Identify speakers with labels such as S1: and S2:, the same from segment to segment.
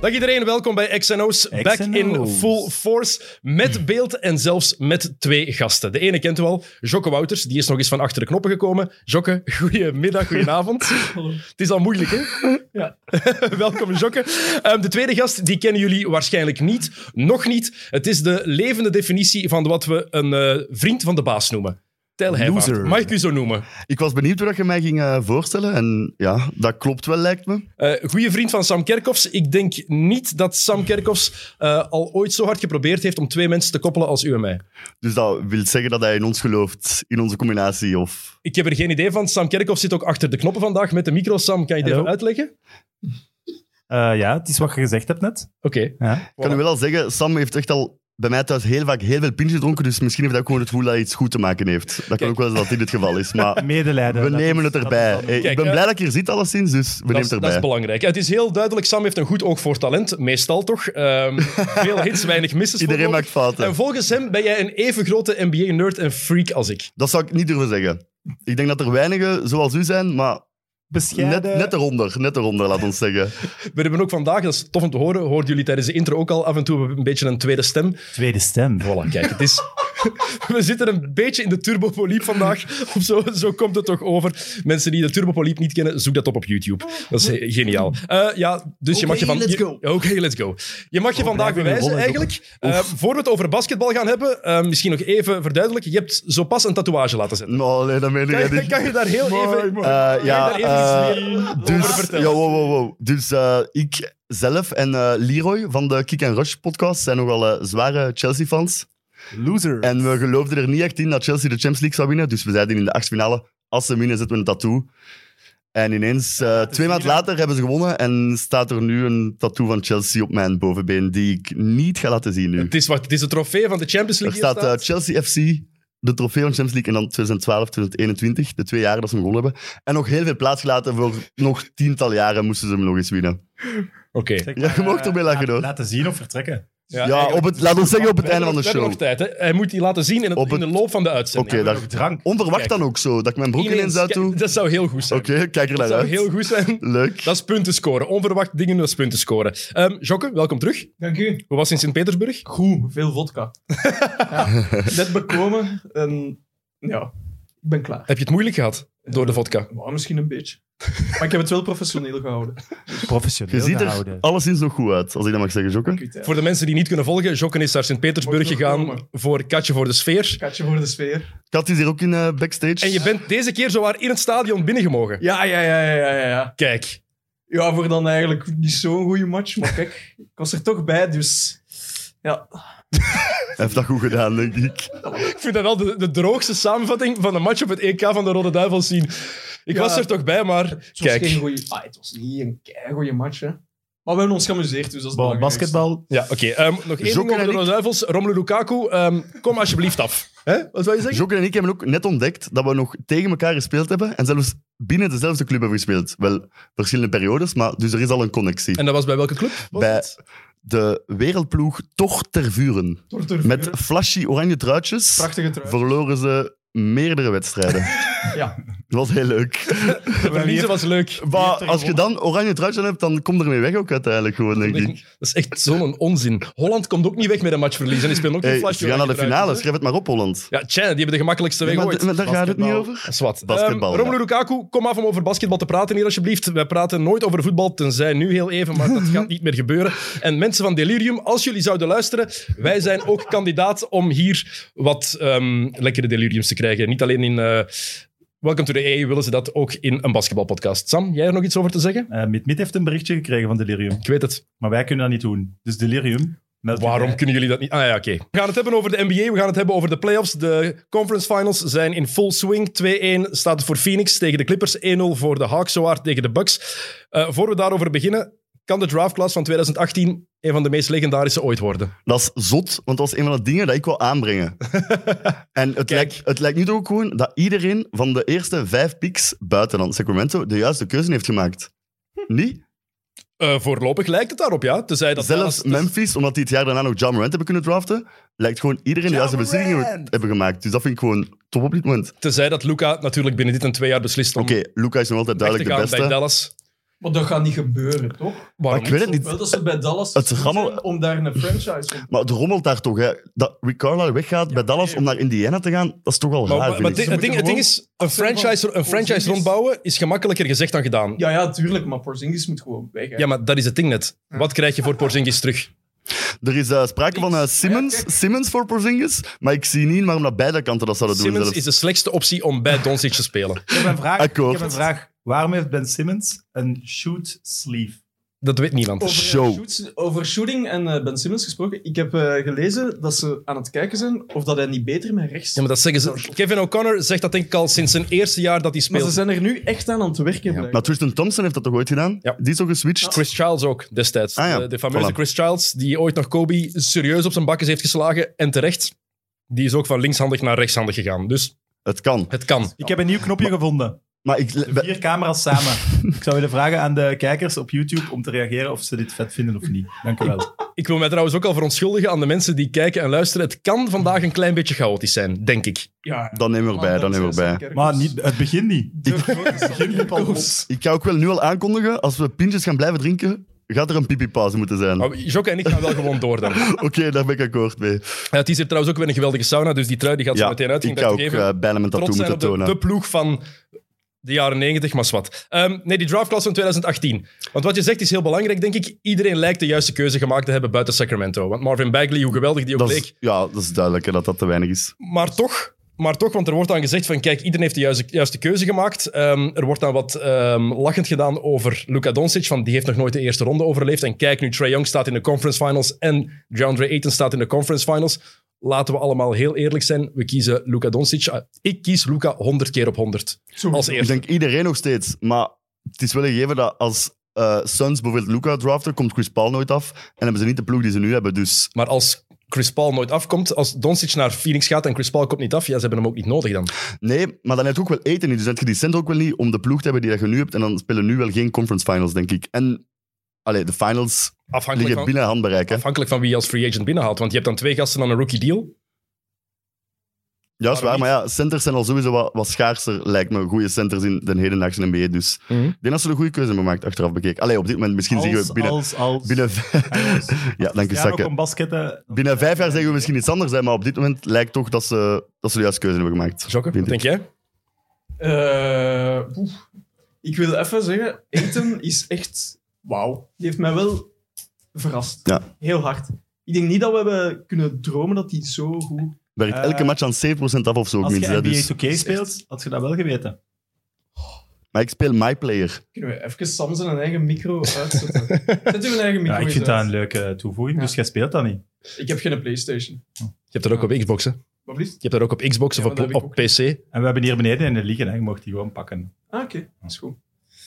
S1: Dag iedereen, welkom bij XNO's Back in
S2: XNO's.
S1: Full Force. Met beeld en zelfs met twee gasten. De ene kent u al, Jokke Wouters, die is nog eens van achter de knoppen gekomen. Jokke, goedemiddag, goedenavond. Het is al moeilijk, hè? Welkom, Jokke. Ehm, de tweede gast, die kennen jullie waarschijnlijk niet. Nog niet. Het is de levende definitie van wat we een eh, vriend van de baas noemen. Tel Heijvaart.
S2: Loser.
S1: Mag ik u zo noemen?
S2: Ik was benieuwd hoe dat je mij ging eh, voorstellen. En ja, dat klopt wel, lijkt me.
S1: Eh goede vriend van Sam Kerkhoffs. Ik denk niet dat Sam Kerkhoffs eh, al ooit zo hard geprobeerd heeft om twee mensen te koppelen als u en mij.
S2: Dus dat wil zeggen dat hij in ons gelooft, in onze combinatie. Of...
S1: Ik heb er geen idee van. Sam Kerkhoffs zit ook achter de knoppen vandaag met de micro. Sam, kan je dit
S3: Hallo.
S1: even uitleggen?
S3: Eh, ja, het is wat je gezegd hebt net.
S1: Oké.
S3: Ja.
S2: Ik kan u wel al zeggen, Sam heeft echt al bij mij thuis heel vaak heel veel pintjes gedronken. Dus misschien heeft hij ook gewoon het gevoel dat hij iets goed te maken heeft. Dat kan ook wel eens dat dit het geval is. Maar
S3: Medelijden.
S2: we
S3: dat
S2: nemen
S3: is-
S2: het
S3: dat
S2: erbij.
S3: is dan-
S2: Hey,
S1: Kijk,
S2: ik ben
S1: eh,
S2: blij dat ik hier zit, alleszins. Dus we nemen
S1: Dat
S2: het
S1: is, dat is
S2: erbij.
S1: belangrijk. Het is heel duidelijk, Sam heeft een goed oog voor talent. Meestal toch. Ehm, veel hits, weinig misses.
S2: Iedereen
S1: voorkomen.
S2: maakt fouten.
S1: En volgens hem ben jij een even grote NBA-nerd en freak als ik.
S2: Dat zou ik niet durven zeggen. Ik denk dat er weinigen zoals u zijn, maar net,
S3: Bescheiden.
S2: net eronder. Net eronder, laat ons zeggen.
S1: We hebben ook vandaag, dat is tof om te horen, hoorden jullie tijdens de intro ook al af en toe een beetje een tweede stem.
S3: Tweede stem.
S1: Voilà, kijk, het is... We zitten een beetje in de turbopoliep vandaag. Of zo, zo komt het toch over. Mensen die de turbopoliep niet kennen, zoek dat op op YouTube. Dat is he- geniaal. Eh, ja, dus je mag je van...
S4: let's
S1: je-
S4: go.
S1: Oké, let's go. Je mag
S2: Oh,
S1: je vandaag
S3: blijven we
S1: bewijzen,
S3: rollen,
S1: eigenlijk. Eh, voor we het over basketbal gaan hebben, eh, misschien nog even verduidelijken. Je hebt zo pas een tatoeage laten zetten.
S2: Oh, nee, dat meen ik
S1: Kan,
S2: niet.
S1: kan je daar heel even...
S2: Eh, ja,
S1: daar even
S2: eh,
S1: iets meer over
S2: dus,
S1: vertellen?
S2: ja, wow, wow, wow. dus eh, ik zelf en eh, Leroy van de Kick and Rush podcast zijn nogal eh, zware Chelsea-fans.
S3: Loser.
S2: En we geloofden er niet echt in dat Chelsea de Champions League zou winnen. Dus we zeiden in de achtfinale, als ze winnen, zetten we een tattoo. En ineens, eh, twee maanden later, hebben ze gewonnen. En staat er nu een tattoo van Chelsea op mijn bovenbeen, die ik niet ga laten zien nu.
S1: Het is, wat, het is de trofee van de Champions
S2: Er
S1: League. hier
S2: staat eh, Chelsea FC, de trofee van Champions League, en dan 2012, 2021, de twee jaren dat ze hem gewonnen hebben. En nog heel veel plaats gelaten voor nog tientallen jaren moesten ze hem nog eens winnen.
S1: Oké.
S3: Zeg
S2: Ja, je
S3: maar,
S2: mag
S3: eh,
S2: ermee lachen,
S3: laat-
S2: hoor.
S3: Laten zien of vertrekken.
S2: Ja, op het, laat ons zeggen op het einde van de
S1: We hebben
S2: show.
S1: nog tijd, hè. Hij moet die laten zien in, het-
S2: Op het-
S1: in de loop van de uitzending.
S2: Oké,
S3: We
S2: daar-
S3: hebben nog drank.
S2: Onverwacht
S1: Kijk.
S2: dan ook zo, dat ik mijn broek ineens uit doe.
S1: Kijk, Dat zou heel goed zijn.
S2: Oké, kijk er
S1: Dat
S2: naar
S1: zou
S2: uit.
S1: heel goed zijn.
S2: Leuk.
S1: Dat is punten scoren. Onverwacht dingen, dat is punten scoren. Ehm Jokke, welkom terug.
S4: Dank u.
S1: Hoe was in Sint-Petersburg?
S4: Goed, veel vodka. ja. Net bekomen en ja, ik ben klaar.
S1: Heb je het moeilijk gehad door de vodka?
S4: Maar misschien een beetje. Maar ik heb het wel professioneel gehouden.
S3: Professioneel
S2: Je ziet er
S3: gehouden.
S2: alleszins nog goed uit, als ik dat mag zeggen,
S4: Dank
S2: Jokke.
S4: u, Thijs.
S1: Voor de mensen die niet kunnen volgen, Jokke is naar Sint-Petersburg
S4: Wordt nog
S1: gegaan
S4: genomen.
S1: voor Katje voor de Sfeer.
S4: Katje voor de sfeer.
S2: Kat is hier ook in eh, backstage.
S1: En je bent deze keer zowaar in het stadion binnengemogen.
S4: Ja, ja, ja, ja, ja, ja.
S1: Kijk,
S4: Ja, voor dan eigenlijk niet zo'n goede match. Maar kijk, ik was er toch bij, dus ja.
S2: Hij heeft dat goed gedaan, denk ik.
S1: ik vind dat wel de, de droogste samenvatting van een match op het EK van de Rode Duivels zien. Ik
S4: Ja.
S1: was er toch bij, maar
S4: Het was
S1: kijk.
S4: geen goede... Ah, het was niet een goede match, hè. Maar we hebben ons geamuseerd, dus dat is
S3: Bon,
S4: belangrijk.
S3: basketbal.
S1: Ja, oké. ehm, nog één ding
S2: Jokken
S1: over
S2: en
S1: de
S2: ik-
S1: Rode Duivels. Romelu Lukaku, ehm, kom alsjeblieft af. Hè? Wat wil je zeggen?
S2: Jokke en ik hebben ook net ontdekt dat we nog tegen elkaar gespeeld hebben. En zelfs binnen dezelfde club hebben gespeeld. Wel, verschillende periodes, maar dus er is al een connectie.
S1: En dat was bij welke club? Was
S2: Bij-
S1: het?
S2: de wereldploeg toch ter vuren.
S4: Door te
S2: Met
S4: vuren.
S2: flashy oranje truitjes
S4: Prachtige trui.
S2: verloren ze meerdere wedstrijden.
S4: Ja.
S2: Dat was heel leuk.
S1: De verliezen was leuk.
S2: Maar
S3: er
S2: als je dan oranje truitjes aan hebt, dan kom je ermee weg ook uiteindelijk gewoon, denk
S1: Dat
S2: ik.
S1: is echt zo'n onzin. Holland komt ook niet weg met een matchverlies. En die spelen ook geen
S2: Hey,
S1: flashje.
S2: ze gaan naar de
S1: oranje
S2: finale,
S1: truitjes,
S2: schrijf het maar op, Holland.
S1: hè. Ja, China, die hebben de gemakkelijkste weg
S2: Nee, maar
S1: ooit.
S2: d- maar daar gaat het niet
S3: Basketbal.
S2: over.
S1: Dat is wat.
S2: Basketbal,
S1: Ehm, Romelu Lukaku, kom af om over basketbal te praten hier alsjeblieft. Wij praten nooit over voetbal, tenzij nu heel even, maar dat gaat niet meer gebeuren. En mensen van Delirium, als jullie zouden luisteren, wij zijn ook kandidaat om hier wat ehm, lekkere deliriums te krijgen. Niet alleen in eh, Welcome to the EU willen ze dat ook in een basketbalpodcast. Sam, jij er nog iets over te zeggen?
S3: Eh Mid Mid heeft een berichtje gekregen van Delirium.
S1: Ik weet het.
S3: Maar wij kunnen dat niet doen. Dus Delirium. meld je
S1: Waarom
S3: bij.
S1: kunnen jullie dat niet? Ah ja, oké. We gaan het hebben over de NBA, we gaan het hebben over de playoffs. De conference finals zijn in full swing. 2-1 staat het voor Phoenix tegen de Clippers, 1-0 voor de Hawks, zo hard tegen de Bucks. Eh, voor we daarover beginnen, kan de draftclass van 2018 een van de meest legendarische ooit worden?
S2: Dat is zot, want dat was een van de dingen dat ik wil aanbrengen. en het lijkt, het lijkt nu toch ook gewoon dat iedereen van de eerste vijf picks buiten dan Sacramento de juiste keuze heeft gemaakt. Niet?
S1: Eh, voorlopig lijkt het daarop, ja. Tenzij Hm. dat dus-
S2: Zelfs
S1: daarnaast-
S2: Memphis, omdat die het jaar daarna nog John Morant hebben kunnen draften, lijkt gewoon iedereen de
S1: Ja
S2: juiste beslissingen
S1: Morant!
S2: hebben gemaakt. Dus dat vind ik gewoon top op dit moment.
S1: Tenzij dat Luca natuurlijk binnen dit en twee jaar beslist om
S2: Oké, Luca is nog altijd
S1: weg te
S2: duidelijk de
S1: gaan bij
S2: beste.
S1: Dallas.
S4: Maar dat gaat niet gebeuren, toch?
S1: Waarom
S2: ik weet het
S1: niet?
S2: niet.
S4: Wel dat ze bij Dallas
S2: Het
S4: goed
S2: rammel-
S4: zijn om daar een franchise op
S2: Maar het rommelt daar toch, hè. Dat Rick Carlisle weggaat bij Dallas om naar Indiana te gaan, dat is toch wel
S1: Maar,
S2: raar,
S1: maar-
S2: vind
S1: maar
S2: ik.
S1: dit-
S4: Ze
S1: het,
S4: moeten
S1: ding, het ding
S4: gewoon
S1: is, een
S4: afzien van
S1: franchise, een franchise
S4: Porzingis.
S1: rondbouwen is gemakkelijker gezegd dan gedaan.
S4: Ja, ja, tuurlijk, maar Porzingis moet gewoon weg. hè.
S1: Ja, maar dat is het ding net. Wat krijg je voor Porzingis terug?
S2: Er is eh, sprake van eh, Simmons, Simmons voor Porzingis, maar ik zie niet waarom dat beide kanten dat zouden doen.
S1: Simmons
S2: zelfs.
S1: is de slechtste optie om bij Doncic te spelen.
S3: Ik heb een vraag.
S2: Akkoord.
S3: Ik heb een vraag. Waarom heeft Ben Simmons een shoot sleeve?
S1: Dat weet niemand.
S4: Over, eh,
S2: Show.
S4: shoots- over shooting en eh, Ben Simmons gesproken. Ik heb eh, gelezen dat ze aan het kijken zijn of dat hij niet beter met rechts...
S1: Ja, maar dat zeggen ze. Kevin O'Connor zegt dat denk ik al sinds zijn eerste jaar dat hij
S4: maar ze
S1: speelt.
S4: zijn er nu echt aan aan het werken. blijkbaar.
S2: Maar Tristan Thompson heeft dat toch ooit gedaan?
S1: Ja.
S2: Die is toch geswitcht?
S1: Chris Childs ook destijds.
S2: Ah ja,
S1: de, de fameuze
S2: voilà.
S1: Chris Childs, die ooit nog Kobe serieus op zijn bakkes heeft geslagen. En terecht. Die is ook van linkshandig naar rechtshandig gegaan. Dus
S2: Het kan.
S1: het kan.
S3: Ik heb een nieuw knopje gevonden.
S2: Maar ik,
S3: De vier camera's samen. ik zou willen vragen aan de kijkers op YouTube om te reageren of ze dit vet vinden of niet. Dank u wel.
S1: Ik wil mij trouwens ook al verontschuldigen aan de mensen die kijken en luisteren. Het kan vandaag een klein beetje chaotisch zijn, denk ik.
S4: Ja,
S2: dan nemen we
S5: Oh,
S2: erbij, dan nemen we erbij.
S3: Maar niet, het begin niet.
S4: De grote Stanley Koos.
S2: Ik ga ook wel nu al aankondigen, als we pintjes gaan blijven drinken, gaat er een pipipauze moeten zijn.
S1: Maar Nou, Jocke en ik gaan wel gewoon door dan.
S2: Oké, daar ben ik akkoord mee.
S1: Ja, het is hier trouwens ook weer een geweldige sauna, dus die trui die gaat zo
S2: Ja,
S1: meteen uit.
S2: ik
S1: dacht
S2: ga ook
S1: even
S2: eh, bijna mijn tattoo
S1: trots zijn
S2: moeten
S1: op de,
S2: tonen.
S1: de ploeg van de jaren 90, maar zwart. Ehm, nee, die draftklasse van 2018. Want wat je zegt is heel belangrijk, denk ik. Iedereen lijkt de juiste keuze gemaakt te hebben buiten Sacramento. Want Marvin Bagley, hoe geweldig die ook
S2: Dat
S1: leek.
S2: is, ja, dat is duidelijk hè, dat dat te weinig is.
S1: Maar toch, maar toch, want er wordt aan gezegd van kijk, iedereen heeft de juiste, juiste keuze gemaakt. Ehm, er wordt dan wat ehm, lachend gedaan over Luka Doncic, van die heeft nog nooit de eerste ronde overleefd. En kijk nu, Trae Young staat in de conference finals en DeAndre Ayton staat in de conference finals. Laten we allemaal heel eerlijk zijn, we kiezen Luka Doncic. Ah, Ik kies Luka 100 keer op 100 als
S2: Ik
S1: eerste.
S2: denk iedereen nog steeds, maar het is wel een gegeven dat als eh, Suns bijvoorbeeld Luca draften, komt Chris Paul nooit af en hebben ze niet de ploeg die ze nu hebben. Dus
S1: Maar als Chris Paul nooit afkomt, als Doncic naar Phoenix gaat en Chris Paul komt niet af, ja, ze hebben hem ook niet nodig dan.
S2: nee, maar dan heb je ook wel eten niet. Dus heb je die cent ook wel niet om de ploeg te hebben die dat je nu hebt en dan spelen nu wel geen conference finals, denk ik. En allee, de finals
S1: Afhankelijk
S2: liggen
S1: van,
S2: binnen handbereik. Hè.
S1: afhankelijk van wie je als free agent binnenhaalt. Want je hebt dan twee gasten aan een rookie deal.
S2: Ja, is waar,
S1: waarom
S2: maar ja, centers zijn al sowieso wat, wat schaarser, lijkt me. Goede centers in de hedendaagse NBA. Dus
S1: Mhm.
S2: ik denk dat ze een goede keuze hebben gemaakt, achteraf bekeken. Allee, op dit moment misschien zeggen we
S3: Als,
S2: binnen...
S3: als, als.
S2: binnen
S3: Ja, jongens.
S2: ja, dank je,
S3: Ja, ook
S2: Sakke.
S3: om basketten.
S2: Binnen vijf jaar zeggen we misschien iets anders, hè, maar op dit moment lijkt toch dat ze, dat ze de juiste keuze hebben gemaakt.
S1: Jokke,
S2: Vind
S1: wat
S2: ik.
S1: denk jij?
S4: Eh, oeh. ik wil even zeggen, Eten is echt... Wauw. Die heeft mij wel verrast.
S2: Ja.
S4: Heel hard. Ik denk niet dat we hebben kunnen dromen dat hij zo goed...
S2: Werkt
S3: Eh,
S2: elke match aan 7% af of zo, ook
S3: Als je
S2: minstens. hè,
S3: NBA
S2: dus.
S3: 2K speelt, had je dat wel geweten.
S2: Maar ik speel my player.
S4: Kunnen we even Sam zijn eigen micro uitzetten? Zet uw eigen micro
S3: Ja, ik
S4: eens
S3: vind dat
S4: uit.
S3: een leuke toevoeging,
S4: Ja.
S3: dus jij speelt dat niet.
S4: Ik heb geen Playstation.
S1: Je hebt dat ook op Xbox, hè? Je
S4: Wat blieft?
S1: hebt dat ook op Xbox
S4: Ja,
S1: of
S4: maar dat heb
S1: op,
S4: ik
S1: op PC.
S3: En we hebben hier beneden in de liggen, hè. je mocht die gewoon pakken.
S4: Ah, oké. Is goed.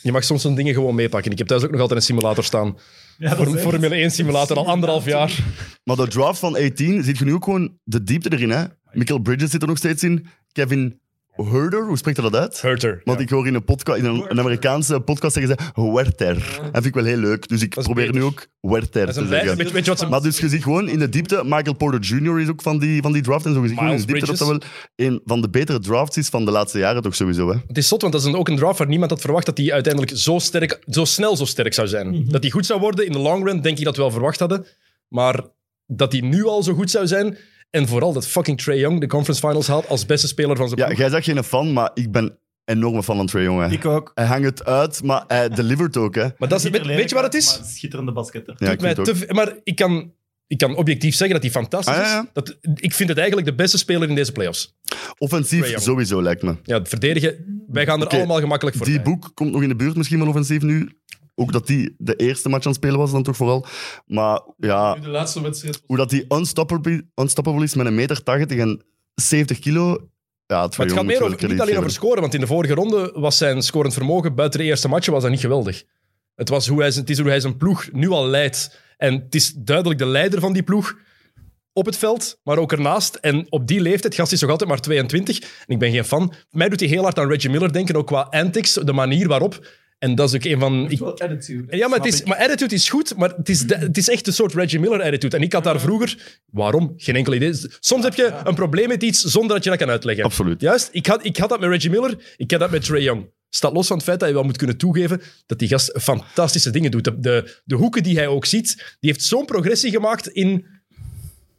S1: Je mag soms zo'n dingen gewoon meepakken. Ik heb thuis ook nog altijd een simulator staan.
S3: Ja, dat
S1: Voor, Formule 1 simulator, al anderhalf jaar.
S2: Maar de draft van 18 ziet je nu ook gewoon de diepte erin. Hè? Michael Bridges zit er nog steeds in. Kevin Herder, hoe spreekt hij dat uit?
S1: Hurter.
S2: Want ik hoor in een, podcast, in een, een Amerikaanse podcast zeggen ze Werther. Dat vind ik wel heel leuk. Dus ik
S1: Dat is
S2: probeer
S1: beter.
S2: nu ook Werther
S1: Dat
S2: te
S1: is een lijst.
S2: zeggen.
S1: Weet, weet je wat ze...
S2: Maar dus je ziet gewoon in de diepte, Michael Porter Jr. is ook van die, van die draft. En zo je ziet gewoon in de
S1: Miles
S2: diepte dat dat wel een van de betere drafts is van de laatste jaren toch sowieso. Hè?
S1: Het is zot, want dat is een- ook een draft waar niemand had verwacht dat hij uiteindelijk zo, sterk, zo snel zo sterk zou zijn. Dat hij goed zou worden in de long run, denk ik dat we wel verwacht hadden. Maar dat hij nu al zo goed zou zijn. En vooral dat fucking Trae Young de conference finals haalt als beste speler van zijn
S2: Ja,
S1: ploeg.
S2: jij zegt geen fan, maar ik ben enorme fan van Trae Young. hè.
S3: Ik ook.
S2: Hij hangt het uit, maar hij delivert ook. Hè.
S1: Maar dat is,
S3: Ziet er
S1: weet,
S3: lelijk
S1: weet je wat het
S3: uit,
S1: is?
S3: maar Schitterende basketter.
S2: Ja, ik
S1: doet mij
S2: vind het
S1: te
S2: ook.
S1: veel- maar ik kan, ik kan objectief zeggen dat hij fantastisch
S2: Ah, ja, ja.
S1: is. Dat, ik vind het eigenlijk de beste speler in deze playoffs. Trae
S2: Offensief
S1: Young.
S2: sowieso lijkt me.
S1: Ja, het verdedigen, wij gaan er
S2: Oké,
S1: allemaal gemakkelijk voor.
S2: Die
S1: bij.
S2: boek komt nog in de buurt misschien wel offensief nu. Ook dat die de eerste match aan het spelen was dan toch vooral. Maar ja,
S4: Nu de laatste wedstrijd.
S2: hoe dat die unstoppable, unstoppable is met een meter 80 en 70 kilo. Ja, het,
S1: maar het gaat meer over, niet alleen over scoren, want in de vorige ronde was zijn scorend vermogen buiten de eerste match was dat niet geweldig. Het, was hoe hij, zijn- het is hoe hij zijn ploeg nu al leidt. En het is duidelijk de leider van die ploeg op het veld, maar ook ernaast. En op die leeftijd, gast is nog altijd maar 22, en ik ben geen fan. Mij doet hij heel hard aan Reggie Miller denken, ook qua antics, de manier waarop. En dat is ook een van...
S4: is
S1: ik-
S4: wel attitude.
S1: ja, maar, het is,
S3: Snap
S1: maar attitude is goed, maar het is, de- het is echt een soort Reggie Miller attitude. En ik had daar vroeger... Waarom? Geen enkel idee. Soms heb je een probleem met iets zonder dat je dat kan uitleggen.
S2: Absoluut.
S1: Juist, ik had, ik had dat met Reggie Miller, ik had dat met Trey Young. Staat los van het feit dat je wel moet kunnen toegeven dat die gast fantastische dingen doet. De, de, de hoeken die hij ook ziet, die heeft zo'n progressie gemaakt in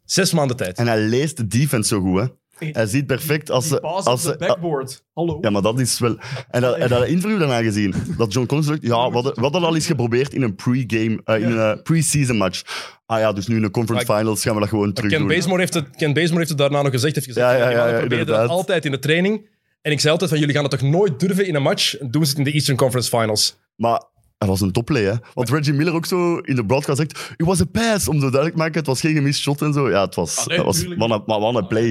S1: zes maanden tijd.
S2: En hij leest de defense zo goed, hè. Hij ziet perfect als
S4: Die
S2: ze...
S4: paas
S2: Als
S4: op de
S2: ze Ah,
S4: backboard. Hallo.
S2: ja, maar dat is wel... En dat, en dat interview daarna gezien, dat John Collins zegt, ja, wat hadden al eens geprobeerd in een pre-game, eh, in een eh, pre-season match. Ah ja, dus nu in de conference
S1: Maar
S2: finals gaan we dat gewoon terug
S1: Ken
S2: doen.
S1: Bazemore, heeft het, Ken Bazemore heeft het daarna nog gezegd. Heeft gezegd
S2: Ja, ja,
S1: die
S2: ja,
S1: mannen
S2: ja,
S1: proberen dat
S2: inderdaad.
S1: altijd in de training. En ik zei altijd van, jullie gaan het toch nooit durven in een match? Doen ze het in de Eastern Conference Finals.
S2: Maar hij was een topplay, hè. Want Reggie Miller ook zo in de broadcast zegt, it was a pass, om zo duidelijk te maken, het was geen gemist shot en zo. Ja, het was...
S4: Allee,
S2: het was
S4: tuurlijk.
S2: wat een- maar wat een play.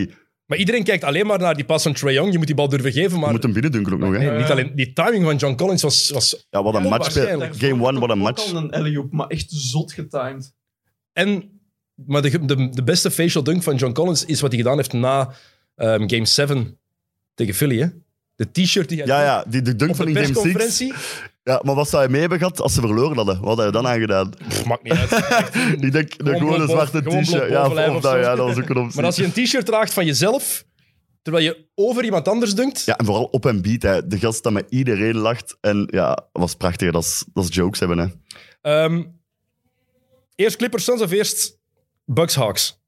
S2: Je
S1: Maar iedereen kijkt alleen maar naar die pas van Trae Young. Je moet die bal durven geven, maar...
S2: moet hem binnendunken ook nog, hè.
S1: Nee, niet alleen, die timing van John Collins was... was
S2: Ja, wat een
S1: Ja,
S2: match.
S1: waarschijnlijk.
S2: Game one, wat een match.
S4: Ook al een alley-oop, maar echt zot getimed.
S1: en, maar de, de, de beste facial dunk van John Collins is wat hij gedaan heeft na ehm, Game 7 tegen Philly, hè? De t-shirt die hij...
S2: Ja, ja, die, die dunk
S1: Op
S2: van
S1: de
S2: in game 6.
S1: persconferentie?
S2: Ja, maar wat zou hij mee hebben gehad als ze verloren hadden? Wat had hij dan aangedaan?
S1: Pff, maakt niet uit.
S2: Ik denk, de
S1: Gewoon
S2: gewoon een
S1: blond boven-
S2: zwarte
S1: gewoon
S2: t-shirt.
S1: blond
S2: Ja,
S1: bovenlijf
S2: of
S1: of
S2: dat,
S1: zo.
S2: ja, dat was ook een optie.
S1: Maar als je een t-shirt draagt van jezelf, terwijl je over iemand anders dunkt...
S2: Ja, en vooral op en beat. Hè. De gast dat met iedereen lacht. En ja, was prachtig. Dat is, dat is jokes hebben, hè.
S1: Ehm, eerst Clippers Suns of eerst Bucks Hawks?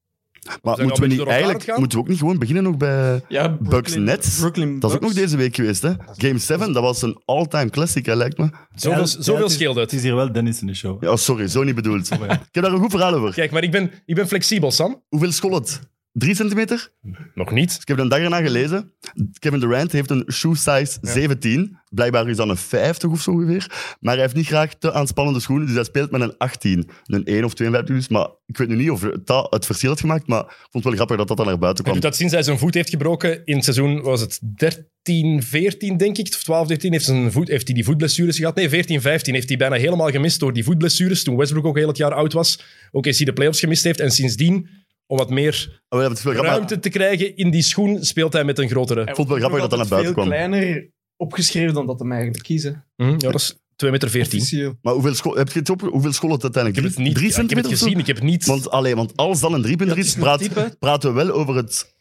S2: Maar
S1: al een beetje
S2: moeten we,
S1: door
S2: niet,
S1: elkaar
S2: eigenlijk,
S1: gaan?
S2: moeten we ook niet gewoon beginnen nog bij...
S4: Ja,
S2: Bucks Nets.
S4: Brooklyn
S2: Dat is ook nog
S4: Bucks.
S2: deze week geweest, hè. Game 7, dat was een all-time classic, hè, lijkt me.
S1: Zoveel,
S3: Ja, ja,
S1: zoveel
S3: is-
S1: scheelt
S3: Het
S1: het.
S3: is hier wel Dennis in de show.
S2: Ja, sorry, zo niet bedoeld. Ik heb daar een goed verhaal over.
S1: Kijk, maar ik ben, ik ben flexibel, Sam.
S2: Hoeveel school het? Drie centimeter?
S1: Nog niet.
S2: Dus Ik heb een dag erna gelezen. Kevin Durant heeft een shoe size 17. Blijkbaar is dat een 50 of zo ongeveer. Maar hij heeft niet graag te aanspannende schoenen. Dus hij speelt met een 18. Een 1 of 52 dus. Maar ik weet nu niet of dat het verschil heeft gemaakt. Maar ik vond het wel grappig dat dat dan naar buiten
S1: Hij
S2: kwam.
S1: doet dat sinds hij zijn voet heeft gebroken. In het seizoen was het 13, 14, denk ik. Of 12, 13 heeft, zijn voet, heeft hij die voetblessures gehad. Nee, 14, 15 heeft hij bijna helemaal gemist door die voetblessures. Toen Westbrook ook heel het jaar oud was. Ook eens hij de playoffs gemist heeft. En sindsdien, om wat meer
S2: Maar ja, het is Ah, wel grappig.
S1: ruimte te krijgen in die schoen, speelt hij met een grotere.
S4: Hij
S2: vond het wel
S4: wordt
S2: grappig dat dat naar
S4: altijd
S2: buiten
S4: veel kleiner opgeschreven dan dat hem eigenlijk kiezen.
S1: Hm, ja, dat is 2,14 meter. Ik
S4: Officieel.
S2: Maar hoeveel school, heb je het op, hoeveel school het uiteindelijk?
S1: heb het niet
S2: Drie
S1: ja, ik heb het
S2: centimeter of zo?
S1: gezien. Ik heb het niet...
S2: Want, allee, want als dan een driepunter
S4: Ja,
S2: is,
S4: het is
S2: praat-
S4: nog diep, hè?
S2: praten we wel over het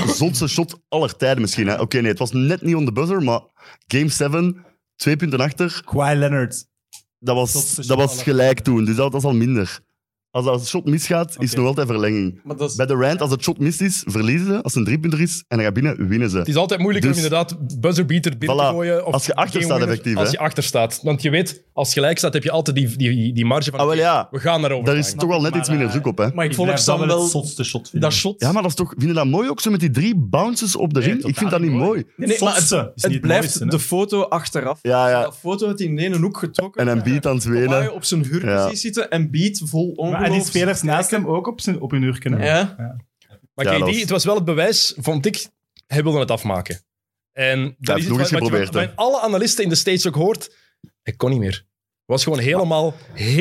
S2: zotste shot aller tijden misschien. hè. Oké, nee, het was net niet on the buzzer, maar game 7, twee punten achter.
S3: Kawhi Leonard.
S2: Dat was,
S3: Zotste
S2: dat was
S3: shot
S2: gelijk toen, dus dat, dat is al minder. Als dat shot misgaat, is
S3: Oké.
S2: het nog altijd verlenging.
S4: Maar dat is
S2: Bij de Rand, als het shot mis is, verliezen ze. Als het een driepunter is en hij gaat binnen, winnen ze.
S1: Het is altijd moeilijker
S2: Dus-
S1: om inderdaad buzzerbeater binnen
S2: Voilà.
S1: te gooien. Of
S2: Als je achter
S1: game
S2: staat,
S1: winner,
S2: effectief,
S1: Als
S2: hè?
S1: je achter staat. Want je weet, als je gelijk staat, heb je altijd die, die, die marge van...
S2: Ah, wel ja.
S1: We gaan daarover.
S2: Daar is
S1: gaan.
S2: toch wel net
S3: maar,
S2: iets minder
S3: eh,
S2: zoek op, hè?
S4: Maar ik,
S3: Ik
S4: volg
S3: blijf dat
S4: Sam
S3: wel het
S4: wel...
S3: zotste shot vinden.
S4: Dat shot.
S2: Ja, maar dat is toch, vind je dat mooi ook zo met die drie bounces op de
S3: Nee,
S2: ring? Ik
S3: totaal
S2: vind dat niet
S3: niet mooi.
S2: mooi.
S4: Nee, nee, maar het,
S3: Zotste is
S4: het
S3: niet het
S4: blijft
S3: mooiste, hè?
S4: de foto achteraf.
S2: Ja, ja.
S4: Dat foto had hij in één hoek getrokken.
S5: eh,
S2: En een beat aan het
S4: Kawhi
S2: wenen.
S4: op zijn huurpositie zitten en beat vol ongeloof.
S3: Maar, en die spelers naast hem ook op, zijn, op hun uur kunnen.
S4: Ja.
S1: Maar
S2: Ja,
S1: KD,
S2: dat was-
S1: het was wel het bewijs, vond ik, hij wilde het afmaken. En dat
S2: heeft
S1: is
S2: nog
S1: iets wat- wat
S2: eens
S1: je
S2: geprobeerd,
S1: van-
S2: hè.
S1: Bij alle analisten in de States ook hoort, hij kon niet meer. Was gewoon helemaal,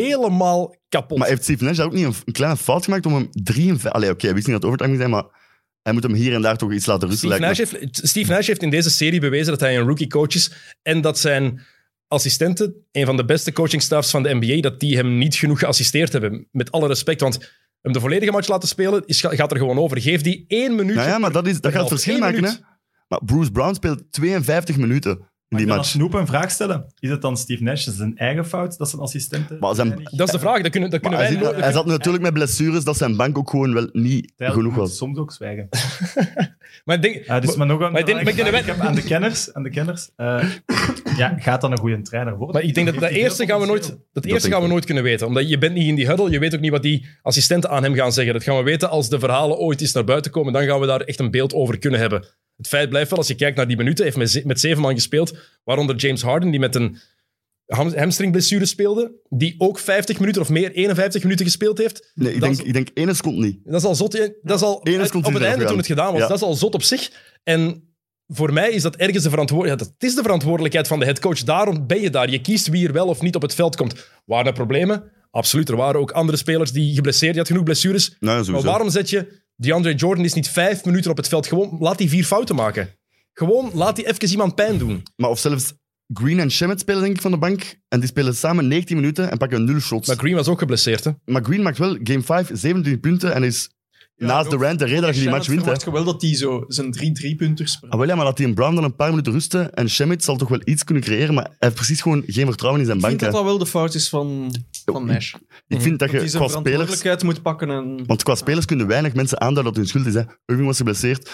S1: helemaal kapot.
S2: Maar heeft Steve Nash daar ook niet een, een kleine fout gemaakt om hem 53... Allee, oké, hij wist niet dat het overtime ging zijn, maar hij moet hem hier en daar toch iets laten rusten.
S1: Steve, Nash
S2: lijkt me.
S1: heeft, Steve Nash heeft in deze serie bewezen dat hij een rookie coach is en dat zijn assistenten, een van de beste coachingstafs van de NBA, dat die hem niet genoeg geassisteerd hebben. Met alle respect, want hem de volledige match laten spelen is, gaat er gewoon over. Geef die één minuut.
S2: Nou ja, maar dat, is, dat gaat het verschil
S1: Eén
S2: maken, hè.
S1: minuut.
S2: Maar Bruce Brown speelt 52 minuten in
S3: Maar
S2: die
S3: ik wil als
S2: match.
S3: Snoep een vraag stellen. Is het dan Steve Nash zijn eigen fout dat zijn assistenten...
S2: Maar zijn-
S3: weinig-
S1: Dat is de vraag. Dat kunnen, dat
S2: Maar
S1: kunnen
S2: hij,
S1: wij
S2: zit-
S1: nooit-
S2: hij zat natuurlijk met blessures dat zijn bank ook gewoon wel niet
S3: Tijl
S2: genoeg
S3: moet
S2: was.
S3: Soms ook zwijgen.
S1: Maar ik denk,
S3: Ja, dus maar nog een
S1: maar ik denk- maar ik denk dat
S3: ik heb aan de kenners. Aan de kenners eh, ja, gaat dan een goede trainer worden?
S1: Maar ik denk dat dat eerste gaan we nooit, dat eerste
S2: denk
S1: gaan we
S2: ik.
S1: nooit kunnen weten. Omdat je bent niet in die huddle, je weet ook niet wat die assistenten aan hem gaan zeggen. Dat gaan we weten als de verhalen ooit eens naar buiten komen. Dan gaan we daar echt een beeld over kunnen hebben. Het feit blijft wel, als je kijkt naar die minuten, heeft met, ze- met zeven man gespeeld, waaronder James Harden, die met een ham- hamstringblessure speelde, die ook 50 minuten of meer, 51 minuten gespeeld heeft.
S2: Nee, ik
S1: Dat
S2: denk,
S1: is-
S2: ik denk ene seconde niet.
S1: dat is al zot. hè. Dat is al
S2: Eén is
S1: uit- op
S2: continu
S1: het einde
S2: afgegaan.
S1: toen het gedaan was.
S2: Ja.
S1: Dat is al zot op zich. En voor mij is dat ergens de verantwoordelijkheid. dat is de verantwoordelijkheid van de headcoach. Daarom ben je daar. Je kiest wie er wel of niet op het veld komt. Waren er problemen? Absoluut. Er waren ook andere spelers die geblesseerd. Je had genoeg blessures.
S2: Nou, ja, sowieso.
S1: Maar waarom zet je DeAndre Jordan is niet vijf minuten op het veld? Gewoon laat die vier fouten maken. Gewoon laat die even iemand pijn doen.
S2: Maar of zelfs Green en Shemet spelen denk ik van de bank. En die spelen samen 19 minuten en pakken 0 shots.
S1: Maar
S2: Maar,
S1: Green was ook geblesseerd, hè?
S2: Green maakt wel game 5 27 punten en is naast
S4: ook.
S2: de Rand de reden dat je die match wint. hè.
S4: verwacht je wel dat hij zo zijn drie driepunters per
S2: Ah, wel ja, maar laat die een Brown dan een paar minuten rusten en Shemet zal toch wel iets kunnen creëren, maar hij heeft precies gewoon geen vertrouwen in zijn
S4: Ik
S2: bank.
S4: vind dat
S2: hè.
S4: dat wel de fout is van, van Nash.
S2: Ik vind dat
S4: Dat hij
S2: je
S4: zijn
S2: qua spelers...
S4: verantwoordelijkheid moet pakken en...
S2: Want qua spelers kunnen weinig mensen aanduiden dat hun schuld is. Hè. Irving was geblesseerd.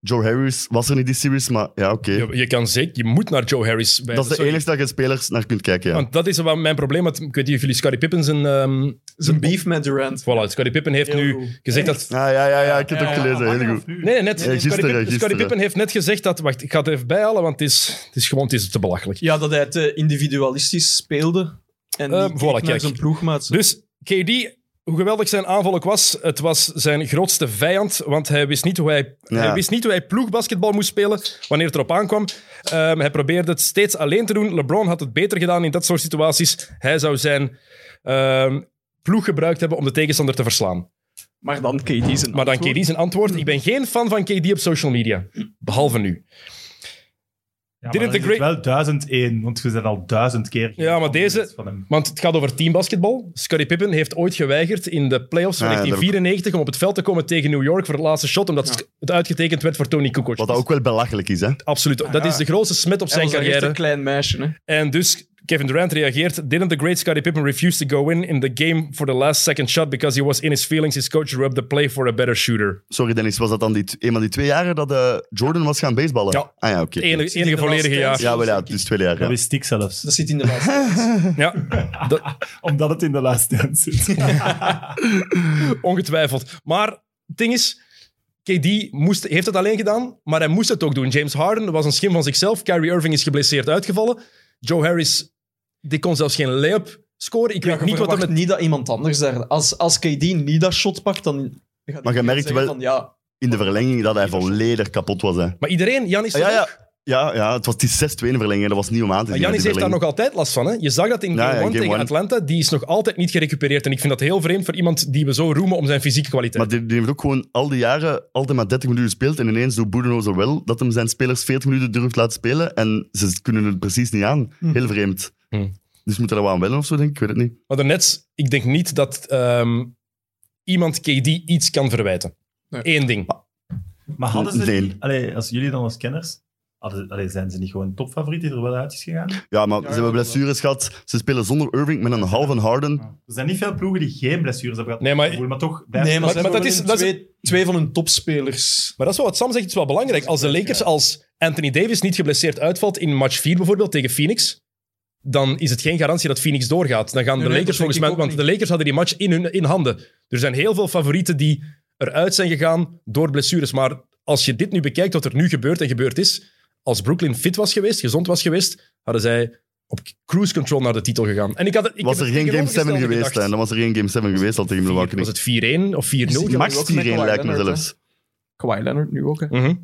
S2: Joe Harris was er niet die series, maar ja, oké.
S1: Je, je kan zeker, je moet naar Joe Harris bij.
S2: Dat is de
S1: sorry.
S2: enige dat je spelers naar kunt kijken, ja.
S1: Want dat is wat mijn probleem met. Ik weet niet of jullie Scottie Pippen zijn. ehm
S4: Zijn beef met Durant.
S1: voilà, Scottie Pippen heeft
S4: Heel
S1: nu
S4: goed.
S1: gezegd dat.
S2: Ah, ja, ja, ja, ik heb het
S4: Ja,
S2: ook gelezen. Heel goed.
S1: Nee, nee, net.
S2: Ja, gisteren,
S1: Scottie Pippen,
S2: gisteren.
S1: Scottie Pippen heeft net gezegd dat. Wacht, ik ga het even bijhalen, want het is, het is gewoon het is te belachelijk.
S4: Ja, dat hij te individualistisch speelde. En
S1: Eh,
S4: die
S1: voilà,
S4: keek naar
S1: kijk.
S4: zijn ploegmaat.
S1: Dus KD, hoe geweldig zijn aanval ook was, het was zijn grootste vijand, want hij wist niet hoe hij,
S2: Ja.
S1: hij, wist niet hoe hij ploegbasketbal moest spelen wanneer het erop aankwam. Ehm, hij probeerde het steeds alleen te doen. LeBron had het beter gedaan in dat soort situaties. Hij zou zijn ehm, ploeg gebruikt hebben om de tegenstander te verslaan.
S4: Maar dan KD zijn
S1: Maar dan
S4: antwoord.
S1: KD zijn antwoord. Ik ben geen fan van KD op social media, behalve nu.
S3: Ja,
S1: Didn't
S3: maar
S1: the
S3: dan is het
S1: great-
S3: wel duizend één, want we zijn al duizend keer...
S1: Ja, maar deze-
S3: Van hem.
S1: Want het gaat over teambasketbal. Scottie Pippen heeft ooit geweigerd in de playoffs van
S2: Ah, ja,
S1: 1994 om op het veld te komen tegen New York voor het laatste shot, omdat het uitgetekend werd voor Tony Kukoc.
S2: Wat dat ook wel belachelijk is, hè.
S1: Absoluut. dat
S4: ja.
S1: is de grootste smet op
S4: Hij
S1: zijn
S4: was daar echt
S1: carrière.
S4: een klein meisje. Hè.
S1: En dus Kevin Durant reageert. Didn't the great Scottie Pippen refuse to go in in the game for the last second shot because he was in his feelings? His coach rubbed the play for a better shooter.
S2: Sorry Dennis, was dat dan die, t- een van die twee jaren dat eh, Jordan was gaan baseballen?
S1: Ja.
S2: Ah ja, oké.
S1: Het enige,
S4: zie je
S1: enige
S4: de laatste
S1: volledige jaar.
S4: tijd.
S2: Ja, wel ja, het is twee jaar.
S3: Dat
S2: Ja.
S3: wist ik zelfs.
S1: Dus-
S4: Dat zit in de laatste.
S1: Ja,
S3: Omdat het in de laatste dance zit.
S1: ongetwijfeld. Maar het ding is, KD moest, heeft het alleen gedaan, maar hij moest het ook doen. James Harden was een schim van zichzelf. Kyrie Irving is geblesseerd uitgevallen. Joe Harris, die kon zelfs geen lay-up scoren. Ik weet
S4: je
S1: niet wat er
S4: verwacht
S1: met...
S4: niet dat iemand anders daar... Als, als KD niet dat shot pakt, dan... gaat
S2: Maar je
S4: iedereen
S2: merkt
S4: zeggen
S2: wel-
S4: Van, ja,
S2: In de verlenging dat hij volledig kapot was, hè. Ah,
S1: Maar iedereen, Janis
S2: Ja, ja, ja, ja het was die 6-2 in de verlenging, hè. dat was niet om aan te
S1: Maar
S2: zien. hè,
S1: Janis
S2: die
S1: heeft daar
S2: verlenging.
S1: nog altijd last van. Hè? Je zag dat in
S2: Ja,
S1: Game
S2: ja,
S1: 1
S2: in game
S1: tegen
S2: one.
S1: Atlanta. Die is nog altijd niet gerecupereerd. En ik vind dat heel vreemd voor iemand die we zo roemen om zijn fysieke kwaliteit.
S2: Maar die, die heeft ook gewoon al die jaren altijd maar 30 minuten gespeeld. En ineens doet Boedenhozer wel dat hem zijn spelers 40 minuten durft laten spelen. En ze kunnen het precies niet aan. Heel vreemd.
S1: Hm.
S2: Dus moet er wel aan wennen of zo, denk ik. Ik weet het niet.
S1: Maar daarnet, ik denk niet dat ehm, iemand KD iets kan verwijten.
S4: Nee.
S1: Eén ding.
S3: Maar hadden ze
S2: Nee.
S3: niet... Allee, als jullie dan als kenners... Hadden, allee, zijn ze niet gewoon topfavoriet die er wel uit is gegaan?
S2: Ja, maar
S4: ja,
S2: ze hebben
S4: dat
S2: blessures gehad. Ze spelen zonder Irving met een halve Harden.
S3: Nou, Er zijn niet veel ploegen die geen blessures hebben gehad.
S1: Nee, maar-
S3: Gevoel, maar toch...
S4: nee, maar,
S1: maar
S4: ze hebben
S1: dat
S4: wel
S1: is-
S4: hun
S1: dat is-
S4: twee, twee van hun topspelers.
S1: Maar dat is wel wat Sam zegt, het is wel belangrijk. Als de Lakers als Anthony Davis niet geblesseerd uitvalt in match 4 bijvoorbeeld tegen Phoenix, dan is het geen garantie dat Phoenix doorgaat. Dan gaan
S4: Nee,
S1: de
S4: nee,
S1: Lakers
S4: dat denk
S1: volgens
S4: ik
S1: mij...
S4: ook
S1: Want
S4: niet.
S1: de Lakers hadden die match in, hun, in handen. Er zijn heel veel favorieten die eruit zijn gegaan door blessures. Maar als je dit nu bekijkt, wat er nu gebeurt en gebeurd is, als Brooklyn fit was geweest, gezond was geweest, hadden zij op cruise control naar de titel gegaan. En ik had, ik
S2: Was
S1: heb
S2: er
S1: het
S2: geen Game 7
S1: tegenovergestelde
S2: geweest, hè?
S1: gedacht.
S2: Dan was er geen Game 7 geweest al tegen Milwaukee.
S1: Was het 4-1 of 4-0?
S4: Is die-
S2: Max
S4: ook met
S2: 4-1 lijkt me
S4: Kawhi Leonard,
S2: zelfs.
S4: Kawhi Leonard nu ook, hè.
S1: Mhm.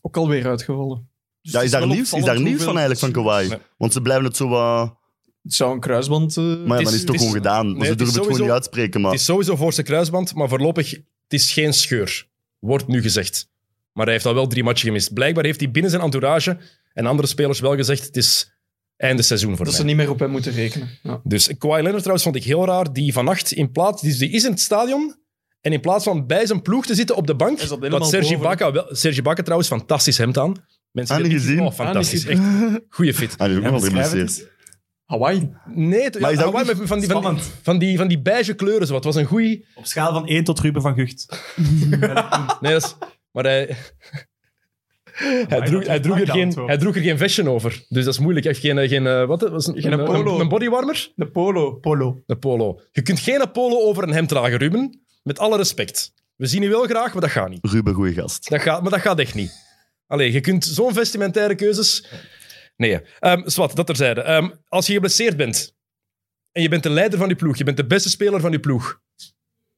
S4: Ook alweer uitgevallen. Dus
S2: Ja,
S4: het
S2: is daar
S4: wel
S2: nieuws, is daar
S4: opvallend
S2: nieuws van
S4: hoeveel-
S2: eigenlijk, van Kawhi?
S1: Nee.
S2: Want ze blijven het zo wat...
S4: Het zou een kruisband... eh,
S2: Maar ja,
S1: Het
S2: dan is
S1: is-
S2: het toch
S1: het is-
S2: gewoon gedaan.
S1: nee,
S2: Want Ze
S1: het is
S2: durven het gewoon
S1: sowieso-
S2: niet uitspreken, maar...
S1: Het is sowieso voor zijn kruisband, maar voorlopig het is geen scheur. Wordt nu gezegd. Maar hij heeft al wel drie matchen gemist. Blijkbaar heeft hij binnen zijn entourage en andere spelers wel gezegd: het is einde seizoen voor
S4: dat ze
S1: mij.
S4: niet meer op hem moeten rekenen. Ja.
S1: Dus Kawhi Leonard trouwens vond ik heel raar. Die vannacht in plaats. Die die is in het stadion. En in plaats van bij zijn ploeg te zitten op de bank.
S4: Hij zat helemaal
S1: Wat Sergi
S4: boven.
S1: Bakker wel. Sergi Bakker trouwens, fantastisch hemd aan. Mensen
S2: Aan
S1: die-
S2: gezien.
S1: Oh, fantastisch. Echt goede fit.
S2: Hij is ook nog wel geblesseerd.
S4: Hawaii.
S1: Nee, het-
S2: Maar is dat
S1: Hawaii
S2: ook
S1: met- van, die, van, die,
S3: spannend?
S1: van, die, van die beige kleuren. Zo. Het was een goeie.
S3: Op schaal van 1 tot Ruben van Gucht.
S1: Nee, dat is- maar hij... Hij
S3: dat
S1: droeg,
S3: is
S1: hij, droeg er
S3: een
S1: geen,
S3: antwoord.
S1: hij droeg er geen vestje over. Dus dat is moeilijk. Hij heeft geen, eh, geen, eh, wat, eh, was een,
S4: Geen
S1: een,
S4: polo.
S1: Een, een bodywarmer?
S4: De polo.
S3: Polo.
S1: Een polo. Je kunt geen polo over een hemd dragen, Ruben. Met alle respect. We zien je wel graag, maar dat gaat niet.
S2: Ruben, goeie gast.
S1: Dat gaat, maar dat gaat echt niet. Allee, je kunt zo'n vestimentaire keuzes... Nee, Ehm Swat, dat terzijde. Ehm als je geblesseerd bent en je bent de leider van je ploeg, je bent de beste speler van je ploeg,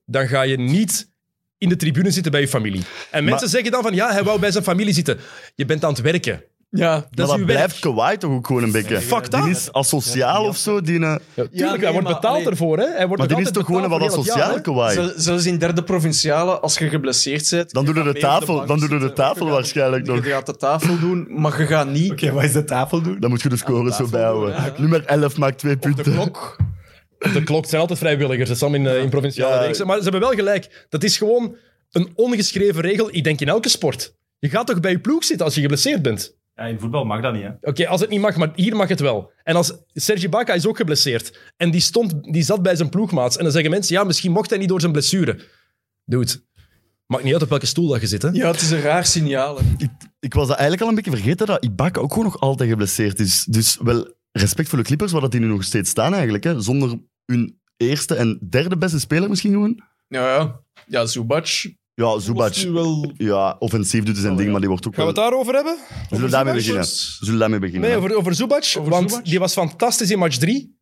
S1: dan ga je niet in de tribune zitten bij je familie. En mensen
S2: Maar-
S1: zeggen dan van, ja, hij wou bij zijn familie zitten. Je bent aan het werken.
S4: Ja,
S2: maar
S4: dat is
S2: dat
S4: uw
S2: blijft
S4: werk.
S2: Kawhi toch ook gewoon een beetje.
S1: Fuck
S2: die
S1: dat.
S2: is asociaal of zo. Die, eh,
S1: tuurlijk,
S4: nee,
S1: hij wordt
S4: maar-
S1: betaald
S4: allee.
S1: ervoor. Hè? Hij wordt
S2: maar die is
S1: altijd
S2: toch gewoon een
S1: betaald
S2: wat
S1: voor heel het jaar,
S2: asociaal,
S1: hè?
S2: Kawhi?
S4: Zel- Zelfs in derde provinciale, als je geblesseerd bent.
S2: Dan
S4: je
S2: doen we
S4: gaat
S2: de
S4: mee op
S2: tafel,
S4: bank
S2: dan doen we de
S4: zitten.
S2: tafel
S4: Je gaat-
S2: waarschijnlijk nog.
S4: Je gaat de tafel doen, maar je gaat niet.
S3: Oké, wat is de tafel doen?
S2: Dan moet je de scores zo
S3: tafel
S2: bijhouden.
S4: doen, ja.
S2: Nummer 11 maakt twee
S1: Op de
S2: punten.
S1: klok. Op de klok. Het zijn altijd vrijwilligers. Het is allemaal in, eh, in provinciale
S2: Ja.
S1: reeksen. Maar ze hebben wel gelijk. Dat is gewoon een ongeschreven regel. Ik denk in elke sport. Je gaat toch bij je ploeg zitten als je geblesseerd bent?
S3: Ja, in voetbal mag dat niet, hè?
S1: Oké, als het niet mag, maar hier mag het wel. En als Sergi Baca is ook geblesseerd. En die, stond, die zat bij zijn ploegmaats. En dan zeggen mensen, ja, misschien mocht hij niet door zijn blessure. Dude, maakt niet uit op welke stoel dat je zit, hè?
S4: Ja, het is een raar signaal. hè.
S2: Ik was dat eigenlijk al een beetje vergeten dat Ibaka ook gewoon nog altijd geblesseerd is. Dus wel respect voor de Clippers, waar dat die nu nog steeds staan eigenlijk. Hè. Zonder hun eerste en derde beste speler misschien gewoon.
S4: Ja, ja. Ja, Zubac.
S2: Ja,
S4: was
S2: Zubac.
S4: nu wel...
S2: Ja, offensief doet hij zijn ding, maar die wordt ook
S1: Oh, Gaan we
S2: wel...
S1: het daarover hebben?
S2: Zullen we daarmee
S1: Zubac?
S2: beginnen? Zullen we daarmee beginnen?
S1: Nee,
S2: hè?
S1: over, over Zubac,
S4: Over
S1: want
S4: Zubac?
S1: die was fantastisch in match 3.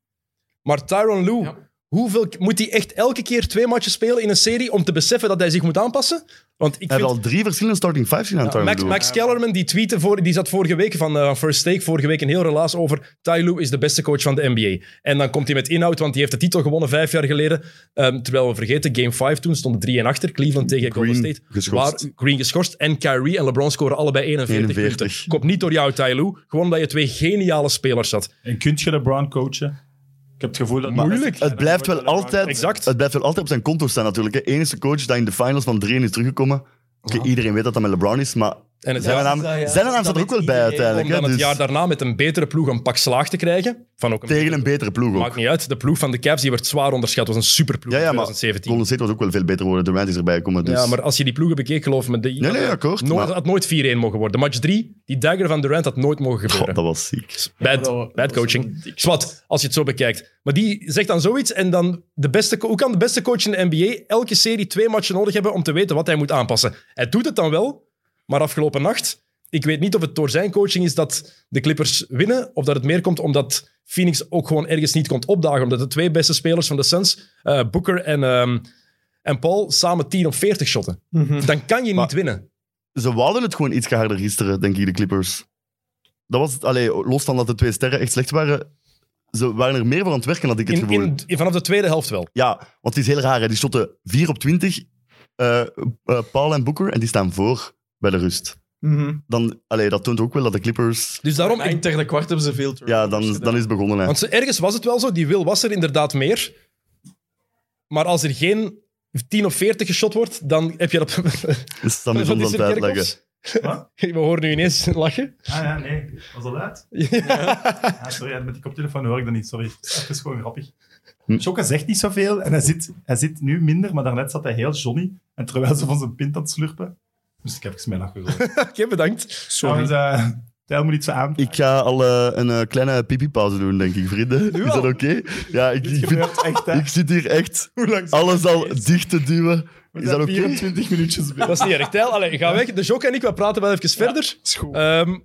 S1: Maar Tyron Lue,
S4: Ja.
S1: hoeveel, moet hij echt elke keer twee matchen spelen in een serie om te beseffen dat hij zich moet aanpassen? Want ik
S2: Hij heeft
S1: vind...
S2: al drie verschillende starting fives gedaan, Tyron
S1: Max,
S2: Lue.
S1: Max Kellerman die tweette voor, die zat vorige week van eh, van First Take, vorige week een heel relaas over Ty Lue is de beste coach van de NBA. En dan komt hij met inhoud, want die heeft de titel gewonnen vijf jaar geleden. Ehm, terwijl we vergeten, game 5 toen stonden 3 en achter, Cleveland tegen Golden
S2: Green
S1: State.
S2: geschorst.
S1: Waar Green geschorst en Kyrie en LeBron scoren allebei 41,
S2: 41.
S1: punten. Komt niet door jou, Ty Lue, gewoon omdat je twee geniale spelers had.
S3: En kunt je LeBron coachen? Ik heb het gevoel dat...
S1: Moeilijk.
S2: Het blijft wel altijd...
S1: Exact.
S2: Het blijft wel altijd op zijn konto staan natuurlijk. hè. Enige coach dat in de finals van 3 is teruggekomen. Oké, iedereen weet dat dat met LeBron is, maar
S1: En het
S2: zijn
S1: jaar,
S2: naam,
S4: dat, ja.
S2: zijn naam
S4: Dat
S2: staat er ook
S4: weet
S2: wel bij
S4: iedereen,
S1: om
S2: uiteindelijk. hè.
S1: dan het
S2: Dus
S1: jaar daarna met een betere ploeg een pak slaag te krijgen. Van ook een
S2: tegen een betere ploeg ook.
S1: Maakt niet uit. De ploeg van de Cavs die werd zwaar onderschat. was een superploeg
S2: Ja, ja,
S1: in
S2: maar
S1: 2017.
S2: Golden State was ook wel veel beter geworden. Durant is erbij gekomen, dus...
S1: Ja, maar als je die ploegen bekeek, geloof me... Die,
S2: Nee, nee, akkoord,
S1: Nooit-
S2: maar-
S1: dat had nooit 4-1 mogen worden. Match 3, die dagger van Durant had nooit mogen
S2: Goh,
S1: gebeuren.
S2: dat was ziek.
S4: Ja,
S1: bad,
S4: dat was-
S1: bad
S4: dat was
S1: coaching.
S4: een dik-
S1: Zwat, als je het zo bekijkt. Maar die zegt dan zoiets en dan... De beste, co- hoe kan de beste coach in de NBA elke serie twee matchen nodig hebben om te weten wat hij moet aanpassen? Hij doet het dan wel, maar afgelopen nacht... Ik weet niet of het door zijn coaching is dat de Clippers winnen, of dat het meer komt omdat Phoenix ook gewoon ergens niet komt opdagen. Omdat de twee beste spelers van de Suns, eh, Booker en, ehm, en Paul, samen 10 op 40 shotten.
S4: Mhm.
S1: Dan kan je niet
S2: Maar-
S1: winnen.
S2: Ze wouden het gewoon iets harder gisteren, denk ik, de Clippers. Dat was het. Allee, los van dat de twee sterren echt slecht waren, ze waren er meer voor aan het werken, had ik het
S1: In,
S2: gevoel.
S1: in, in- vanaf de tweede helft wel.
S2: Ja, want het is heel raar. Hè. Die shotten 4 op 20, eh, eh, Paul en Booker, en die staan voor bij de rust.
S4: Mhm.
S2: Dan, allee, dat toont ook wel dat de Clippers...
S1: Dus daarom, ik
S4: Eind derde kwart hebben ze veel turnovers
S2: Ja, dan,
S4: gedaan.
S2: dan is het begonnen. Hè.
S1: Want ze- ergens was het wel zo, die wil was er inderdaad meer. Maar als er geen 10 of 40 geschot wordt, dan heb je dat...
S2: Dus dan is
S1: Wat
S2: ons
S1: is er,
S2: aan het uitleggen.
S1: Kerkhoffs? We horen nu ineens lachen.
S3: Ah ja, nee. Was dat luid? Ah, sorry, ja, met die koptelefoon hoor ik dat niet. Sorry. Het is gewoon grappig.
S2: Hm.
S3: Sjokke zegt niet zoveel en hij zit, hij zit nu minder, maar daarnet zat hij heel Johnny. En terwijl ze van zijn pint aan het slurpen, moest ik even mijn lachen rollen.
S1: Oké, bedankt.
S3: Trouwens, eh, Tijl moet iets aan.
S2: Ik ga al eh, een eh, kleine pipi-pauze doen, denk ik, vrienden. Is dat
S1: al?
S2: oké? Ja, ik,
S3: Dit
S2: ik, vind-
S3: gebeurt echt, hè.
S2: ik zit hier echt
S3: Hoe lang zijn
S2: alles
S3: we
S2: al
S3: geweest?
S2: dicht te duwen.
S3: We
S2: Is
S3: zijn
S2: dat oké?
S3: 24 minuutjes binnen.
S1: Dat is niet erg. Tijl, allee, ga weg. De Jok en ik, we praten wel even verder.
S4: is goed.
S1: Ehm,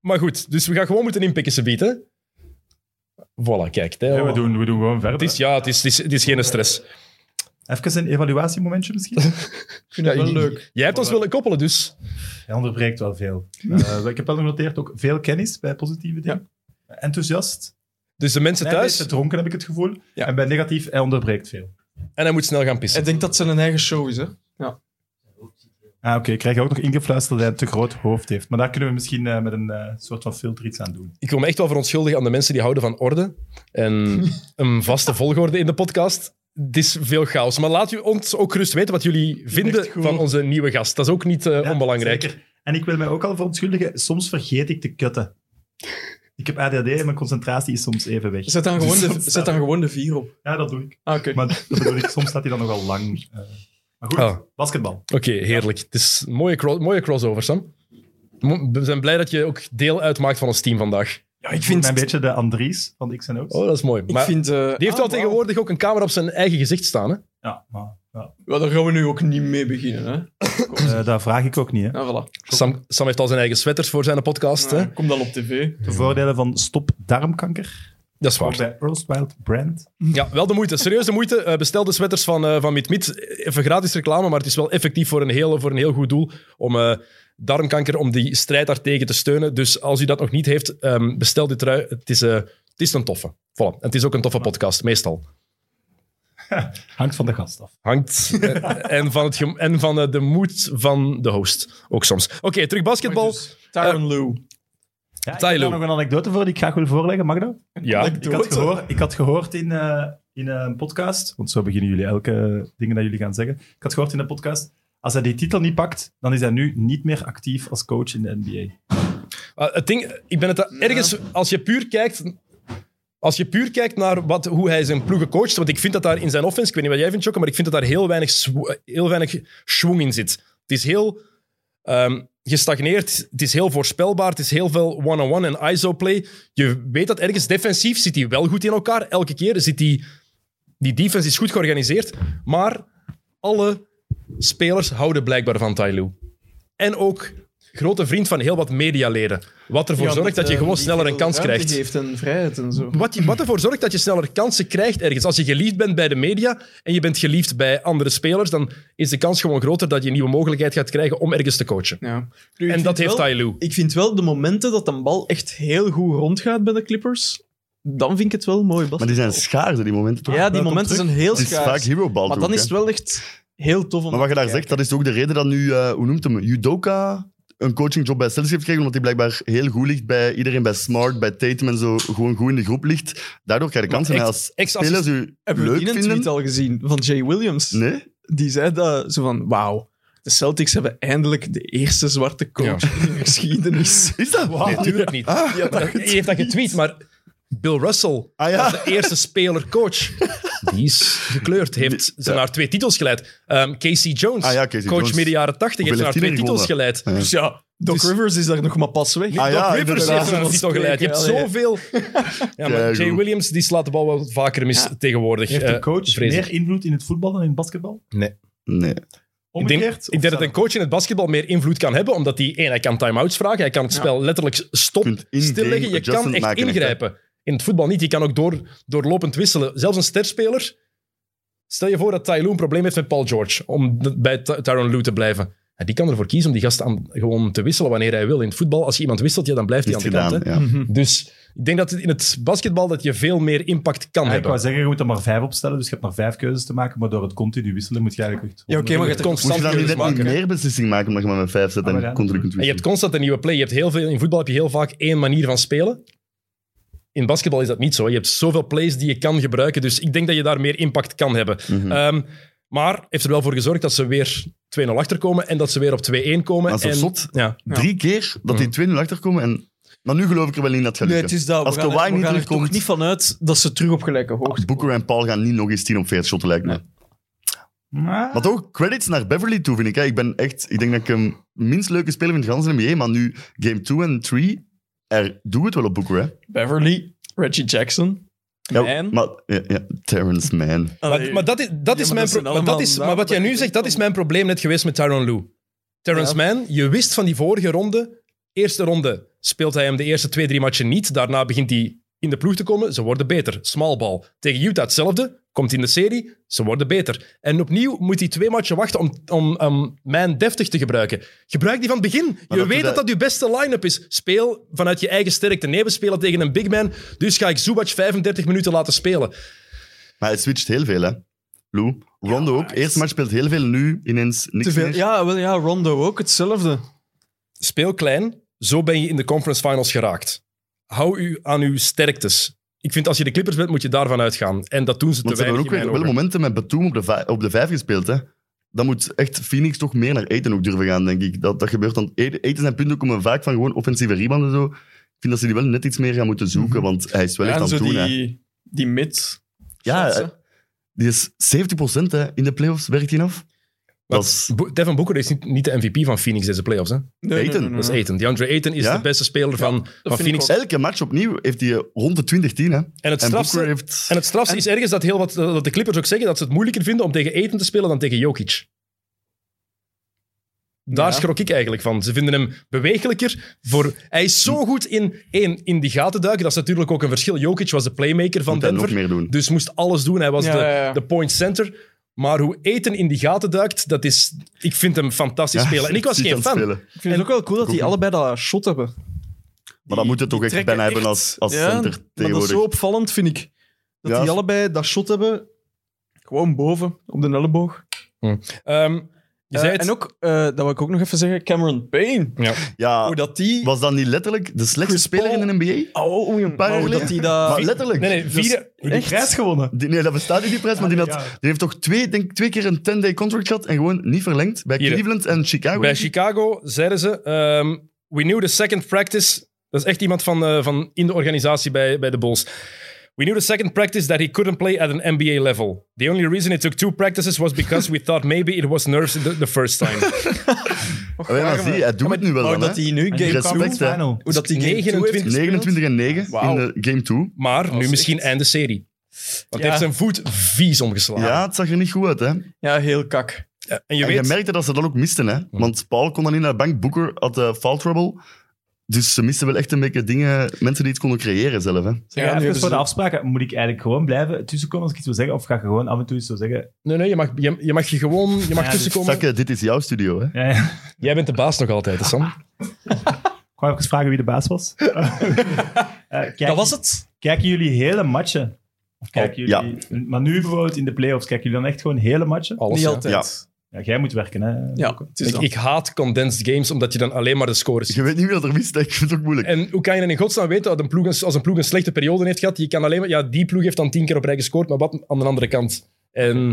S1: maar goed, dus we gaan gewoon moeten inpikken, ze bieden. Voilà, kijk. Tijl.
S3: Ja, we, doen, we doen gewoon verder.
S1: Het is, ja, het is, het is, het is geen stress.
S3: Even een evaluatiemomentje misschien?
S4: Ik vind dat wel leuk.
S1: Jij hebt ons willen koppelen, dus.
S3: Hij onderbreekt wel veel. Eh, ik heb wel genoteerd ook veel kennis bij positieve dingen. Enthousiast.
S1: Dus de mensen
S3: Hij is
S1: thuis.
S3: dronken, heb ik het gevoel.
S4: Ja.
S3: En bij negatief, hij onderbreekt veel.
S1: En hij moet snel gaan pissen.
S4: Ik denk dat het zijn eigen show is, hè?
S3: Ah, oké. Ik krijg ook nog ingefluisterd dat hij een te groot hoofd heeft. Maar daar kunnen we misschien eh, met een eh, soort van filter iets aan doen.
S1: Ik wil me echt wel verontschuldigen aan de mensen die houden van orde en een vaste volgorde in de podcast. Het is veel chaos. Maar laat u ons ook gerust weten wat jullie vinden
S3: Echt goed.
S1: van onze nieuwe gast. Dat is ook niet eh,
S3: Ja,
S1: onbelangrijk.
S3: zeker. En ik wil mij ook al verontschuldigen, soms vergeet ik te kutten. Ik heb ADHD en mijn concentratie is soms even weg.
S4: Zet dan gewoon de, zet dan gewoon de vier op.
S3: Ja, dat doe ik.
S4: Ah, oké.
S3: Maar dat bedoel ik, soms staat hij dan nogal lang. eh. maar goed,
S4: Oh.
S1: Ah.
S3: basketbal.
S1: Oké, heerlijk. Het is een mooie, cro- mooie crossover, Sam. Mo- We zijn blij dat je ook deel uitmaakt van ons team vandaag.
S4: Ja, ik
S3: Ik
S4: vind...
S3: ben een beetje de Andries van X O's.
S1: Oh, dat is mooi.
S4: Ik
S1: Maar
S4: vind eh,
S1: die heeft wel
S4: ah, wauw.
S1: tegenwoordig ook een camera op zijn eigen gezicht staan. Hè?
S3: Ja, maar ja.
S4: Ja, daar gaan we nu ook niet mee beginnen, hè?
S3: Eh, dat vraag ik ook niet. Hè.
S4: Nou, voilà.
S1: Sam, Sam heeft al zijn eigen sweaters voor zijn podcast. Hè?
S4: Ja, kom dan op tv.
S3: De voordelen van stop darmkanker.
S1: Dat is waar.
S3: Bij Earl's Wild Brand.
S1: Ja, wel de moeite. Serieus de moeite. Eh, bestel de sweaters van, eh van Meet Meet. Even gratis reclame, maar het is wel effectief voor een heel, voor een heel goed doel om eh, darmkanker, om die strijd daartegen te steunen. Dus als u dat nog niet heeft, ehm, bestel die trui. Het is, eh, het is een toffe. Voilà. En het is ook een toffe podcast, meestal.
S3: Hangt van de gast af.
S1: Hangt. eh, en van, het gem- en van eh, de moed van de host, ook soms. Oké, terug basketbal.
S4: Dus
S1: Eh,
S4: Tyron Lou.
S3: Ja, ik
S1: Tylo.
S3: heb daar nog een anekdote voor die ik graag wil voorleggen. Mag dat?
S1: Ja.
S3: Ik had gehoord, ik had gehoord in, eh, in een podcast, want zo beginnen jullie elke ding dat jullie gaan zeggen. Ik had gehoord in een podcast, als hij die titel niet pakt, dan is hij nu niet meer actief als coach in de NBA.
S1: Eh, het ding, ik ben het da- ergens, als je puur kijkt. Als je puur kijkt naar wat, hoe hij zijn ploegen coacht, want ik vind dat daar in zijn offense, ik weet niet wat jij vindt, Jokke, maar ik vind dat daar heel weinig, swo- heel weinig schwung in zit. Het is heel ehm, gestagneerd, het is heel voorspelbaar, het is heel veel one-on-one en ISO-play. Je weet dat ergens defensief zit hij wel goed in elkaar. Elke keer zit die, die defense is goed georganiseerd, maar alle spelers houden blijkbaar van Ty Lue. En ook grote vriend van heel wat medialeden. Wat ervoor zorgt dat je
S5: eh,
S1: gewoon sneller een kans krijgt.
S4: geeft en vrijheid en zo.
S1: Wat, je, wat ervoor zorgt dat je sneller kansen krijgt ergens. Als je geliefd bent bij de media en je bent geliefd bij andere spelers, dan is de kans gewoon groter dat je een nieuwe mogelijkheid gaat krijgen om ergens te coachen.
S4: Ja. Nu, ik
S1: En dat
S4: vind
S1: heeft
S4: wel-
S1: Tai Lue.
S4: Ik vind wel de momenten dat een bal echt heel goed rondgaat bij de Clippers, dan vind ik het wel mooi.
S2: Maar die zijn schaars, die momenten toch?
S4: ja, die
S3: Welkom
S4: momenten
S3: terug.
S4: zijn heel
S2: Het is vaak
S4: schaars.
S2: hero ball
S4: Maar
S2: toch ook,
S4: dan is
S2: hè?
S4: het wel echt heel tof om
S2: Maar wat je daar zegt, dat is ook de reden dat nu, eh, hoe noemt hem, Judoka een coachingjob bij Celtics heeft gekregen, omdat hij blijkbaar heel goed ligt bij iedereen, bij Smart, bij Tatum en zo, gewoon goed in de groep ligt. Daardoor krijg je kansen. En
S1: echt-
S2: als
S1: Ex-assist-
S2: spelers u
S4: Hebben we
S2: leuk
S4: die een tweet
S2: vinden...
S4: al gezien van Jay Williams?
S2: Nee?
S4: Die zei dat, zo van, wauw, de Celtics hebben eindelijk de eerste zwarte coach in de geschiedenis.
S2: Is dat? Nee.
S1: Natuurlijk Ah, niet.
S4: Ja,
S1: Maar
S4: dat-
S1: Je heeft dat getweet, maar Bill Russell
S2: Ah ja.
S1: was de eerste speler-coach. Die is gekleurd, heeft ze naar twee titels geleid. Ehm, Casey Jones,
S2: Ah ja, Casey
S1: coach
S2: Jones.
S1: midden jaren 80, heeft ze
S2: Hoeveel
S1: naar
S2: heeft
S1: twee
S2: hij
S1: titels
S2: gewonnen?
S1: geleid.
S4: Dus
S2: Ja.
S4: ja, Doc
S1: Dus-
S4: Rivers is daar nog maar pas weg.
S2: Ah ja,
S1: Doc Rivers
S2: inderdaad.
S1: heeft er een titel geleid. Je hebt
S4: Ja, ja.
S1: zoveel. Ja, maar
S2: Ja,
S1: Jay
S2: goed.
S1: Williams die slaat de bal wel vaker mis
S4: Ja.
S1: tegenwoordig.
S3: Heeft
S1: eh,
S3: een coach
S1: vrees ik.
S3: meer invloed in het voetbal dan in het basketbal?
S2: Nee.
S1: Ik denk,
S3: Omgekeerd?
S1: ik denk dat een coach in het basketbal meer invloed kan hebben, omdat hij, één, hij kan time-outs vragen, hij kan het spel letterlijk stop,
S2: Je kunt in-game
S1: stilleggen, je kan
S2: adjustment
S1: echt
S2: maken, echt, hè?
S1: ingrijpen. in het voetbal niet, je kan ook door, doorlopend wisselen. Zelfs een sterspeler, stel je voor dat Ty Lue een probleem heeft met Paul George, om de- bij Ty- Tyronn Lue te blijven. Ja, die kan ervoor kiezen om die gast aan, gewoon te wisselen wanneer hij wil. In het voetbal, als je iemand wisselt, ja, dan blijft
S2: Is
S1: hij aan
S2: het
S1: de kant.
S2: gedaan,
S1: hè.
S2: ja.
S1: Dus ik denk dat in het basketbal dat je veel meer impact kan
S3: Ja, Ah, ik
S1: hebben.
S3: wou zeggen, je moet er maar vijf opstellen, dus je hebt maar vijf keuzes te maken, maar door het continu wisselen moet je eigenlijk echt...
S4: Ja, oké, maar je hebt
S2: Moet je
S1: constant
S2: dan niet
S1: keuzes
S2: net niet
S1: maken.
S2: meer beslissing maken omdat je maar met vijf zet
S3: Ah, maar
S2: en
S3: ja.
S2: continu kunt
S1: En je
S2: wisselen?
S1: hebt constant een nieuwe play. Je hebt heel veel, in voetbal heb je heel vaak één manier van spelen. In basketbal is dat niet zo. Je hebt zoveel plays die je kan gebruiken. Dus ik denk dat je daar meer impact kan hebben.
S2: Mhm.
S4: eh,
S1: Ehm, maar heeft er wel voor gezorgd dat ze weer 2-0 achterkomen en dat ze weer op 2-1 komen.
S2: Dat is toch
S1: en,
S2: zot?
S1: Ja.
S4: Ja. Mhm.
S2: Drie keer dat die 2-0 achterkomen en... Maar nu geloof ik er wel in dat het gaat
S4: Nee,
S2: lukken.
S4: het is dat.
S2: Als
S4: we gaan,
S2: Kawhi
S4: er- we
S2: niet
S4: gaan er
S2: terugkomt-
S4: toch niet vanuit dat ze terug op gelijke hoogte
S2: Ah, Booker en Paul gaan niet nog eens 10 op 40 shotten, lijkt me.
S4: Nee.
S3: Maar-
S2: Maar ook credits naar Beverly toe, vind ik. Hè. Ik, ben echt, ik denk dat ik hem minst leuke speler vind in de hele NBA, maar nu game 2 en 3, er doe het wel op Booker, hè.
S4: Beverly, Reggie Jackson,
S2: Ja,
S4: Man.
S2: Maar, ja, ja, Terrence Man.
S1: Maar, maar dat is, dat
S4: Ja, maar dat
S1: is mijn pro-
S4: zijn
S1: maar, dat
S4: allemaal
S1: is, maar
S4: namen
S1: wat jij
S4: dat
S1: nu
S4: je
S1: zegt,
S4: denkt
S1: dat is
S4: van-
S1: mijn probleem net geweest met Tyronn Lue. Terrence Mann, je wist van die vorige ronde. Eerste ronde speelt hij hem de eerste twee, drie matchen niet. Daarna begint hij in de ploeg te komen. Ze worden beter. Small ball. Tegen Utah hetzelfde. Komt in de serie. Ze worden beter. En opnieuw moet hij twee matchen wachten om, om um, Man deftig te gebruiken. Gebruik die van het begin.
S2: Maar
S1: je
S2: dat
S1: weet
S2: doet
S1: dat
S2: hij-
S1: dat je beste line-up is. Speel vanuit je eigen sterkte. Nee, we spelen tegen een big man. Dus ga ik Zubac 35 minuten laten spelen.
S2: Maar hij switcht heel veel, hè. Lou. Rondo ook. Eerste match speelt heel veel, nu ineens niks
S4: Te veel.
S2: meer.
S4: Ja, wel, ja, Rondo ook hetzelfde.
S1: speel klein, zo ben je in de conference finals geraakt. Hou u aan uw sterktes. Ik vind als je de Clippers bent, moet je daarvan uitgaan. En dat doen ze
S2: Want
S1: te
S2: ze
S1: weinig
S2: hebben ook
S1: in mijn
S2: weer wel
S1: ogen.
S2: momenten met Batum op de, vij- op de vijf gespeeld, hè. Dan moet echt Phoenix toch meer naar eten ook durven gaan, denk ik. Dat, dat gebeurt dan. Eten zijn punten komen vaak van gewoon offensieve rebound en zo. Ik vind dat ze die wel net iets meer gaan moeten zoeken, want hij is wel
S4: Mhm. Ja,
S2: echt
S4: en
S2: aan
S4: zo
S2: het doen, hè.
S4: die, die mid.
S2: Ja, eh,
S4: Shots, hè.
S2: Die is 70% hè, in de playoffs, werkt hij af?
S1: Maar
S2: Dat is,
S1: Bo- Devin Booker is niet, niet de MVP van Phoenix deze playoffs. Hè?
S4: Nee, nee,
S2: Ayton,
S4: nee, nee.
S1: Dat is Aiton. DeAndre Ayton is
S2: Mm. Ja?
S1: de beste speler van, van
S4: vind ik
S1: Phoenix.
S4: ook.
S2: elke match opnieuw heeft hij eh, rond de 20, 10. Hè.
S1: En het
S2: En Booker
S1: strafste,
S2: heeft...
S1: en het strafste is ergens dat, heel wat, dat de Clippers ook zeggen dat ze het moeilijker vinden om tegen Ayton te spelen dan tegen Jokic. Daar
S4: Ja.
S1: schrok ik eigenlijk van. Ze vinden hem bewegelijker. Voor... Hij is
S4: Hm.
S1: zo goed in, één, in die gaten duiken. Dat is natuurlijk ook een verschil. Jokic was de playmaker van
S2: Moet hij nog
S1: Denver.
S2: meer doen.
S1: Dus moest alles doen. Hij was
S4: Ja,
S1: de,
S4: ja, ja.
S1: de point center. Maar hoe Eten in die gaten duikt, dat is... Ik vind hem fantastisch
S2: Ja,
S1: spelen. En ik was
S2: ziek
S1: geen
S2: aan
S1: fan.
S2: het spelen.
S4: Ik vind het ook wel cool dat die allebei dat shot hebben.
S2: Maar dat moet je toch echt
S4: trekken
S2: bijna
S4: echt-
S2: hebben als, als
S4: Ja, Maar
S2: center
S4: dat is zo
S2: tegenwoordig.
S4: opvallend, vind ik. Dat
S2: Ja.
S4: die allebei dat shot hebben, gewoon boven, op de elleboog.
S1: Ehm, je
S4: Eh,
S1: zei het.
S4: En ook, eh, dat wil ik ook nog even zeggen, Cameron Payne.
S1: Ja.
S2: Ja,
S4: Hoe dat die...
S2: was dat niet letterlijk de slechtste
S4: Chris
S2: speler
S4: Paul-
S2: in de NBA?
S4: Oh, oh, jong.
S2: paar
S4: Maar
S2: jaar
S4: hoe dat die
S2: geleden.
S4: dat...
S2: Maar letterlijk.
S1: Eh,
S2: Dus
S1: Nee, Ah, nee, vier...
S3: Hoe die
S4: Echt?
S3: prijs gewonnen.
S2: Die- nee, dat bestaat niet, die prijs. Maar die, had,
S3: Ja.
S2: die heeft toch twee, denk, ik, twee keer een 10-day contract gehad en gewoon niet verlengd. Bij
S1: Hier.
S2: Cleveland en Chicago.
S1: Bij Chicago zeiden ze: ehm, We knew the second practice. Dat is echt iemand van, eh, van in de organisatie bij, bij de Bulls. We knew the second practice that he couldn't play at an NBA level. The only reason it took two practices was because we thought maybe it was nerves the, the first time.
S2: Ah, ja, maar zie, hij doet het nu
S4: Maar
S2: wel
S4: hoe
S2: dan,
S4: dat
S2: hè.
S4: die nu
S3: En die
S4: game
S2: respect,
S3: conference
S2: hè.
S3: final.
S4: Hoe dat die game
S1: 29
S4: 29 heeft gespeeld.
S2: 29 en 9
S4: Wauw.
S2: in de game 2.
S1: Maar
S4: is
S1: nu
S4: echt-
S1: misschien einde serie. Want hij
S4: Ja.
S1: heeft zijn voet vies omgeslagen.
S2: Ja, het zag er niet goed uit, hè.
S4: Ja, heel kak.
S1: En je
S2: En je
S1: weet,
S2: merkte dat ze dat ook misten,
S1: Hm.
S2: hè. Want Paul kon dan niet naar de bank, Booker had eh, foul trouble. Dus ze misten wel echt een beetje dingen, mensen die het konden creëren zelf,
S4: Ze
S2: hè.
S3: Ja,
S4: gaan nu
S3: even
S4: hebben
S3: voor de
S4: ze-
S3: afspraken. Moet ik eigenlijk gewoon blijven tussenkomen als ik iets wil zeggen? Of ga je gewoon af en toe iets zo zeggen?
S1: nee, nee, je mag je, je, mag je gewoon je mag
S3: Ja,
S1: tussenkomen.
S2: Zakke, dit is jouw studio, hè.
S3: Ja, ja. Ik
S1: Jij bent de baas nog altijd, hè, Sam.
S3: wou even vragen wie de baas was. Eh, kijk-
S4: Dat was het.
S3: Kijken jullie hele matchen? Of kijken
S2: Oh, Ja. Oh.
S3: jullie, Maar nu bijvoorbeeld in de playoffs, kijken jullie dan echt gewoon hele matchen?
S1: Alles,
S4: Niet
S1: ja.
S4: altijd.
S3: Ja, jij moet werken, hè?
S4: Ja, het is
S1: Ik,
S4: dat.
S1: ik haat condensed games, omdat je dan alleen maar de scores
S2: Je weet niet wie dat er mist, hè. ik vind het ook moeilijk.
S1: En hoe kan je dan in godsnaam weten dat een ploeg een- als een ploeg een slechte periode heeft gehad? Je kan alleen maar, ja, die ploeg heeft dan tien keer op rij gescoord, maar wat aan de andere kant? En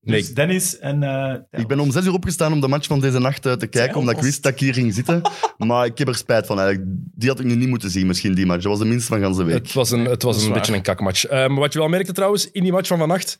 S1: nee,
S3: Dus Dennis en... eh
S2: Ik ben om zes uur opgestaan om de match van deze nacht eh, te kijken, omdat ik wist dat ik hier ging zitten. Maar ik heb er spijt van eigenlijk. Die had ik nu niet moeten zien, misschien die match. Dat was de minst van ganse week.
S1: het was een, het was
S4: is
S1: een
S4: waar.
S1: beetje een kakmatch. Eh, maar wat je wel merkte trouwens, in die match van vannacht,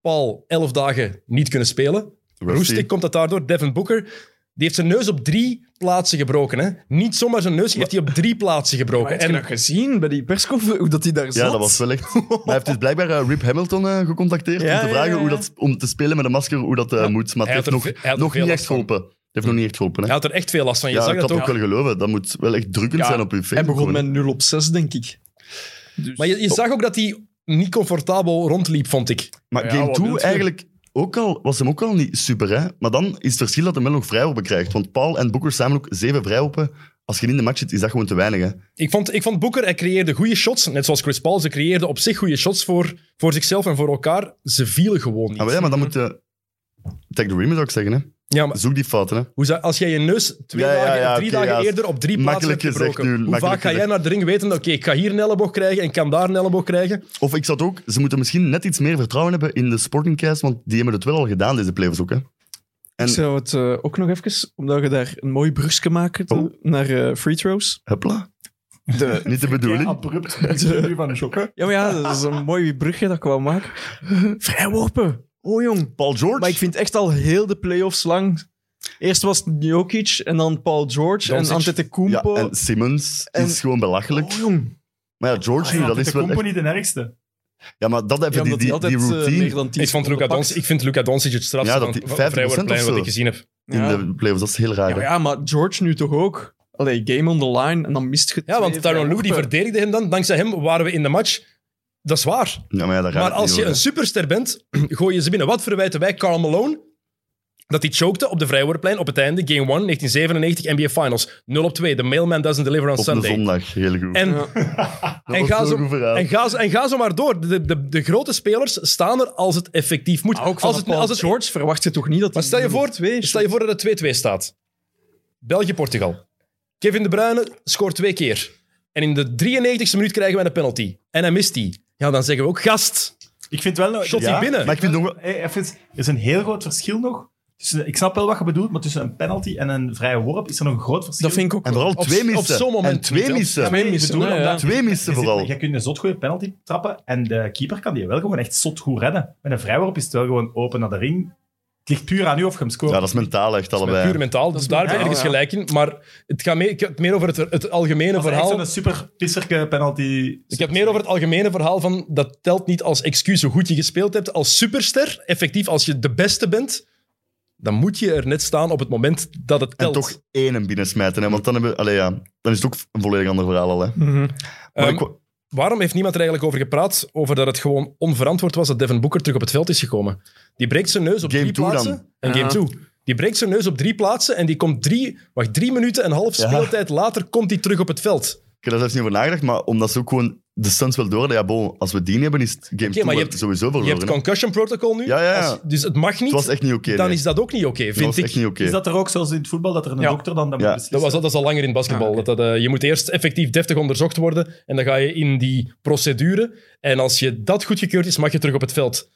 S1: Paul elf dagen niet kunnen spelen. Roestig komt dat daardoor. Devin Booker, die heeft zijn neus op drie plaatsen gebroken. Hè? Niet zomaar zijn neus, die heeft hij op drie plaatsen
S4: Maar
S1: gebroken.
S4: heb je
S1: En
S4: dat gezien bij die persconferentie? Hoe dat die daar zat?
S2: Ja, dat was wel echt. Maar hij heeft dus blijkbaar eh, Rip Hamilton eh, gecontacteerd
S4: Ja,
S2: om te
S4: ja,
S2: vragen
S4: ja, ja.
S2: Hoe dat, om te spelen met een masker hoe dat eh,
S1: Ja.
S2: moet. Maar
S1: Hij
S2: het
S1: had
S2: heeft
S1: er
S2: nog,
S1: ve- hij had er
S2: nog
S1: veel
S2: niet
S1: last
S2: echt
S1: van.
S2: geholpen. Het heeft nog niet echt geholpen. Hè?
S1: hij had er echt veel last van. Je
S2: ja,
S1: zag
S2: ik
S1: dat
S2: kan het
S1: ook.
S2: ook wel geloven. Dat moet wel echt drukkend
S4: Ja,
S2: zijn op je face.
S4: Hij begon
S2: gewoon.
S4: met 0 op 6, denk ik. Dus-
S1: Maar je, je zag ook dat hij niet comfortabel rondliep, vond ik.
S2: Maar
S4: Ja,
S2: Game
S4: wat
S2: 2
S4: wilt je?
S2: eigenlijk ook al, was hem ook al niet super. Hè? Maar dan is het verschil dat hij wel nog vrijworpen krijgt. Want Paul en Booker samen ook zeven vrijworpen. Als je niet in de match zit, is dat gewoon te weinig. Hè?
S1: Ik vond, ik vond Boeker, hij creëerde goede shots. Net zoals Chris Paul, ze creëerden op zich goede shots voor, voor zichzelf en voor elkaar. Ze vielen gewoon niet.
S2: Ah, maar ja, maar dan moet je... Take the rim zou ik zeggen. Hè?
S1: Ja, maar
S2: Zoek die fouten. Hè?
S1: hoe zou- als jij je neus twee
S2: Ja, ja,
S1: dagen,
S2: ja,
S1: of drie
S2: oké,
S1: dagen
S2: ja,
S1: eerder op drie plaatsen
S2: makkelijk
S1: hebt
S2: gezegd
S1: gebroken,
S2: nu,
S1: hoe vaak
S2: makkelijk
S1: ga jij
S2: gezegd.
S1: naar de ring weten, oké, ik ga hier een elleboog krijgen en ik kan daar een elleboog krijgen.
S2: Of ik zat ook... Ze moeten misschien net iets meer vertrouwen hebben in de sportingcast, want die hebben het wel al gedaan, deze playoffs ook. Hè? En-
S4: Ik zou het eh, ook nog even, omdat je daar een mooi brugje maakt
S2: Oh.
S4: naar eh, free throws.
S2: Hupla.
S4: De,
S2: Niet de bedoeling.
S3: abrupt. Ik ben nu van de shock, hè?
S4: ja, maar ja, dat is een mooi brugje dat ik wou maken. Vrijworpen. Oh, jong.
S2: Paul George.
S4: Maar ik vind echt al heel de playoffs lang. Eerst was het Jokic en dan Paul George
S1: Doncic.
S4: en
S2: ja,
S4: Antetokounmpo.
S2: en Simmons
S4: En-
S2: is gewoon belachelijk.
S4: Oh, Ah, jong.
S2: Maar ja, George nu, dat is wel echt...
S3: company de ergste.
S2: Ja, maar dat
S4: Ja,
S2: even, die,
S4: omdat hij
S2: die, die
S4: altijd eh,
S2: routine
S4: meer dan 10
S1: Ik, vond Luka
S4: seconden
S1: Doncic, ik vind Luka Doncic het strafste
S2: Ja, dat
S1: van-
S2: die
S1: van
S2: 50%
S1: vrijwoordplein
S2: of
S1: wat
S2: zo.
S1: ik gezien heb.
S4: pakt.
S2: in
S4: Ja.
S2: de playoffs, dat is heel raar.
S4: Ja,
S2: hè.
S4: maar ja, maar George nu toch ook? Allee, game on the line en dan mist je
S1: Ja, want
S4: twee
S1: Tyron Lue die
S4: vrijworpen.
S1: verdedigde hem dan. Dankzij hem waren we in de match. Dat is waar.
S2: Ja, maar ja, dat raakt
S1: Maar
S2: niet
S1: als je
S2: hoor,
S1: een
S2: hè.
S1: superster bent, gooi je ze binnen. Wat verwijten wij Carl Malone? Dat hij chokte op de vrijwoordplein op het einde. Game 1, 1997, NBA Finals. 0 op 2. The mailman doesn't deliver on
S2: Op
S1: Sunday.
S2: een zondag, heel goed.
S1: En,
S4: Ja.
S2: Dat
S1: en,
S2: was
S1: ga
S2: zo'n
S1: zo,
S2: goed verhaal.
S1: en, ga zo, en ga zo maar door. De, de, de grote spelers staan er als het effectief moet.
S4: Maar ook van
S1: als het,
S4: Paul
S1: als het,
S4: George verwacht je toch niet dat
S1: maar
S4: hij
S1: stel je,
S4: nul op
S1: voor,
S4: twee
S1: stel je voor dat het 2-2 staat. België-Portugal. Kevin De Bruyne scoort twee keer. En in de 93e minuut krijgen wij een penalty. En hij mist die. Ja, dan zeggen we ook gast.
S3: Ik vind wel...
S1: Shot
S3: ja,
S1: die binnen.
S2: Maar ik vind nog wel...
S3: Hey, even, er is een heel groot verschil nog. Tussen, ik snap wel wat je bedoelt, maar tussen een penalty en een vrije worp is er nog een groot verschil.
S4: Dat vind ik ook
S2: En vooral
S1: Op-
S2: twee
S1: op
S2: missen.
S1: zo'n moment
S2: en twee
S1: niet, hè.
S2: missen.
S4: Ja, maar-
S3: Nee, ik
S4: missen,
S3: bedoel,
S4: hè, ja.
S3: omdat-
S2: Twee missen
S3: Je zit-
S2: vooral.
S3: Je kunt een zot goede penalty trappen en de keeper kan die wel gewoon echt zot goed redden. Met een vrijworp is het wel gewoon open naar de ring. Het ligt puur aan u of je hem scoort.
S2: Ja, dat is mentaal echt
S1: Met
S2: allebei.
S1: puur mentaal, dus
S4: is
S1: daar ben je
S4: mentaal,
S1: ergens gelijk in. Maar het gaat meer, ik heb het meer over het, het algemene
S3: Dat is echt
S1: verhaal.
S3: zo'n super pisserke penalty.
S1: Ik heb het meer over het algemene verhaal van dat telt niet als excuus hoe goed je gespeeld hebt. Als superster, effectief als je de beste bent, dan moet je er net staan op het moment dat het
S2: En
S1: telt.
S2: toch één binnensmijten. Hè? Want dan, hebben, allee, ja, dan is het ook een volledig ander verhaal al. Hè?
S4: Mhm.
S2: Maar
S1: Ehm,
S2: ik wou-
S1: Waarom heeft niemand er eigenlijk over gepraat? Over dat het gewoon onverantwoord was dat Devin Booker terug op het veld is gekomen. Die breekt zijn neus op
S2: Game
S1: drie
S2: two
S1: plaatsen.
S2: dan.
S1: En
S5: Ja.
S1: game 2. Die breekt zijn neus op drie plaatsen en die komt drie, wacht, drie minuten en een half
S2: Ja.
S1: speeltijd later komt hij terug op het veld. Oké,
S2: ik heb daar zelfs niet over nagedacht, maar omdat ze ook gewoon de Suns wel door hadden, ja, bon, als we die niet hebben, is het game 2
S1: maar je hebt,
S2: sowieso
S1: je
S2: verloren.
S1: hebt
S2: hè.
S1: concussion protocol nu.
S2: Ja, ja, ja.
S1: Als- dus het mag niet.
S2: het was echt niet oké.
S1: dan
S2: nee.
S1: is dat ook niet oké,
S2: Het was
S1: vind ik.
S2: echt niet oké.
S3: Is dat er ook, zoals in het voetbal, dat er een
S1: Ja.
S3: dokter dan dat
S2: Ja.
S3: moet beslissen?
S1: Dat, was, dat is al langer in basketbal.
S5: Ah, oké.
S1: dat, dat, eh, je moet eerst effectief deftig onderzocht worden en dan ga je in die procedure. En als je dat goedgekeurd is, mag je terug op het veld.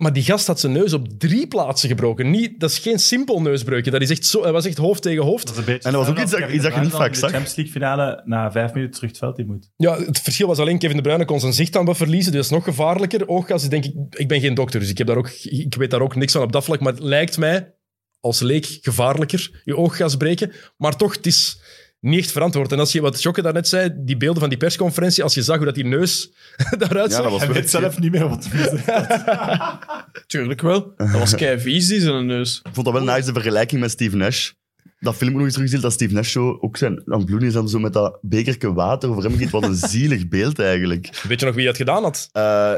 S1: Maar die gast had zijn neus op drie plaatsen gebroken. Niet, dat is geen simpel neusbreukje. Dat is echt zo, hij was echt hoofd tegen hoofd.
S3: Dat is een beetje
S2: En dat was ook
S3: hetzelfde
S2: iets dat-
S3: als
S2: iets dat je niet
S3: Kevin
S2: vaak
S3: Durant
S2: zag.
S3: in de Champions League finale na vijf minuten terug het veld in moet.
S1: Ja, het verschil was alleen Kevin De Bruyne kon zijn zicht aan wat verliezen. Dus dat is nog gevaarlijker. Ooggas, denk ik, ik ben geen dokter, dus ik, heb daar ook, ik weet daar ook niks van op dat vlak. Maar het lijkt mij als leek gevaarlijker, je ooggas breken. Maar toch, het is niet echt verantwoord. En als je wat Jokke daarnet zei, die beelden van die persconferentie, als je zag hoe dat die neus daaruit
S2: ja,
S1: zag.
S2: dat was
S3: Hij
S2: wel-
S3: weet zelf niet meer wat te zeggen.
S5: Tuurlijk wel. Dat was kei vies, die zijn neus.
S2: Ik vond dat wel nice, de vergelijking met Steve Nash. Dat film ook nog eens teruggezien, dat Steve Nash zo ook zijn aan het bloeden is dan zo met dat bekerke water over hem giet. Wat een zielig beeld eigenlijk.
S1: Weet je nog wie dat gedaan had?
S2: Eh,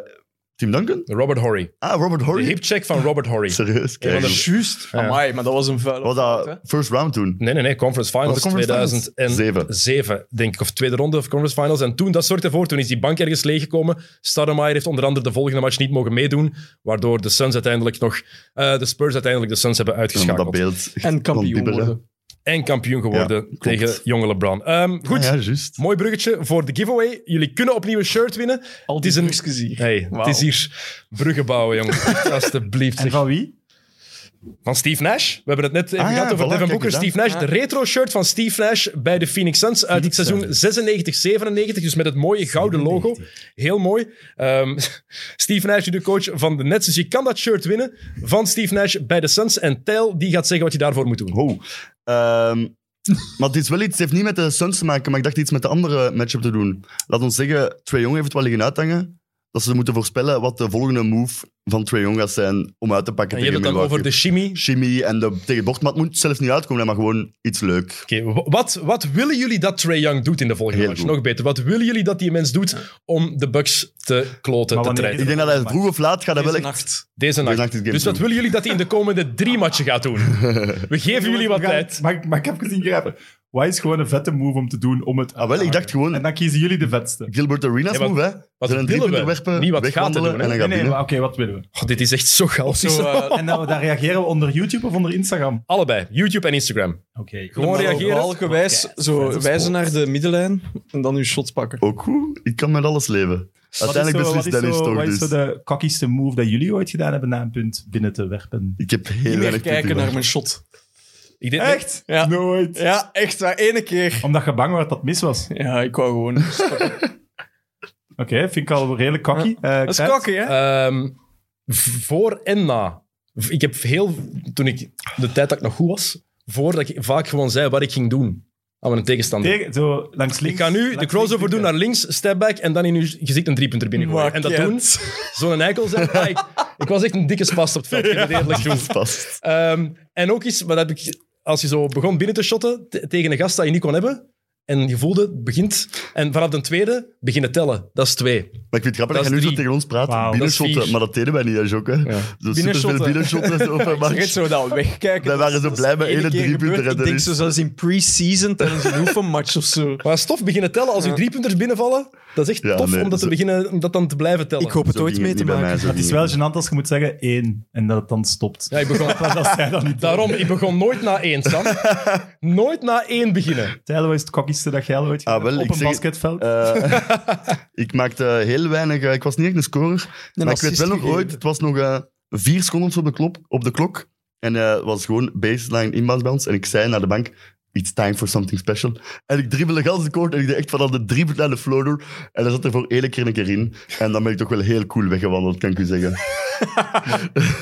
S2: Tim Duncan?
S1: Robert Horry.
S2: Ah, Robert
S1: De
S2: Horry.
S1: hipcheck van Robert Horry.
S2: Serieus,
S1: Een
S2: kijk.
S1: van de-
S5: Juist.
S1: Ja.
S5: Amai, maar dat was een vuile
S2: Was
S5: fout, hè.
S2: dat first round toen?
S1: Nee, nee, nee. Conference Finals
S2: Was de Oh, Conference Finals?
S1: 2007, denk ik. Of tweede ronde of Conference Finals. En toen, dat zorgt ervoor, toen is die bank ergens leeggekomen. Stoudemire heeft onder andere de volgende match niet mogen meedoen. Waardoor de Suns uiteindelijk nog... eh, de Spurs uiteindelijk de Suns hebben
S2: Ja,
S1: uitgeschakeld.
S2: dat beeld. echt
S5: En kampioen
S2: ontbibberen.
S5: worden.
S1: en kampioen geworden
S2: klopt.
S1: tegen jonge LeBron. Ehm, goed,
S2: Ah, ja, juist.
S1: mooi bruggetje voor de giveaway. Jullie kunnen opnieuw een shirt winnen.
S5: Al
S1: Het is
S5: die
S1: een-
S5: brugjes hier.
S1: Hey,
S5: Wauw.
S1: het is hier bruggen bouwen, jongen. Alsjeblieft.
S3: En
S1: zeg.
S3: van wie?
S1: Van Steve Nash. We hebben het net even
S2: Ah, ja,
S1: gehad over
S2: voilà,
S1: Devin
S2: kijk
S1: Booker.
S2: eens aan.
S1: Steve Nash,
S5: Ja.
S1: de retro-shirt van Steve Nash bij de Phoenix Suns uit het seizoen 96-97. Dus met het mooie gouden logo. Heel mooi. Ehm, Steve Nash, de coach van de Nets. Dus je kan dat shirt winnen van Steve Nash bij de Suns. En Tijl, die gaat zeggen wat je daarvoor moet doen.
S2: Ho. Ehm, maar het is wel iets, het heeft niet met de Suns te maken, maar ik dacht iets met de andere matchup te doen. Laat ons zeggen, Trae Young heeft het wel liggen uithangen. Dat ze moeten voorspellen wat de volgende move van Trae Young gaat zijn om uit te pakken
S1: En je hebt het dan over de chimie.
S2: chemie en de tegen het bord. Maar het moet zelf niet uitkomen, maar gewoon iets leuk.
S1: Oké, wa- wat, wat willen jullie dat Trae Young doet in de volgende
S2: Heel
S1: match?
S2: goed.
S1: Nog beter. Wat willen jullie dat die mens doet om de Bucks te kloten,
S3: Maar
S1: te
S3: wanneer
S1: treiten?
S2: Ik denk dat hij vroeg of laat gaat dat wel
S5: Deze
S2: echt...
S5: nacht.
S1: Deze
S2: Deze
S1: nacht.
S2: nacht is game
S1: Dus wat
S2: two.
S1: willen jullie dat hij in de komende drie matchen gaat doen? We geven jullie wat tijd.
S3: Mag, ik- mag ik even ingrijpen? Wat is gewoon een vette move om te doen om het...
S2: Ah, wel, ik dacht gewoon-
S3: En dan kiezen jullie de vetste.
S2: Gilbert Arenas
S1: Ja, wat-
S2: move, hè?
S1: wat
S2: Zijn
S1: willen
S2: een
S1: we?
S2: driepunter werpen,
S1: Niet wat gaten
S2: wegwandelen
S1: doen, hè?
S2: en dan
S3: Nee,
S2: gaat
S3: nee,
S2: binnen.
S3: maar oké, wat willen we?
S1: Oh, dit is echt zo
S5: Zo,
S1: chaotisch.
S5: eh,
S3: En nou, daar reageren we onder YouTube of onder Instagram?
S1: Allebei, YouTube en Instagram.
S3: Oké. Oh,
S1: Gewoon
S5: normaal-
S1: reageren.
S5: normaal gewijs,
S3: Oké, dat
S5: zo
S3: is
S5: wijzen
S3: sport.
S5: naar de middenlijn en dan uw shot pakken.
S2: Ook goed, ik kan met alles leven. Uiteindelijk
S3: wat is
S2: beslist
S3: zo, wat
S2: Dennis
S3: is zo-
S2: toch
S3: Wat is
S2: dus.
S3: zo de kakkieste move dat jullie ooit gedaan hebben na een punt binnen te werpen?
S2: Ik heb heel
S5: Niet meer
S2: weinig punten
S5: kijken naar
S2: gemaakt.
S5: mijn shot.
S1: Ik denk,
S3: Echt?
S5: Ja.
S3: Nooit.
S5: Ja, echt waar. Ene keer.
S3: Omdat je bang was dat het mis was.
S5: Ja, ik wou gewoon...
S3: Oké, vind ik al redelijk kakkie. Eh,
S5: Dat is
S3: Kat,
S5: kakkie, hè?
S1: ehm, v- voor en na. V- Ik heb heel, toen ik de tijd dat ik nog goed was, voordat ik vaak gewoon zei wat ik ging doen aan mijn tegenstander.
S3: Tegen, zo langs links.
S1: ik ga nu de
S3: langs
S1: crossover
S3: links eh,
S1: doen naar links, step back en dan in uw gezicht een driepunter binnengooien.
S5: Maakt
S1: En dat
S5: niet
S1: doen, zo'n eikel zijn. Ah, ik, ik was echt een dikke spast op het veld, ik moet eerlijk doen.
S2: Past.
S1: Ehm, en ook iets, maar dat heb ik, als je zo begon binnen te shotten te- tegen een gast dat je niet kon hebben, en je voelde, het begint. En vanaf de tweede beginnen tellen. Dat is twee.
S2: Maar ik vind het grappig dat
S1: Dat
S2: je
S1: is
S2: nu zo
S1: drie.
S2: tegen ons praat.
S3: Wauw.
S1: Dat is
S2: binnenshotten,
S1: vier.
S2: maar dat deden wij niet, hè, Dus Jok. hè. Zo superveel
S5: Binnenshotten.
S2: binnenshotten op een
S5: Zeg het
S2: match.
S5: zo dat wegkijken.
S2: Wij
S5: Dat
S2: waren
S5: is-
S2: zo
S5: dat
S2: blij
S5: is
S2: met
S5: de ene
S2: één
S5: keer
S2: driepunter
S5: gebeurd.
S2: en
S5: Ik
S2: dat
S5: denk
S2: is-
S5: zo zelfs in pre-season tijdens een oefenmatch of zo.
S1: Maar stof beginnen tellen als je
S5: Ja.
S1: driepunters binnenvallen. Dat is echt
S2: Ja,
S1: tof
S2: nee, dus-
S1: om, dat te
S2: zo-
S1: beginnen, om dat dan te blijven tellen.
S5: Ik hoop het
S2: Zo
S5: ooit
S2: ging
S5: mee
S2: het
S5: te
S2: niet bij mij,
S5: maken.
S2: zo
S3: Het
S2: ging
S3: is wel
S2: het niet.
S3: gênant als je moet zeggen één en dat het dan stopt.
S1: Ja, ik begon,
S3: Dat zij dat niet
S1: daarom, ik begon nooit na één, Sam. Nooit na één beginnen.
S3: Tijlen, wat is het kakkieste dat jij al ooit gedaan
S2: Ah, wel,
S3: hebt?
S2: ik
S3: Op een
S2: zeg-
S3: basketveld?
S2: Eh, ik maakte heel weinig. eh, ik was niet echt een scorer.
S5: Een
S2: maar ik weet
S5: assist
S2: wel nog
S5: gegeven.
S2: ooit. Het was nog eh, vier seconden op de, klop, op de klok. En eh, het was gewoon baseline inbound bounce. En ik zei naar de bank. It's time for something special. En ik dribbelde gans de court en ik deed echt vanaf de driepunt naar de floor door. En dat zat er voor één keer een keer in. En dan ben ik toch wel heel cool weggewandeld, kan ik u zeggen.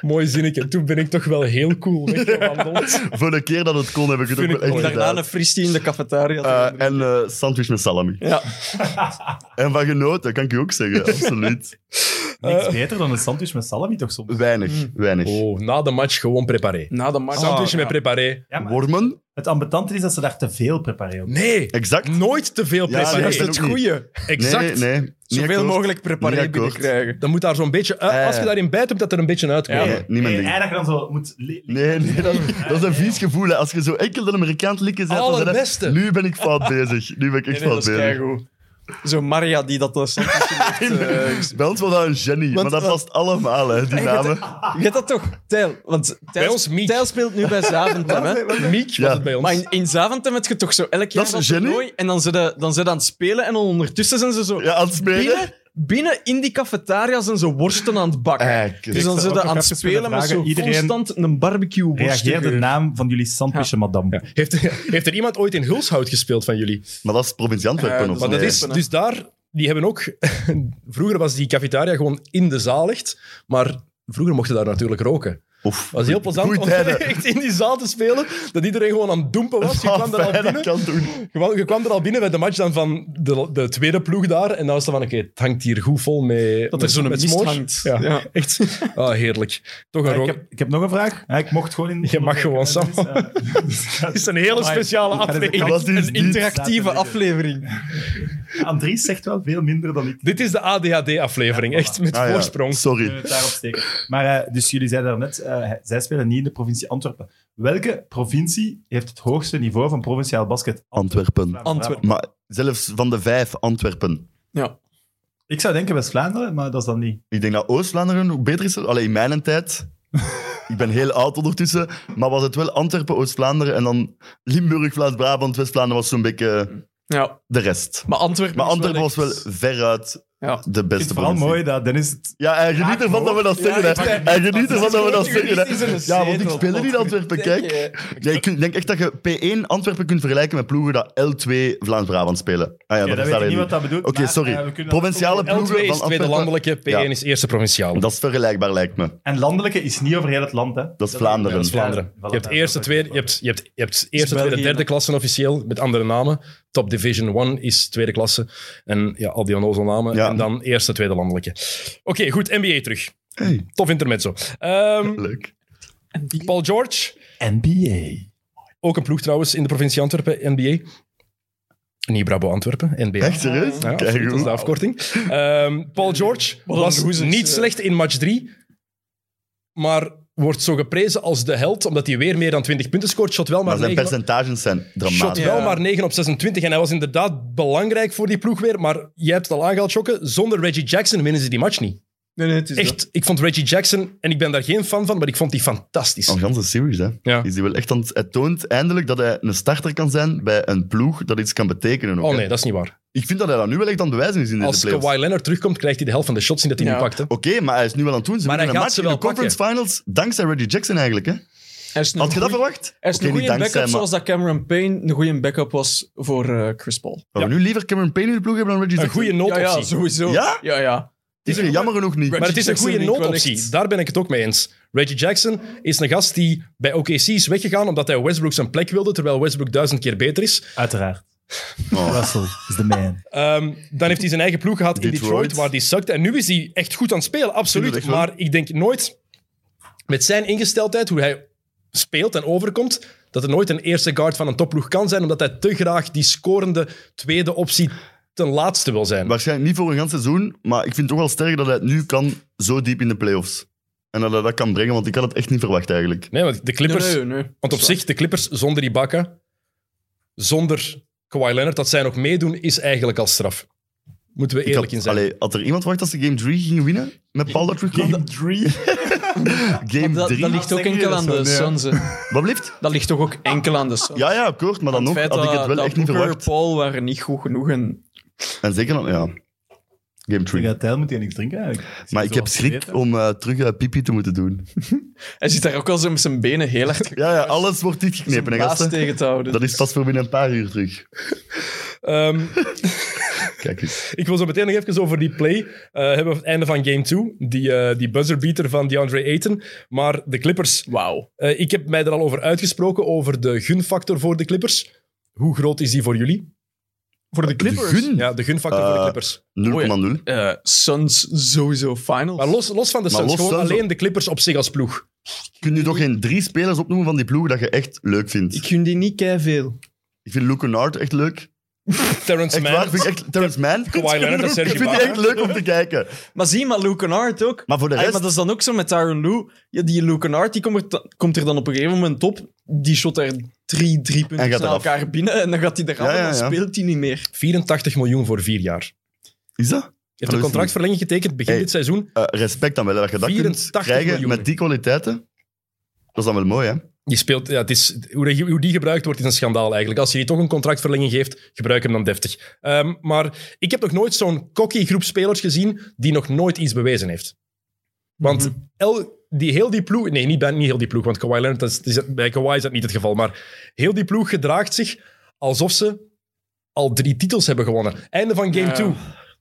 S1: Mooi zinnetje. Toen ben ik toch wel heel cool weggewandeld.
S2: voor een keer dat het kon, heb ik het
S1: Vind
S2: ook
S1: ik
S2: wel echt
S1: mooi.
S5: Daarna
S2: gedaan.
S5: een fristie in de cafetaria.
S2: Eh, en eh, sandwich met salami.
S5: ja,
S2: En van genoten, kan ik u ook zeggen, absoluut.
S3: Niks
S1: Eh.
S3: beter dan een sandwich met salami toch soms?
S2: Weinig,
S5: Hmm.
S2: weinig.
S1: Oh, na de match gewoon preparé.
S5: Na de match.
S1: Sandwich
S5: Ah,
S1: met
S5: ja.
S1: preparé.
S3: Ja, maar
S2: Wormen,
S3: het ambetante is dat ze daar te veel prepareren.
S1: Nee,
S2: exact.
S1: nooit te veel
S2: Ja,
S1: preparé.
S2: nee,
S5: Dat is
S2: ik
S5: het
S2: ook niet.
S5: goeie.
S1: Mm, Exact.
S2: Nee, nee. niet
S5: Zoveel
S2: akkoord.
S5: mogelijk
S2: Niet
S5: preparé
S2: akkoord.
S5: binnenkrijgen.
S1: Dan moet daar zo'n beetje... uit-
S2: Eh.
S1: Als je daarin bijt, moet dat er een beetje uitkomen.
S5: Ja.
S2: Nee, niet mijn
S3: en
S2: ding.
S3: dat je dan zo moet... li- li-
S2: Nee, nee, dat, dat is een vies gevoel. hè. Als je zo enkel de Amerikaan likken bent, dan ben je-
S1: Allerbeste.
S2: nu ben ik fout bezig. Nu ben ik echt
S5: Nee, nee,
S2: fout
S5: dat is
S2: bezig.
S5: keigoed. Zo Maria die dat de sandwich heeft... eh, gezien.
S2: Bij ons was dat een genie, maar dat
S5: wat-
S2: past allemaal, hè, die namen.
S5: Je weet dat toch, Tijl? Want Tijl,
S1: ons Miek.
S5: Tijl speelt nu bij Zaventem, hè?
S1: Miek was
S2: Ja.
S1: het bij ons.
S5: Maar in, in Zaventem heb je toch zo elk jaar
S2: is
S5: dat
S2: een genie.
S5: toernooi en dan zijn ze dan zijn ze aan het spelen en ondertussen zijn ze zo...
S2: Ja, aan het smeren.
S5: Binnen, binnen in die cafetaria zijn ze worsten aan het bakken.
S2: Eigenlijk.
S5: dus dan
S3: Ik zou
S5: zitten
S3: ook
S5: aan
S3: nog
S5: het
S3: even
S5: spelen
S3: willen
S5: met zo
S3: vragen, iedereen-
S5: constant een barbecue worst.
S3: Reageer de naam van jullie sandwichen, madame.
S1: Heeft, heeft er iemand ooit in Hulshout gespeeld van jullie?
S2: Maar dat is provincie Antwerpen,
S5: Eh,
S2: of
S1: Maar dat
S2: nee?
S1: is, dus daar, die hebben ook... vroeger was die cafetaria gewoon in de zaal echt, maar vroeger mochten daar natuurlijk roken.
S2: Oef.
S1: Het was heel plezant om
S2: Goeie tijden.
S1: echt in die zaal te spelen, dat iedereen gewoon aan het doempen was. Je
S2: Ah,
S1: kwam er al
S2: fijn,
S1: binnen.
S2: dat kan doen.
S1: Je kwam- je kwam er al binnen bij de match dan van de, de tweede ploeg daar. En dan was het van, oké, het hangt hier goed vol mee.
S5: Dat er zo'n mist hangt.
S1: Ja,
S5: Ja.
S1: echt. Ah, heerlijk. Toch een
S3: Eh, Ik
S1: rook.
S3: heb, ik heb nog een vraag. Ja, eh, ik mocht gewoon in...
S1: Je mag gewoon, Sam.
S3: Het
S1: Het is een hele speciale aflevering.
S2: Wat is
S5: Een
S2: dit?
S5: interactieve aflevering.
S3: Andries zegt wel veel minder dan ik.
S1: Dit is de ADHD-aflevering,
S3: Ja, voilà.
S1: echt, met
S2: Ah, ja.
S1: voorsprong.
S3: kunnen
S2: Sorry.
S3: het daarop steken. Maar eh, dus jullie zeiden daarnet, net, zij spelen niet in de provincie Antwerpen. Welke provincie heeft het hoogste niveau van provinciaal basket?
S2: Antwerpen.
S3: Vlaanderen.
S5: Antwerpen.
S2: Maar zelfs van de vijf Antwerpen.
S3: Ik zou denken West-Vlaanderen, maar dat is dan niet.
S2: Ik denk dat Oost-Vlaanderen ook beter is. Alleen in mijn tijd. Ik ben heel oud ondertussen. Maar was het wel Antwerpen, Oost-Vlaanderen en dan Limburg, Vlaams-Brabant, West-Vlaanderen was zo'n beetje
S5: Ja,
S2: de rest.
S5: maar Antwerpen,
S2: Maar
S5: is
S2: Antwerpen
S5: wel
S2: was
S5: echt-
S2: wel veruit
S5: Ja.
S2: de
S3: Ik vind
S2: beste
S3: het vooral
S2: provincie.
S3: mooi dat Dennis het...
S2: Ja, en geniet
S3: Ja,
S2: ervan dat we dat
S5: Ja,
S2: zeggen.
S5: ik
S2: hè.
S5: pak-
S2: en geniet ervan dat we dat
S5: Juridisch
S2: zeggen. hè.
S5: is er een
S2: Ja, want ik
S5: zetel.
S2: speel niet in Antwerpen, kijk. Nee, ik denk echt dat je P1 Antwerpen kunt vergelijken met ploegen dat L2 Vlaams-Brabant spelen. Ah ja,
S3: Ja,
S2: dat
S3: dat
S2: is
S3: weet ik
S2: daar
S3: niet
S2: niet.
S3: wat dat bedoelt.
S2: Oké,
S3: maar,
S2: sorry.
S3: eh, we kunnen-
S2: Provinciale ploeg.
S1: L2 is
S2: van
S1: tweede
S2: Antwerpen.
S1: landelijke, P1
S2: Ja.
S1: is eerste provinciaal.
S2: Dat is vergelijkbaar, lijkt me.
S3: En landelijke is niet over heel het land, hè.
S2: Dat is Vlaanderen.
S1: Dat is Vlaanderen.
S3: Ja, voilà,
S1: je hebt
S3: ja,
S1: eerste,
S3: dat is
S1: tweede, je
S3: wel.
S1: hebt, je hebt, je hebt eerste
S5: België,
S1: tweede, derde
S5: hè?
S1: klassen officieel, met andere namen. Top Division 1 is tweede klasse. En ja, al die onnozel namen.
S2: Ja.
S1: En dan eerste, tweede landelijke. Oké, goed, NBA terug.
S2: Hey.
S1: Tof intermezzo. Ehm,
S2: Leuk.
S1: Paul George,
S3: NBA.
S1: ook een ploeg trouwens in de provincie Antwerpen, NBA. Niet Brabo Antwerpen, NBA.
S2: Echt serieus?
S1: Ja,
S2: Kijk,
S1: absoluut, dat is de
S2: goed.
S1: afkorting. Ehm, Paul George
S5: Wat een
S1: was
S5: goezes,
S1: niet
S5: eh.
S1: slecht in match 3, maar wordt zo geprezen als de held, omdat hij weer meer dan 20 punten scoort. Shot wel maar,
S2: Maar zijn
S1: 9,
S2: percentages zijn
S1: shot
S2: dramatisch.
S1: wel
S5: Ja.
S1: maar 9 op 26. En hij was inderdaad belangrijk voor die ploeg weer, maar jij hebt het al aangehaald, Jokke. Zonder Reggie Jackson winnen ze die match niet.
S5: Nee, nee, het is dat.
S1: Echt, ik vond Reggie Jackson, en ik ben daar geen fan van, maar ik vond die fantastisch.
S2: Een ganse series, hè.
S1: Ja.
S2: Is die wel echt aan het, het toont eindelijk dat hij een starter kan zijn bij een ploeg dat iets kan betekenen. ook,
S1: Oh
S2: hè.
S1: nee, dat is niet waar.
S2: Ik vind dat hij dat nu wel echt aan het bewijzen is in deze
S1: Als
S2: playoffs.
S1: Kawhi Leonard terugkomt, krijgt hij de helft van de shots die dat hij
S5: Ja.
S1: nu pakte.
S2: Oké, maar hij is nu wel aan het doen. Ze
S1: Maar hij
S2: winnen een
S1: gaat
S2: match
S1: ze
S2: in de
S1: wel
S2: conference finals dankzij Reggie Jackson eigenlijk. Hè?
S5: Hij is een
S2: Had je dat
S5: goeie-
S2: verwacht?
S5: Hij is
S2: Oké,
S5: een
S2: niet
S5: goede backup,
S2: dankzij, maar
S5: zoals dat Cameron Payne een goede backup was voor eh, Chris Paul.
S2: dat we nu liever Cameron Payne in de ploeg hebben dan Reggie
S1: Een
S2: Jackson.
S1: goede
S5: Ja,
S1: noodoptie.
S5: ja, sowieso.
S2: Ja?
S5: Ja, ja.
S2: Het is er jammer genoeg niet.
S1: Maar het is een
S5: Reggie
S1: goede
S5: Jackson vind ik wel
S1: noodoptie.
S5: echt-
S1: Daar ben ik het ook mee eens. Reggie Jackson is een gast die bij OKC is weggegaan omdat hij Westbrook zijn plek wilde, terwijl Westbrook duizend keer beter is.
S3: Uiteraard.
S2: Oh.
S3: Russell is de man.
S1: Ehm, dan heeft hij zijn eigen ploeg gehad in
S2: Detroit.
S1: Detroit, waar die sukte. En nu is hij echt goed aan het spelen,
S2: Vind
S1: absoluut.
S2: ik wel.
S1: Maar ik denk nooit, met zijn ingesteldheid, hoe hij speelt en overkomt, dat er nooit een eerste guard van een topploeg kan zijn, omdat hij te graag die scorende tweede optie ten laatste wil zijn.
S2: Waarschijnlijk niet voor een ganse seizoen, maar ik vind toch wel sterk dat hij het nu kan zo diep in de playoffs. En dat hij dat kan brengen, want ik had het echt niet verwacht eigenlijk.
S1: Nee, want de Clippers...
S5: Nee, nee, nee.
S1: Want op zich, de Clippers zonder Ibaka, zonder Kawhi Leonard, dat zij nog meedoen, is eigenlijk al straf. Moeten we
S2: Ik
S1: eerlijk
S2: had,
S1: in zijn.
S2: allee, had er iemand verwacht dat ze game 3 gingen winnen? Met Paul dat terugkwam? Game 3?
S5: Want
S2: game
S5: Dat,
S2: 3?
S5: dat ligt ook
S3: Zeg je
S5: enkel
S3: dat
S5: aan
S3: zo?
S5: de
S3: Nee.
S5: Suns. hè.
S2: Wat blijft?
S5: Dat ligt toch ook enkel aan de Suns.
S2: Ja, ja, akkoord, maar dan
S5: Het
S2: nog
S5: feit
S2: had ik het
S5: dat-
S2: wel
S5: dat
S2: echt niet
S5: Booker,
S2: verwacht.
S5: Paul waren niet goed genoeg. En...
S2: En zeker dan, ja. Game 3.
S3: Ja, Tijl moet hier niks drinken eigenlijk. Is
S2: Maar
S3: hij
S2: ik heb
S3: zoals
S2: schrik
S3: vergeten?
S2: om eh, terug eh, pipi te moeten doen.
S5: Hij zit daar ook al zo met zijn benen heel hard geknepen.
S2: Ja, ja, alles wordt
S5: Zijn
S2: dichtgeknepen, hè,
S5: baas
S2: gasten.
S5: tegen te houden.
S2: Dat is pas voor binnen een paar uur terug.
S1: Ehm,
S2: Kijk eens.
S1: ik wil zo meteen nog even over die play eh, hebben. op Het einde van game 2. Die, eh, die buzzerbeater van DeAndre Ayton. Maar de Clippers.
S5: Wauw.
S1: eh, ik heb mij er al over uitgesproken. Over de gunfactor voor de Clippers. Hoe groot is die voor jullie?
S5: Voor de Clippers.
S2: De gun?
S1: Ja, de gunfactor voor de
S2: Eh,
S1: Clippers.
S2: 0,0.
S5: Eh, Suns sowieso finals.
S1: Maar los, los van de
S2: maar
S1: Suns,
S2: los
S1: gewoon
S2: Suns-
S1: alleen de Clippers op zich als ploeg.
S2: Kun je toch geen drie spelers opnoemen van die ploeg dat je echt leuk vindt?
S4: Ik
S2: Ik,
S4: gun die niet kei veel.
S2: vind Luke Kennard echt leuk.
S1: Terrence
S2: Echt waar,
S1: Mann.
S2: vind ik echt... Terrence Mann?
S1: Kawhi Leonard en
S2: Ik
S1: Serge
S2: vind die echt
S1: Ibaka.
S2: leuk om te kijken.
S4: Maar zie maar Luke Kennard ook.
S2: Maar voor de
S4: Allee,
S2: rest...
S4: maar dat is dan ook zo met Tyron Lou. Ja, die Luke Kennard die komt, er, komt er dan op een gegeven moment op. Die shot er drie, drie punten
S2: En gaat
S4: na
S2: eraf.
S4: elkaar binnen. En dan gaat hij eraf
S2: Ja, ja,
S4: en dan
S2: ja.
S4: speelt hij niet meer.
S1: 84 miljoen voor vier jaar.
S2: Is dat?
S1: Je hebt een contractverlenging getekend begin
S2: Hey.
S1: dit seizoen.
S2: Eh, respect dan wel, dat je dat kunt
S1: 84
S2: krijgen
S1: miljoen.
S2: met die kwaliteiten. Dat is dan wel mooi, hè?
S1: Je speelt, ja, het is, hoe, die- hoe die gebruikt wordt is een schandaal eigenlijk. Als je die toch een contractverlenging geeft, gebruik hem dan deftig. Ehm, maar ik heb nog nooit zo'n cocky groep spelers gezien die nog nooit iets bewezen heeft. Want el, die, heel die ploeg... Nee, niet, bij- niet heel die ploeg, want Kawhi Leonard, dat is, het is- bij Kawhi is dat niet het geval. Maar heel die ploeg gedraagt zich alsof ze al drie titels hebben gewonnen. Einde van game
S5: Ja.
S1: 2.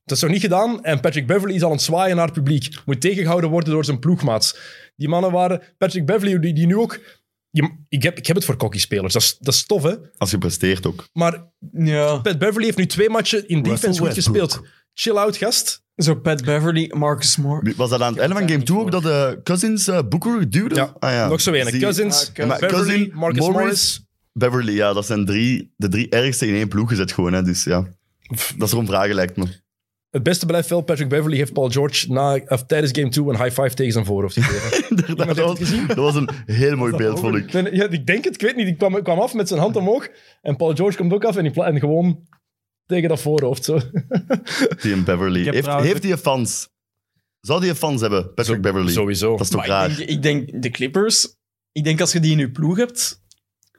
S1: Dat is nog niet gedaan en Patrick Beverly is al aan het zwaaien naar het publiek. Moet tegengehouden worden door zijn ploegmaats. Die mannen waren... Patrick Beverly, die, die nu ook... je- ik, heb, ik heb het voor cocky-spelers, dat is, dat is tof, hè.
S2: Als je presteert ook.
S1: Maar
S4: Ja.
S1: Pat Beverly heeft nu twee matchen in defense goed gespeeld. Chill out, gast.
S4: Zo Pat Beverly, Marcus Moore.
S2: Was dat aan het einde van game 2 ook dat de Cousins eh, Booker duwde?
S1: Ja,
S2: Ah, ja.
S1: Nog zo weinig.
S2: Zie-
S1: Cousins,
S4: Ah,
S2: Maar
S1: Beverly,
S2: Cousin,
S1: Marcus Morris.
S2: Morris. Beverly, ja, dat zijn drie, de drie ergste in één ploeg gezet gewoon, hè. Dus ja, dat is erom vragen lijkt me.
S1: Het beste blijft wel, Patrick Beverly heeft Paul George na, of, tijdens game 2 een high five tegen zijn voorhoofd gegeven.
S2: Inderdaad,
S1: heeft het
S2: dat, was,
S1: gezien?
S2: dat was een heel mooi beeld, vond ik.
S1: Nee, nee, ja, ik denk het, ik weet niet. Ik kwam, ik kwam af met zijn hand omhoog en Paul George komt ook af en, die pla- en gewoon tegen dat voorhoofd. Zo.
S2: Die en Beverly.
S3: heb
S2: Heeft,
S3: trouwens-
S2: heeft die een fans? Zou die een fans hebben, Patrick Beverly?
S1: Sowieso.
S2: Dat is toch
S4: Maar
S2: raar?
S4: ik denk, ik denk de Clippers. Ik denk als je die in je ploeg hebt.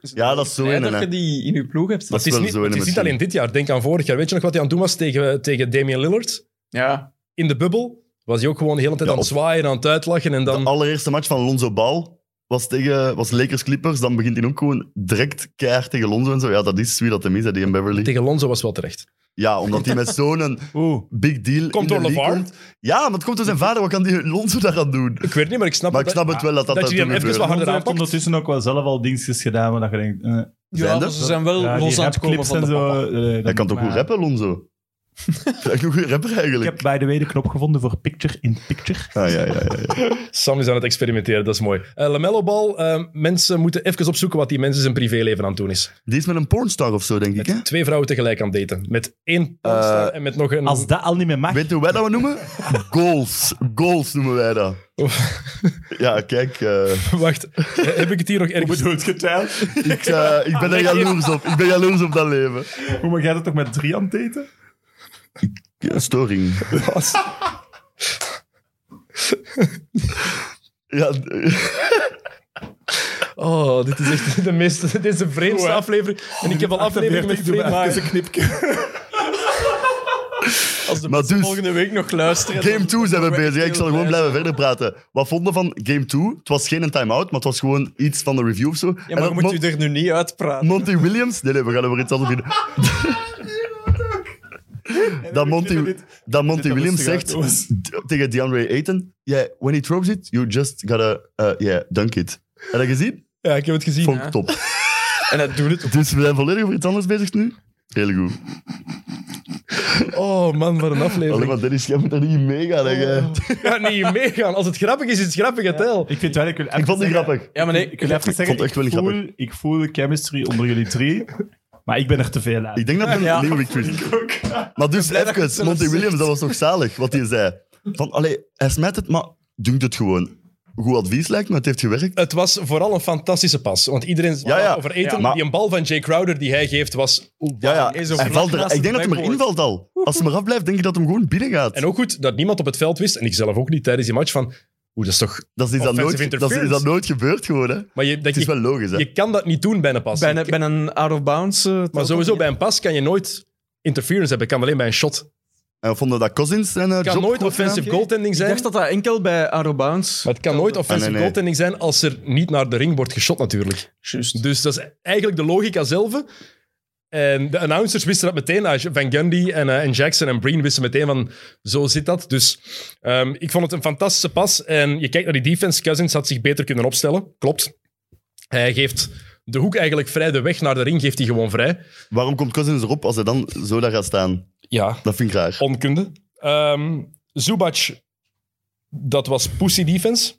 S4: is het
S2: Ja,
S4: wel
S2: dat is zo
S4: blij
S2: in,
S4: dat
S2: hè.
S4: je die in je ploeg hebt.
S2: Dat
S1: Het is
S2: wel
S1: niet,
S2: zo in
S1: het is
S2: een
S1: niet
S2: machine.
S1: alleen dit jaar. Denk aan vorig jaar. Weet je nog wat hij aan het doen was tegen, tegen Damian Lillard?
S5: Ja.
S1: In de bubbel was hij ook gewoon de hele tijd
S2: Ja,
S1: aan het
S2: of-
S1: zwaaien, aan het uitlachen. En dan,
S2: De allereerste match van Lonzo Ball was tegen was Lakers Clippers. Dan begint hij ook gewoon direct keihard tegen Lonzo en zo. Ja, dat is wie dat hem is, hè, die en Beverly.
S1: tegen Lonzo was wel terecht.
S2: Ja, omdat hij met zo'n
S3: Oeh.
S2: big deal
S1: Komt
S2: in de
S1: door
S2: league
S1: LeVar?
S2: komt. Ja, maar het komt door zijn vader. Wat kan die Lonzo daaraan doen?
S1: Ik weet niet, maar ik snap
S2: Maar ik
S1: het.
S2: snap het wel dat dat,
S1: dat
S2: dat
S1: je die
S2: toen
S1: even
S2: gebeurde.
S1: wat
S3: Hij
S1: harder
S3: heeft
S1: aanpakt.
S3: ondertussen ook wel zelf al dingetjes gedaan waar dat je denkt... eh,
S2: Zijn
S4: Ja,
S2: er?
S4: ze zijn wel
S3: ja, die
S4: los aan het komen
S3: rapclips
S4: van
S3: en
S4: de papa.
S3: zo. eh,
S2: Hij
S3: dan-
S2: kan toch
S3: maar-
S2: goed rappen, Lonzo? Hij is een goede rapper
S3: Ik
S2: eigenlijk.
S3: heb bij de way de knop gevonden voor picture in picture.
S2: Ah, ja, ja, ja, ja.
S1: Sam is aan het experimenteren, dat is mooi. Eh, Lamello Ball, eh, mensen moeten even opzoeken wat die mensen zijn privéleven aan het doen is.
S2: Die is met een pornstar of zo, denk ik. Hè?
S1: Met twee vrouwen tegelijk aan het daten. Met één pornstar
S2: Eh,
S1: en met nog een...
S3: Als dat al niet meer mag,
S2: Weet je hoe wij dat we noemen? Goals. Goals noemen wij dat. Ja, kijk. eh,
S1: Wacht, eh, heb ik het hier nog ergens...
S3: bedoelt geteld.
S2: ik, eh, ik ben er jaloers op. Ik ben jaloers op dat leven.
S3: Hoe mag jij dat toch met drie aan het daten?
S2: Ja, storing. Ja, d-
S1: Oh, dit is echt de meest... Dit is de vreemdste aflevering. En ik heb al afleveringen met
S4: eh,
S1: vreemde...
S5: een knipje.
S4: Als de
S2: Maar
S4: mensen
S2: dus-
S4: volgende week nog luisteren.
S2: game 2 zijn we
S4: dan-
S2: bezig. Ik zal gewoon blijven verder praten. Wat vonden van game 2? Het was geen een time-out, maar het was gewoon iets van de review of zo.
S4: Ja,
S2: En
S4: maar
S2: dat
S4: je moet
S2: Mon-
S4: je er nu niet uitpraten.
S2: Monty Williams? Nee, nee, we gaan over iets anders beginnen. dat Monty, dat Monty Williams zegt d- tegen DeAndre Ayton, yeah, when he throws it, you just gotta, uh, yeah, dunk it. Heb je dat gezien?
S1: Ja, ik heb het gezien.
S2: Vond ik top.
S4: En dat doet het.
S2: Dus we zijn volledig over iets anders bezig nu. Heel goed.
S1: Oh man, wat een
S2: Alleen
S1: aflevering.
S2: maar Dennis, jij moet er niet mee gaan. hè, jij.
S1: Ik ga niet meegaan. Als het grappig is, is het grappig, het wel.
S3: Ik vind wel, ik wil even
S2: Ik vond die
S3: zeggen-
S2: grappig.
S4: Ja, maar nee.
S3: Ik wil even zeggen,
S2: vond het
S3: ik,
S2: echt wel
S3: voel,
S2: grappig.
S3: ik voel chemistry onder jullie drie, maar ik ben er te veel aan.
S2: Ik denk dat het een
S4: Ja.
S2: nieuwe victory is. Maar dus even, Monty Williams, dat was toch zalig wat hij zei. Van, allee, hij smijt het, maar doet het gewoon. Goed advies lijkt me, het heeft gewerkt.
S1: Het was vooral een fantastische pas. Want iedereen
S2: Ja, ja.
S1: over eten.
S2: Ja, maar-
S1: Die een bal van Jay Crowder die hij geeft was...
S2: Ja, ja,
S4: Is een
S2: hij
S4: vlak
S2: valt er,
S4: naast
S2: ik denk
S4: het
S2: dat hij maar
S4: backboard.
S2: invalt al. Als hij maar afblijft, denk ik dat hem gewoon binnen gaat.
S1: En ook goed dat niemand op het veld wist, en ik zelf ook niet tijdens die match, van... Oeh, dat is toch...
S2: Dat is, dat,
S1: Offensive
S2: nooit, dat is dat
S1: interference.
S2: nooit gebeurd gewoon, hè.
S1: Maar je, dat,
S2: Het is
S1: je,
S2: wel logisch, hè.
S1: je kan dat niet doen bij een pas.
S4: Bij
S1: Je-
S4: een, bij een out-of-bounds... eh,
S1: maar
S4: telt
S1: sowieso,
S4: dat
S1: bij een pas kan je nooit interference hebben. kan alleen bij een shot.
S2: En we vonden dat Cousins zijn eh,
S1: Het kan
S2: job
S1: nooit
S2: goed
S1: offensive
S2: gedaan.
S1: goaltending
S4: niet. Ik
S1: zijn.
S4: dacht dat dat enkel bij out-of-bounds...
S1: Maar het kan nooit offensive
S2: Ah, nee, nee.
S1: goaltending zijn als er niet naar de ring wordt geschot, natuurlijk.
S5: Juist.
S1: Dus dat is eigenlijk de logica zelf. En de announcers wisten dat meteen. Ah, Van Gundy en, eh, en Jackson en Breen wisten meteen van zo zit dat. Dus ehm, ik vond het een fantastische pas. En je kijkt naar die defense. Cousins had zich beter kunnen opstellen. Klopt. Hij geeft de hoek eigenlijk vrij. De weg naar de ring geeft hij gewoon vrij.
S2: Waarom komt Cousins erop als hij dan zo daar gaat staan?
S1: Ja,
S2: Dat vind ik raar.
S1: onkunde. Ehm Zubac, dat was pussy defense.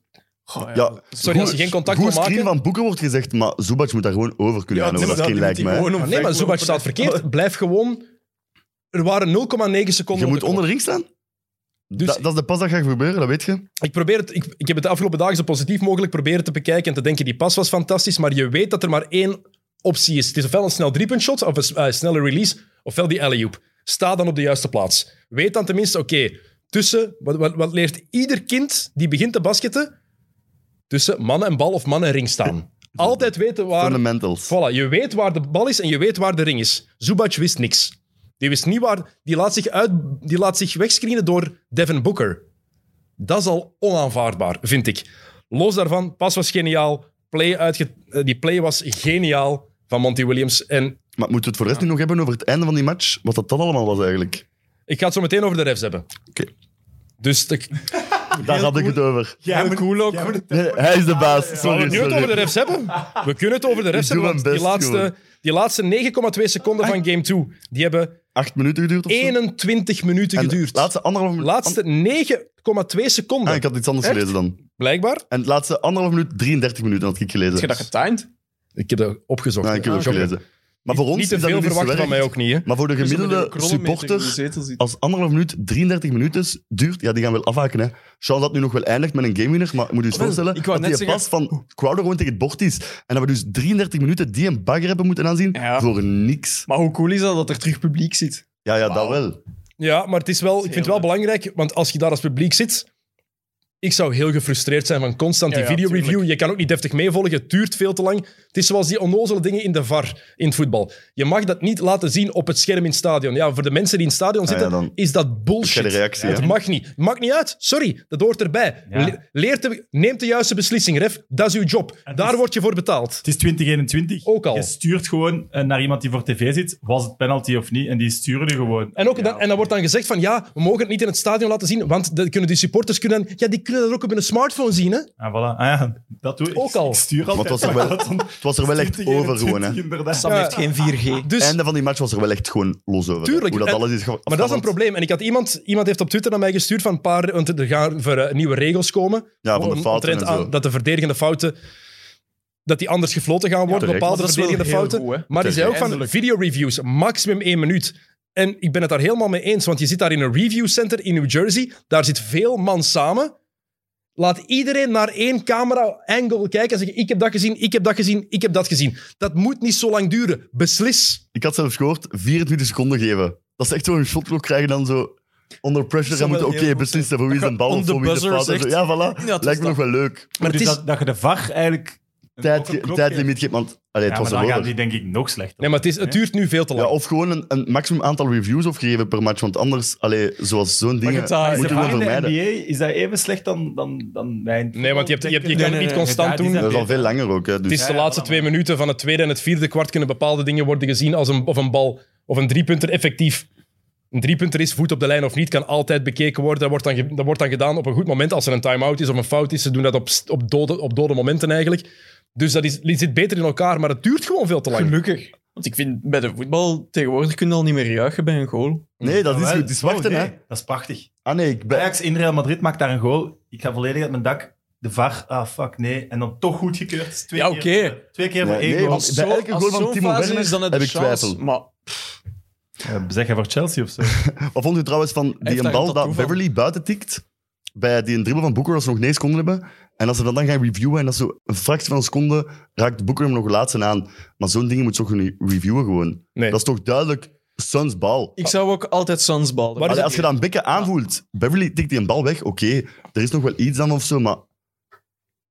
S2: Ja,
S1: Sorry, als je geen contact
S2: goed
S1: wil maken-
S2: screen van Boeken wordt gezegd, maar Zubac moet daar gewoon over kunnen gaan over dat screen, lijkt mij.
S1: Maar nee, maar Zubac staat verkeerd. Blijf gewoon... Er waren 0,9
S2: Je
S1: seconden. op
S2: moet
S1: de
S2: onder
S1: klok.
S2: de ring staan?
S1: Dus-
S2: dat, dat is de pas dat gaat gebeuren, dat weet je.
S1: Ik, probeer het, ik, ik heb het de afgelopen dagen zo positief mogelijk proberen te bekijken en te denken, die pas was fantastisch, maar je weet dat er maar één optie is. Het is ofwel een snel driepunt shot, of een s- eh, snelle release, ofwel die alley-oop. Sta dan op de juiste plaats. Weet dan tenminste, oké, tussen... Wat, wat, wat leert ieder kind die begint te basketten? Tussen man en bal of man en ring staan. Altijd weten waar...
S2: Fundamentals.
S1: Voilà, je weet waar de bal is en je weet waar de ring is. Zubac wist niks. Die wist niet waar... Die laat zich, uit, die laat zich wegscreenen door Devin Booker. Dat is al onaanvaardbaar, vind ik. Los daarvan, pas was geniaal. Play uitge- eh, die play was geniaal van Monty Williams. En
S2: Maar moeten we het voor de rest nu nog hebben over het einde van die match? Wat dat dan allemaal was eigenlijk?
S1: ik ga het zo meteen over de refs hebben.
S2: Oké.
S1: Dus ik
S2: Daar had ik het over.
S3: Jij moet-
S5: cool ook.
S3: jij moet het-
S2: Nee, hij is de baas.
S1: Gaan we
S2: Sorry,
S1: het nu het over de
S2: sorry.
S1: refs hebben? We kunnen het over de refs
S2: Ik doe
S1: hebben, want
S2: mijn
S1: die
S2: best,
S1: laatste,
S2: Koen.
S1: die laatste 9,2 seconden van game 2, die hebben
S2: Acht minuten geduurd of zo?
S1: 21 minuten
S2: En de
S1: geduurd.
S2: Laatste anderhalf minuut.
S1: Laatste 9,2 seconden,
S2: Ah, ik had iets anders
S1: Echt?
S2: gelezen dan.
S1: blijkbaar.
S2: En het laatste anderhalf minuut, 33 minuten had ik gelezen.
S5: Heb je dat getimed?
S1: Ik heb dat opgezocht.
S2: Ja, ik heb
S1: Ah,
S2: ook
S1: oké.
S2: gelezen. Maar voor ons
S1: Niet te
S2: is dat
S1: veel
S2: nu niet
S1: verwacht
S2: zo
S1: van
S2: erg.
S1: mij ook niet. Hè.
S2: Maar voor de gemiddelde supporter, als anderhalf minuut 33 minuten is- duurt, ja, die gaan wel afhaken. Hè. Charles had nu nog wel eindigt met een gamewinner, maar ik moet je eens
S5: Wel,
S2: voorstellen
S5: ik
S2: dat
S5: wou
S2: die
S5: net zeggen-
S2: pas van Crowder gewoon tegen het bord is. En dat we dus 33 minuten die een bagger hebben moeten aanzien
S5: Ja.
S2: voor niks.
S5: Maar hoe cool is dat dat er terug publiek zit?
S2: Ja, ja, dat wel.
S1: Ja, maar het is wel, ik vind het wel belangrijk, want als je daar als publiek zit, ik zou heel gefrustreerd zijn van constant die
S5: Ja, ja,
S1: videoreview.
S5: tuurlijk.
S1: Je kan ook niet deftig meevolgen, het duurt veel te lang. Het is zoals die onnozele dingen in de VAR in het voetbal. Je mag dat niet laten zien op het scherm in het stadion. Ja, voor de mensen die in het stadion
S2: Ah ja,
S1: zitten,
S2: dan
S1: is dat
S2: Ik
S1: bullshit.
S2: de reactie.
S1: Het
S2: hè.
S1: mag niet. Maakt niet uit. Sorry, dat hoort erbij.
S3: Ja.
S1: Le- Leer te- neem de juiste beslissing, ref. Dat is uw job.
S3: is-
S5: dus-
S1: Daar word je voor betaald.
S3: Het is 2021.
S1: Ook al.
S3: Je stuurt gewoon eh, naar iemand die voor tv zit. Was het penalty of niet? En die sturen je gewoon.
S1: En, ook dan, en dan wordt dan gezegd van ja, we mogen het niet in het stadion laten zien, want dan kunnen die supporters kunnen, dan- ja, die kunnen dat ook op hun smartphone zien. Hè?
S3: Ah, voilà. Ah, ja, dat doe ik.
S1: Ook al.
S3: Ik stuur
S2: Want
S3: altijd.
S2: het was er wel, het was er wel echt over gewoon. Hè.
S3: 2021, inderdaad.
S5: Sam
S1: Ja.
S5: heeft geen 4G.
S1: Dus,
S2: Einde van die match was er wel echt gewoon los over. hè.
S1: Tuurlijk,
S2: Hoe dat
S1: en-
S2: alles is ge-
S1: maar dat is een
S2: afgehandeld.
S1: probleem. En ik had iemand, iemand heeft op Twitter naar mij gestuurd van een paar, want er gaan voor, eh, nieuwe regels komen.
S2: Ja, van de
S1: Om-
S2: fouten
S1: omtrent
S2: en
S1: aan
S2: zo.
S1: dat de verdedigende fouten, dat die anders gefloten gaan worden,
S2: terecht.
S1: bepaalde
S5: Maar dat is wel
S1: verdedigende
S5: heel
S1: fouten.
S5: goed, hè.
S1: maar die zei ook van
S5: Eindelijk.
S1: videoreviews, maximum één minuut. En ik ben het daar helemaal mee eens, want je zit daar in een reviewcenter in New Jersey, daar zit veel man samen. Laat iedereen naar één camera-angle kijken en zeggen: Ik heb dat gezien, ik heb dat gezien, ik heb dat gezien. Dat moet niet zo lang duren. Beslis.
S2: Ik had zelfs gehoord 24 seconden geven. Dat is echt zo'n shotklok krijgen dan zo onder pressure. Dan
S5: wel
S2: moeten oké
S5: heel goed
S2: beslissen voor wie zijn bal
S5: On
S2: of
S5: the
S2: voor wie
S5: buzzer
S2: zijn fout. is.
S5: zegt-
S2: Ja, voilà.
S5: Ja, het is
S2: Lijkt me nog
S5: dat.
S2: wel leuk.
S1: Maar het
S3: dus
S1: is-
S3: dat, dat je de VAR eigenlijk... een
S2: Tijd,
S3: klok- een klok
S2: tijdlimiet
S3: geeft.
S2: geeft, want allee, het
S3: Ja, maar
S2: was
S3: dan
S2: erover.
S3: gaat die denk ik nog slechter.
S1: Nee, maar het, is, het duurt nu veel te lang.
S2: Ja, of gewoon een, een maximum aantal reviews opgeven per match, want anders, allee, zoals zo'n ding,
S5: je
S2: moet
S5: hebt daar-
S2: je
S5: is
S3: Is de
S2: gewoon
S3: VAR in de
S2: vermijden.
S3: NBA, is dat even slecht dan, dan, dan wij in het
S1: Nee, want je, hebt, je, hebt- je kan het
S5: Nee, nee,
S1: niet
S5: nee,
S1: constant
S3: ja, die
S1: doen.
S3: zijn-
S2: Dat is al
S3: beter.
S2: veel langer ook. Hè, dus.
S1: Het is de
S3: ja,
S1: laatste
S3: voilà.
S1: twee minuten van het tweede en het vierde kwart kunnen bepaalde dingen worden gezien als een, of een bal of een driepunter effectief. Een driepunter is voet op de lijn of niet, kan altijd bekeken worden. Dat wordt dan, ge- dat wordt dan gedaan op een goed moment als er een time-out is of een fout is. Ze doen dat op, st- op, dode, op dode momenten eigenlijk. Dus dat is, zit beter in elkaar, maar het duurt gewoon veel te lang.
S5: Gelukkig. Want ik vind, bij de voetbal tegenwoordig kun je al niet meer juichen bij een goal.
S2: Nee, dat is
S3: Jawel.
S2: goed. Het is wachten,
S3: Oh, nee,
S2: hè.
S3: Dat is prachtig.
S2: Ah nee, ik ben...
S3: Ajax in Real Madrid maakt daar een goal. Ik ga volledig uit mijn dak. De VAR, ah fuck, nee. En dan toch goed gekeurd. Dus Twee
S5: Ja,
S3: keer
S5: oké.
S3: voor- Twee keer voor
S2: Nee,
S3: één
S2: nee,
S3: goal.
S2: want- bij elke goal van Timo Werner heb ik twijfel.
S5: Maar
S3: Eh, Zeg je voor Chelsea of zo?
S2: Wat vond je trouwens van
S5: heeft
S2: die een
S5: daar
S2: bal
S5: een
S2: dat
S5: tattoo van.
S2: Beverly buiten tikt? Bij die een dribbel van Boeker als ze nog 9 seconden hebben. En als ze dat dan gaan reviewen en dat zo een fractie van een seconde raakt Boeker hem nog laatst aan. Maar zo'n ding moet je toch niet reviewen gewoon.
S1: Nee.
S2: Dat is toch duidelijk Suns bal.
S5: ik zou ook altijd Suns balden.
S1: Maar
S2: Allee,
S1: is
S2: als je dan bekken aanvoelt, Beverly tikt die een bal weg, oké, er is nog wel iets dan of zo, maar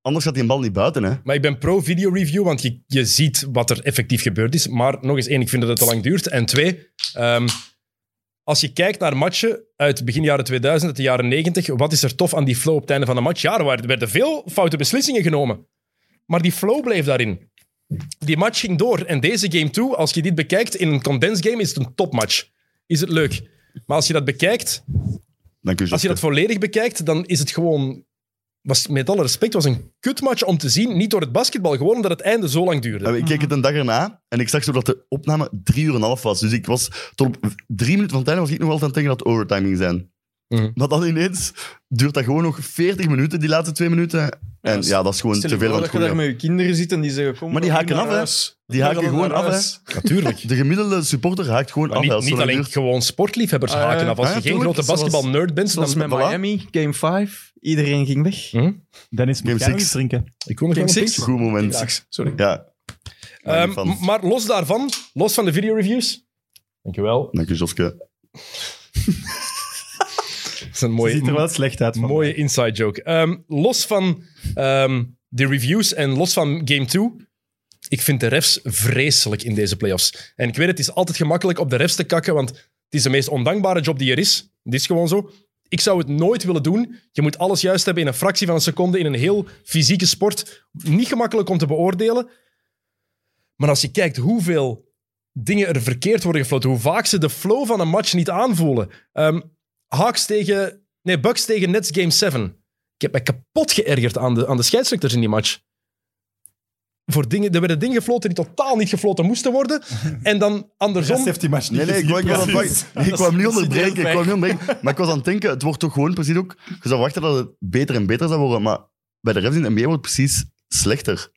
S2: anders gaat die een bal niet buiten, hè.
S1: Maar ik ben pro-video review, want je, je ziet wat er effectief gebeurd is. Maar nog eens één, ik vind dat het te lang duurt. En twee, ehm, als je kijkt naar matchen uit begin jaren 2000, uit de jaren 90, wat is er tof aan die flow op het einde van de match? Ja, er waren- er werden veel foute beslissingen genomen. Maar die flow bleef daarin. Die match ging door. En deze game toe, als je dit bekijkt in een condensed game, is het een topmatch. Is het leuk. Maar als je dat bekijkt,
S2: Dan kun je
S1: als je dat volledig bekijkt, dan is het gewoon was, met alle respect, was een kutmatch om te zien. Niet door het basketbal, gewoon omdat het einde zo lang duurde.
S2: Eh, Ik keek het een dag erna en ik zag zo dat de opname drie uur en een half was. Dus ik was tot op drie minuten van het einde was ik nog altijd aan het denken dat het overtime ging zijn.
S1: Mhm.
S2: Maar dan ineens duurt dat gewoon nog 40 minuten, die laatste twee minuten. En
S5: s-
S2: ja, dat is gewoon
S5: Stel
S2: te
S5: je
S2: veel
S5: voor
S2: aan
S5: dat
S2: het
S5: je daar
S2: goede.
S5: met je kinderen zit en die zeggen... Kom,
S2: Maar die
S5: we gaan
S2: haken
S5: nu
S2: af,
S5: naar
S2: hè.
S5: huis.
S2: Die
S5: We
S2: haken
S5: gaan
S2: gewoon
S5: naar
S2: af, hè.
S5: huis.
S1: Natuurlijk.
S2: De gemiddelde supporter haakt gewoon
S1: Maar
S2: af. hè, als
S1: niet,
S2: het
S1: niet
S2: zo lang
S1: alleen
S2: duurt.
S1: gewoon sportliefhebbers
S5: Ah, ja.
S1: haken af. Als
S2: Ah,
S1: je
S2: ja,
S1: geen
S2: tuurlijk.
S1: grote basketbalnerd bent,
S5: Zoals
S1: dan...
S5: met
S2: voilà. Mm.
S5: Miami, game 5. Iedereen ging weg.
S1: Hm?
S3: Dennis, moet
S2: Game
S3: jij nog
S2: six.
S3: iets drinken?
S1: Ik wil nog
S5: Game
S1: wel een
S5: six?
S1: puntje.
S2: Goed moment.
S3: Sorry.
S2: Ja.
S1: Ehm,
S2: Ehm,
S1: m- maar los daarvan, los van de videoreviews... Dankjewel.
S2: Dank je, Joske.
S1: Dat is een
S3: Je
S1: mooie,
S3: ziet er wel slecht uit. Van
S1: mooie inside joke. Ehm, los van ehm, de reviews en los van Game 2... Ik vind de refs vreselijk in deze playoffs. En ik weet, het is altijd gemakkelijk op de refs te kakken, want het is de meest ondankbare job die er is. Het is gewoon zo. Ik zou het nooit willen doen. Je moet alles juist hebben in een fractie van een seconde in een heel fysieke sport. Niet gemakkelijk om te beoordelen. Maar als je kijkt hoeveel dingen er verkeerd worden gefloten, hoe vaak ze de flow van een match niet aanvoelen. Ehm Hawks tegen... Nee, Bucks tegen Nets Game 7. Ik heb mij kapot geërgerd aan de, aan de scheidsrechters in die match. Voor dingen, er werden dingen gefloten die totaal niet gefloten moesten worden. En dan
S3: de rest
S1: andersom...
S3: heeft die match niet
S2: Nee, nee, ik wou- ik wou- ik wou-
S3: gezien.
S2: nee, ik kwam niet
S5: Dat is
S2: onderbreken.
S5: heel
S2: Ik kwam niet onderbreken. Maar ik was aan het denken, het wordt toch gewoon precies ook... Je zou wachten dat het beter en beter zou worden, maar bij de refs in de NBA wordt het precies slechter.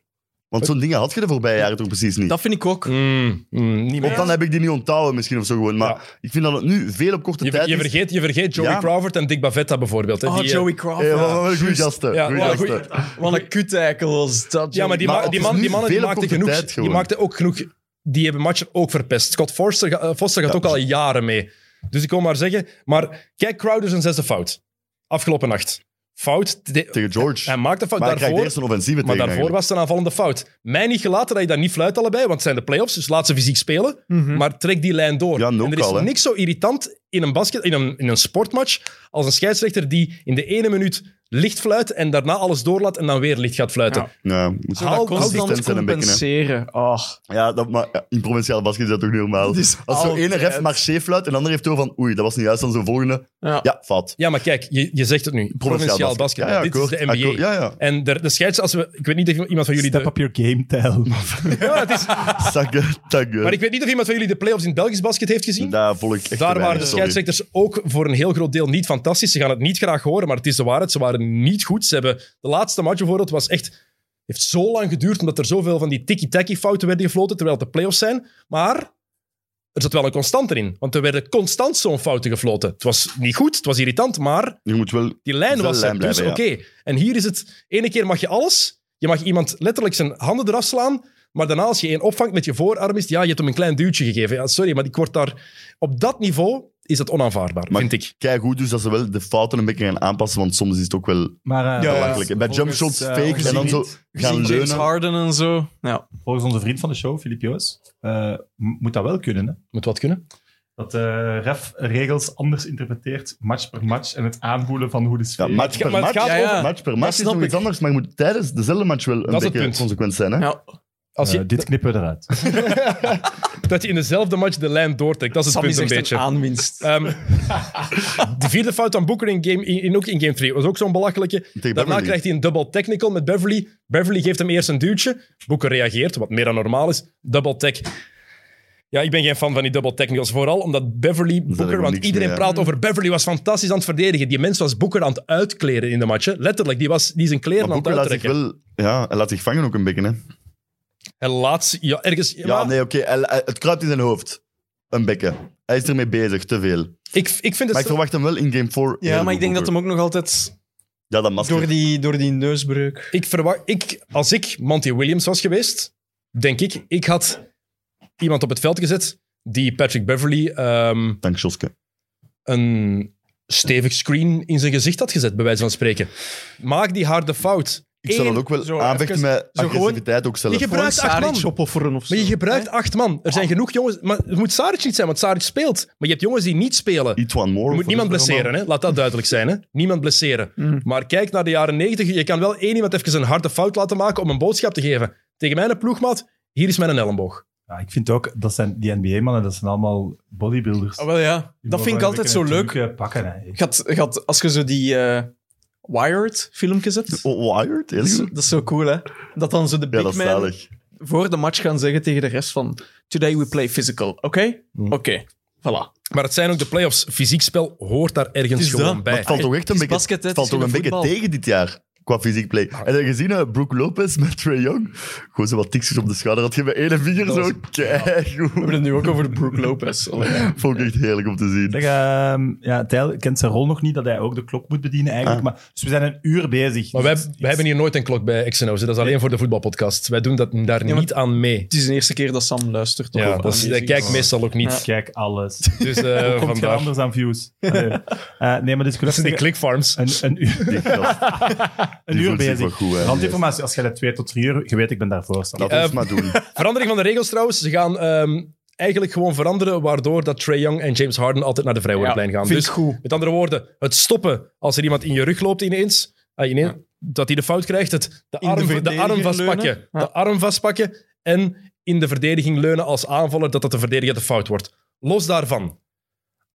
S2: Want zo'n dingen had je de voorbije jaren toch precies niet.
S5: Dat vind ik ook. Oh,
S1: Mm, mm, niet meer.
S2: Of dan heb ik die niet onthouden misschien of zo gewoon. Maar
S1: Ja.
S2: ik vind dat het nu veel op korte
S1: Je, ver-
S2: tijd
S1: je,
S2: is.
S1: vergeet, je vergeet Joey
S2: Ja.
S1: Crawford en Dick Bavetta bijvoorbeeld. hè,
S5: Oh,
S1: die, eh,
S5: Joey Crawford.
S2: Eh, wat- wat- wat- goeie gasten.
S1: Ja,
S2: goeie
S1: wel,
S2: gasten.
S1: goeie-
S5: Wat een kuteikel was dat.
S1: ja, maar die,
S2: Maar
S1: ma-
S2: het
S1: die,
S2: is
S1: man,
S2: nu
S1: die mannen die
S2: veel
S1: maakten,
S2: korte
S1: genoeg,
S2: tijd
S1: die
S2: gewoon.
S1: maakten ook genoeg... Die hebben matchen ook verpest. Scott Forster, ga- eh, Foster gaat
S2: Ja.
S1: ook al jaren mee. Dus ik wil maar zeggen... Maar kijk, Crowder zijn zesde fout. Afgelopen nacht. Fout. De-
S2: Tegen George.
S1: hij maakte fout
S2: maar hij krijgt
S1: daarvoor.
S2: eerst een offensieve
S1: Maar
S2: tegen
S1: daarvoor was het een aanvallende fout. Mij niet gelaten dat je dat niet fluit allebei, want het zijn de playoffs, dus laat ze fysiek spelen.
S2: Mhm.
S5: Mhm.
S1: Maar trek die lijn door.
S2: Ja,
S1: en
S2: no
S1: er is
S2: call, hè.
S1: niks zo irritant in een, basket, in, een, in een sportmatch als een scheidsrechter die in de ene minuut licht fluit en daarna alles doorlaat en dan weer licht gaat fluiten.
S5: Ja.
S2: Ja, moet
S5: Zo dat
S2: consistent
S5: constant
S2: zijn een beetje, hè.
S5: compenseren. Ah,
S2: Ja, dat, maar ja, in provinciale basket is dat toch niet normaal.
S5: Dat is
S2: Als zo'n
S5: altijd.
S2: ene ref marché fluit en de andere heeft door van oei, dat was niet juist, dan zo'n volgende.
S5: Ja.
S2: Ja, fout.
S1: Ja, maar kijk, je, je zegt het nu. Provinciaal basketbal.
S2: Ja, ja,
S1: Dit
S2: akkoord,
S1: is de NBA.
S2: akkoord. Ja, ja.
S1: En de, de scheids, als we, ik weet niet of iemand van jullie...
S3: Step
S1: De,
S3: up your game, Tijl.
S1: ja, het is,
S2: Zakken, takken.
S1: maar ik weet niet of iemand van jullie de playoffs in Belgisch basket heeft gezien.
S2: Daar volg ik echt te
S1: Daar waren
S2: weinig,
S1: de
S2: sorry.
S1: scheidsrechters ook voor een heel groot deel niet fantastisch. Ze gaan het niet graag horen, maar het is de waarheid. Ze waren niet goed. Ze hebben de laatste match bijvoorbeeld was echt heeft zo lang geduurd omdat er zoveel van die tikkie-takkie fouten werden gefloten terwijl het de playoffs zijn. Maar er zat wel een constante in, want er werden constant zo'n fouten gefloten. Het was niet goed, het was irritant, maar
S2: Je moet wel...
S1: die lijn
S2: Wel
S1: was er.
S2: lijn
S1: Dus oké.
S2: blijven,
S1: En hier is het: ene keer mag je alles. Je mag iemand letterlijk zijn handen eraf slaan. Maar daarna, als je één opvangt met je voorarm, is het, ja, je hebt hem een klein duwtje gegeven. Ja, sorry, maar ik word daar. Op dat niveau is dat onaanvaardbaar,
S2: Maar-
S1: vind ik.
S2: Kijk goed, dus dat ze wel de fouten een beetje gaan aanpassen, want soms is het ook wel
S3: Maar eh,
S5: Ja, ja.
S2: belachelijk. Bij jump shots
S3: eh,
S2: fake en dan zo gaan
S5: James
S2: leunen.
S5: Harden en zo. Ja.
S3: volgens onze vriend van de show, Filip Joos, eh, m- moet dat wel kunnen. Hè?
S1: Moet wat kunnen.
S3: Dat de ref regels anders interpreteert, match per match, en het aanvoelen van hoe de
S2: Ja,
S3: sfeer...
S2: match per
S1: maar het
S2: match.
S1: gaat
S5: Ja, ja.
S2: Match per
S5: Dat
S2: match is
S5: snap
S2: nog iets
S5: ik.
S2: anders, maar je moet tijdens dezelfde match wel een
S1: Dat is het
S2: beetje
S1: punt.
S2: consequent zijn. Hè?
S5: ja.
S1: Als je,
S3: Eh, dit knippen we eruit.
S1: dat je in dezelfde match de lijn doortrekt, dat is het
S5: Sam is
S1: punt
S5: echt
S1: een
S5: een,
S1: beetje.
S5: aanwinst.
S1: Ehm, de vierde fout aan Booker in game, in, in- ook in game 3 was ook zo'n belachelijke.
S2: Tegen
S1: Daarna
S2: Beverly.
S1: krijgt hij een double technical met Beverly. Beverly geeft hem eerst een duwtje. Booker reageert, wat meer dan normaal is. Double tech. Ja, ik ben geen fan van die double technicals. Vooral omdat Beverly Booker,
S2: helemaal
S1: want
S2: niks
S1: iedereen
S2: mee, hè.
S1: praat over Beverly, was fantastisch aan het verdedigen. Die mens was Booker aan het uitkleden in de match. hè. Letterlijk, die, was, die zijn kleren
S2: Maar
S1: aan het
S2: Boeken laat zich
S1: uittrekken.
S2: wel... Ja, hij laat zich vangen ook een beetje, hè.
S1: En laatst, ja, ergens.
S2: Ja,
S1: maar
S2: nee, oké. hij- hij- Het kruipt in zijn hoofd. Een bekken. Hij is ermee bezig, te veel.
S1: ik, ik vind
S2: Maar
S1: het.
S2: ik verwacht hem wel in game 4.
S5: ja, maar ik denk dat hem ook nog altijd
S2: Ja, dat masker.
S5: door die, door die neusbreuk...
S1: Ik verwacht, ik, als ik Monty Williams was geweest, denk ik, ik had iemand op het veld gezet die Patrick Beverly ehm,
S2: Dank Joske.
S1: een stevig screen in zijn gezicht had gezet, bij wijze van spreken. Maak die harde fout.
S2: Ik zal
S1: Eén-
S2: dat ook wel
S5: zo,
S2: aanvechten
S5: even-
S2: met
S5: zo
S2: agressiviteit ook zelf.
S1: Je gebruikt
S5: Voor
S1: acht
S5: Saric
S1: man.
S5: opofferen of zo. Ah.
S1: Maar je gebruikt acht man. Er zijn genoeg jongens. Maar het moet Saric niet zijn, want Saric speelt. Maar je hebt jongens die niet spelen.
S2: Eat one more.
S1: Je moet
S2: voor
S1: niemand
S2: dit programma.
S1: blesseren, hè? laat dat duidelijk zijn. Hè? Niemand blesseren.
S5: Mm.
S1: Maar kijk naar de jaren 90. Je kan wel één iemand even een harde fout laten maken om een boodschap te geven. Tegen mijn ploegmaat, hier is mijn elleboog.
S3: Ja, ik vind ook, dat zijn die NBA-mannen, dat zijn allemaal bodybuilders.
S5: Ah, wel ja.
S3: Die
S5: Dat vind ik
S3: mogen
S5: altijd
S3: wel
S5: zo
S3: een beetje
S5: leuk.
S3: een truc, eh, Pakken, hè.
S5: Gaat, gaat, als je zo die... eh, Wired filmpjes hebt.
S2: Oh, Wired?
S5: Dat is,
S2: Heel goed.
S5: dat is zo cool, hè? Dat dan zo de
S2: Ja,
S5: big
S2: dat is
S5: man Ah,
S2: zalig.
S5: voor de match gaan zeggen tegen de rest van... Today we play physical, oké?
S2: Mm.
S5: Oké, voilà.
S1: Maar het zijn ook de playoffs. Fysiek spel hoort daar ergens
S5: Het is
S1: gewoon
S5: dat.
S1: bij.
S2: Het valt toch echt een
S5: is
S2: beetje,
S5: basket, hè,
S2: het
S5: het
S2: valt
S5: is
S2: toch een
S5: geen
S2: beetje
S5: voetbal. Ah.
S2: tegen dit jaar. Qua fysiek play. En dan gezien eh, Brooke Lopez met Trae Young. Gewoon zo wat tikjes op de schouder. Had je met ene vinger
S5: Dat
S2: zo.
S5: was- We
S2: Keigoed.
S5: hebben het nu ook over de Brook Lopez. Allee, ja.
S2: Vond ik echt heerlijk om te zien.
S3: Zeg, ehm, ja, Tijl kent zijn rol nog niet, dat hij ook de klok moet bedienen
S1: Ah.
S3: eigenlijk. Maar, dus we zijn een uur bezig.
S1: Maar wij,
S3: Dus
S1: wij hebben hier nooit een klok bij XNO's. hè. Dat is alleen voor de voetbalpodcast. Wij doen dat daar
S5: maar-
S1: niet aan mee.
S5: Het is de eerste keer dat Sam luistert.
S1: Ja,
S5: Of
S1: dat is-
S5: aan
S1: ik
S5: die-
S1: kijk meestal ook
S3: ik
S1: niet.
S3: Kijk, alles.
S1: Dus eh,
S3: Hoe komt je
S1: vandaar.
S3: anders aan views? Allee. Eh, nee, maar
S1: Dat
S3: dus gelukkig
S1: zijn die clickfarms.
S3: een, een uur,
S2: Die gast,
S3: een
S2: die
S3: uur
S2: voelt zich wel
S3: bezig.
S2: goed, hè.
S3: Randinformatie, als jij dat twee tot drie uur... Je weet, ik ben daarvoor. Sam.
S2: Laat
S1: Eh,
S5: Ehm.
S2: ons maar doen.
S1: Verandering van de regels trouwens. Ze gaan ehm, eigenlijk gewoon veranderen, waardoor dat Trae Young en James Harden altijd naar de vrijwoordlijn gaan.
S5: vind
S1: Dus
S5: ik goed.
S1: met andere woorden, het stoppen als er iemand in je rug loopt ineens, ah, ineens dat hij de fout krijgt, het de
S5: In de
S1: arm, de,
S5: verdediger
S1: arm
S5: leunen.
S1: vastpakken.
S5: Ja.
S1: De arm vastpakken en in de verdediging leunen als aanvaller dat dat de verdediger de fout wordt. Los daarvan.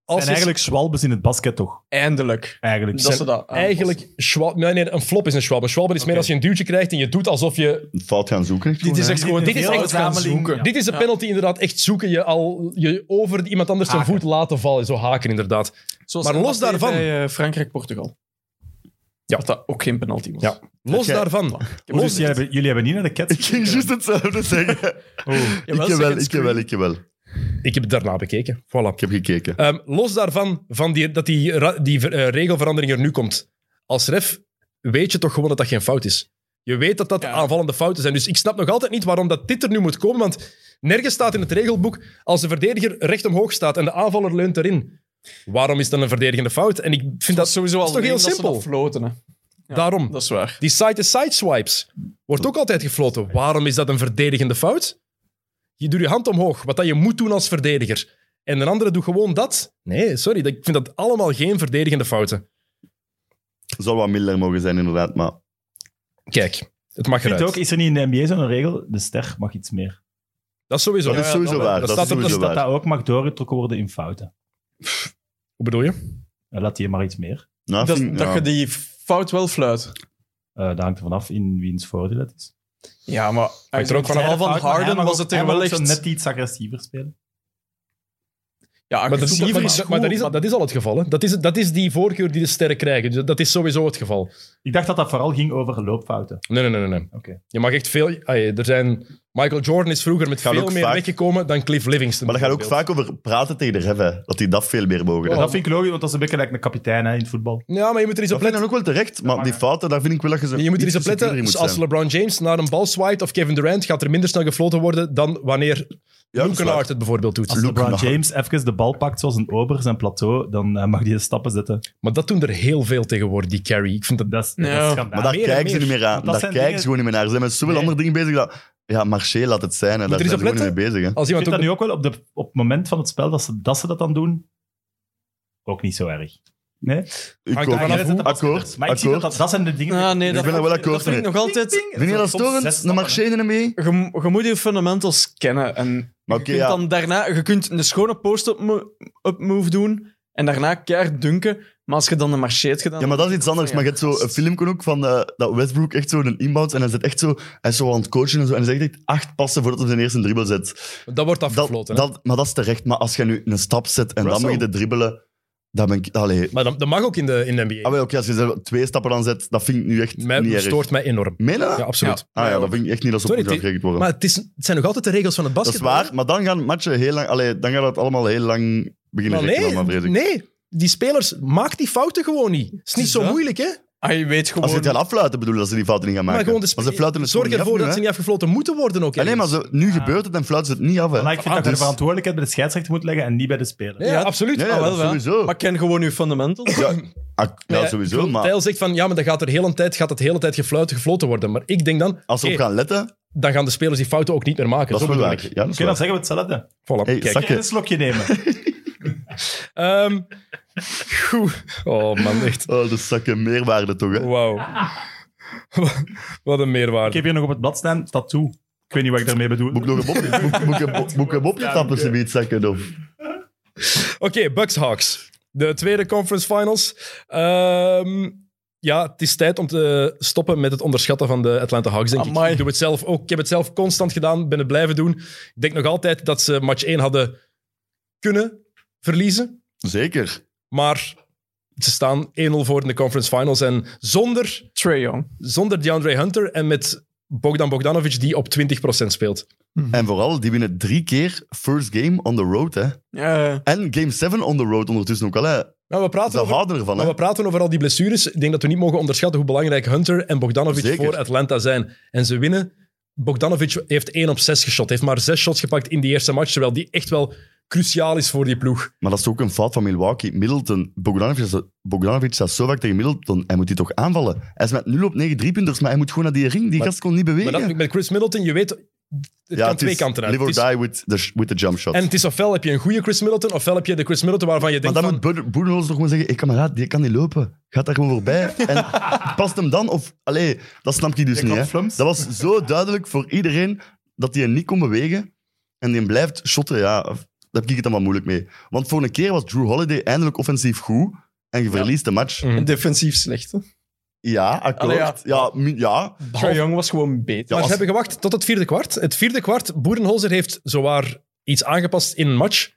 S1: Als
S3: En
S1: je-
S3: eigenlijk zwalbes in het basket, toch?
S5: Eindelijk.
S3: Eigenlijk.
S5: Dat ze dat aanpassen.
S1: Eigenlijk, schwal, nee, nee, een flop is een schwalbe. Een schwalbe is meer als je een duwtje krijgt en je doet alsof je...
S2: Een fout gaan zoeken. echt
S5: Dit
S2: gewoon,
S5: is
S2: hè.
S5: echt gewoon...
S1: Dit is
S5: heel
S1: echt-
S5: hard gaan
S3: verzameling,
S5: zoeken.
S3: ja.
S1: Dit is de penalty inderdaad. Echt zoeken je al je over iemand anders zijn
S3: Haken.
S1: voet laten vallen. Zo haken inderdaad.
S5: Zoals
S1: Maar los
S5: Mbappé
S1: daarvan-
S5: Bij eh, Frankrijk-Portugal.
S1: Ja.
S5: Dat dat ook geen penalty was.
S1: Ja. Los
S2: jij-
S1: daarvan.
S3: Dus
S1: Los,
S3: jullie hebben, jullie hebben niet naar de
S2: Ik
S3: Cats
S2: ging juist hetzelfde zeggen. Ik heb wel, ik heb wel, ik heb wel.
S1: ik heb het daarna bekeken.
S2: Ik
S1: Voilà.
S2: heb gekeken.
S1: Ehm, los daarvan van die, dat die, ra- die ver- eh, regelverandering er nu komt. Als ref weet je toch gewoon dat dat geen fout is. Je weet dat dat
S5: Ja.
S1: aanvallende fouten zijn. Dus ik snap nog altijd niet waarom dat dit er nu moet komen. Want nergens staat in het regelboek als de verdediger recht omhoog staat en de aanvaller leunt erin. Waarom is dan een verdedigende fout? En ik vind
S5: Dat
S1: dat
S5: is sowieso al
S1: is toch heel
S5: alleen dat ze
S1: simpel?
S5: dat floten, hè. ja.
S1: daarom.
S5: Dat is waar.
S1: Die side-to-side swipes wordt ook altijd gefloten. Waarom is dat een verdedigende fout? Je doet je hand omhoog, wat dat je moet doen als verdediger. En de andere doet gewoon dat. Nee, sorry, dat- ik vind dat allemaal geen verdedigende fouten.
S2: Zou wat milder mogen zijn, inderdaad. Maar
S1: Kijk, het mag
S3: Ik vind
S1: eruit.
S3: ook, is er niet in de NBA zo'n regel? De ster mag iets meer. Dus
S1: Dat is sowieso.
S2: dat is
S1: Ja,
S2: sowieso
S1: dat- dat
S2: waar. Dat is
S1: staat op-
S2: sowieso
S1: dat
S3: Dat dat
S2: waar.
S3: ook mag doorgetrokken worden in fouten.
S1: Hoe bedoel je?
S3: Eh, Laat die maar iets meer.
S2: Nou,
S5: Dat,
S2: vind-
S5: dat
S2: ja.
S5: je die fout wel fluit.
S3: Eh dat hangt ervan af in wiens voordeel het is.
S5: Ja, maar... Hij
S1: er ook van
S5: van
S3: Fout, maar hij
S5: Harden
S3: mag
S5: was
S3: ook-
S5: het er
S3: hij mag
S5: wel
S3: ook zo
S5: echt...
S3: net iets agressiever spelen.
S5: Ja,
S1: Maar, dat is,
S5: agressiever
S1: maar-
S5: is
S1: maar-
S5: goed,
S1: maar dat, is,
S5: maar-
S1: dat is al het geval. Hè? Dat, is, dat is die voorkeur die de sterren krijgen. Dus dat is sowieso het geval.
S3: Ik dacht dat dat vooral ging over loopfouten.
S1: Nee, nee, nee. nee, nee.
S5: Oh.
S3: Oké.
S1: Je mag echt veel... ai, er zijn, Michael Jordan is vroeger met
S2: Gaat
S1: veel
S2: ook
S1: meer
S2: vaak-
S1: weggekomen dan Cliff Livingston.
S2: Maar dat gaat ook
S1: bijvoorbeeld.
S2: vaak over praten tegen de ref, hè. Dat die dat veel meer mogen.
S3: En
S2: hè.
S3: Oh, dat vind ik logisch, want dat is een beetje like een kapitein hè, in het voetbal.
S1: Ja, maar je moet er eens
S2: Dat
S1: op
S2: vind ik
S1: letten.
S2: dan ook wel terecht, maar die fouten, daar vind ik wel dat je zo
S1: Je moet er eens
S2: iets
S1: op letten.
S2: secuurder in
S1: Dus
S2: moet
S1: als
S2: zijn.
S1: LeBron James naar een bal zwaait of Kevin Durant, gaat er minder snel gefloten worden dan wanneer
S2: Ja, dat is
S1: Luke
S2: waar.
S1: Kennard het bijvoorbeeld doet.
S3: Als
S2: Luke
S3: LeBron
S2: Kennard.
S3: James even de bal pakt zoals een ober zijn plateau, dan eh, mag hij de stappen zetten.
S1: Maar dat doen er heel veel tegenwoordig, die carry. Ik vind dat...
S3: Dat is, dat
S5: Ja.
S3: is schandaal.
S2: Maar daar
S1: meer en
S2: kijken ze
S1: meer.
S2: niet meer aan.
S3: Want dat
S2: Daar
S3: zijn
S2: kijken ze
S3: dingen-
S2: gewoon niet meer naar. Ze zijn met zoveel
S3: Nee.
S2: andere dingen bezig. Dat... Ja, Marché laat het zijn. Hè. Daar
S1: er eens op
S2: zijn ze
S1: Oh,
S2: gewoon niet mee bezig. Hè.
S1: Als iemand
S3: Ik vind
S1: ook...
S3: dat nu ook wel op, de, op het moment van het spel dat ze dat, ze dat dan doen, ook niet zo erg. Nee?
S2: Ik
S1: Hangt er
S2: ook
S1: vanaf
S2: niet.
S1: hoe-
S2: Akkoord,
S3: Maar ik zie dat,
S2: akkoord.
S3: dat dat zijn de dingen...
S5: Ah, nee,
S2: Ik
S5: dat
S2: ben er wel
S5: dat
S2: akkoord
S5: vind ik
S2: mee.
S5: nog altijd...
S2: Vind je dat storend? Een Marché in mee?
S5: Je, m- je moet je fundamentals kennen. En
S2: Maar
S5: je
S2: oké,
S5: kunt
S2: ja.
S5: dan daarna... Je kunt een schone post-up mo- up move doen en daarna keihard dunken. Maar als je dan een marché hebt gedaan...
S2: Ja, maar dat is iets anders. Maar je hebt zo een filmpje ook van eh, dat Westbrook echt zo een inbound en hij zit echt zo, hij is zo aan het coachen en zo. En hij zegt echt acht passen voordat hij zijn eerste dribbel zet.
S1: Dat wordt
S2: Dat,
S1: afgefloten. hè.
S2: dat, maar dat is terecht. Maar als je nu een stap zet en dan
S5: Russell.
S2: moet je de dribbelen, dan ben ik... Allee.
S1: Maar dat, dat mag ook in de, in de NBA.
S2: Ah, wel, oké, als je zelf twee stappen aan zet, dat vind ik nu echt
S1: Mij,
S2: niet erg.
S1: stoort mij enorm.
S2: Meen je dat?
S1: Ja, absoluut.
S2: Ah ja, dat vind ik echt niet als op
S1: Sorry,
S2: zou
S1: die-
S2: gekregen worden.
S1: Maar het, is, het zijn nog altijd de regels van het
S2: dat is
S1: basket.
S2: waar, maar dan gaan matchen heel lang... Allee, dan gaat het allemaal heel lang beginnen
S1: Maar nee,
S2: rekken, vrees ik.
S1: nee, die spelers, maak die fouten gewoon niet. Het is niet
S5: Is
S1: zo
S5: dat?
S1: moeilijk, hè?
S5: Ah, je weet gewoon...
S2: Als ze het gaan affluiten, bedoel dat ze die fouten niet gaan maken.
S1: Maar gewoon de
S2: Maar ze fluiten
S1: spe-
S2: het
S1: zorg
S2: gewoon niet
S1: ervoor
S2: af
S1: dat
S2: nu,
S1: ze niet afgefloten moeten worden ook.
S2: hè. Nee, maar
S1: ergens.
S2: zo, nu gebeurt het en fluiten ze het niet af. Hè.
S3: Maar
S1: Ah,
S3: ik vind dat je de
S2: Dus-
S3: verantwoordelijkheid bij de scheidsrechter moet leggen en niet bij de speler.
S1: Nee,
S5: Ja.
S1: absoluut.
S2: Nee,
S5: Ah, wel,
S2: dat
S5: wel.
S2: sowieso.
S5: Maar ken gewoon je fundamentals.
S2: Ja, ak- ja,
S1: Nee, ik
S2: sowieso,
S1: bedoel,
S2: maar
S1: Tijl zegt van, ja, maar dan gaat er heel een tijd, gaat het hele tijd gefluiten, gefloten worden. Maar ik denk dan,
S2: als ze op
S1: oké,
S2: gaan letten,
S1: dan gaan de spelers die fouten ook niet meer maken.
S2: dat is
S1: Zo
S2: wel
S1: bedoel
S2: waar.
S1: ik.
S2: Ja, dat is
S3: Oké, dan
S2: waar.
S3: zeggen we hetzelfde.
S1: Voilà,
S2: Hey,
S1: kijk.
S2: zak- Oké.
S3: Een slokje nemen.
S1: Ehm, goed. Oh man, echt.
S2: Oh, dat is zakken meerwaarde toch, hè?
S1: Wauw. Wat een
S3: Ik
S1: meerwaarde.
S3: heb hier nog op het blad staan, tattoo. Ik weet niet wat ik daarmee bedoel.
S2: Moet ik nog een mopje, moet, moet, ik een bo- moet ik een mopje tappen, ze biedt zakken? Of?
S1: Oké, Bucks Hawks. De tweede conference finals. Ehm, Ja, het is tijd om te stoppen met het onderschatten van de Atlanta Hawks, denk ik.
S5: Amai.
S1: Ik doe het zelf ook. Ik heb het zelf constant gedaan, ben het blijven doen. Ik denk nog altijd dat ze match 1 hadden kunnen verliezen.
S2: Zeker.
S1: Maar ze staan 1-0 voor in de conference finals. En zonder,
S5: Trae Young.
S1: zonder DeAndre Hunter en met Bogdan Bogdanovic, die op 20% speelt.
S2: En vooral, die winnen drie keer first game on the road, hè.
S5: Eh,
S2: En game 7 on the road ondertussen ook al, hè.
S1: Nou, we praten
S2: Ze
S1: over...
S2: houden ervan, hè.
S1: Maar we praten over al die blessures. Ik denk dat we niet mogen onderschatten hoe belangrijk Hunter en Bogdanovic
S2: Zeker.
S1: voor Atlanta zijn. En ze winnen. Bogdanovic heeft 1 op 6 geschot. Heeft maar 6 shots gepakt in die eerste match. Terwijl die echt wel cruciaal is voor die ploeg.
S2: Maar dat is toch ook een fout van Milwaukee. Middleton, Bogdanovic, Bogdanovic staat zo vaak tegen Middleton. Hij moet die toch aanvallen. Hij is met 0 op 9 driepunters, maar hij moet gewoon naar die ring. Die
S1: Maar-
S2: gast kon niet bewegen.
S1: Maar dat, met Chris Middleton, je weet, het
S2: ja,
S1: kan
S2: het is
S1: twee kanten uit.
S2: Live or
S1: Het is-
S2: die with the, sh- with the jump shot.
S1: en het is ofwel heb je een goede Chris Middleton, ofwel heb je de Chris Middleton waarvan je
S2: maar
S1: denkt
S2: dan
S1: van...
S2: moet Bud- Boerenholz toch gewoon zeggen, ik kameraad, die kan niet lopen. Gaat daar gewoon voorbij. en past hem dan? Of, allee, dat snap ik dus
S3: Ik
S2: niet.
S3: had
S2: Hè.
S3: flums.
S2: Dat was zo duidelijk voor iedereen dat hij niet kon bewegen. En die blijft shotten, ja. Daar heb ik het dan wel moeilijk mee. Want voor een keer was Drew Holiday eindelijk offensief goed. En je verliest de match.
S1: Mhm.
S5: defensief slecht. hè.
S2: Ja, akkoord.
S5: Allee, ja.
S2: ja. mi- ja.
S5: Trae Young was gewoon beter.
S1: Maar
S2: als-
S1: ze hebben gewacht tot het vierde kwart. Het vierde kwart, Boerenholzer heeft zowaar iets aangepast in een match.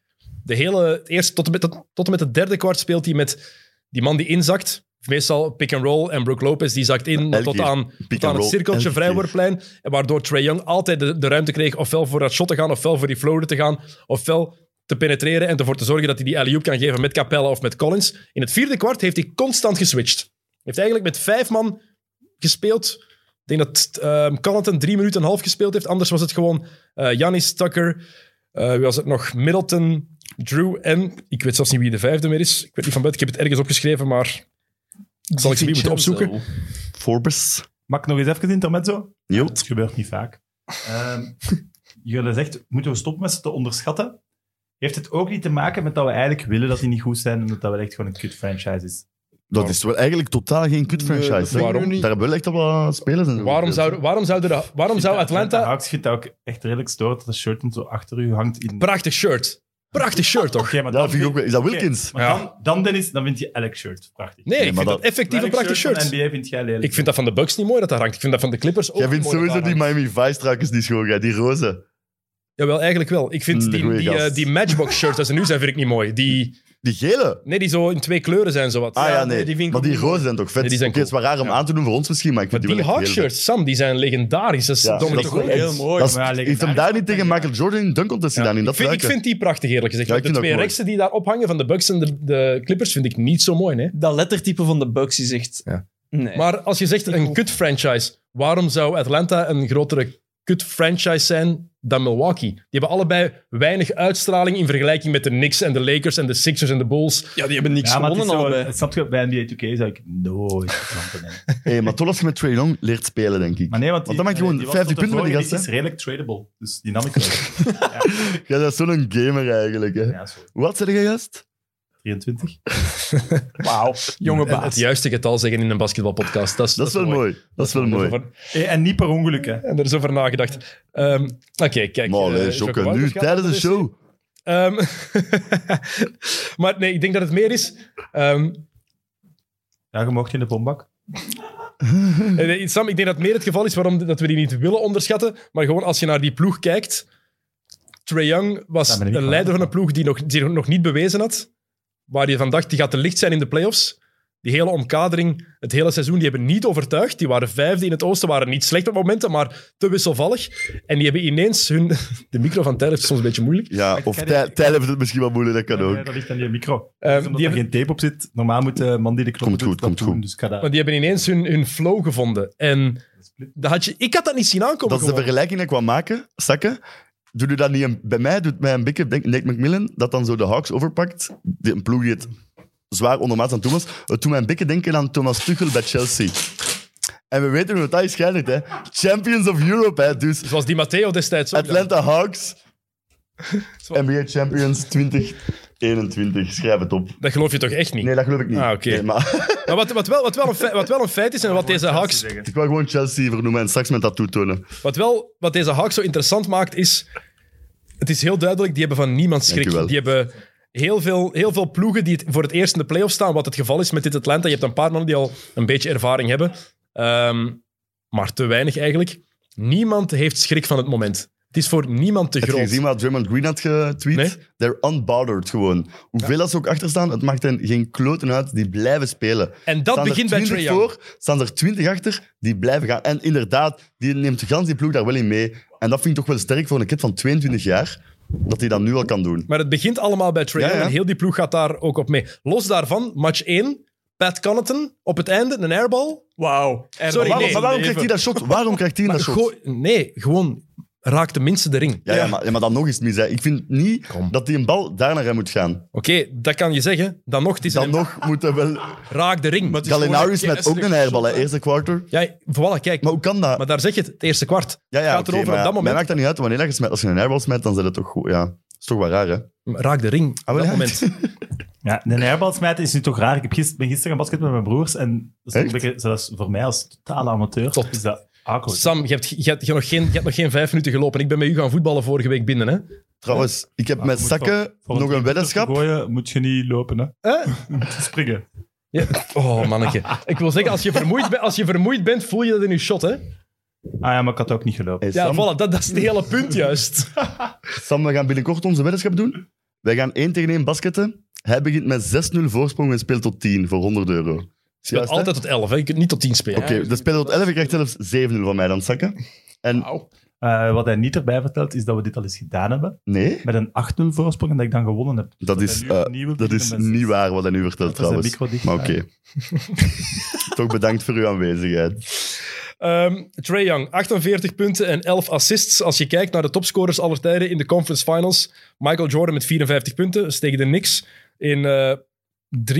S1: De hele, het eerste, tot, en met, tot, tot en met het derde kwart speelt hij met die man die inzakt. Meestal pick and roll en Brook Lopez die zakt in
S2: Elke
S1: tot
S2: keer.
S1: aan,
S2: Pick
S1: tot aan
S2: and
S1: het
S2: roll,
S1: cirkeltje
S2: elke keer.
S1: vrijwoordplein. En Waardoor Trae Young altijd de, de ruimte kreeg ofwel voor dat shot te gaan, ofwel voor die floater te gaan, ofwel te penetreren en ervoor te zorgen dat hij die alley-oop kan geven met Capella of met Collins. In het vierde kwart heeft hij constant geswitcht. Heeft eigenlijk met vijf man gespeeld. Ik denk dat ehm Connaughton drie minuten en een half gespeeld heeft. Anders was het gewoon eh Janis, Tucker, eh, wie was het nog? Middleton, Drew en... Ik weet zelfs niet wie de vijfde meer is. Ik weet niet van buiten, ik heb het ergens opgeschreven, maar... Zal ik ze niet moeten opzoeken?
S2: Forbes.
S3: Mag ik nog eens even intermezzo?
S2: Jot.
S3: Dat gebeurt niet vaak. Ehm jullie zegt, moeten we stoppen met ze te onderschatten? Heeft het ook niet te maken met dat we eigenlijk willen dat die niet goed zijn en dat dat wel echt gewoon een kut franchise is?
S2: Dat is wel eigenlijk totaal geen kut
S5: Nee, dat
S2: franchise. hè.
S1: vind ik nu
S2: Daar
S5: niet.
S2: hebben we echt al wat spelers in.
S1: Waarom zou, waarom zouden de, waarom zou
S3: De
S1: Atlanta...
S3: Hawks vindt dat ook echt redelijk stoort dat de shirt dan zo achter u hangt in...
S1: Prachtig shirt. Prachtig shirt, toch?
S3: Oké, maar
S2: Ja,
S3: dan
S2: dat vind ik ook wel. Is dat Wilkins?
S3: Maar
S1: Ja.
S3: dan, dan, Dennis, dan vind je elk shirt prachtig.
S1: Nee,
S2: Nee,
S1: ik
S2: maar
S1: vind dat
S2: dat-
S1: effectief een prachtig
S3: shirt van
S1: shirt.
S3: NBA vind jij lelijk.
S1: Ik vind dat van de Bucks niet mooi dat dat hangt. Ik vind dat van de Clippers ook
S2: Jij
S1: niet
S2: vindt
S1: mooi dat
S2: sowieso
S1: dat
S2: die
S1: hangt.
S2: Miami Vice-truikers niet schoon, hè, die roze.
S1: Jawel, eigenlijk wel. Ik vind
S2: Mm,
S1: die,
S2: goeie
S1: die, eh,
S2: gast.
S1: die Matchbox-shirts dat ze nu zijn, vind ik niet mooi. Die,
S2: Die gele.
S1: nee, die zo in twee kleuren zijn, zowat.
S2: Ah ja, nee.
S5: nee, die vind ik
S2: maar
S5: ook
S2: die
S5: niet
S2: roze zijn toch vet?
S1: Nee, die zijn
S2: Oké, Het is wel raar om aan te doen voor ons misschien, maar ik
S1: Maar
S2: vind
S1: die
S2: wel echt heel
S1: hardshirts, Sam, die zijn legendarisch. Dat is
S2: Ja,
S1: Dominic
S2: dat is
S1: Wilkins.
S2: wel
S5: heel mooi.
S2: vet. Dat is-
S3: Maar ja,
S2: heeft hem daar niet tegen Michael Jordan in dunk contest gedaan? In
S1: ik,
S2: dat
S1: vind, ik
S2: truitje?
S1: vind die prachtig, eerlijk gezegd.
S2: Ja, ik
S1: de
S2: vind dat
S1: twee
S2: mooi.
S1: reksen die daar ophangen van de Bucks en de, de Clippers vind ik niet zo mooi. Nee?
S5: Dat lettertype van de Bucks is echt...
S1: Ja.
S5: Nee.
S1: Maar als je zegt een kut franchise, waarom zou Atlanta een grotere kut franchise zijn dan Milwaukee? Die hebben allebei weinig uitstraling in vergelijking met de Knicks en de Lakers en de Sixers en de Bulls.
S5: ja, die hebben niks
S3: Ja, maar het is
S5: gewonnen
S3: zo,
S5: allebei.
S3: snap je, bij NBA 2K zou ik nooit klanten hebben.
S2: Hey, maar toch als je met Trae Young leert spelen, denk ik.
S3: Maar nee, want,
S2: Want dan maak je gewoon
S3: was
S2: 50
S3: tot de
S2: punten met die
S3: vorige
S2: gasten.
S3: editie is redelijk tradable, dus die nam ik wel.
S2: Jij bent zo'n gamer eigenlijk. Hè.
S3: ja, zo.
S2: Wat zeg jij gast?
S3: 23.
S5: Wauw. Jonge
S1: En het
S5: baas.
S1: juiste getal zeggen in een basketbalpodcast. Dat is,
S2: Dat is wel mooi. Dat is wel mooi.
S1: Er is over-
S3: Eh, En niet per ongeluk, hè.
S1: En er is over nagedacht. Ehm, Oké, kijk.
S2: Maar
S1: eh,
S2: allee,
S1: Jocko
S2: Jokke, nu
S1: Wouters gaat
S2: tijdens de
S1: naar
S2: show.
S1: Ehm, maar nee, ik denk dat het meer is. ehm,
S3: Ja, je mocht in de bombak.
S1: eh, nee, Sam, ik denk dat het meer het geval is waarom dat we die niet willen onderschatten. Maar gewoon als je naar die ploeg kijkt. Trae Young
S3: Ja,
S1: was
S3: ben ik
S1: een
S3: wel.
S1: leider van een ploeg die nog, die nog niet bewezen had. Waar je van dacht, die gaat te licht zijn in de playoffs. Die hele omkadering, het hele seizoen, die hebben niet overtuigd. Die waren vijfde in het oosten, waren niet slecht op momenten, maar te wisselvallig. En die hebben ineens hun... De micro van Tijl heeft het soms een beetje moeilijk.
S2: Ja, of
S3: ken
S2: Tijl
S3: die-
S2: Tijl heeft het misschien wel moeilijk, dat kan
S3: Ja,
S2: ook.
S3: ja, eh, dat ligt aan die micro.
S1: Ehm,
S3: Dus omdat
S1: die
S3: er
S1: hebben-
S3: geen tape op zit, normaal moet de man die de knop
S2: Komt
S3: doet
S2: goed,
S3: dat
S2: komt
S3: doen,
S2: goed.
S3: Dus ik ga
S1: Maar
S3: dat...
S1: die hebben ineens hun, hun flow gevonden. En
S3: split.
S1: dat had je, ik had dat niet zien aankomen.
S2: Dat is de
S1: gewoon.
S2: vergelijking die ik kwam maken, zakken. Doe je dat niet een- bij mij, doet mij een beetje denk, Nick McMillan, dat dan zo de Hawks overpakt. Die, een ploeg die het zwaar ondermaats aan Thomas. Het doet mij een beetje denken aan Thomas Tuchel bij Chelsea. En we weten hoe het dat is geëindigd, hè. Champions of Europe, hè. Dus
S1: Zoals die Matteo destijds ook.
S2: Atlanta Hawks, NBA Champions 2021. Schrijf het op.
S1: Dat geloof je toch echt niet?
S2: Nee, dat geloof ik niet.
S1: Ah, oké.
S2: Nee, maar
S1: Maar wat, wat, wel, wat, wel een feit, wat wel een feit is, en wat deze, Hawks,
S2: ik wil gewoon Chelsea vernoemen en straks met dat toetonen.
S1: wat, wel, wat deze Hawks zo interessant maakt, is... Het is heel duidelijk, die hebben van niemand schrik.
S2: Dank u wel.
S1: Die hebben heel veel, heel veel ploegen die het voor het eerst in de playoffs staan, wat het geval is met dit Atlanta. Je hebt een paar mannen die al een beetje ervaring hebben, Ehm, maar te weinig eigenlijk. Niemand heeft schrik van het moment. Het is voor niemand te
S2: Heb je
S1: groot.
S2: gezien wat Draymond Green had getweet?
S1: Nee.
S2: They're unbothered gewoon. Hoeveel dat ze ook achter staan, het maakt hen geen kloten uit. Die blijven spelen.
S1: En dat
S2: Staan er
S1: begint bij
S2: 20
S1: Trae Young.
S2: voor, staan er 20 achter, die blijven gaan. En inderdaad, die neemt de gans die ploeg daar wel in mee. En dat vind ik toch wel sterk voor een kid van 22 jaar, dat hij dat nu al kan doen.
S1: Maar het begint allemaal bij Trae
S2: Ja,
S1: Young
S2: ja.
S1: en heel die ploeg gaat daar ook op mee. Los daarvan, match 1, Pat Connaughton op het einde, een airball.
S5: Wauw.
S1: Sorry,
S2: Maar waarom,
S1: nee.
S2: maar waarom krijgt hij dat shot? Waarom krijgt hij dat shot?
S1: Gooi- nee, gewoon raak tenminste de ring.
S2: Ja, ja. maar, ja, maar dan nog eens mis. Hè. Ik vind niet
S1: Kom.
S2: dat die een bal daar naar hem moet gaan.
S1: Oké, dat kan je zeggen. Dan nog, het is
S2: Dan
S1: een-
S2: nog moet hij wel...
S1: raak de ring.
S2: Gallinari's met ook een airbal, hè, eerste kwartier.
S1: Ja, voilà, kijk.
S2: Maar
S1: Maar,
S2: hoe kan dat?
S1: daar zeg je het, het eerste kwart.
S2: ja, ja,
S1: gaat
S2: oké,
S1: erover
S2: maar
S1: op dat
S2: ja,
S1: moment.
S2: Mij maakt dat niet uit wanneer dat je smijt. Als je een airbal smijt, dan zit het toch goed. Ja, is toch wel raar, hè?
S1: Raak de ring op
S2: Ah, wel,
S1: dat
S2: ja.
S1: moment.
S3: Ja, een airbal smijten is nu toch raar. Ik heb gisteren, ben gisteren gaan basketten met mijn broers en dat is
S2: Echt?
S3: een beetje, zelfs voor mij als totale amateur
S1: Tot.
S3: is dat awkward.
S1: Sam, je hebt, je, hebt, je, hebt nog geen, je hebt nog geen vijf minuten gelopen. Ik ben met u gaan voetballen vorige week binnen. Hè?
S2: Trouwens, ik heb
S3: Maar
S2: met
S3: moet
S2: Sakke
S3: Voor
S2: nog een
S3: driepunter
S2: weddenschap.
S3: te gooien moet je niet lopen, hè.
S1: Eh?
S3: Moet je springen.
S1: Ja. Oh, mannetje. Ik wil zeggen, als je, vermoeid bent- als je vermoeid bent, voel je dat in je shot. Hè?
S3: Ah ja, maar ik had ook niet gelopen.
S2: Hey,
S1: Ja,
S2: Sam,
S1: voilà, dat, dat is het hele punt juist.
S2: Sam, we gaan binnenkort onze weddenschap doen. Wij gaan 1 tegen 1 basketten. Hij begint met 6-0 voorsprong en speelt tot 10 voor 100 euro. Is
S1: Je bent
S2: juist, hè?
S1: altijd tot 11, hè? je kunt niet tot 10 spelen.
S2: Oké, de speler tot 11 krijgt zelfs 7-0 van mij dan, Sakke. En
S3: Eh, wat hij niet erbij vertelt, is dat we dit al eens gedaan hebben.
S2: nee,
S3: Met een 8-0 voorsprong en dat ik dan gewonnen heb.
S2: dat is,
S3: En nu
S2: eh,
S3: opnieuw
S2: dat
S3: beginnen
S2: is
S3: met
S2: niet
S3: zes.
S2: waar wat hij nu vertelt,
S3: Dat is een
S2: trouwens.
S3: micro dicht.
S2: Maar oké. Toch bedankt voor uw aanwezigheid.
S1: Ehm Trae Young, 48 punten en 11 assists. Als je kijkt naar de topscorers aller tijden in de conference finals. Michael Jordan met 54 punten, steeg de niks. In eh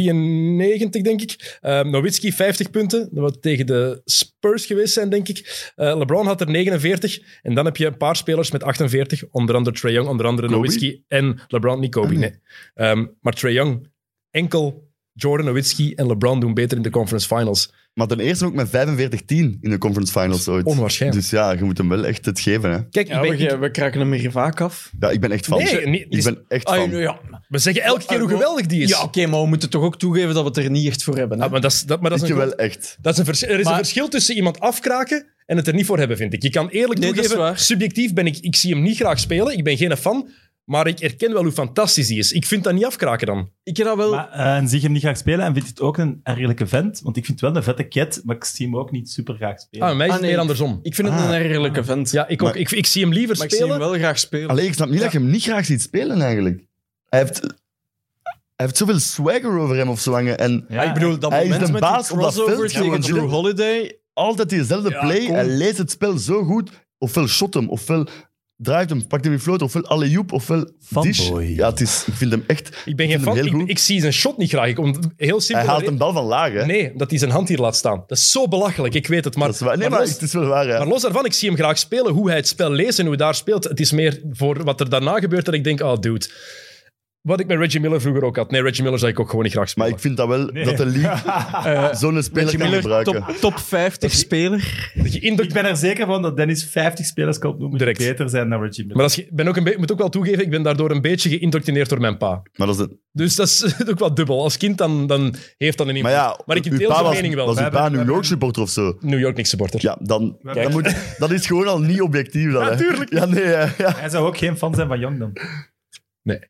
S1: 93, denk ik. Ehm Nowitzki 50 punten, wat tegen de Spurs geweest zijn, denk ik. Eh, LeBron had er 49. En dan heb je een paar spelers met 48. Onder andere Trae Young, onder andere
S2: Kobe?
S1: Nowitzki en LeBron. Niet Kobe, nee. Ehm, maar Trae Young, enkel Jordan, Nowitzki en LeBron doen beter in de conference finals.
S2: Maar ten eerste ook met 45-10 in de conference finals ooit.
S1: Onwaarschijnlijk.
S2: Dus ja, je moet hem wel echt het geven. Hè.
S1: Kijk,
S5: Ja,
S1: ik ben-
S5: we, we kraken hem hier vaak af.
S2: Ja, ik ben echt fan.
S1: Nee, niet-
S2: ik ben echt
S5: Ah,
S2: fan.
S5: ja,
S1: We zeggen elke keer hoe geweldig die is.
S5: ja oké, maar we moeten toch ook toegeven dat we het er niet echt voor hebben. Hè?
S1: Ah, maar dat is, dat, maar dat is
S2: Ik
S1: een,
S2: wel
S1: groot-
S2: echt.
S1: dat is een vers- er is een
S5: Maar-
S1: verschil tussen iemand afkraken en het er niet voor hebben, vind ik. Je kan eerlijk
S5: Nee, dat is
S1: toegeven,
S5: waar.
S1: subjectief ben ik... Ik zie hem niet graag spelen, ik ben geen fan, maar ik erken wel hoe fantastisch die is. Ik vind dat niet afkraken dan.
S5: ik heb dat wel...
S3: Maar, eh, en zie je hem niet graag spelen en vindt het ook een ergelijke vent? Want ik vind het wel een vette cat, maar ik zie hem ook niet super graag spelen.
S1: Ah, bij mij is
S5: Ah,
S1: het
S5: nee.
S1: meer andersom.
S5: ik vind het
S2: Ah.
S5: een ergerlijke vent.
S1: Ja, ik, ook,
S2: Maar-
S1: ik, ik zie hem liever
S5: maar ik zie
S1: spelen.
S5: hem wel graag spelen.
S2: Alleen, ik snap niet dat je hem niet graag ziet spelen eigenlijk. Hij heeft, hij heeft zoveel swagger over hem of zo hangen. En
S3: Ja,
S5: ah, ik bedoel, dat
S2: hij is
S5: moment
S2: de
S5: met
S2: baas
S5: die
S2: op dat
S5: crossover
S2: veld,
S5: tegen
S2: gewoon.
S5: Drew Holiday.
S2: altijd diezelfde
S5: Ja,
S2: play.
S5: kom.
S2: Hij leest het spel zo goed. Ofwel shot hem, ofwel draait hem, pakt hem in float, ofwel allejoep, ofwel dish.
S3: Fanboy.
S2: Ja, het is, ik vind hem echt...
S1: ik ben geen
S2: vind hem
S1: fan,
S2: heel
S1: ik,
S2: goed.
S1: ik zie zijn shot niet graag. Ik, om, heel
S2: Hij
S1: simpel.
S2: haalt een bal van laag, hè.
S1: Nee, dat hij zijn hand hier laat staan. Dat is zo belachelijk, ik weet het. Maar,
S2: Dat is waar. Nee, maar,
S1: los-
S2: het is wel waar, hè.
S1: Maar los daarvan, ik zie hem graag spelen. Hoe hij het spel leest en hoe hij daar speelt. Het is meer voor wat er daarna gebeurt dat ik denk, ah, dude. Wat ik met Reggie Miller vroeger ook had. Nee, Reggie Miller zou ik ook gewoon niet graag
S2: Maar
S1: spelen.
S2: ik vind dat wel dat de league
S5: eh,
S2: zo'n speler kan
S5: Reggie Miller,
S2: gebruiken.
S5: top, top 50 speler.
S1: Geïndoct-
S3: Ik ben er zeker van dat Dennis 50 spelers kan opnoemen die
S1: Direct.
S3: beter zijn dan Reggie Miller.
S1: Maar als je, ben ook een be- moet ook wel toegeven, ik ben daardoor een beetje geïndoctrineerd door mijn pa.
S2: Maar, dat is een-
S1: Dus dat is ook wat dubbel. Als kind dan, dan heeft dat een
S2: maar
S1: invloed.
S2: ja,
S1: Maar ik
S2: uw
S1: deel
S2: pa
S1: zijn
S2: was,
S1: mening wel.
S2: was uw
S3: Wij
S2: pa
S3: hebben-
S2: een New York supporter of zo?
S1: New York niks supporter.
S2: Ja, dan,
S3: Wij
S2: dan moet, dat is gewoon al niet objectief. Dan, hè.
S1: tuurlijk.
S2: Ja, nee, hè. ja.
S3: Hij zou ook geen fan zijn van Young dan.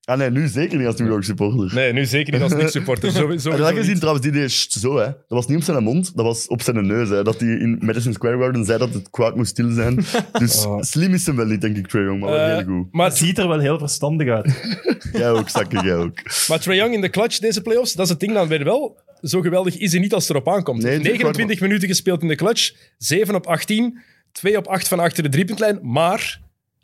S2: Ah, nee, nu zeker niet als New York supporter.
S1: Nee, nu zeker niet als niks supporter. Sowieso,
S2: Heb je dat
S1: sowieso
S2: gezien
S1: niet.
S2: trouwens? Die deed sst zo, hè. Dat was niet op zijn mond, dat was op zijn neus. Hè. Dat hij in Madison Square Garden zei dat het kwaad moest stil zijn. Dus
S1: Oh.
S2: slim is hem wel niet, denk ik, Trae Young, maar wel
S1: Eh,
S2: Oh, heel goed.
S1: Maar,
S3: Het ziet er wel heel verstandig uit.
S2: Jij ook, zakken, jij ook.
S1: maar Trae Young in de clutch deze playoffs, dat is het ding dan weer wel. Zo geweldig is hij niet als het erop aankomt.
S2: Nee, het is
S1: 29 minuten gespeeld in de clutch, 7 op 18, 2 op 8 van achter de driepuntlijn, maar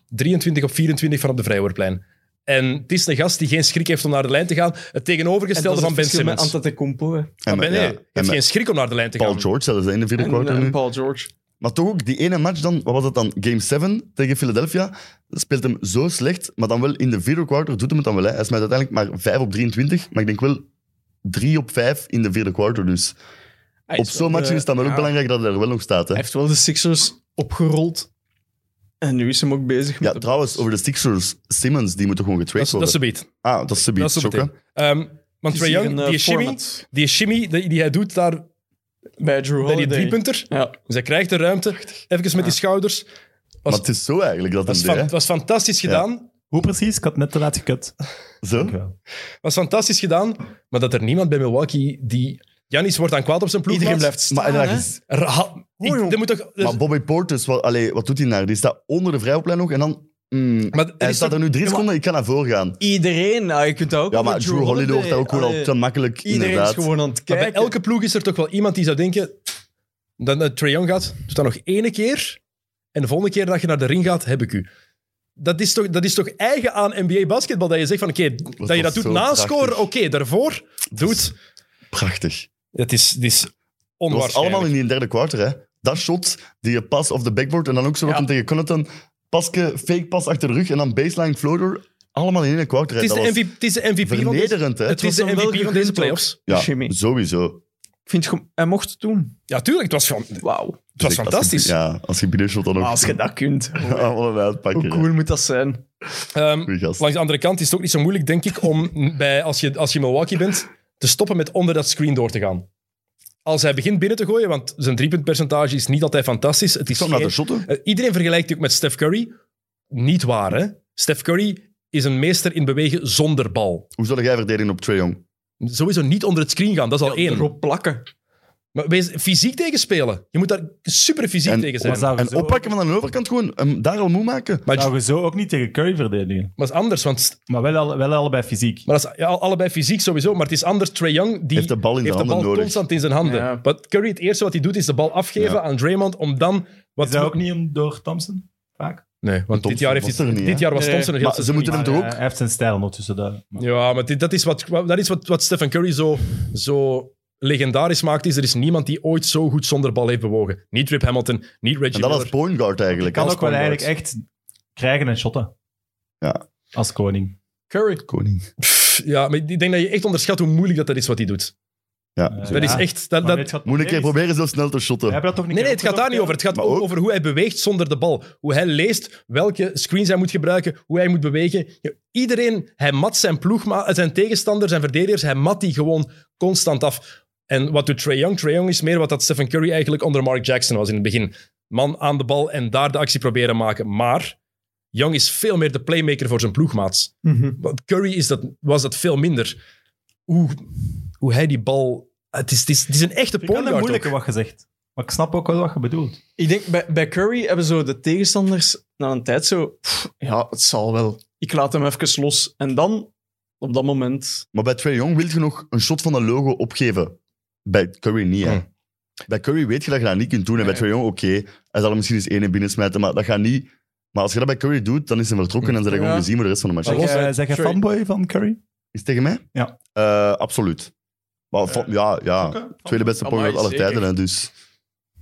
S1: 23 op 24 van op de vrijwoordplein. En het is een gast die geen schrik heeft om naar de lijn te gaan. Het tegenovergestelde van Ben Simmons.
S5: Antetokounmpo hè.
S1: Van Ben, nee,
S2: ja,
S1: je
S2: en
S1: hebt
S2: met
S1: geen schrik om naar de lijn te
S2: Paul
S1: gaan.
S2: George zelfs hè, in de vierde
S5: en,
S2: kwart
S5: en
S2: nu.
S5: Paul George.
S2: Maar toch ook die ene match dan, wat was dat dan? Game 7 tegen Philadelphia. Speelt hem zo slecht, maar dan wel in de vierde quarter doet hem het dan wel. Hè. Hij smijt uiteindelijk maar 5 op 23, maar ik denk wel 3 op 5 in de vierde quarter. Dus
S5: Hij
S2: op
S5: is
S2: zo'n
S5: wel
S2: match
S5: de-
S2: is het dan wel ook
S5: ja,
S2: belangrijk dat hij er wel nog staat. Hè.
S5: Hij heeft wel de Sixers opgerold. En nu is hem ook bezig met...
S2: Ja, trouwens, over de Sixers. Simmons, die moet toch gewoon
S1: Dat
S2: getraind
S1: is, dat is
S2: worden?
S1: ze beat.
S2: Ah, dat is ze
S1: Dat
S2: beat.
S1: is ze meteen.
S2: Chokken.
S1: Ehm, want Trae
S5: Het is hier
S1: Young,
S5: een, eh,
S1: die shimmy,
S5: format
S1: die shimmy die, die hij doet daar
S5: bij Drew
S1: bij
S5: Holiday.
S1: die driepunter,
S5: Ja.
S1: dus hij krijgt de ruimte, even met die schouders.
S2: Maar het is zo eigenlijk dat
S1: Dat
S2: het
S1: is,
S2: deed,
S1: fan-
S2: hè.
S1: was fantastisch gedaan.
S3: Hoe precies? Ik had net te laat gekut.
S2: Zo?
S3: Dankjewel.
S1: was fantastisch gedaan, maar dat er niemand bij Milwaukee die... Janis wordt dan kwaad op zijn ploeg.
S5: Iedereen
S1: maat.
S5: blijft
S2: Maar
S5: staan,
S2: inderdaad,
S5: hè.
S2: is-
S1: Ra- ik,
S5: jong.
S1: dat moet toch... dus-
S2: Maar Bobby Portis, wat, allee, wat doet hij daar? Die staat onder de vrijhoplijn nog en dan... mm,
S1: Maar er
S2: hij
S1: is
S2: staat
S1: toch-
S2: er nu drie
S1: Ja, maar-
S2: seconden, ik kan naar voren gaan.
S5: Iedereen. Nou, je kunt dat ook
S2: Ja,
S5: doen
S2: maar
S5: met
S2: Drew Holiday wordt daar ook gewoon al
S5: Allee,
S2: te makkelijk,
S5: Iedereen
S2: inderdaad.
S5: is gewoon aan het
S1: maar
S5: kijken.
S1: bij elke ploeg is er toch wel iemand die zou denken... Dat naar Trae Young gaat, doe dat nog ene keer. En de volgende keer dat je naar de ring gaat, heb ik u. Dat is toch, dat is toch eigen aan NBA-basketbal? Dat je zegt van, oké, dat je
S2: was
S1: dat doet
S2: zo
S1: na
S2: prachtig.
S1: scoren, oké, daarvoor doet...
S2: Prachtig.
S1: Dat is, dat is
S2: Dat was
S1: onwaarschijnlijk.
S2: allemaal in die derde kwartier, hè. Dat shot, die pas op de backboard en dan ook zo wat
S5: Ja.
S2: hem tegen Connaughton. Paske, fake pas achter de rug en dan baseline floater. Allemaal in één kwartier. hè.
S1: het, is
S2: Dat was
S1: de MVP, het is de MVP van deze,
S2: vernederend, hè.
S1: het is de
S5: hem wel
S1: MVP van
S5: gegund
S1: deze
S5: ook.
S1: playoffs.
S2: Ja,
S5: Jimmy.
S2: sowieso.
S5: Ik vind, gewoon- hij mocht het doen.
S1: Ja, tuurlijk, het was, van, het
S5: Wauw.
S1: was
S2: Dus Als je-
S1: fantastisch.
S2: ja, als je binnenshot dan ook...
S5: Maar als je dat kunt,
S2: Allemaal een uitpakken.
S5: hoe
S2: hè.
S5: cool moet dat zijn?
S1: Ehm,
S2: Goeie gast.
S1: Langs de andere kant is het ook niet zo moeilijk, denk ik, om bij, als, je, als je Milwaukee bent, te stoppen met onder dat screen door te gaan. Als hij begint binnen te gooien, want zijn driepuntpercentage is niet altijd fantastisch. Het is
S2: Stond naar de
S1: geen-
S2: shotten.
S1: Eh, Iedereen vergelijkt die ook met Steph Curry. Niet waar, hè? Steph Curry is een meester in bewegen zonder bal.
S2: Hoe zal jij verdedigen op Trae Young?
S1: Sowieso niet onder het screen gaan, dat is al één.
S5: Erop plakken.
S1: Maar wees fysiek tegenspelen. Je moet daar super fysiek
S2: En
S1: tegen zijn.
S3: Maar
S1: Maar
S3: zou je
S2: En
S3: zo-
S2: oppakken van de overkant gewoon, hem daar al moe maken.
S1: maar
S3: Zou je zo ook niet tegen Curry verdedigen.
S1: dat is anders, want
S3: Maar wel, al- wel allebei fysiek.
S1: Maar dat is ja, allebei fysiek sowieso, maar het is anders. Trae Young die
S2: Heeft de bal in
S1: heeft
S2: zijn
S1: de
S2: handen
S1: bal
S2: nodig.
S1: constant in zijn handen.
S5: Ja.
S1: Maar Curry, het eerste wat hij doet, is de bal afgeven
S2: Ja.
S1: aan Draymond om dan... Wat
S3: Is dat ook niet om door Thompson? Vaak.
S1: Nee, want dit
S2: Thompson
S1: jaar, heeft
S2: was
S1: hij-
S2: er niet,
S1: dit
S2: hè?
S1: jaar was
S5: Nee.
S1: Thompson er heel
S2: Maar ze
S1: seizoen
S2: moeten
S1: niet.
S2: hem toch
S3: Maar,
S2: ook...
S3: eh, hij heeft zijn stijl ondertussen. De, maar-
S1: Ja, maar dit, dat is, wat, dat is wat, wat Stephen Curry zo, zo legendarisch maakt. Is er is niemand die ooit zo goed zonder bal heeft bewogen. Niet Rip Hamilton, niet
S2: En
S1: Reggie
S2: dat
S1: Miller.
S2: als point guard eigenlijk.
S3: kan
S2: als
S3: ook wel
S2: point
S3: eigenlijk echt krijgen en shotten.
S2: Ja.
S3: Als koning.
S5: Curry.
S2: guard. Koning.
S1: Pff, Ja, maar ik denk dat je echt onderschat hoe moeilijk dat, dat is wat hij doet.
S2: Ja.
S3: Eh,
S1: Dat is
S3: ja.
S1: echt... Dat,
S3: Maar
S1: dat,
S3: weet je wat
S2: Moet
S3: probleem
S2: ik keer
S3: is?
S2: proberen zo snel te
S3: We
S2: shotten.
S3: hebben dat toch niet
S1: Nee, nee, het gaat daar niet over. Het gaat
S2: Maar
S1: ook
S2: ook-
S1: over hoe hij beweegt zonder de bal. Hoe hij leest, welke screens hij moet gebruiken, hoe hij moet bewegen. Ja, Iedereen, hij mat zijn ploegma, zijn tegenstanders, zijn verdedigers, hij mat die gewoon constant af. En wat doet Trae Young? Trae Young is meer wat dat Stephen Curry eigenlijk onder Mark Jackson was in het begin. Man aan de bal en daar de actie proberen maken. Maar Young is veel meer de playmaker voor zijn ploegmaats. Want Curry is dat, was dat veel minder. Hoe, hoe hij die bal... Het is, het is, het is een echte
S3: Ik vind
S1: point
S3: het
S1: guard
S3: moeilijke
S1: ook.
S3: wat je zegt. Maar ik snap ook wel wat je bedoelt.
S5: Ik denk, bij, bij Curry hebben zo de tegenstanders na een tijd zo... "Pff, ja, het zal wel. Ik laat hem even los. En dan, op dat moment...
S2: Maar bij Trae Young wil je nog een shot van een logo opgeven. Bij Curry niet, hè.
S1: Hm.
S2: Bij Curry weet je dat je dat niet kunt doen. En bij
S5: Nee.
S2: Trae Young, oké, hij zal er misschien eens één binnensmijten, maar dat gaat niet... Maar als je dat bij Curry doet, dan is hij vertrokken en zijn
S5: Ja.
S2: gewoon gezien voor de rest van de match.
S5: Maar
S3: Zeg,
S5: los,
S3: jij-
S5: hè,
S3: zeg je
S5: sorry.
S3: fanboy van Curry?
S2: Is het tegen mij?
S3: Ja.
S2: Eh, absoluut. Maar, van- ja, ja. Tweede beste point
S5: Amai,
S2: guard aller
S5: zeker.
S2: tijden, hè, dus...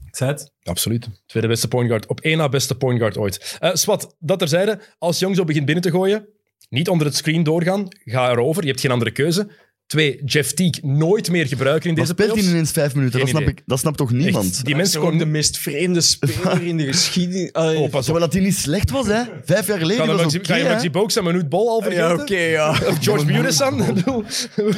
S3: Ik zei het.
S1: Absoluut. Tweede beste point guard. Op één na beste point guard ooit. Eh Swat, dat terzijde. Als Jong zo begint binnen te gooien, niet onder het screen doorgaan. Ga erover. Je hebt geen andere keuze. Twee, Jeff Teague nooit meer gebruiken in
S2: Maar
S1: deze
S2: speelt hij
S1: playoffs.
S2: ineens vijf minuten?
S1: Geen
S2: Dat snap,
S1: idee.
S2: ik, dat snapt toch
S1: Echt,
S2: niemand?
S1: die mensen
S5: Zo ook de
S1: gewoon...
S5: meest vreemde speler in de geschiedenis. Allee.
S1: Oh, pas op.
S2: Terwijl dat hij niet slecht was, hè. Vijf jaar geleden
S1: Ga je
S2: was
S1: Maxi-
S2: oké,
S1: Ga je
S2: hè.
S1: Maxi Boaks en Manute Bol al vergeten?
S5: ja, oké, ja. Oké,
S1: Of George Munison? Ik bedoel,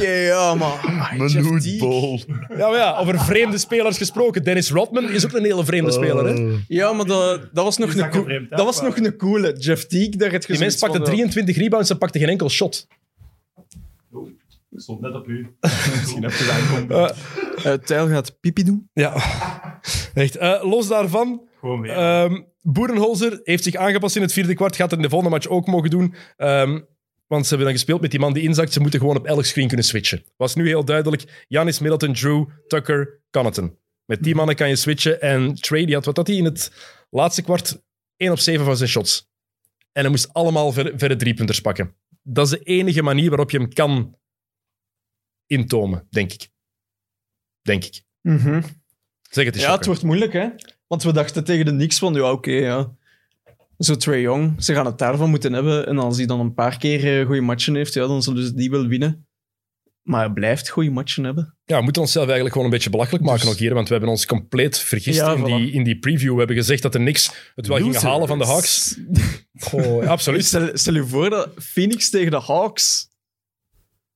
S5: ja, maar... Amai, Jeff
S2: Manute
S5: Teague.
S2: Bol.
S1: ja, maar ja, over vreemde spelers gesproken. Dennis Rodman is ook een hele
S5: Oh.
S1: vreemde speler. Hè?
S5: Ja, maar dat, dat was nog
S3: Is
S5: een
S3: dat
S5: cool-
S3: gevreemd, hè?
S5: Dat was nog een coole. Jeff Teague, daar het
S1: Die mens pakte 23 rebounds en pakte geen enkel shot.
S3: Ik stond net op u. Misschien heb je dat aankomen.
S1: Eh,
S5: Tijl gaat pipi doen.
S1: ja, echt. eh, los daarvan,
S3: Gewoon weer.
S1: Ehm Boerenholzer heeft zich aangepast in het vierde kwart. Gaat het in de volgende match ook mogen doen. Ehm, want ze hebben dan gespeeld met die man die inzakt. Ze moeten gewoon op elk screen kunnen switchen. Was nu heel duidelijk. Janis, Middleton, Drew, Tucker, Connaughton. Met die mannen kan je switchen. En Trey, die had wat dat hij in het laatste kwart 1 op 7 van zijn shots. En hij moest allemaal verre, verre driepunters pakken. Dat is de enige manier waarop je hem kan intomen, denk ik. Denk ik. Zeg het eens,
S5: Ja,
S1: Jokke.
S5: het wordt moeilijk, hè? Want we dachten tegen de niks van, ja, oké, ja. Zo Trae Young, ze gaan het daarvan moeten hebben. En als hij dan een paar keer eh, goede matchen heeft, ja, dan zullen ze die wel winnen. maar blijft goede matchen hebben.
S1: Ja, we moeten onszelf eigenlijk gewoon een beetje belachelijk maken ook hier, want we hebben ons compleet vergist
S5: Ja,
S1: in,
S5: voilà.
S1: die, in die preview. We hebben gezegd dat er niks het wel ging
S2: Losers.
S1: halen van de Hawks. Oh, ja, absoluut.
S5: Stel, stel je voor dat Phoenix tegen de Hawks.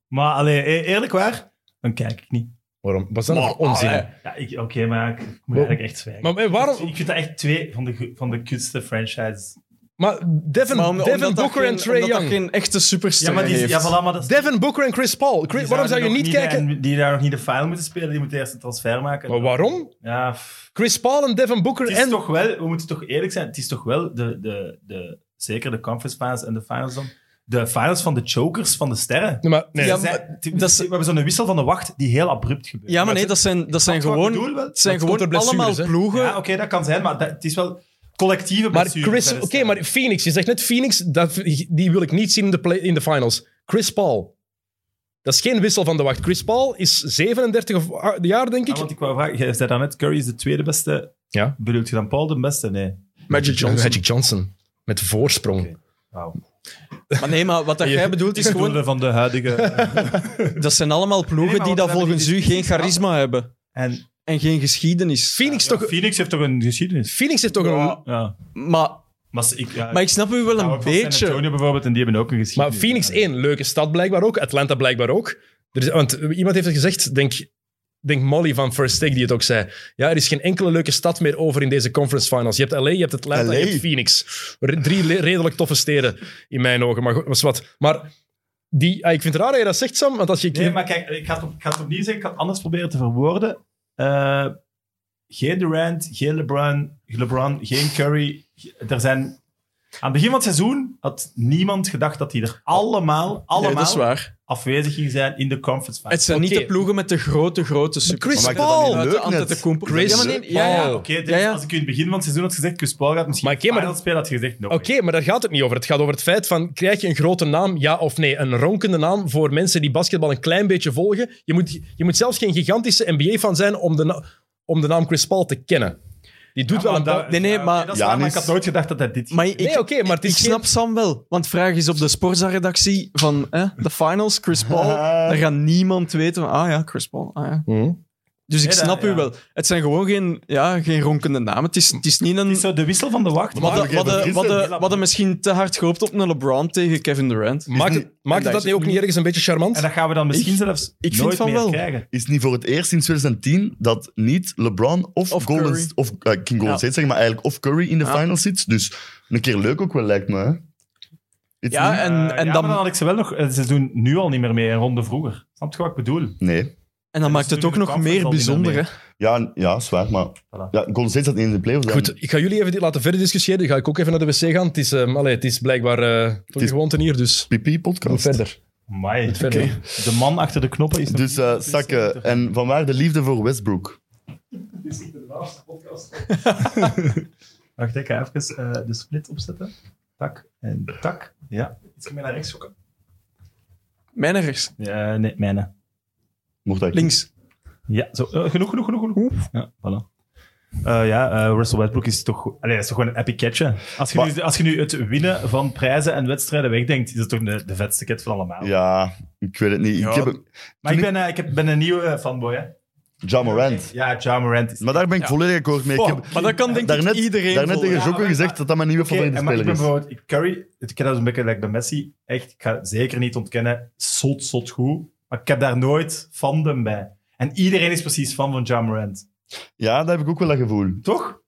S3: Maar allee, e- eerlijk waar, dan kijk ik niet.
S1: Waarom? Was dat nog onzin?
S5: allee.
S3: Ah, Ja, ik- Oké, maar ik, ik moet eigenlijk echt zwijgen.
S1: Maar eh, waarom?
S3: Ik vind dat echt twee van de, go- van de kutste franchises.
S1: Maar Devin,
S5: Maar om-
S1: Devin
S5: omdat dat
S1: Booker
S5: geen-
S1: en Trey
S5: omdat dat
S1: Young.
S5: geen echte superster
S3: Ja, maar die,
S5: heeft.
S3: ja, voilà, maar dat is-
S1: Devin Booker en Chris Paul. Chris-
S3: die
S1: waarom zou je
S3: nog
S1: niet kijken?
S3: de- die daar nog niet de file moeten spelen, die moeten eerst een transfer maken.
S1: Maar waarom?
S3: Ja, pff.
S1: Chris Paul en Devin Booker
S3: het is
S1: en...
S3: toch wel, we moeten toch eerlijk zijn, het is toch wel de, de, de, zeker de conference finals en de finals dan, de finals van de chokers van de sterren.
S1: Nee, maar, nee.
S5: Ja,
S3: Ze zijn-
S5: maar dat is-
S3: we hebben zo'n wissel van de wacht die heel abrupt gebeurt.
S5: Ja, maar nee, dat zijn, dat zijn
S3: Snap je wat ik
S5: gewoon,
S3: bedoel wel?
S5: het zijn
S1: Dat komt
S5: gewoon
S1: door blessures,
S5: allemaal
S1: hè?
S5: ploegen.
S3: Ja, oké, dat kan zijn, maar dat, het is wel collectieve
S1: maar
S3: blessures
S1: Chris...
S3: bij de
S1: Oké,
S3: sterren.
S1: maar Phoenix. Je zegt net Phoenix, dat, die wil ik niet zien in de, play, in de finals. Chris Paul. Dat is geen wissel van de wacht. Chris Paul is 37 of, ah, jaar, denk ik.
S3: Ah, want ik wou vragen, jij zei daarnet, Curry is de tweede beste.
S1: Ja.
S3: Bedoelt je dan Paul de beste? Nee.
S5: Magic Johnson.
S1: Magic Johnson. Met voorsprong.
S3: Oké. Wauw.
S5: Maar nee, maar wat dat jij bedoelt is
S3: Ik
S5: gewoon...
S3: bedoelde van de huidige...
S5: Dat zijn allemaal
S3: Nee,
S5: ploegen
S3: maar
S5: die
S3: wat
S5: dat
S3: we hebben
S5: volgens
S3: die
S5: u geen
S3: discussies
S5: charisma hebben.
S3: en
S5: En geen geschiedenis.
S1: Phoenix, toch,
S3: Phoenix heeft toch een geschiedenis?
S1: Phoenix heeft toch een...
S3: Ja.
S5: Maar,
S3: Maar ik, ja,
S5: maar ik snap u wel
S3: hou
S5: een
S3: ook van San
S5: beetje.
S3: Antonio bijvoorbeeld, en die hebben ook een
S1: Maar
S3: geschiedenis.
S1: Phoenix
S3: Ja.
S1: 1, leuke stad blijkbaar ook. Atlanta blijkbaar ook. Er is, want iemand heeft het gezegd, denk, denk Molly van First Take die het ook zei. Ja, er is geen enkele leuke stad meer over in deze conference finals. Je hebt LA, je hebt Atlanta,
S2: LA.
S1: je hebt Phoenix. Re- drie le- redelijk toffe steden in mijn ogen. Maar goed, was wat. Maar die, ah, ik vind het raar dat je dat zegt, Sam. Want als je...
S3: Nee, maar kijk, ik ga het, op- ik ga het opnieuw zeggen. Ik ga het anders proberen te verwoorden. Eh, geen Durant, geen LeBron, LeBron, geen Curry. Er zijn... Aan het begin van het seizoen had niemand gedacht dat die er allemaal, allemaal
S5: Nee, dat is waar.
S3: afwezig gingen zijn in de conference
S5: Het
S3: finals.
S5: zijn
S1: Oké.
S5: niet de ploegen met de grote, grote super.
S1: Chris
S2: Maar maakt dat dan
S1: Paul!
S2: niet
S5: Buiten
S2: leuk net?
S5: Antetokounmpo.
S1: Chris
S5: ja, maar nee, ja, ja.
S1: Paul.
S3: Oké, dit-
S5: Ja, ja.
S3: als ik u in het begin van het seizoen had gezegd, Chris Paul gaat misschien
S1: Maar oké, maar
S3: finals spelen, had je gezegd, no
S1: Oké, maar daar gaat het niet over. Het gaat over het feit van, krijg je een grote naam, ja of nee? Een ronkende naam voor mensen die basketbal een klein beetje volgen. Je moet, je moet zelfs geen gigantische NBA-fan zijn om de, na- om de naam Chris Paul te kennen. Die doet wel een...
S3: dat-
S1: paar-
S5: Nee, nee,
S3: ja, oké,
S5: maar-
S3: dat is waar, maar ik
S2: Giannis-
S3: had nooit gedacht dat hij dit...
S5: Maar ik,
S1: Nee, oké, maar het is
S5: ik snap Sam wel. Want vraag is op de Sporza-redactie van hè, de finals, Chris Paul. Daar gaat niemand weten van, ah ja, Chris Paul. Ah, ja.
S1: geen- Mhm.
S5: Dus ik
S3: Nee, dat-
S5: snap u
S3: ja.
S5: wel. Het zijn gewoon geen, ja, geen ronkende namen. Het is, het is niet een...
S3: Het is zo de wissel van de wacht.
S5: Wat
S2: Maar
S5: de-
S2: oké,
S5: wat
S2: dat
S5: de-
S2: is
S5: wat
S2: het.
S5: de- wat de misschien te hard gehoopt op een LeBron tegen Kevin Durant.
S1: Maakt, het, maakt het
S5: daar
S1: dat
S5: is
S1: niet
S5: het
S1: ook niet
S5: niet.
S1: ergens een beetje
S3: En
S1: charmant?
S3: dat gaan we dan misschien
S5: Ik-
S3: zelfs
S5: ik vind
S3: nooit
S5: van
S3: meer
S5: wel.
S3: krijgen.
S2: Is niet voor het eerst sinds 2010 dat niet LeBron of,
S5: Of
S2: Golden,
S5: Curry.
S2: of eh, King Golden
S5: Ja.
S2: State, zeg maar eigenlijk, of Curry in de
S5: Ja.
S2: finals zit. Dus een keer leuk ook wel, lijkt me. hè. It's
S5: Ja,
S2: niet-
S5: en,
S3: Eh, ja,
S5: en dan,
S3: maar dan had ik ze wel nog... eh, Ze doen nu al niet meer mee, een ronde vroeger. Snap je wat ik bedoel?
S2: Nee.
S5: en dan maakt
S3: dus
S5: het
S3: nu
S5: ook
S3: in de
S5: nog
S3: conference
S5: meer
S3: al niet meer
S5: bijzonder.
S3: mee.
S5: hè.
S2: Ja, n- ja, zwaar, maar...
S3: Voilà.
S2: Ja, Golden State zat niet in de playoffs.
S1: Goed,
S2: dan.
S1: ik ga jullie even dit laten verder discussiëren. Dan ga ik ook even naar de wc gaan. Het is, ehm, allee, het is blijkbaar eh toch
S2: is-
S1: gewoon ten hier, dus doe
S2: PP-podcast.
S1: verder.
S3: Amai.
S1: verder.
S3: Oké. De man achter de knoppen is nog
S2: Dus eh Sakke, en vanwaar de liefde voor Westbrook?
S3: Wacht, ik ga even eh, de split opzetten. Tak en tak. Ja. Iets meer naar rechts zoeken.
S5: Mijn rechts,
S3: Ja, nee, mijne.
S2: Mocht dat
S5: links.
S3: Ja, zo, eh, genoeg, genoeg, genoeg, genoeg. Ja, voilà. Eh, ja, eh, Russell Westbrook is toch, allee, is toch gewoon een epic catch. hè? Als je, nu,
S2: Maar-
S3: als je nu het winnen van prijzen en wedstrijden wegdenkt, is dat toch de, de vetste cat van allemaal.
S2: Ja, ik weet het niet.
S5: Ja.
S2: Ik heb
S3: maar ik ben, eh, ik heb, ben een nieuwe eh, fanboy. Hè?
S2: Ja Morant.
S3: Ja, Ja Morant is...
S2: Maar daar ben ik
S5: Ja.
S2: volledig akkoord mee. Ik heb
S5: Oh, maar dat kan denk
S2: daarnet,
S5: ik iedereen
S2: daarnet
S5: volgen.
S2: tegen
S3: Ja,
S2: Jocko
S3: maar-
S2: gezegd dat dat mijn nieuwe
S3: Oké,
S2: favoriete
S3: maar ik
S2: speler
S3: ben
S2: is.
S3: bijvoorbeeld ik- Curry, het ik ken dat een beetje like bij Messi. Echt, ik ga het zeker niet ontkennen. Zot, zot goed. Maar ik heb daar nooit fandom bij. En iedereen is precies fan van Ja Morant.
S2: Ja, dat heb ik ook wel dat gevoel.
S3: Toch?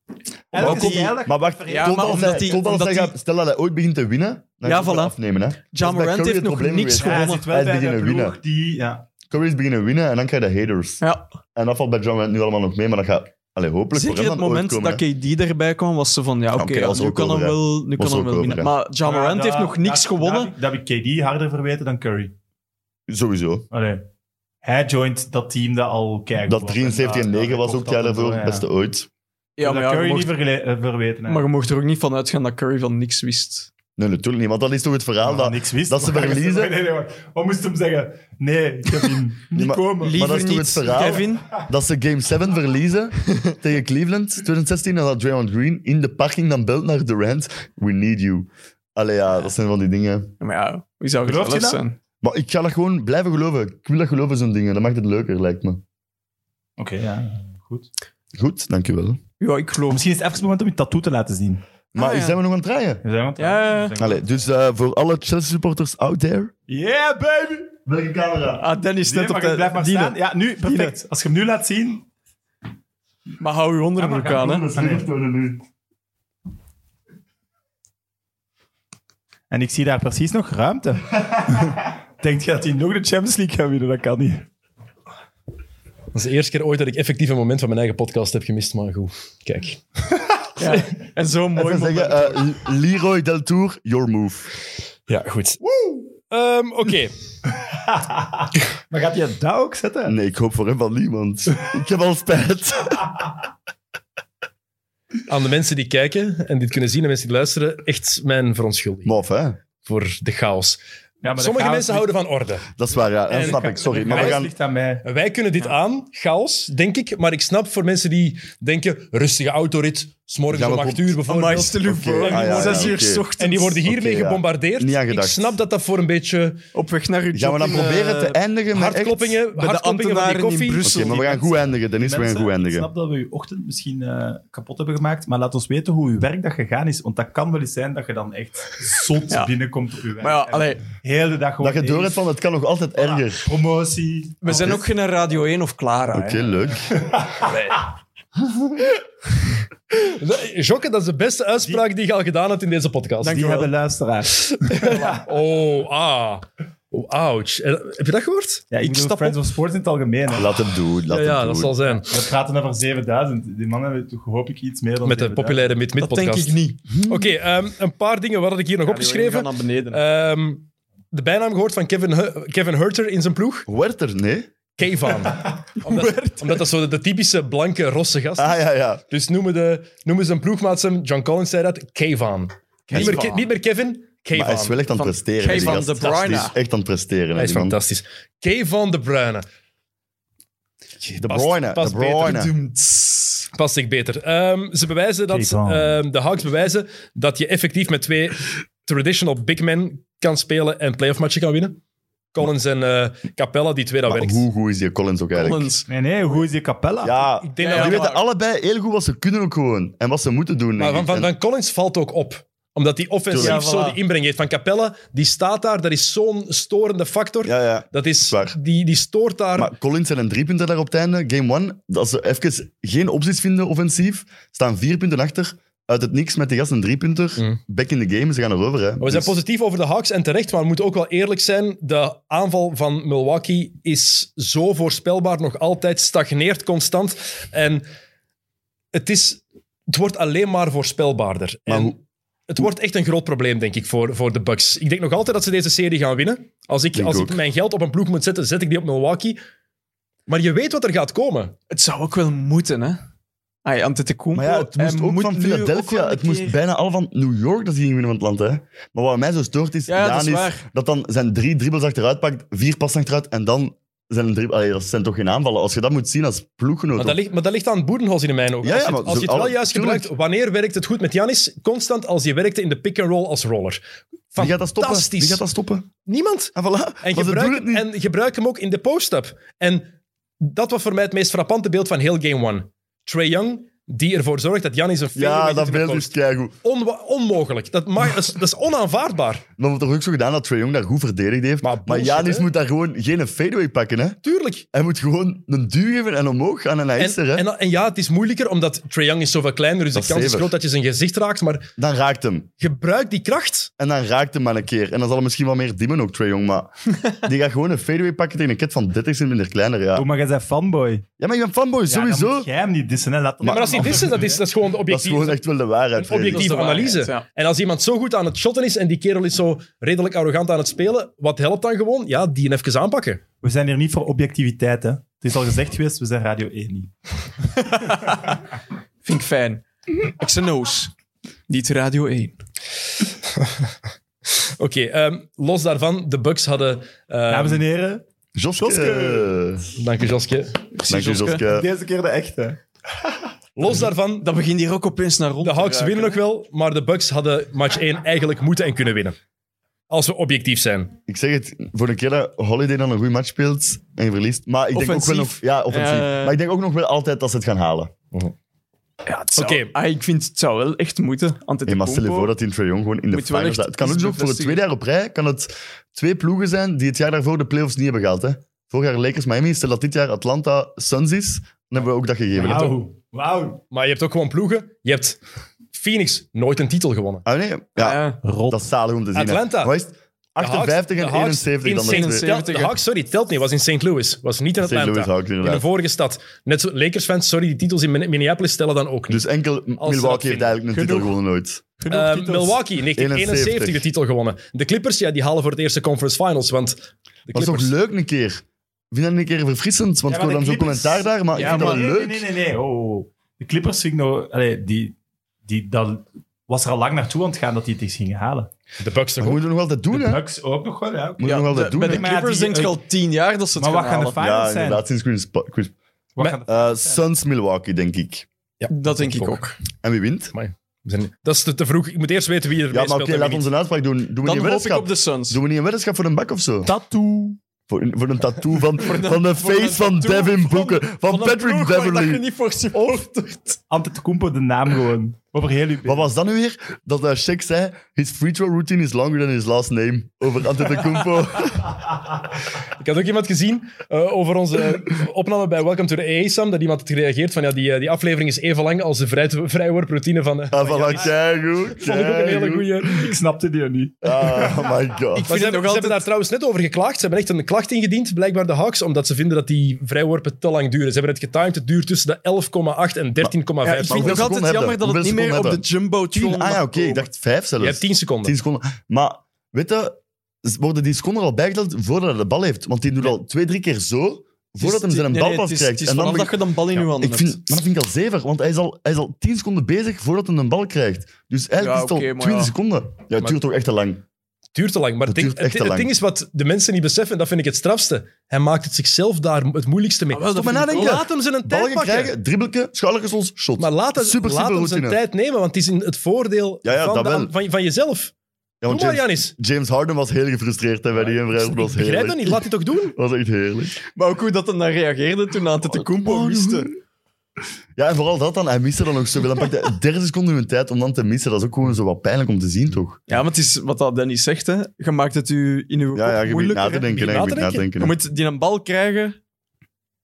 S2: Maar
S3: Elke
S2: ook-
S3: vrijdag-
S2: Maar wacht,
S5: Ja,
S2: tot
S5: maar
S2: als
S5: omdat
S2: hij-
S5: die-
S2: tot als
S5: omdat
S2: hij
S5: die-
S2: gaat- stel dat hij ooit begint te winnen, dan
S5: Ja,
S2: gaat hij
S5: voilà.
S2: wel afnemen. Hè.
S5: Ja
S2: Dat is bij
S5: Morant
S2: Curry
S5: heeft
S2: het
S5: nog
S2: probleem
S5: niks
S2: geweest.
S3: Ja, hij
S5: gewonnen.
S3: zit wel
S2: Hij is
S3: bij de
S2: beginnen
S3: ploeg
S2: winnen.
S3: die... Ja,
S2: Curry is beginnen winnen en dan krijg je de haters.
S5: Ja,
S2: En dat valt bij John Morant nu allemaal nog mee, maar dat gaat allee, hopelijk voor
S5: zeker
S2: hem
S5: het
S2: dan ooit
S5: moment
S2: komen,
S5: dat
S2: hè.
S5: KD erbij kwam, was ze van, ja, oké,
S2: oké,
S5: ja,
S2: was
S5: nu
S2: ook
S5: kan hem
S2: over, hè.
S5: wel, nu
S2: Was
S5: kan hem
S2: ook
S5: wel
S2: over,
S5: winnen.
S2: hè.
S5: Maar Ja Morant
S3: Maar
S5: heeft
S3: dat-
S5: nog niks
S3: dat-
S5: gewonnen.
S3: Dat, heb ik- dat heb ik KD harder verweten dan Curry.
S2: Sowieso.
S3: Allee. Hij joint dat team dat al kijkt.
S2: Dat 73 en 9 was ook het jaar daarvoor het beste ooit.
S5: Ja, maar
S3: maar
S5: ja, je
S3: Curry
S5: mocht-
S3: niet vergele- eh, verweten. hè.
S5: maar je mocht er ook niet van uitgaan dat Curry van niks wist.
S2: Nee, natuurlijk niet, want dat is toch het verhaal
S3: Maar
S2: dat...
S3: niks wist.
S2: dat ze
S3: Maar-
S2: verliezen.
S3: Nee, nee, nee, maar- Wat moest hem zeggen? Nee, ik heb hem niet
S2: maar-
S3: komen.
S5: Liever
S2: dat is toch
S5: niet,
S2: het verhaal?
S5: Kevin.
S2: Dat ze Game 7 verliezen tegen Cleveland 2016. En dat Draymond Green in de parking dan belt naar Durant. We need you. Allee, ja, dat zijn van die dingen.
S5: Ja, Maar ja, wie zou
S3: Gelooft je
S5: geloofd
S3: dat?
S5: zijn?
S2: Maar ik ga dat gewoon blijven geloven. Ik wil dat geloven, zo'n dingen. Dat maakt het leuker, lijkt me.
S3: Oké, ja. Goed.
S2: Goed, dankjewel.
S5: Ja, ik geloof.
S3: Misschien is het even het moment om je tattoo te laten zien.
S2: Maar
S1: Ah,
S5: ja.
S2: zijn we nog aan het draaien?
S3: We zijn aan het-
S5: Ja.
S3: we zijn aan
S2: Allee,
S3: het-
S2: dus eh, voor alle Chelsea-supporters out there...
S3: Yeah, baby!
S2: Welke camera?
S5: Ah, Dennis,
S3: Nee,
S5: net op
S3: maar ik
S5: de...
S3: blijf maar
S5: Dine.
S3: staan. Ja, nu, perfect. Als je hem nu laat zien...
S5: Maar hou uw
S3: Ja,
S5: onderbroek
S3: maar ga
S5: aan, hè.
S2: Dat is vingertonen nu.
S3: En ik zie daar precies nog ruimte. Denkt je dat hij nog de Champions League gaat winnen? Dat kan niet.
S1: Dat is de eerste keer ooit dat ik effectief een moment van mijn eigen podcast heb gemist, maar goed. Kijk.
S5: Ja. En zo'n mooi
S2: Even
S5: moment.
S2: zeggen, eh, Leroy Del Tour, your move.
S1: Ja, goed. Ehm, Oké.
S3: Maar gaat hij dat ook zetten?
S2: Nee, ik hoop voor hem van niemand. ik heb al spijt.
S1: Aan de mensen die kijken en dit kunnen zien en mensen die luisteren, echt mijn verontschuldiging
S2: Mof, hè?
S1: voor de chaos.
S3: Ja, maar
S1: Sommige mensen houden van orde.
S2: Dat is waar, ja. Dat
S1: En-
S2: snap ik, sorry. Maar we gaan...
S3: ligt aan mij.
S1: Wij kunnen dit aan, chaos, denk ik. Maar ik snap voor mensen die denken, rustige autorit, smorgens
S2: Ja,
S1: om
S2: maar
S1: acht
S2: komt-
S1: uur
S5: Amai,
S1: bijvoorbeeld.
S5: stel u
S2: Oké,
S5: voor,
S2: ah, ja,
S5: zes
S2: ja,
S5: uur
S2: oké.
S5: s ochtends
S1: En die worden hiermee
S2: Oké, ja.
S1: gebombardeerd.
S2: Niet aan
S1: ik
S2: gedacht.
S1: snap dat dat voor een beetje
S5: op weg naar uw
S2: Gaan we dan
S5: job in,
S2: proberen te
S5: eh,
S2: eindigen met echt-
S1: hartkloppingen,
S5: bij de
S1: hartkloppingen van die
S5: ambtenaren in
S1: koffie.
S5: Brussel.
S2: Oké, maar we gaan goed eindigen, Dennis. We gaan
S3: Mensen,
S2: goed
S3: ik
S2: eindigen.
S3: snap dat we je ochtend misschien eh, kapot hebben gemaakt, maar laat ons weten hoe uw werkdag gegaan is, want dat kan wel eens zijn dat je dan echt zot
S5: Ja.
S3: binnenkomt op je werk.
S5: Maar ja,
S3: En
S5: allee,
S3: heel de dag gewoon
S2: Dat je door
S3: eens-
S2: hebt van, het kan nog altijd erger.
S3: Promotie.
S5: we zijn ook geen Radio 1 of Clara.
S1: Ah,
S5: hè.
S2: Oké, leuk.
S1: Jokke, dat is de beste uitspraak die je al gedaan hebt in deze podcast.
S3: Die
S5: Dankjewel.
S3: hebben luisteraars.
S1: Oh, ah. Oh, ouch. Eh, Heb je dat gehoord?
S3: Ja, ik
S1: stap
S3: bedoel,
S1: op.
S3: Friends of Sports in het algemeen. hè.
S2: Laat hem doen, laat
S1: ja, ja
S2: hem
S1: dat
S2: doen.
S1: zal zijn.
S3: We praten over 7000. Die mannen hebben toch hoop ik iets meer dan
S1: Met de
S3: 7000.
S1: populaire
S5: Dat denk
S1: Mid-Mid-podcast.
S5: ik niet.
S1: Oké, ehm, een paar dingen. Wat had ik hier nog opgeschreven?
S5: naar beneden.
S1: Ehm, de bijnaam gehoord van Kevin, Hu- Kevin Herter in zijn ploeg?
S2: Werd er, nee?
S1: Kevan. omdat, omdat dat zo de, de typische blanke, rosse gast is.
S2: Ah, ja, ja.
S1: Dus noemen, de, noemen zijn ploegmaat hem, John Collins zei dat, Kevan. Niet meer, Ke- niet meer Kevin, Kevan.
S2: Maar hij is wel echt aan het
S5: Van-
S2: presteren.
S5: Kay
S2: hè, die
S5: van
S2: gast.
S5: de Bruyne.
S2: Hij is echt aan het presteren. hè,
S1: Hij is
S2: die man.
S1: fantastisch. Kevan de Bruyne.
S2: De
S1: Past-
S2: Bruyne,
S1: past
S2: de Bruyne.
S5: Doemt.
S1: Past zich beter. Ehm, ze bewijzen dat,
S3: Kevan.
S1: ehm, de Hawks bewijzen dat je effectief met twee traditional big men kan spelen en playoff matchen kan winnen. Collins en eh, Capella, die twee, dat
S2: Maar
S1: werkt.
S2: hoe goed is die Collins ook eigenlijk?
S5: Collins.
S3: Nee, nee, hoe is die Capella?
S2: Ja,
S1: Ik
S2: die
S1: denk dat dat-
S2: weten allebei heel goed wat ze kunnen ook gewoon. En wat ze moeten doen.
S1: Maar
S2: denk
S1: van,
S2: ik.
S1: van,
S2: En-
S1: van Collins valt ook op. Omdat die offensief
S2: Tuurlijk.
S5: Ja,
S1: zo
S5: voilà.
S1: die inbreng heeft. Van Capella, die staat daar. Dat is zo'n storende factor.
S2: Ja, ja.
S1: Dat is,
S2: Zwaar.
S1: die, die stoort daar.
S2: Maar Collins en een driepunter daar op het einde. Game one, dat ze even geen opties vinden offensief. Staan vier punten achter. Uit het niks met de gast een driepunter.
S1: Mm.
S2: Back in the game, ze gaan erover. Hè.
S1: Maar we zijn
S2: Dus-
S1: positief over de Hawks en terecht, maar we moeten ook wel eerlijk zijn. De aanval van Milwaukee is zo voorspelbaar, nog altijd stagneert constant. En het, is, het wordt alleen maar voorspelbaarder.
S2: Maar
S1: en
S2: hoe-
S1: het wordt echt een groot probleem, denk ik, voor, voor de Bucks. Ik denk nog altijd dat ze deze serie gaan winnen. Als ik,
S2: Denk
S1: als ik
S2: ook.
S1: mijn geld op een ploeg moet zetten, zet ik die op Milwaukee. Maar je weet wat er gaat komen.
S5: Het zou ook wel moeten, hè? Ai, Antetokounmpo.
S2: Maar ja, het moest
S5: hij
S2: ook
S5: moet
S2: van
S5: nu ook wel
S2: Philadelphia.
S5: een
S2: Het moest
S5: keer-
S2: bijna al van New York dat ze gingen winnen van het land. Hè. Maar wat mij zo stoort is,
S5: Ja, dat is
S2: Giannis,
S5: waar.
S2: dat dan zijn drie dribbles achteruit pakt, vier passen achteruit en dan zijn drie... Allee, dat zijn toch geen aanvallen. Als je dat moet zien als ploeggenoot.
S1: Maar dat ligt, maar dat ligt aan Boerenholz in mijn ogen.
S2: Ja,
S1: als
S2: ja,
S1: je,
S2: maar
S1: als je het
S2: zo-
S1: wel
S2: alle-
S1: juist
S2: tuurlijk.
S1: gebruikt, wanneer werkt het goed met Janis? Constant als je werkte in de pick-and-roll als roller.
S2: Wie gaat dat stoppen?
S1: Fantastisch.
S2: Wie gaat dat stoppen?
S1: Niemand.
S2: En voilà.
S1: En
S2: Maar ze doen
S1: gebruik,
S2: het niet.
S1: en gebruik hem ook in de post-up. En dat was voor mij het meest frappante beeld van heel Game 1. Trae Young, die ervoor zorgt dat Janis een fadeaway
S2: Ja,
S1: doet
S2: dat
S1: in de
S2: beeld is
S1: post.
S2: keigoed.
S1: Onwa- onmogelijk. Dat, mag, dat, is, dat is onaanvaardbaard.
S2: Maar we hebben toch ook zo gedaan dat Trae Young daar goed verdedigd heeft.
S1: Maar
S2: Maar,
S1: bullshit,
S2: Janis
S1: hè?
S2: moet daar gewoon geen fadeaway pakken. Hè?
S1: Tuurlijk.
S2: Hij moet gewoon een duw geven en omhoog gaan en hij
S1: En,
S2: is er. Hè?
S1: en, en ja, het is moeilijker, omdat Trae Young is zoveel kleiner, dus
S2: Dat
S1: de
S2: is
S1: kans is
S2: zeker.
S1: groot dat je zijn gezicht raakt. Maar
S2: Dan raakt hem.
S1: gebruik die kracht.
S2: En dan raakt hem maar een keer. En dan zal hij misschien wel meer dimmen ook, Trae Young. Maar die gaat gewoon een fadeaway pakken tegen een kid van 30 cent minder kleiner. Ja,
S3: Oh, maar jij bent fanboy.
S2: ja maar ik ben fanboy,
S3: Ja, dan
S2: sowieso.
S3: moet jij hem niet dissen, hè. Laat hem
S1: Maar, als die
S3: af.
S1: dissen, dat is, dat is gewoon de
S2: Dat is
S1: objectieve.
S2: gewoon echt wel de waarheid.
S1: Een objectief-
S5: Dat is de waarheid,
S1: analyse.
S5: ja.
S1: En als iemand zo goed aan het shotten is en die kerel is zo redelijk arrogant aan het spelen, wat helpt dan gewoon? Ja, die even aanpakken.
S3: We zijn hier niet voor objectiviteit, hè. Het is al gezegd geweest, we zijn Radio 1 niet.
S5: Vind ik fijn. Xenos. Niet Radio 1.
S1: Oké, ehm, los daarvan, de Bucks hadden... ehm,
S3: Dames en heren,
S2: Joske.
S1: Dank u, Joske.
S2: Dank je, Joske.
S3: deze keer de echte.
S1: Los daarvan,
S5: Dan begint hier ook opeens naar rond
S1: de
S5: te
S1: Hawks
S5: raken,
S1: winnen nog wel, maar de Bucks hadden match 1 eigenlijk moeten en kunnen winnen. Als we objectief zijn.
S2: Ik zeg het, voor een keer dat Holiday dan een goede match speelt en je verliest. Maar ik denk ook wel nog...
S5: Offensief.
S2: Ja, offensief.
S5: Ja.
S2: Maar ik denk ook nog wel altijd dat ze het gaan halen.
S5: Ja, het zou-
S1: Oké.
S5: Ah, ik vind het zou wel echt moeten.
S2: Hey, maar stel je voor dat die in Trae Young gewoon in de
S5: Moet wel
S2: finals...
S5: echt
S2: staat. Het kan ook
S5: iets
S2: nog voor het
S5: bevestigen.
S2: tweede jaar op rij kan het twee ploegen zijn die het jaar daarvoor de playoffs niet hebben gehaald. Hè. Vorig jaar Lakers Miami, stel dat dit jaar Atlanta Suns is, dan hebben we ook dat gegeven. hè, toch?
S3: Wauw. Wauw.
S1: Maar je hebt ook gewoon ploegen. Je hebt Phoenix nooit een titel gewonnen.
S2: Ah nee, ja, dat is zalig om te zien. hè.
S1: Atlanta.
S2: Wat is het?
S1: De Hawks-
S2: 58
S1: de
S2: en
S1: Hawks
S2: 71 dan
S1: in
S2: de
S1: Saint-
S2: twee.
S5: twee.
S1: Tel- De Hawks, sorry, telt niet. was in St. Louis. was niet in
S2: St. Louis
S1: Atlanta.
S2: Hawks,
S1: in de
S2: inderdaad.
S1: vorige stad. Net zo, Lakers-fans, sorry, die titels in Min- Minneapolis stellen dan ook niet.
S2: Dus enkel Milwaukee heeft
S1: vinden.
S2: eigenlijk een titel
S3: Genoeg.
S2: gewonnen nooit.
S3: Genoeg
S1: Eh,
S3: titels.
S1: Milwaukee, 1971 de titel gewonnen. De Clippers, ja, die halen voor het eerste conference finals. Want de
S2: Dat is toch
S1: Clippers-
S2: leuk een keer? Ik vind dat een keer verfrissend, want
S3: Ja,
S2: ik hoor
S3: maar
S2: dan
S3: de
S2: zo'n
S3: Clippers-
S2: commentaar daar, maar ik
S3: Ja,
S2: vind dat
S3: maar
S2: wel
S3: nee,
S2: leuk.
S3: nee, nee, nee. Oh, oh. De Clippers vind ik nog... Allee, die, die, dat was er al lang naartoe aan het gaan dat die het eens gingen halen.
S1: De Bucks toch
S2: Dat
S1: ook.
S2: moeten we nog altijd doen,
S3: De
S2: hè?
S3: Bucks ook nog wel, ja.
S2: Moeten we nog altijd doen,
S5: bij
S2: hè?
S5: de
S3: Maar ja,
S5: Clippers
S3: die-
S5: denk ik al tien jaar dat ze het
S3: Maar wat
S5: gaan
S3: gaan de
S5: halen.
S3: finals
S2: Ja,
S3: zijn?
S2: inderdaad, sinds Chris... Chris
S3: Wat gaan de
S2: Eh,
S3: finals zijn?
S2: Suns Milwaukee, denk ik.
S5: Dat denk ik ook.
S2: En wie wint?
S1: We zijn- Dat is te, te vroeg. Ik moet eerst weten wie er
S2: Ja,
S1: mee
S2: maar oké,
S1: speelt. en
S2: laat
S1: wie
S2: ons
S1: niet.
S2: een uitspraak doen. Doen we niet
S5: Dan
S2: een
S5: hoop ik
S2: weddenschap?
S5: op de Suns.
S2: Doen we niet een weddenschap voor een bak of zo?
S3: Tattoo.
S2: Voor een, voor een tattoo van, van de
S5: voor een
S2: face van
S5: tattoo
S2: Devin
S5: van-
S2: Booker. Van, Patrick Beverly.
S5: niet voor
S3: Oh.
S5: supportert.
S3: Antetokounmpo, de naam gewoon. Over heel uw
S2: Wat was dat nu weer? Dat uh, Shaq zei, his free throw routine is longer than his last name. Over Antetokounmpo.
S1: Ik had ook iemand gezien eh, over onze opname bij Welcome to the AA, Sam, dat iemand had gereageerd van ja, die, eh, die aflevering is even lang als de vrij, vrijworproutine van... eh,
S2: ah, voilà, keigoed.
S1: vond ik ook een hele
S2: keigoed.
S1: goede.
S3: Ik snapte die niet.
S2: Ah, oh my
S1: Maar
S2: god.
S5: vind
S1: ze, hebben,
S5: het nog
S1: ze hebben
S5: altijd-
S1: daar trouwens net over geklaagd. Ze hebben echt een klacht ingediend, blijkbaar de Hawks, omdat ze vinden dat die vrijworpen te lang duren. Ze hebben het getimed, het duurt tussen de 11,8 en 13,5
S5: Ja, ik vind
S1: seconden.
S5: het nog
S2: seconden
S5: altijd jammer
S2: hebben?
S5: dat het niet
S2: Hoeveel
S5: meer op
S2: seconden
S5: de Jumbotron
S2: Ah ja,
S5: mag
S2: oké.
S5: komen.
S2: Ik dacht vijf zelfs.
S1: Je hebt 10 seconden.
S2: Tien seconden. Maar weet je, z- worden die seconden al bijgeteld voordat hij de bal heeft? Want die doet al twee, drie keer zo voordat hij
S5: Het is-
S2: zijn
S5: nee,
S2: bal
S5: nee,
S2: pas
S5: het is-
S2: krijgt.
S5: Het is vanaf
S2: begin-
S5: dat je dan bal in je handen
S2: ik
S5: hebt.
S2: vind, maar dat vind ik al zever, want hij is al, hij is al tien seconden bezig voordat hij een bal krijgt. Dus eigenlijk
S5: Ja,
S2: is het al
S5: oké, maar
S2: 20
S5: ja.
S2: seconden. Ja, het
S1: Maar-
S2: duurt toch echt te lang.
S1: Het duurt te lang. Maar het
S2: Dat
S1: ding,
S2: duurt echt
S1: het,
S2: te
S1: het
S2: lang.
S1: ding is wat de mensen niet beseffen, en dat vind ik het strafste. Hij maakt het zichzelf daar het moeilijkste mee.
S5: Ah, wel, dat
S1: Stop maar
S5: vind ik
S1: nadenken.
S5: ook.
S1: Laat hem zijn een tijd
S2: Ballen
S1: pakken.
S2: krijgen, dribbelke, schouderkessels, shot.
S1: Maar laat, het,
S2: Super
S1: laat
S2: simpele
S1: hem zijn
S2: routine.
S1: tijd nemen, want het is in het voordeel
S2: Ja, ja,
S1: van,
S2: dat
S1: de-
S2: wel.
S1: van, van jezelf.
S2: ja, want
S1: Doe maar,
S2: James,
S1: Janis.
S2: James Harden was heel gefrustreerd hè, bij die en Dat was
S1: Begrijp
S2: heerlijk.
S1: dat niet, laat hij toch doen.
S2: Dat was echt heerlijk.
S5: Maar ook hoe dat dan daar reageerde toen Antetokounmpo
S2: Oh,
S5: miste.
S2: Ja, en vooral dat dan. Hij miste dan nog zoveel. Dan pakte hij 30 seconden hun tijd om dan te missen. Dat is ook gewoon zo wat pijnlijk om te zien, toch?
S5: Ja, maar het is wat dat Dennis zegt, hè. Je maakt het u in uw
S2: Ja, ja je moet
S5: moeilijker.
S2: na te
S5: hè.
S2: denken. hè, Je
S1: na
S2: moet
S1: te
S2: na te
S1: denken.
S2: denken.
S5: Je
S2: hè.
S5: moet die een bal krijgen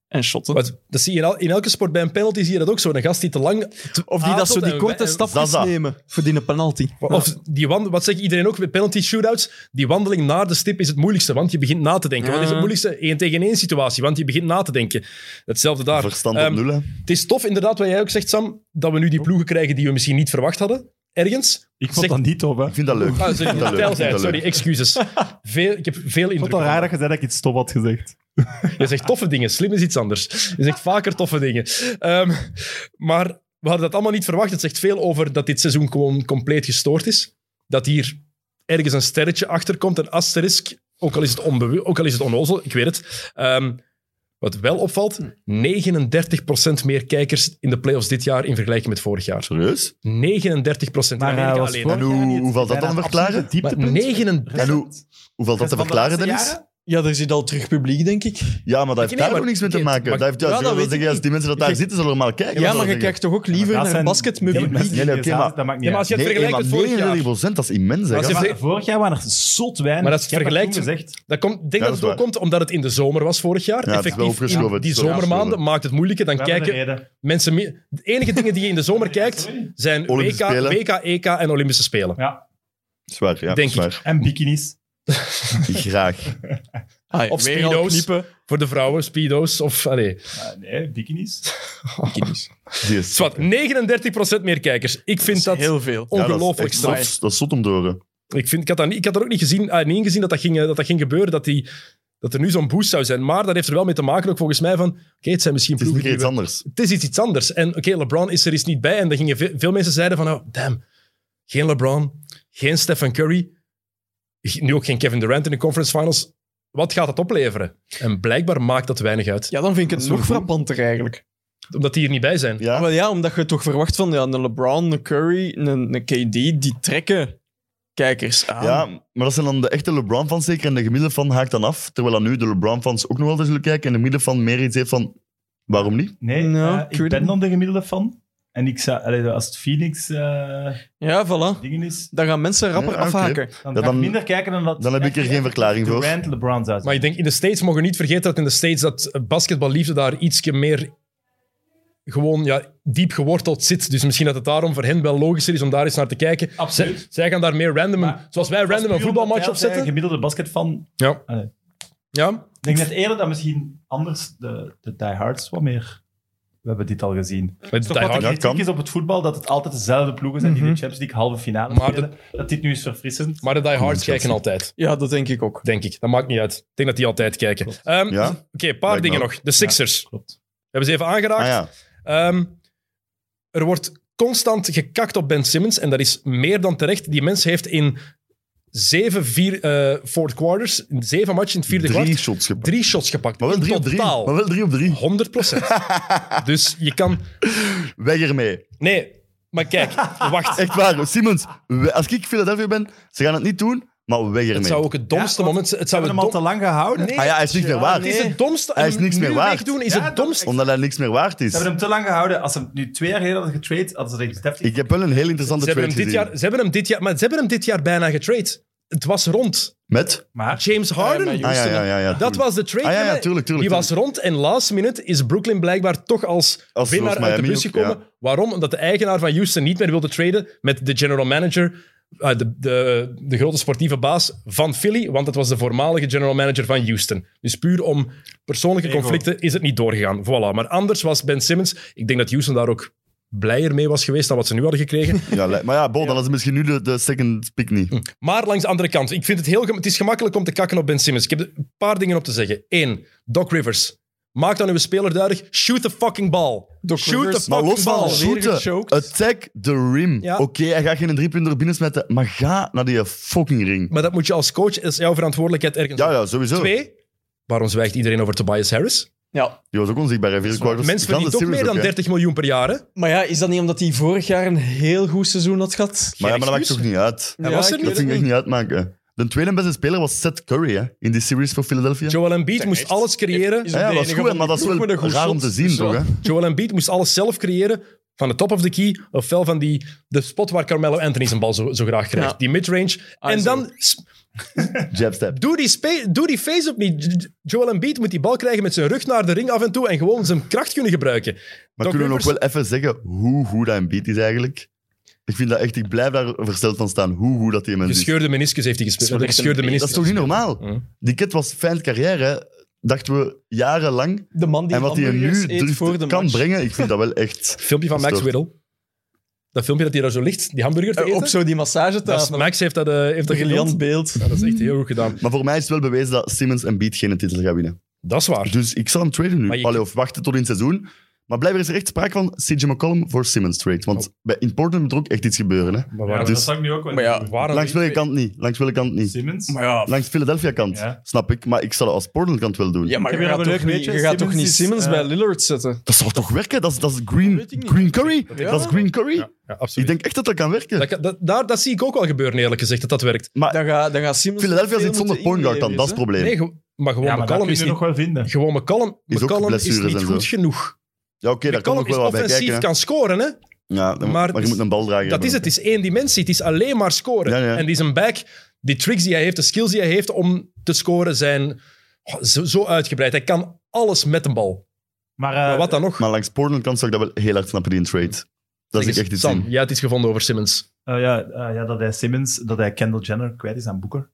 S5: en shotten.
S1: Want dat zie je in, al- in elke sport. Bij een penalty zie je dat ook zo. Een gast die te lang... te
S5: Of
S3: Ah,
S5: die dat zo
S1: aarzelt
S5: die
S1: en-
S5: korte
S1: en-
S5: stapjes
S2: Zaza.
S5: nemen voor die een penalty.
S1: Of die wand, wat zegt iedereen ook bij penalty shootouts? Die wandeling naar de stip is het moeilijkste, want je begint na te denken. Wat is het
S5: Ja.
S1: moeilijkste? 1 tegen 1 situatie, want je begint na te denken. Hetzelfde daar.
S2: Verstand
S1: Ehm,
S2: op nul, hè.
S1: Het is tof, inderdaad, wat jij ook zegt, Sam, dat we nu die ploegen krijgen die we misschien niet verwacht hadden. Ergens.
S3: Ik
S1: Zeg-
S3: vond dat niet tof, hè.
S2: Ik vind dat leuk.
S1: Ah, sorry,
S2: vind dat leuk,
S1: Tijl
S2: ik vind
S1: zei het,
S2: dat
S1: sorry,
S2: leuk.
S1: excuses. Veel, ik heb veel
S3: Ik
S1: indruk.
S3: vond het raar
S1: van.
S3: dat je zei dat ik iets tof had gezegd.
S1: Je zegt toffe dingen, slim is iets anders. Je zegt vaker toffe dingen. Ehm, maar we hadden dat allemaal niet verwacht. Het zegt veel over dat dit seizoen gewoon compleet gestoord is. Dat hier ergens een sterretje achter komt, een asterisk. Ook al is het, onbewu- ook al is het onnozel, ik weet het. Ehm, wat wel opvalt, 39% meer kijkers in de playoffs dit jaar in vergelijking met vorig jaar.
S2: Serieus?
S1: 39% in
S3: Maar hij
S1: Amerika
S3: was
S1: alleen.
S3: vorig
S2: En hoe-
S3: jaar niet
S2: hoe valt dat
S3: bijna
S2: dan
S3: het
S2: verklaren?
S3: absolute
S1: Maar
S3: dieptepunt.
S1: 39...
S2: En hoe, hoe valt dat te
S3: Van de
S2: verklaren,
S3: laatste
S2: Dennis?
S3: jaren?
S5: Ja, er zit al terug publiek, denk ik.
S2: Ja, maar dat heeft
S1: nee,
S2: daar
S1: maar-
S2: ook niks mee te
S1: Oké,
S2: maken.
S1: maar-
S2: Dat heeft juist
S5: Ja, dat
S2: dat
S5: weet
S2: zeggen,
S5: ik
S2: als die mensen dat daar
S1: Ik-
S2: zitten, zullen allemaal kijken.
S5: Ja,
S2: wat
S5: maar
S2: dat
S5: je
S2: zeggen.
S5: kijkt toch ook
S3: Ja, maar
S5: liever
S3: dat
S5: naar
S3: zijn-
S5: een basket
S3: die
S5: met
S3: mensen
S5: publiek?
S3: die
S2: Nee,
S3: hier
S2: oké, maar-
S3: zaten, Dat maakt niet
S1: Ja, maar als
S3: uit.
S1: je het
S2: Nee,
S1: vergelijkt
S2: maar
S1: met vorig jaar...
S2: 39% dat is immens. Hè,
S1: Maar als je
S2: gast.
S1: ver-
S3: Maar Vorig jaar waren er zot weinig.
S1: Maar dat is
S3: Ik heb
S1: vergelijkt-
S3: toen gezegd.
S1: Dat komt, ik denk
S2: Ja,
S1: dat
S2: dat
S1: het
S2: is
S1: ook komt omdat het in de zomer was vorig jaar.
S2: Ja, het is wel
S1: Effectief, in
S2: opgeschoven.
S1: die
S2: Het is wel
S1: zomermaanden
S2: opgeschoven.
S1: maakt het moeilijker. Dan
S3: We hebben
S1: kijken
S3: een reden.
S1: mensen... mee- De enige dingen die je in de zomer kijkt, zijn WK,
S2: Olympische Spelen.
S1: WK, EK en Olympische Spelen.
S3: Ja.
S2: Zwaar, ja.
S1: Denk ik.
S2: zwaar.
S3: En bikinis.
S2: Graag.
S5: Ah, ja,
S1: Of
S5: weer al
S1: speedo's.
S5: kniepen.
S1: Voor de vrouwen, speedo's of... Allee.
S3: Ah, nee, bikinis.
S2: Die Oh, is-
S1: Zwat, 39% meer kijkers. Ik vind dat,
S5: Heel veel.
S2: Ja, dat is
S1: ongelooflijk
S2: echt
S1: straf.
S2: zot. Dat is zot om te horen.
S1: Ik, vind, ik, had dat, niet- ik had er ook niet gezien, ah, niet ingezien dat dat ging, eh, dat dat ging gebeuren, dat, die, dat er nu zo'n boost zou zijn. Maar dat heeft er wel mee te maken, ook volgens mij, van... Oké, het zijn misschien
S2: Het is een
S1: ploegen
S2: keer
S1: die
S2: iets
S1: we-
S2: anders.
S1: het is iets, iets anders. En oké, LeBron is er eens niet bij. En dan gingen ve- veel mensen zeiden van, oh, damn, geen LeBron, geen Stephen Curry, ge- nu ook geen Kevin Durant in de conference finals. Wat gaat dat opleveren? En blijkbaar maakt dat weinig uit,
S5: Ja, dan vind
S2: Dat
S5: ik het
S2: is wel
S5: nog
S2: goed.
S5: frappanter eigenlijk.
S1: omdat die hier niet bij zijn.
S5: Ja.
S2: Ja,
S5: Wel ja, omdat je toch verwacht van ja, een LeBron, een Curry, een, een KD, die trekken kijkers
S1: Ah.
S5: aan.
S2: Ja, maar dat zijn dan de echte LeBron-fans zeker. En de gemiddelde fan haakt dan af. Terwijl dan nu de LeBron-fans ook nog wel eens zullen kijken. En de gemiddelde fan meer iets heeft van... Waarom niet?
S3: Nee,
S5: Nou,
S3: eh, ik
S5: ik weet
S3: ben
S5: het
S3: dan de gemiddelde fan. En ik zou, allee, als het Phoenix eh,
S5: Ja, voilà.
S3: dingen is, dan,
S5: Dan gaan mensen rapper
S2: Ja, oké.
S5: afhaken.
S3: ga ik
S2: dan-
S3: minder kijken dan dat... eh,
S2: Dan heb ik er geen verklaring voor.
S3: Durant, LeBron zou
S1: Maar ik denk in de States mogen we niet vergeten dat in de States dat eh, basketballiefde daar ietsje meer gewoon ja, diep geworteld zit. Dus misschien dat het daarom voor hen wel logischer is om daar eens naar te kijken.
S3: Absoluut.
S1: Zij, zij gaan daar meer random,
S3: Maar-
S1: zoals wij random een voetbalmatch opzetten.
S3: Een gemiddelde basketfan.
S1: Ja.
S3: Allee.
S1: ja.
S3: Ik denk net eerder dat misschien anders de, de diehards wat meer... We hebben dit al gezien.
S1: Met Die
S3: Toch wat
S1: Hard.
S3: de
S2: Ja,
S3: kritiek
S2: kan.
S3: is op het voetbal, dat het altijd dezelfde ploegen zijn die de Champions League halve finale
S1: Maar
S3: spelen. Dat dit nu is verfrissend.
S1: Maar de Die Hards kijken
S2: Chelsea.
S1: altijd,
S5: Ja, dat denk ik ook.
S1: denk ik. Dat maakt niet uit. Ik denk dat die altijd kijken. Ehm,
S2: Ja?
S1: Oké, een paar
S2: Lijkt me
S1: dingen
S2: ook.
S1: nog. De Sixers.
S3: Klopt.
S1: We hebben ze even aangeraakt.
S2: Ah ja.
S1: Ehm, er wordt constant gekakt op Ben Simmons en dat is meer dan terecht. Die mens heeft in zeven vier, eh, fourth quarters, in zeven matchen in het vierde
S2: Drie
S1: kwart,
S2: shots gepakt.
S1: drie shots gepakt.
S2: Maar wel
S1: in
S2: drie op drie.
S1: totaal.
S2: Maar wel drie op drie.
S1: 100 dus je kan...
S2: Weg ermee.
S1: Nee, maar kijk, wacht.
S2: Echt waar. Simmons, we- als ik Philadelphia ben, ze gaan het niet doen, maar weg ermee.
S1: Het zou ook het domste
S3: Ja, want
S1: moment zijn. Het zou het
S3: hebben hem al te
S1: dom...
S3: lang gehouden.
S1: Nee,
S2: Ah ja, hij is niks meer waard.
S1: het is het domste.
S2: Hij is niks
S1: nu
S2: meer waard.
S1: wegdoen is
S3: Ja,
S1: het
S3: dat-
S1: domste.
S2: Omdat hij niks meer waard
S3: Ze
S2: is.
S3: hebben hem te lang gehouden. Als ze hem nu twee jaar geleden hadden getrade, hadden ze echt heftig.
S2: Ik heb wel een heel
S1: Ze
S2: interessante
S1: hebben,
S2: trade
S1: hem dit
S2: gezien.
S1: jaar, ze, hebben hem dit jaar, maar ze hebben hem dit jaar bijna getrade. Het was rond.
S2: Met?
S3: Maar
S1: James Harden.
S5: maar
S2: Ah ja, ja, ja. ja.
S1: Dat was de trade.
S2: Ah, ja, ja,
S1: hè?
S2: tuurlijk, tuurlijk,
S1: die
S2: tuurlijk.
S1: was rond en last minute is Brooklyn blijkbaar toch als,
S2: Als-
S1: winnaar
S2: zoals
S1: uit de
S2: Miami
S1: bus
S2: ook,
S1: gekomen. Waarom? Omdat de eigenaar van Houston niet meer wilde traden met de general manager, eh, de, de, de grote sportieve baas van Philly, want dat was de voormalige general manager van Houston. Dus puur om persoonlijke
S3: Ego.
S1: conflicten is het niet doorgegaan. Voilà. Maar anders was Ben Simmons, ik denk dat Houston daar ook blijer mee was geweest dan wat ze nu hadden gekregen.
S2: Ja, li- maar ja, Bo, dan is het misschien nu de, de second pick niet.
S1: Maar langs de andere kant, ik vind het heel gem- het is gemakkelijk om te kakken op Ben Simmons. Ik heb er een paar dingen op te zeggen. Eén, Doc Rivers. Maak dan uw speler duidelijk. Shoot the fucking ball.
S5: Doc
S1: Shoot
S5: Rivers,
S1: the
S2: Maar
S1: fucking
S2: los van
S1: ball.
S2: shooten,
S5: gechoked.
S2: attack the rim.
S1: Ja.
S2: Oké, hij gaat geen driepunter binnensmetten, maar ga naar die fucking ring.
S1: Maar dat moet je als coach, dat is jouw verantwoordelijkheid ergens.
S2: Ja,
S1: op.
S2: ja, sowieso.
S1: Twee, waarom zwijgt iedereen over Tobias Harris?
S5: Ja.
S2: Die was ook onzichtbaar. hè. Vier quarters.
S1: Mensen
S2: Die
S1: verdienen
S2: ganse
S1: toch
S2: series
S1: meer dan
S2: ook, hè.
S1: 30 miljoen per jaar, hè?
S5: Maar ja, is dat niet omdat hij vorig jaar een heel goed seizoen had gehad?
S2: Maar ja, maar dat maakt
S1: excuus.
S2: toch niet uit.
S1: Hij
S5: Ja,
S1: was er
S5: ik
S1: niet.
S2: Dat vind ik echt niet uitmaken. De tweede beste speler was Seth Curry hè, in die series voor Philadelphia.
S1: Joel Embiid moest
S5: echt.
S1: alles creëren.
S5: Is-
S2: ja, dat was
S5: enige
S2: goed, hè,
S5: van
S2: maar dat is
S5: die ploeg met een
S2: wel
S5: goed
S2: raar om
S5: shot.
S2: te zien,
S5: Zo.
S2: toch? Hè?
S1: Joel Embiid moest alles zelf creëren. Van de top of the key, ofwel van die, de spot waar Carmelo Anthony zijn bal zo, zo graag krijgt.
S5: Ja.
S1: Die midrange.
S5: Ah,
S1: en
S5: zo.
S1: dan sp-
S2: Jabstep.
S1: Doe die, spe- doe die face-up niet. J- J- Joel Embiid moet die bal krijgen met zijn rug naar de ring af en toe en gewoon zijn kracht kunnen gebruiken.
S2: Maar
S1: Doc
S2: kunnen we nog
S1: Rivers-
S2: wel even zeggen hoe goed dat beat is eigenlijk? Ik vind dat echt, ik blijf daar versteld van staan, hoe goed dat die mens is.
S1: Gescheurde meniscus heeft hij gespeeld.
S5: wel
S1: Een
S5: echt een-
S1: Gescheurde
S2: Dat
S1: meniscus.
S2: is toch niet normaal?
S1: Hm.
S2: Die kid was fijn carrière, hè. dachten we jarenlang.
S5: De man die
S2: en wat hij nu
S5: hamburgers eet
S2: durft-
S5: voor de
S2: kan
S5: match.
S2: brengen, ik vind dat wel echt...
S1: Filmpje van
S2: Dat is
S1: Max
S2: toch-
S1: Whittle. Dat filmpje dat hij daar zo ligt, die hamburger te
S5: Eh, Op
S1: eten.
S5: zo die
S1: Dat is-
S5: massagetafel.
S1: Max heeft dat, eh heeft dat gedaan.
S5: briljant beeld.
S1: Ja, dat is echt heel goed gedaan.
S2: Maar voor mij is het wel bewezen dat Simmons en Beat geen titel gaan winnen.
S1: Dat is waar.
S2: Dus ik zal hem traden nu.
S1: Maar je-
S2: Allee, of wachten tot in het seizoen. Maar blijkbaar is er echt sprake van CJ McCollum voor Simmons trade. Want bij, in Portland moet er ook echt iets gebeuren. Hè.
S1: Maar
S3: Ja,
S1: waarom?
S3: dat
S2: Dus-
S3: zag ik nu ook wel.
S5: Maar ja,
S1: waarom-
S2: Langs welke kant niet. Langs welke kant niet.
S3: Simmons.
S5: Maar ja,
S2: Langs Philadelphia kant,
S3: Ja.
S2: snap ik. Maar ik zal het als Portland kant wel doen.
S5: ja maar
S3: Ik
S5: je
S3: heb hier
S5: gaat,
S3: nog
S5: toch
S3: een
S5: niet,
S3: leuk weetje.
S5: je gaat toch
S3: Simmons
S5: niet
S3: is,
S5: Simmons
S3: eh,
S5: bij Lillard zetten?
S2: Dat zal toch werken? Dat is, dat is green,
S5: weet ik niet.
S2: green curry.
S5: Ja.
S2: Dat is green curry.
S1: Ja, ja,
S2: Ik
S1: absoluut.
S2: denk echt dat dat kan werken.
S1: Dat, kan- dat, daar, dat zie ik ook wel gebeuren, eerlijk gezegd, dat dat werkt.
S2: Maar
S5: Dan gaat, dan gaat Simmons...
S2: Ah, Philadelphia
S5: veel
S2: zit zonder
S5: moeten
S2: point guard dan, dat is
S5: inleveren,
S2: het
S5: hè?
S2: probleem.
S1: Nee, ge- maar gewoon
S3: ja, maar dat
S1: McCallum
S3: kun
S1: is
S3: je nog
S1: niet...
S3: wel vinden.
S1: Gewoon McCallum
S2: Is ook
S1: McCallum is
S2: blessures
S1: niet
S2: en
S1: goed
S2: zo.
S1: genoeg.
S2: Ja, oké, daar kan
S1: McCallum
S2: ook
S1: is
S2: wel wat bij
S1: offensief,
S2: kijken. hè.
S1: kan scoren, hè?
S2: Ja, dan-
S1: maar
S2: maar,
S1: het
S2: je
S1: is-
S2: moet een bal dragen.
S1: Dat is het, het is één dimensie. Het is alleen maar scoren.
S2: Ja, ja.
S1: En die zijn back, die tricks die hij heeft, de skills die hij heeft om te scoren, zijn oh, zo, zo uitgebreid. Hij kan alles met een bal.
S3: Maar, eh,
S1: Maar wat dan nog?
S2: Maar langs Portland kant zou ik dat wel heel hard snappen, die in trade. Dat
S1: Zeg
S2: is
S1: eens,
S2: echt iets
S1: Sam,
S2: in.
S1: jij hebt iets gevonden over Simmons.
S3: eh, ja, eh, ja, dat hij Simmons, dat hij Kendall Jenner kwijt is aan Booker.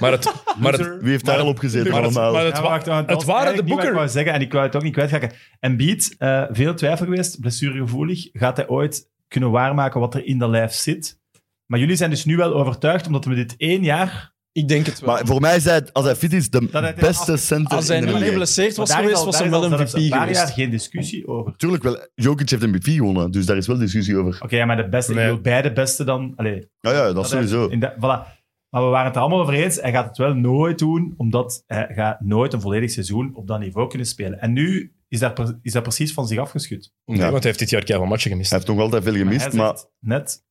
S1: Maar het, maar het,
S2: Wie heeft daar al op gezeten
S1: maar het,
S2: allemaal?
S1: maar het
S3: Ja,
S1: wa-
S3: wacht, want dat
S1: het
S3: was
S1: waren de
S3: eigenlijk niet wat
S1: Booker.
S3: Ik wou zeggen, en ik wou het ook niet kwijtraken. En Beat, eh, veel twijfel geweest, blessuregevoelig. Gaat hij ooit kunnen waarmaken wat er in dat lijf zit? Maar jullie zijn dus nu wel overtuigd, omdat we dit één jaar...
S5: Ik denk het wel.
S2: Maar voor mij is hij, als hij fit is,
S3: hij
S2: de
S3: het
S2: beste
S3: af-
S2: center
S5: Als hij
S2: in de
S5: niet
S2: NBA.
S5: geblesseerd was
S3: Maar daar is
S5: geweest,
S3: al-
S5: was
S3: daar
S5: hij
S3: is al
S5: wel een
S3: zelfs
S5: MVP
S3: een paar jaar
S5: geweest.
S3: geen discussie over.
S2: Tuurlijk wel. Jokic heeft MVP gewonnen, dus daar is wel discussie over.
S3: Oké, ja, maar de beste,
S1: Nee.
S3: ik wil beide beste dan... Allee,
S2: Ja, ja, dat,
S3: dat hij-
S2: sowieso.
S3: in dat- voilà. Maar we waren het er allemaal over eens. Hij gaat het wel nooit doen, omdat hij gaat nooit een volledig seizoen op dat niveau kunnen spelen. En nu is dat, pre- is dat precies van zich afgeschud.
S1: Nee, want hij heeft dit jaar keihard matchen gemist.
S2: Hij heeft nog altijd veel gemist,
S3: hij
S2: maar
S3: zegt net,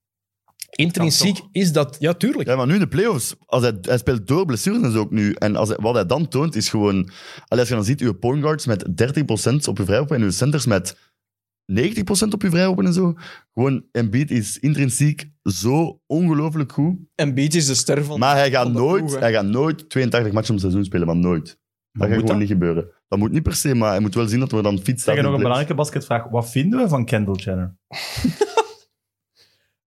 S1: Intrinsiek is dat... Ja, tuurlijk.
S2: Ja, maar nu in de playoffs, als hij, hij speelt door blessures en zo ook nu. En als hij- wat hij dan toont is gewoon. Allee, als je dan ziet, uw point guards met 30% op je vrijworpen en uw centers met 90% op je vrijworpen en zo. Gewoon, Embiid is intrinsiek zo ongelooflijk goed.
S5: En Beat is de ster van...
S2: Maar hij gaat,
S5: van de
S2: nooit,
S5: ploeg, hè.
S2: hij gaat nooit 82 matchen om het seizoen spelen, maar nooit. Dat gaat
S3: moet
S2: gewoon
S3: dat?
S2: niet gebeuren. Dat moet niet per se, maar hij moet wel zien dat dus- we dan fiets
S3: Zeg
S2: staan.
S3: je nog een
S2: in de
S3: belangrijke basketvraag. Wat vinden we van Kendall Jenner?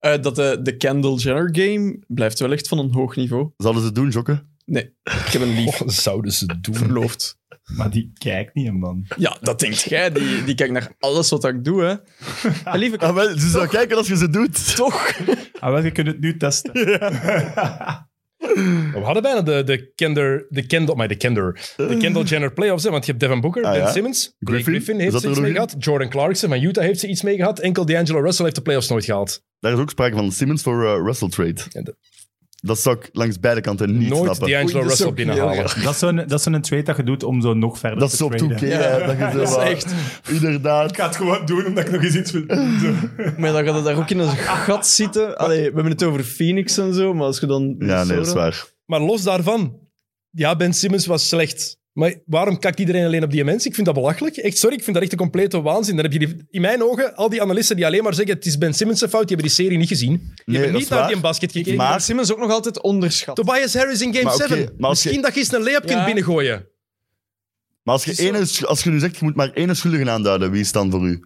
S5: Eh, dat de, de Kendall Jenner game blijft wel echt van een hoog niveau.
S2: playoffs. Zouden ze het doen, Jokken?
S5: Ik heb een lief
S1: Wat zouden ze doen?
S5: verloofd.
S3: Maar die kijkt niet hem dan.
S5: Ja, dat denkt jij. Die, die kijkt naar alles wat ik doe, hè. En lieve,
S2: Ah, wel, ze zou kijken als je ze doet.
S5: toch?
S3: Ah, wel, je kunt het nu testen.
S1: We hadden bijna de, de Kender... De Kendall... Maar de Kender. De Kendall Jenner playoffs, hè, want je hebt Devin Booker,
S2: Eh. Ah,
S1: Ben
S2: ja.
S1: Simmons, Blake
S2: Griffin.
S1: Griffin,
S2: Is
S1: heeft
S2: dat
S1: ze
S2: er
S1: iets
S2: nog
S1: mee
S2: in?
S1: gehad. Jordan Clarkson van Utah heeft ze iets mee gehad. Enkel D'Angelo Russell heeft de playoffs nooit gehaald.
S2: Daar is ook sprake van Simmons voor eh, Russell trade.
S1: Ja, de-
S2: Dat zou ik langs beide kanten niet
S1: nooit
S2: snappen.
S1: D'Angelo
S5: Oei, dat is
S1: Russell
S5: ook heel
S1: binnenhalen.
S5: erg.
S3: Dat is zo'n dat is zo'n trade dat je doet om zo nog verder
S2: Dat
S3: te
S2: is op
S3: traden.
S2: 2K,
S5: Ja.
S2: hè, dat je zo
S5: Dat is
S2: wat-
S5: echt...
S2: Inderdaad.
S3: Ik ga het gewoon doen omdat ik nog eens iets wil doen. Zo.
S5: Maar dan gaat het daar ook in een gat zitten. Allee, we hebben het over Phoenix en zo, maar als je dan...
S2: Ja, nee, dat is waar.
S1: Maar los daarvan, ja, Ben Simmons was slecht. Maar waarom kakt iedereen alleen op die mens? Ik vind dat belachelijk. Echt, sorry, ik vind dat echt een complete waanzin. Dan heb je die- in mijn ogen al die analisten die alleen maar zeggen het is Ben Simmons' fout, die hebben die serie niet gezien. Die
S2: Nee,
S1: hebben
S2: dat
S1: niet
S2: is
S1: naar
S2: waar.
S1: die basket gekeken.
S5: Maar
S2: Maar
S5: Simmons ook nog altijd onderschat.
S1: Tobias Harris in Game
S2: Maar oké,
S1: 7.
S2: maar als je-
S1: Misschien dat je eens een layup
S5: Ja.
S1: kunt binnengooien.
S2: Maar als je, ene, sch- als je nu zegt, je moet maar één schuldige aanduiden, wie is het dan voor u?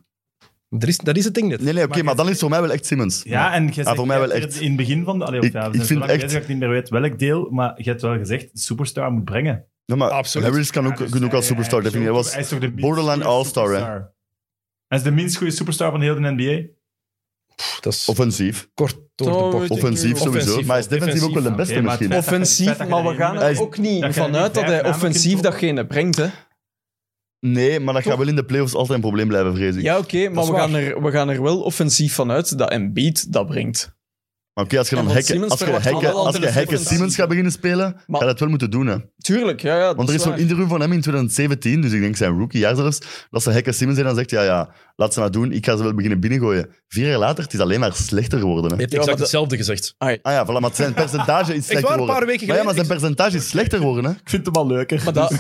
S1: Er is, dat is het ding net.
S2: Nee, nee, oké, maar dan is het voor mij wel echt Simmons.
S3: Ja, en je zegt,
S2: Ah, voor mij wel
S3: je hebt
S2: echt.
S3: in het begin van de... Allee,
S2: Ik-
S3: ja, we
S2: ik
S3: zijn zo
S2: vind
S3: lang bezig
S2: echt-
S3: dat ik niet meer weet welk deel, maar je hebt wel gezegd, superstar moet brengen.
S2: Ja, maar
S1: Absoluut.
S2: Harris kan ook,
S3: Ja, dus
S2: kan ook
S3: hij-
S2: als superstar
S3: hij is
S2: definiëren.
S3: ook-
S2: Hij was
S3: hij is toch de minst
S2: borderline
S3: goede
S2: all-star, hè?
S3: superstar. Hij is de minst goede superstar van heel de NBA.
S1: Pff, dat is
S2: offensief.
S1: kort door de bocht.
S2: Offensief sowieso.
S1: Offensief,
S2: maar hij is defensief ook wel de
S1: defensief,
S2: beste
S3: oké, maar
S2: misschien.
S3: het
S5: Offensief, maar we gaan
S2: Hij is-
S5: er ook niet
S3: dat je er
S5: vanuit
S3: niet
S5: dat hij
S3: vijf
S5: offensief
S3: namen kunt
S5: datgene brengt, hè.
S2: Nee, maar dat gaat wel in de playoffs altijd een probleem blijven, vrees ik.
S5: Ja, oké, maar
S1: is
S5: we gaan,
S1: waar.
S5: er, we gaan er wel offensief vanuit dat Embiid dat brengt.
S2: Maar oké, als je
S5: En
S2: dan
S5: van
S2: hekken,
S5: Simmons
S2: als je
S5: verwacht
S2: hekken,
S5: allemaal
S2: als je
S5: altijd een
S2: hekken
S5: offensief.
S2: Simmons gaat beginnen spelen, ga
S5: Maar-
S2: je dat wel moeten doen. Hè.
S5: Tuurlijk, ja, ja.
S2: Want er is zo'n interview van hem in 2017, dus ik denk zijn rookiejaar zelfs, dat ze hekken Simmons en dan zegt, ja, ja, laat ze maar doen, ik ga ze wel beginnen binnengooien. Vier jaar later, het is alleen maar slechter geworden. Hè.
S1: Je hebt
S5: Ja,
S1: exact
S5: maar dat-
S1: hetzelfde gezegd.
S2: Ah ja, voilà, maar zijn percentage is slechter
S1: waar, een
S2: geworden.
S1: paar weken
S2: maar ja, maar zijn
S1: geleden-
S2: percentage is slechter geworden, hè.
S3: Ik vind hem wel leuker.
S5: Maar dat,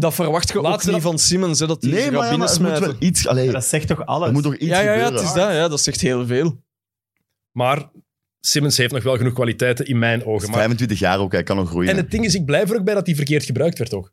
S5: dat verwacht je ook
S1: Laatste
S5: niet
S1: dat-
S5: van Simmons, hè, dat hij
S2: Nee,
S5: ze
S2: maar,
S5: gaat
S2: ja, maar er moet
S5: binnensmijten.
S2: wel iets... Allee,
S3: dat zegt toch alles?
S2: er moet toch iets
S5: Ja, ja, ja, het
S2: gebeuren?
S5: is dat, ja, dat zegt heel veel.
S1: Maar Simmons heeft nog wel genoeg kwaliteiten in mijn ogen. Maar
S2: 25 jaar ook, hij kan nog groeien.
S1: En het ding is, ik blijf er ook bij dat die verkeerd gebruikt werd ook.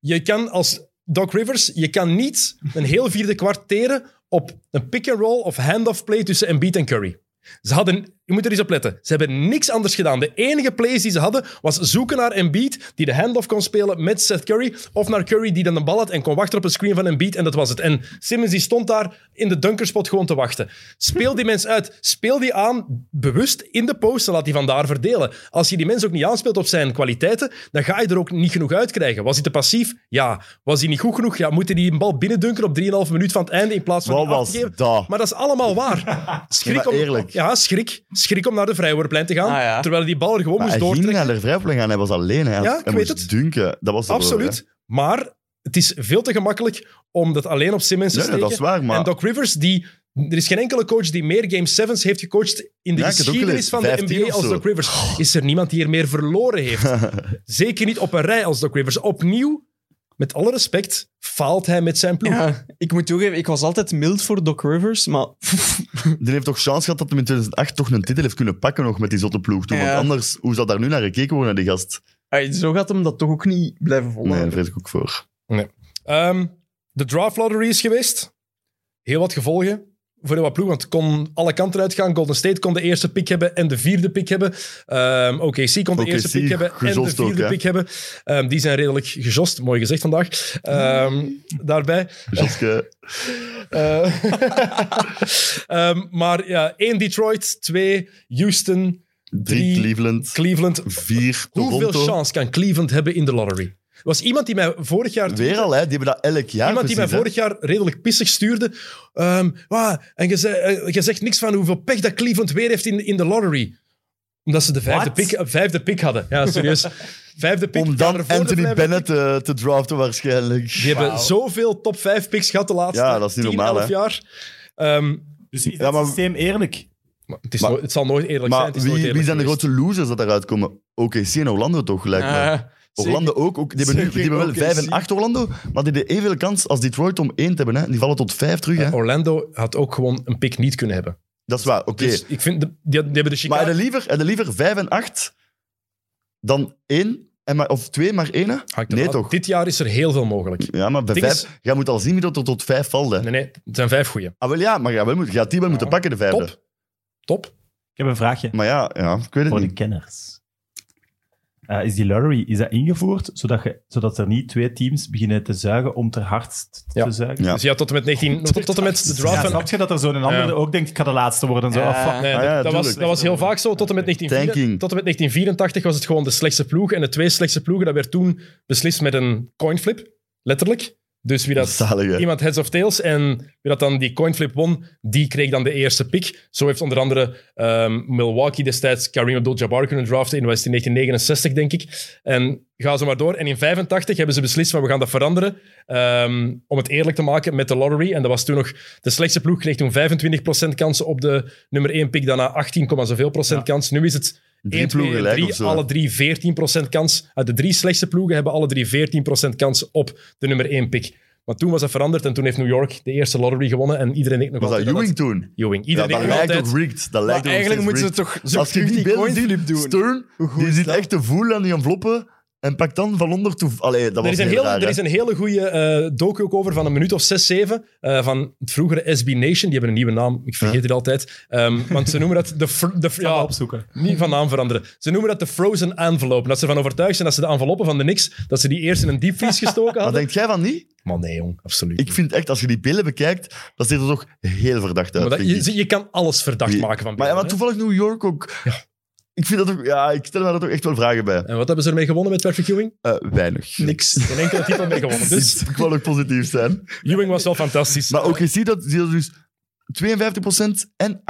S1: Je kan als Doc Rivers, je kan niet een heel vierde kwart teren op een pick-and-roll of handoff play tussen Embiid en Curry. Ze hadden, je moet er eens op letten, ze hebben niks anders gedaan. De enige plays die ze hadden was zoeken naar Embiid, die de handoff kon spelen met Seth Curry, of naar Curry die dan de bal had en kon wachten op een screen van Embiid en dat was het. En Simmons die stond daar in de dunkerspot gewoon te wachten. Speel die mens uit, speel die aan bewust in de post en laat die vandaar verdelen. Als je die mens ook niet aanspeelt op zijn kwaliteiten, dan ga je er ook niet genoeg uit krijgen. Was hij te passief? Ja. Was hij niet goed genoeg? Ja. Moet hij die een bal binnendunken op 3,5 minuut van het einde in plaats van
S2: Wat
S1: die af
S2: was
S1: te geven?
S2: dat?
S1: Maar dat is allemaal waar. Schrik
S2: Nee, maar eerlijk.
S1: Om, ja, schrik. Schrik om naar de vrijworplijn te gaan.
S5: Ah, ja.
S1: Terwijl hij die bal er gewoon
S2: Maar
S1: moest
S2: hij ging
S1: doortrekken.
S2: naar de vrijplein gaan, hij was alleen. Hij, had-
S1: Ja,
S2: hij
S1: ik
S2: moest
S1: weet het.
S2: dunken. Dat was het
S1: Absoluut. Maar het is veel te gemakkelijk om dat alleen op Simmons te
S2: Nee, nee,
S1: steken.
S2: dat is waar, maar-
S1: En Doc Rivers, die, er is geen enkele coach die meer Game 7's heeft gecoacht in de
S2: Ja, ik heb het ook
S1: geschiedenis
S2: gelezen.
S1: van de
S2: 15
S1: NBA
S2: of
S1: als
S2: zo.
S1: Doc Rivers. Is er niemand die er meer verloren heeft? Zeker niet op een rij als Doc Rivers. Opnieuw, met alle respect, faalt hij met zijn ploeg.
S5: Ja, ik moet toegeven, ik was altijd mild voor Doc Rivers, maar
S2: Die heeft toch chance gehad dat hij in 2008 toch een titel heeft kunnen pakken nog met die zotte ploeg toen.
S5: Ja.
S2: Want anders, hoe zou daar nu naar gekeken worden, die gast?
S5: ey, zo gaat hem dat toch ook niet blijven
S2: Nee,
S5: volgen.
S2: daar vrees ik ook voor.
S1: Ehm, de draft lottery is geweest. Heel wat gevolgen voor heel wat ploegen, want het kon alle kanten uitgaan. Golden State kon de eerste pick hebben en de vierde pick hebben. Ehm OKC kon de
S2: OKC
S1: eerste pick hebben en de
S2: gejost ook,
S1: vierde
S2: hè?
S1: pick hebben. Ehm, die zijn redelijk gejost, mooi gezegd vandaag. Ehm, daarbij.
S2: Joske,
S1: Eh, ehm, maar ja, één Detroit, twee Houston,
S2: drie
S1: Drie-
S2: Cleveland,
S1: Cleveland.
S2: vier Toronto.
S1: Hoeveel chance kan Cleveland hebben in de lottery? Er was iemand die mij vorig jaar
S2: Weer al, hè? die hebben dat elk jaar
S1: Iemand die mij
S2: precies, hè.
S1: vorig jaar redelijk pissig stuurde. Ehm, "Wa, en je, zei- eh, je zegt niks van hoeveel pech dat Cleveland weer heeft in, in de lottery. Omdat ze de vijfde
S3: What?
S1: pick, eh, vijfde pick hadden. Ja, serieus. Vijfde pick.
S2: Om
S1: Ja,
S2: dan
S1: ervoor de
S2: Anthony
S1: vijfde
S2: Bennett
S1: pick.
S2: eh, te draften waarschijnlijk.
S1: Die hebben zoveel top vijf picks gehad de laatste
S2: Ja, dat is niet
S1: 10,
S2: normaal,
S1: 11
S2: hè.
S1: jaar. Ehm,
S3: Dus is het
S2: Ja, maar-
S3: systeem eerlijk?
S1: Maar het, is
S2: Maar-
S1: nooit- het zal nooit eerlijk zijn.
S2: Maar
S1: Het is
S2: wie,
S1: nooit
S2: wie
S1: eerlijk
S2: zijn de
S1: geweest. Ah,
S2: grootste losers dat eruit komen? OKC en Orlando toch, lijkt me.
S5: Ah, Ja,
S2: Orlando ook. ook die hebben, nu, die
S5: Zeker
S2: hebben wel
S5: OKC.
S2: 5 en 8 Orlando, maar die hebben evenveel kans als Detroit om 1 te hebben. Hè. Die vallen tot 5 terug. Hè.
S1: Eh, Orlando had ook gewoon een pick niet kunnen hebben.
S2: Dat is waar, oké.
S1: Dus ik vind, de- die, die hebben de
S2: Maar
S1: Chicago...
S2: hebben liever, hadden liever 5 en 8 dan 1 en maar, of 2 maar 1? hè?
S1: Hangt
S2: Nee,
S1: ervan af.
S2: toch?
S1: Dit jaar is er heel veel mogelijk.
S2: Ja, maar bij
S1: Ding
S2: 5,
S1: is-
S2: jij moet al zien wie dat er tot 5 valt. Hè.
S1: Nee, nee, het zijn vijf goeie.
S2: Ah, wel ja, maar jij wel moet, je gaat die wel moeten pakken, de vijfde.
S1: Top. Top.
S3: Ik heb een vraagje
S2: Maar ja, ja, ik weet het
S3: voor de
S2: niet.
S3: kenners. Eh, is die lottery is dat ingevoerd zodat, je, zodat er niet twee teams beginnen te zuigen om te hard t- te
S1: Ja.
S3: zuigen?
S2: Ja.
S1: Dus ja, tot en met, 19, tot, tot en met de draft
S3: Ja,
S1: van...
S3: snap je dat er zo'n ander
S1: Ja.
S3: ook denkt, ik ga de laatste worden? Zo,
S5: Ja.
S3: ah, fuck.
S1: Nee,
S2: Ah ja,
S1: dat, was,
S2: tuurlijk.
S1: dat was heel vaak zo. Tot en, met 1984,
S2: Tanking.
S1: tot en met 1984 was het gewoon de slechtste ploeg. En de twee slechtste ploegen, dat werd toen beslist met een coinflip. Letterlijk. Dus wie dat...
S2: Zalige.
S1: Iemand heads of tails. En wie dat dan die coinflip won, die kreeg dan de eerste pick. Zo heeft onder andere ehm, Milwaukee destijds Kareem Abdul-Jabbar kunnen draften. In, was het in 1969, denk ik. En ga zo maar door. En in 85 hebben ze beslist van we gaan dat veranderen. ehm, om het eerlijk te maken met de lottery. En dat was toen nog... De slechtste ploeg kreeg toen 25% kansen op de nummer 1 pick. Daarna 18, komma zoveel procent kans. Nu is het...
S2: Drie
S1: 1, 2
S2: ploegen
S1: en
S2: gelijk
S1: 3,
S2: of zo.
S1: alle drie 14% kans. Uit de drie slechtste ploegen hebben alle drie 14% kans op de nummer 1 pick. Maar toen was dat veranderd en toen heeft New York de eerste lottery gewonnen en iedereen denkt nog
S2: Was dat
S1: altijd... het-
S2: Ewing toen?
S1: Ewing.
S2: Ja,
S1: Iedereen
S2: dat
S1: denkt nog
S2: lijkt
S1: altijd...
S2: ook rigged. Dat lijkt
S5: Maar eigenlijk moeten ze toch
S2: zo Als je die beelden ziet, Stern, die zit echt te voelen aan die enveloppen en pakt dan van onder toe... Allee, dat
S1: Er
S2: was
S1: is, een
S2: heel
S1: hele,
S2: raar,
S1: er
S2: hè.
S1: is een hele goede eh docu ook over van een minuut of zes, zeven. eh, van het vroegere SB Nation. Die hebben een nieuwe naam. Ik vergeet
S2: Ja.
S1: het altijd. Ehm, want ze noemen dat de... fr- de fr-
S3: Ga maar
S1: ja,
S3: opzoeken.
S1: Niet van naam veranderen. Ze noemen dat de frozen envelope. Dat ze ervan overtuigd zijn dat ze de enveloppen van de niks, dat ze die eerst in een diepvries gestoken
S2: Wat
S1: hadden.
S2: denkt jij van niet?
S1: Maar nee, jong. Absoluut.
S2: Ik vind echt, als je die beelden bekijkt, dat ziet er toch heel verdacht uit,
S1: maar dat-
S2: vind ik.
S1: je, je kan alles verdacht
S2: Die-
S1: maken van
S2: Maar, ja, maar
S1: beelden,
S2: toevallig New York ook... Ik vind dat ook... Ja, ik stel me daar toch echt wel vragen bij.
S1: hè. En wat hebben ze ermee gewonnen met Perfect Ewing?
S2: Eh, weinig.
S1: Niks. Geen enkele titel mee gewonnen. Dus
S2: Ik wil ook positief zijn.
S1: Ewing was wel fantastisch.
S2: Maar ook je ziet dat ze dus 52% en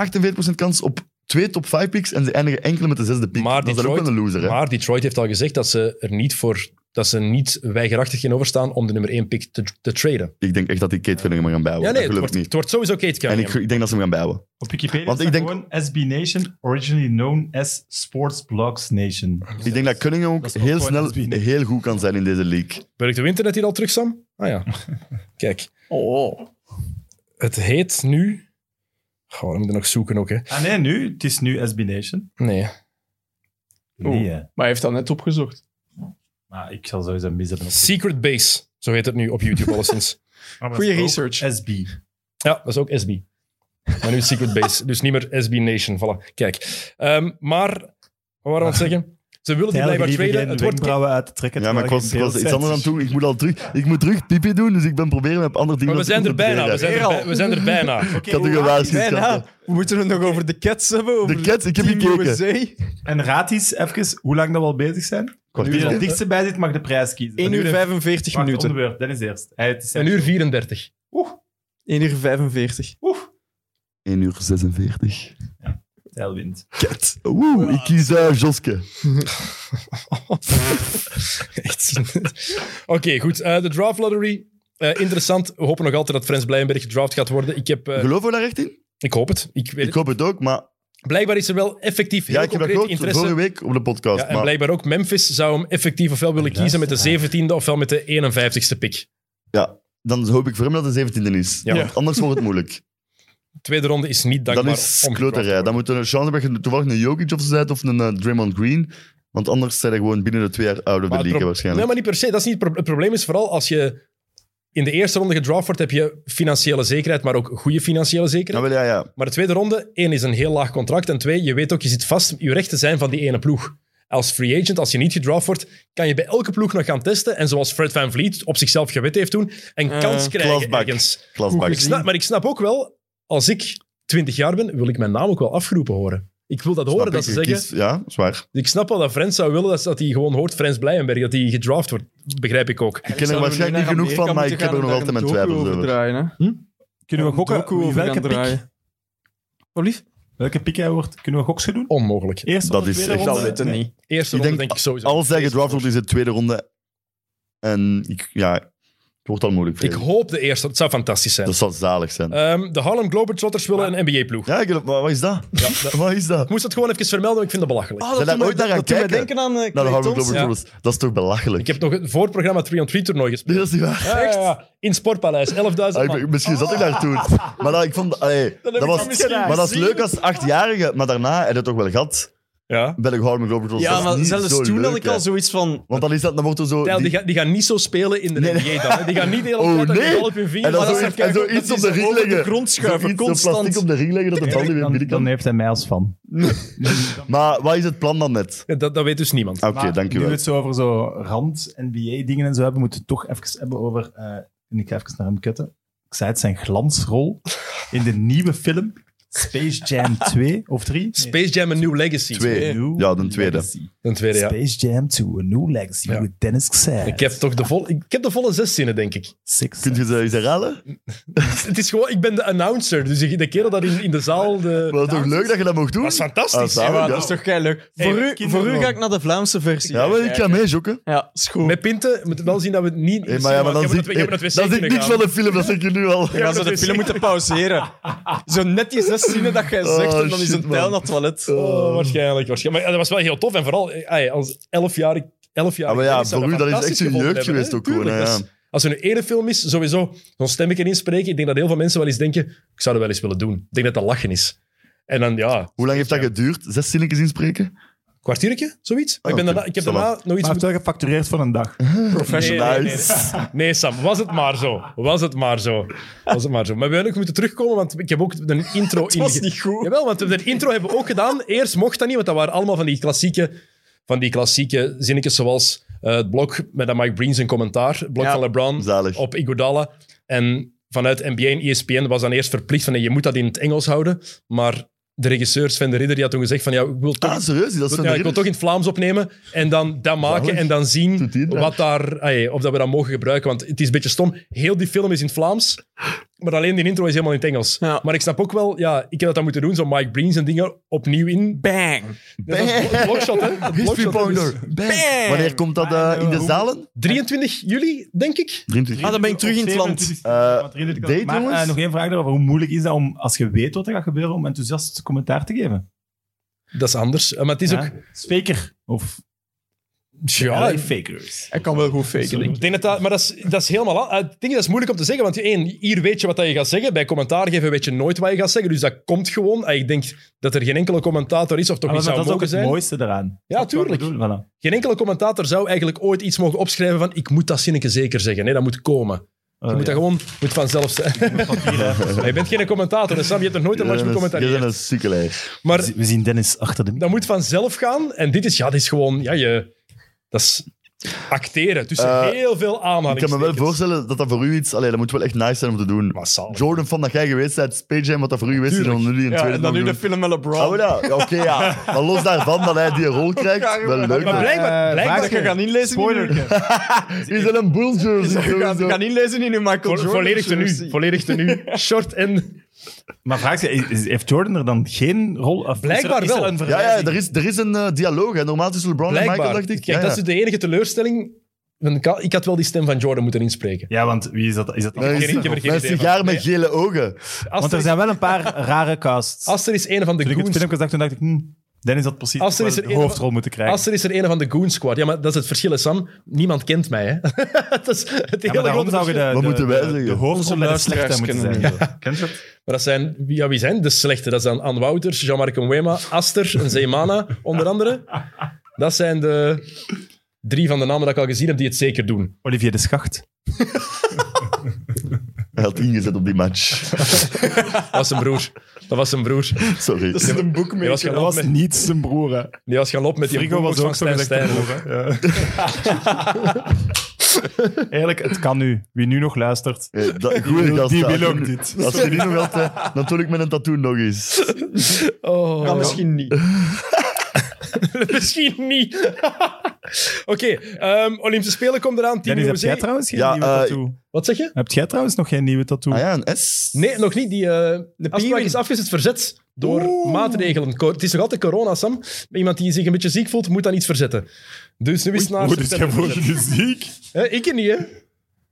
S2: 48% kans op twee top 5 picks en ze eindigen enkel met de zesde pick.
S1: Maar
S2: dat is dan ook
S1: Detroit-
S2: wel een loser, hè?
S1: Maar Detroit heeft al gezegd dat ze er niet voor... Dat ze niet weigerachtig genover staan om de nummer 1 pick te, te traden.
S2: Ik denk echt dat die Kate Cunningham gaan
S1: Ja,
S2: bijhouden.
S1: nee,
S2: Oh, dat
S1: het
S2: geloof
S1: wordt,
S2: ik niet.
S1: het wordt sowieso Kate
S2: En
S1: Cunningham.
S2: ik, ik denk dat ze hem gaan bijhouden.
S3: Op Wikipedia
S2: Want
S3: staat
S2: ik denk-
S3: gewoon SB Nation, originally known as Sports Blogs Nation.
S2: Ik denk dat Cunningham ook
S3: Dat is ook
S2: heel
S3: gewoon
S2: snel
S3: een binnen.
S2: heel goed kan zijn in deze league.
S1: Werkt de internet hier al terug, Sam? Ah ja. Kijk,
S5: Oh.
S1: het heet nu... Goh, we moeten nog zoeken ook, hè.
S3: Ah nee, nu. Het is nu SB Nation.
S1: Nee.
S3: Nee, hè.
S5: Maar hij heeft dat net opgezocht.
S3: Maar ik zal sowieso mis hebben. op-
S1: Secret Base, zo heet het nu op YouTube alleszins.
S3: Ah, Maar dat
S5: Goeie
S3: is ook
S5: research.
S3: SB.
S1: Ja, dat is ook SB. Maar nu is Secret Base, dus niet meer SB Nation. Voilà, kijk. Ehm, maar, wat waren we aan het zeggen? Ze willen die blijkbaar traden. Het wordt
S3: wenkbrauwen uit te trekken.
S2: Ja, maar ik was, ik was iets anders aan toe. Ik moet al terug, ik moet terug pipi doen, dus ik ben proberen met andere dingen
S1: Maar we zijn er bijna. We zijn er, bij- we zijn er bijna.
S2: Ik had u gewaarschuwd.
S5: Bijna.
S2: schat.
S5: nou, We moeten het nog over de Cats hebben. Over
S2: De Cats, ik heb
S5: Team
S2: gekeken.
S5: USA.
S3: En raad eens even hoe lang dat we al bezig zijn. Wie er het dichtste bij zit, mag de prijs kiezen.
S5: 1 uur 45
S3: Wacht, om de
S5: minuten.
S3: beurt. Dennis eerst. Hij, het is
S1: Een uur 34.
S5: 1 uur 45.
S2: 1 uur 46.
S3: Tijl wint.
S2: Kat. Oeh, ik kies eh, Joske.
S1: Echt. Oké, goed. Eh, de draft lottery. Eh, interessant. We hopen nog altijd dat Frans Blijenberg gedraft gaat worden. Ik, heb, eh,
S2: Geloven we daar echt in?
S1: ik hoop het. Ik weet
S2: Ik
S1: het.
S2: hoop het ook, maar
S1: Blijkbaar is er wel effectief heel
S2: ja, ik heb dat
S1: concreet
S2: gehoord
S1: interesse.
S2: vorige week op de podcast.
S1: Ja, en
S2: maar
S1: blijkbaar ook Memphis zou hem effectief ofwel willen kiezen met de 17e ofwel met de 51ste pick.
S2: ja, dan hoop ik voor hem dat de 17e is.
S1: Ja.
S2: Want anders wordt het moeilijk.
S1: Tweede ronde is niet dankbaar.
S2: Dan is
S1: om gedraft te
S2: kloterij. Dan
S1: worden.
S2: moeten we een chance hebben dat je toevallig een Jokic of zo bent of een eh, Draymond Green. Want anders zijn er gewoon binnen de twee jaar out of the
S1: Maar het
S2: league hè,
S1: pro- Nee,
S2: waarschijnlijk.
S1: maar niet per se. Dat is niet het, pro- het probleem is vooral als je in de eerste ronde gedraft wordt, heb je financiële zekerheid, maar ook goede financiële zekerheid.
S2: Ah, wel, ja, ja.
S1: Maar de tweede ronde, één is een heel laag contract. En twee, je weet ook, je zit vast, je rechten zijn van die ene ploeg. Als free agent, als je niet gedraft wordt, kan je bij elke ploeg nog gaan testen. En zoals Fred Van Vliet op zichzelf gewet heeft toen, een
S5: Eh,
S1: kans krijgen
S2: klasbak.
S1: ergens.
S2: Klasbak.
S1: Ik snap, maar ik snap ook wel, als ik 20 jaar ben, wil ik mijn naam ook wel afgeroepen horen. Ik wil dat horen,
S2: Snap
S1: dat
S2: ik,
S1: ze
S2: je
S1: zeggen...
S2: kiest- ja, zwaar.
S1: Ik snap wel dat Frans zou willen dat, dat hij gewoon hoort, Frans Blijenberg, dat hij gedraft wordt. Begrijp ik ook.
S2: Ik ken er waarschijnlijk niet genoeg van, maar ik heb er nog altijd mijn twijfels over. Hm?
S5: Draaien,
S3: Kunnen we gokken wie- welke piek,
S5: Oh, lief?
S3: welke piek hij wordt? Kunnen we goksje doen?
S1: Onmogelijk.
S3: Eerst
S2: Dat
S3: of de
S2: is
S3: tweede
S2: echt-
S5: Ik
S3: ronde?
S5: zal het
S3: Nee.
S5: niet.
S1: Eerste
S2: Ik
S1: ronde
S2: denk,
S1: denk ik sowieso.
S2: Als hij gedraft wordt, is het tweede ronde. En ik, ja, ik wordt al moeilijk.
S1: Ik
S2: vrees Ik.
S1: hoop de eerste. Het zou fantastisch zijn.
S2: Dat zal zalig zijn.
S1: Ehm, de Harlem Globetrotters willen een NBA-ploeg.
S2: ja, ik, wa- wat is dat? Wat is dat?
S1: Ik moest dat gewoon even vermelden, want ik vind dat belachelijk.
S5: Ah,
S2: Zijn
S5: dat
S2: daar
S5: doet mij-
S2: ooit naar gaan
S5: dat doet mij
S2: kijken?
S5: denken aan eh,
S2: Nou, de
S5: Clay
S2: Harlem
S5: Thompson.
S2: Globetrotters. Dat is toch belachelijk?
S1: Ik heb nog het voorprogramma 3-on-3-toernooi gespeeld.
S2: Nee, dat is niet waar.
S1: Ja, ja, ja. In Sportpaleis, 11.000
S2: Ah, ik
S1: man.
S2: ben- misschien zat ik daar toen. Maar dat, ik vond, allee, dat
S1: heb ik
S2: was,
S1: dat misschien
S2: maar dat is
S1: gezien.
S2: leuk als achtjarige. Maar daarna heb je het toch wel gehad.
S1: Ja.
S2: Bij de Harlem Globetrotters.
S5: Ja,
S2: Dat is
S5: maar
S2: niet
S5: zelfs
S2: zo
S5: toen
S2: leuk,
S5: had ik
S2: hè.
S5: al zoiets van... ah,
S2: Want dan is dat, dan wordt er zo...
S1: Ja, die,
S2: Oh, die-
S1: gaan, die gaan niet zo spelen in de
S2: Nee, nee.
S1: NBA dan. hè. Die gaan niet de hele
S2: Oh,
S1: tijd
S2: nee.
S1: nee. op hun
S2: En
S1: vinger.
S2: dan
S1: maar
S2: zo,
S1: dat is
S2: en
S1: kijk,
S2: zo
S1: dat
S2: iets
S1: is-
S2: op de ring
S5: over de
S2: leggen.
S5: grond schuiven,
S2: Zoiets, Zo
S5: constant.
S2: plastic op de ring leggen dat de bal niet meer
S3: Dan, dan
S2: binnenkomt.
S3: heeft hij mij als fan.
S2: Maar wat is het plan dan net? Ah,
S1: Ja, dat, dat weet dus niemand.
S2: Oké,
S3: Maar Nu
S2: dankjewel.
S3: we het zo over zo rand-NBA-dingen en zo hebben, moeten we het toch even hebben over... eh, en ik ga even naar hem kutten. Ik zei het, zijn glansrol in de nieuwe film Space Jam 2 of 3.
S1: Space Jam A New Legacy.
S2: Twee.
S3: New
S2: Ja, de tweede.
S3: Legacy.
S1: Een tweede, ja.
S3: Space Jam 2, A New Legacy,
S1: Ja.
S3: with Dennis Xer.
S1: Ik heb toch de, vol, ik heb de volle zes zinnen, denk ik.
S3: Six.
S2: Kun je ze eens herhalen?
S1: Het is gewoon, ik ben de announcer. Dus de kerel dat in, in de zaal... De,
S2: Maar het is toch leuk dat je dat mocht doen?
S1: dat is fantastisch.
S2: Ah,
S5: Ja,
S2: zalig,
S5: maar
S2: ja.
S5: dat is toch kei leuk.
S3: Hey,
S5: Voor, u, voor u
S3: kinderboom.
S5: ga ik naar de Vlaamse versie.
S2: Ja, maar ik ga mee, Jokke.
S5: Ja, is goed.
S1: Met Pinten moet wel zien dat we het niet...
S2: Hey, maar ja, maar dan
S1: Ik heb
S2: zit,
S1: het- ik heb
S2: hey,
S1: het
S2: dan
S1: wc
S2: zit
S1: kunnen
S2: niks
S1: gaan.
S2: van de film, dat zeg je nu al.
S5: Je gaat zo de
S1: dat is-
S5: film moeten pauzeren. Zo net die zes zinnen dat jij zegt,
S2: Oh,
S5: en dan is
S2: shit,
S5: een pijl
S2: man.
S5: naar het toilet.
S1: Oh, waarschijnlijk, waarschijnlijk. Maar ja, dat was wel heel tof. En vooral eh, ah ja, als 11 jaar. 11 jaar
S2: Ja, Ah, maar ja, voor u, dat is echt
S1: een
S2: een jeugd geweest ook gewoon. hè, ja.
S1: Als er een ene film is, sowieso zo'n stemmetje inspreken. Ik denk dat heel veel mensen wel eens denken: ik zou dat wel eens willen doen. Ik denk dat dat lachen is. En dan, ja, een
S2: Hoe lang heeft dat geduurd? Zes zinnetjes inspreken?
S1: kwartiertje, zoiets. Maar ik, ben
S2: Ah, oké,
S1: daarna, ik heb
S2: ça va.
S1: daarna nog iets
S3: Maar
S1: moeten...
S3: heeft wel gefactureerd voor een dag.
S1: Nee, nee, nee,
S2: Nice.
S1: nee. Nee, Sam, was het maar zo. Was het maar zo. Was het maar zo. Maar we hebben ook moeten terugkomen, want ik heb ook een intro in.
S5: was niet goed.
S1: Jawel, want we hebben de intro hebben we ook gedaan. Eerst mocht dat niet, want dat waren allemaal van die klassieke, van die klassieke zinnetjes zoals eh, het blok met aan Mike Breen zijn commentaar, het blok
S5: Ja.
S1: van LeBron
S2: Zalig.
S1: op Iguodala. En vanuit NBA en E ESPN was dan eerst verplicht van nee, je moet dat in het Engels houden, maar de regisseur Sven de Ridder die had toen gezegd van ja, ik wil toch
S2: Ah, serieus? Dat is van
S1: ja, ik
S2: de
S1: wil toch in het Vlaams opnemen en dan dat maken
S2: Zalig.
S1: en dan zien
S2: Doet die het
S1: wat daar, ah, ja, of dat we dat mogen gebruiken. Want het is een beetje stom. Heel die film is in het Vlaams, maar alleen die intro is helemaal in het Engels.
S5: Ja.
S1: Maar ik snap ook wel, ja, ik heb dat dan moeten doen, zo Mike Breen en dingen opnieuw in.
S5: Bang.
S1: Dat is een blo- blokshot, hè? Dat
S2: History
S1: blokshot, hè? Dus
S2: Pounder. Bam. Wanneer komt dat eh, in de zalen?
S1: 23 juli, denk ik.
S2: 23.
S5: Ah, dan ben ik terug in het land.
S2: Eh, date,
S3: maar eh,
S2: jongens?
S3: nog één vraag daarover. Hoe moeilijk is dat om, als je weet wat er gaat gebeuren, om enthousiast commentaar te geven?
S1: Dat is anders. Eh, Maar het is
S3: Ja?
S1: ook...
S3: Faker. Of
S1: Ja,
S3: LA fakers.
S5: Hij kan wel goed faken, denk
S1: ik denk dat dat, maar dat is, dat is helemaal... a- eh, Ik denk dat is moeilijk om te zeggen, want één, hier weet je wat dat je gaat zeggen. Bij commentaar geven weet je nooit wat je gaat zeggen, dus dat komt gewoon. Eh, Ik denk dat er geen enkele commentator is, of toch
S3: Ah, Maar
S1: niet zou
S3: dat is ook
S1: mogen
S3: het
S1: zijn.
S3: mooiste daaraan.
S1: Ja,
S3: Dat is wat ik
S1: tuurlijk.
S3: bedoel, voilà.
S1: Geen enkele commentator zou eigenlijk ooit iets mogen opschrijven van ik moet dat zinnetje zeker zeggen. Nee, dat moet komen. Je
S3: Eh,
S1: moet
S3: ja.
S1: dat gewoon moet vanzelf zijn. Maar je bent geen commentator, hè, Sam. Je hebt er nooit een match
S2: Je bent
S1: becommentarieerd.
S2: een sukkelaar.
S1: Maar
S3: We zien Dennis achter de
S1: dat moet vanzelf gaan. En dit is, ja, dit is gewoon, ja, je, dat is acteren tussen
S2: Eh,
S1: heel veel
S2: Ik kan me wel
S1: aanhalingstekens.
S2: voorstellen dat dat voor u iets... Allee, dat moet wel echt nice zijn om te doen.
S1: Massaal.
S2: Jordan, van dat jij geweest bent, Space Jam, wat dat voor u geweest is, en
S1: Tuurlijk.
S2: dan nu die een
S5: Ja,
S2: tweede
S5: en dan nu de
S2: film.
S5: film met LeBron.
S2: Ah, wel ja. Ja, Oké, ja. Maar los daarvan dat hij die rol krijgt, wel leuk.
S1: Maar
S2: man.
S3: Eh,
S1: blijkbaar, blijkbaar
S5: dat je gaat inlezen in je,
S2: Is dat een Bulls jersey?
S5: je gaat, je
S2: sowieso?
S5: gaat inlezen in je Michael
S1: vo-
S5: Jordan.
S1: volledig tenue.
S5: jersey.
S1: Volledig tenue. Short en...
S3: Maar vraag ze, is- is- heeft Jordan er dan geen rol? Of is
S1: Blijkbaar
S3: er, is er
S1: wel.
S3: een
S2: Ja, ja,
S3: verwijzing?
S2: er is, er is een eh, dialoog. Hè. Normaal tussen LeBron en
S1: Blijkbaar.
S2: Michael, dacht ik.
S1: Kijk,
S2: Ja,
S1: dat is
S2: ja.
S1: dus de enige teleurstelling. Ik had- Ik had wel die stem van Jordan moeten inspreken.
S3: Ja, want wie is dat? Is dat
S2: Er is-
S1: geen- ik heb er
S2: er
S1: geen
S2: is
S1: idee
S2: een
S1: van.
S2: sigaar met gele ogen.
S1: Als
S3: Want
S1: er
S3: er
S1: is,
S3: zijn wel een paar rare casts.
S1: als er is een van de
S3: Toen ik het
S1: goons-
S3: filmpje zag, toen dacht ik, hm, Dennis had precies
S1: Als er
S3: wel
S1: is er
S3: de
S1: één-
S3: hoofdrol moeten krijgen.
S1: Als er is er een van de Goon Squad. Ja, maar dat is het verschil, hè, Sam. Niemand kent mij, hè. dat is het
S3: ja,
S1: hele
S3: maar daarom
S1: grote
S3: zou je
S1: verschil.
S3: de,
S2: Wat
S3: de,
S2: moeten wij
S3: de-
S2: zeggen?
S3: de
S5: Onze
S3: hoofdrol met de slechte
S5: luisteraars
S3: moeten
S5: kennen
S3: zijn. Kent je dat?
S1: Maar dat zijn... wie- Ja, wie zijn de slechte? Dat is dan Ann Wouters, Jean-Marc Nwema, Aster en Zeemana, onder andere. Dat zijn de drie van de namen dat ik al gezien heb die het zeker doen.
S3: Olivier de Schacht.
S2: Hij had ingezet op die match.
S1: Dat was zijn broer. Dat was zijn broer.
S2: Sorry.
S5: Dat is een
S1: Die was
S5: boekmaker.
S1: gaan lopen met,
S3: niet zijn broer, hè.
S1: die was gaan lopen met die
S3: Frigo was
S1: boombox
S3: ook
S1: van
S3: zo
S1: Stijn
S3: gezegd de
S1: Stijn.
S3: broer, hè. Ja. Eigenlijk, het kan nu. Wie nu nog luistert,
S2: Eh, dat, goeie gast.
S3: die
S2: hè.
S3: wil
S2: Als
S3: ook
S2: je-
S3: dit.
S2: Als je die nog eh, altijd... Natuurlijk met een tattoo nog eens.
S1: Oh.
S5: Kan misschien niet.
S1: Misschien niet. Oké, ehm, Olympische Spelen komt eraan. 10
S3: Dennis,
S1: uur
S3: heb jij
S1: zee.
S3: trouwens geen
S2: Ja,
S3: nieuwe
S2: eh,
S3: tattoo?
S1: Wat zeg je?
S3: Heb jij trouwens nog geen nieuwe tattoo?
S2: Ah ja, een S.
S1: Nee, nog niet. Die eh afspraak
S5: pinguïn.
S1: is afgezet, verzet door maatregelen. Co- Het is nog altijd corona, Sam. Iemand die zich een beetje ziek voelt, moet dan iets verzetten. Dus nu is het naar
S3: Oeh, dus jij
S1: september
S3: wordt
S1: verzet.
S3: nu ziek.
S1: Hè, Ik er niet, hè?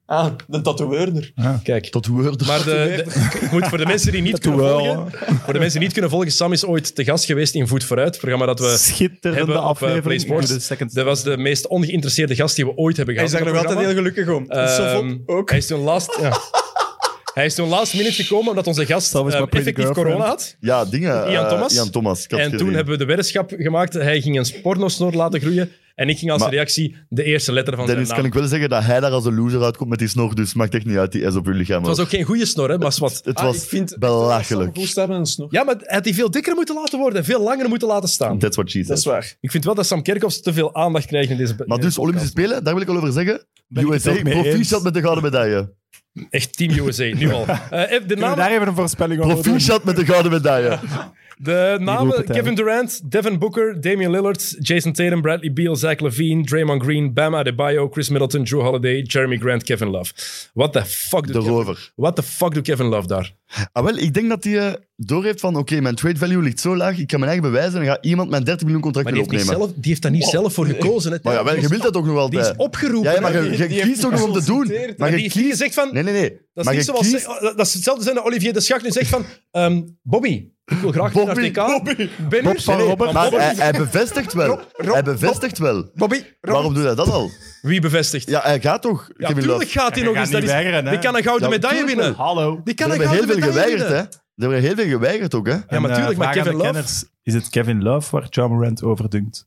S5: Ah, de tatoeëerder.
S1: Kijk.
S2: Tot Word.
S1: Maar de, de- ik moet voor de mensen die niet kunnen volgen, voor de mensen die niet kunnen volgen, Sam is ooit te gast geweest in Voet Vooruit, het programma dat we
S6: Schitterende
S1: hebben op, eh, Play
S6: aflevering.
S1: Sports.
S6: De second
S1: dat was de meest ongeïnteresseerde gast die we ooit hebben
S5: Hij
S1: gehad.
S5: is daar
S1: in
S5: nog
S1: dat
S5: altijd heel
S1: programma.
S5: gelukkig om. Het is zo
S1: Ehm,
S5: vlot ook.
S1: Hij is toen last... ja. Hij is toen last minute gekomen omdat onze gast
S6: Dat was
S1: ehm,
S6: my pretty
S1: effectief
S6: girlfriend.
S1: corona had.
S2: Ja, dingen.
S1: Ian
S2: eh,
S1: Thomas.
S2: Ian Thomas. ik had
S1: En
S2: het
S1: toen
S2: gezien.
S1: hebben we de weddenschap gemaakt. Hij ging een pornosnor laten groeien. En ik ging als
S2: Maar-
S1: reactie de eerste letter van
S2: Dennis,
S1: zijn
S2: kan
S1: naam.
S2: ik wel zeggen dat hij daar als een loser uitkomt met die snor, dus maakt echt niet uit die S op uw lichaam.
S1: Het was ook geen goede snor, hè, maar is wat.
S2: Het
S5: Ah,
S2: was
S5: ik vind echt wel dat Sam
S2: belachelijk.
S5: Goed staat met een snor.
S1: Ja, maar hij had die veel dikker moeten laten worden. en Veel langer moeten laten staan.
S2: That's what she
S5: Dat
S2: said.
S5: is waar.
S1: Ik vind wel dat Sam Kerkhoffs te veel aandacht krijgt in deze...
S2: Maar
S1: in deze
S2: dus, Olympische
S1: podcast.
S2: Spelen, daar wil ik al over zeggen.
S6: Ben ik het
S2: USA,
S6: ook mee
S2: proficiat
S6: eens.
S2: met de gouden medaille.
S1: Echt Team USA, nu al. Eh, de
S6: Kunnen we
S1: namen,
S6: daar even een voorspelling over doen?
S2: Proficiat met de gouden medaille.
S1: de
S6: roepen
S1: namen
S6: het
S1: Kevin Durant, Devin Booker, Damian Lillard, Jason Tatum, Bradley Beal, Zach Levine, Draymond Green, Bam Adebayo, Chris Middleton, Drew Holiday, Jeremy Grant, Kevin Love. What the fuck
S2: De
S1: doet Kevin,
S2: rover.
S1: what the fuck doet Kevin Love daar?
S2: Ah, wel, ik denk dat hij eh, doorheeft van, oké, mijn trade value ligt zo laag, ik kan mijn eigen bewijzen en dan gaat iemand mijn 30 miljoen contract
S1: Maar
S2: weer
S1: die heeft, niet
S2: opnemen.
S1: zelf, die heeft daar niet zelf voor gekozen. hè.
S2: Maar ja, wel, je wilt dat ook nog wel.
S1: die is opgeroepen.
S2: Ja, ja, maar
S1: hè.
S2: je, je kiest ook nog om te doen.
S1: Maar
S2: Maar je
S1: die heeft niet
S2: kiest...
S1: gezegd van...
S2: Nee, nee, nee.
S1: dat, is
S2: maar
S1: niet
S2: je
S1: zoals, oh,
S2: kiest-
S1: dat is hetzelfde zijn dat Olivier de Schacht nu zegt van... ehm, Bobby, ik wil graag naar
S2: Bobby,
S1: TK. Ben
S6: Bob
S1: er?
S6: van
S1: Nee, nee,
S6: Robert.
S1: maar
S2: Maar
S1: Bobby-
S2: hij, hij bevestigt wel. Hij bevestigt wel.
S5: Bobby,
S2: Waarom doet hij dat al?
S1: Wie bevestigt?
S2: Ja, hij gaat toch.
S1: Ja,
S2: Kevin Love.
S1: tuurlijk gaat hij nog
S3: gaat
S1: eens. Dat
S3: niet
S1: is-
S3: weigeren, hè.
S1: die kan een gouden
S2: Ja,
S1: medaille
S2: tuurlijk
S1: winnen.
S3: Hallo.
S1: Die
S2: Er
S1: kan een
S2: hebben
S1: gouden
S2: heel veel
S1: medaille
S2: geweigerd, hè.
S1: winnen.
S2: Er hebben heel veel geweigerd ook, hè.
S1: Ja, maar
S3: En, eh,
S1: tuurlijk, maar
S3: vraag aan
S1: Kevin
S3: de
S1: Love-
S3: kenners, Is het Kevin Love waar John Morant over dunkt?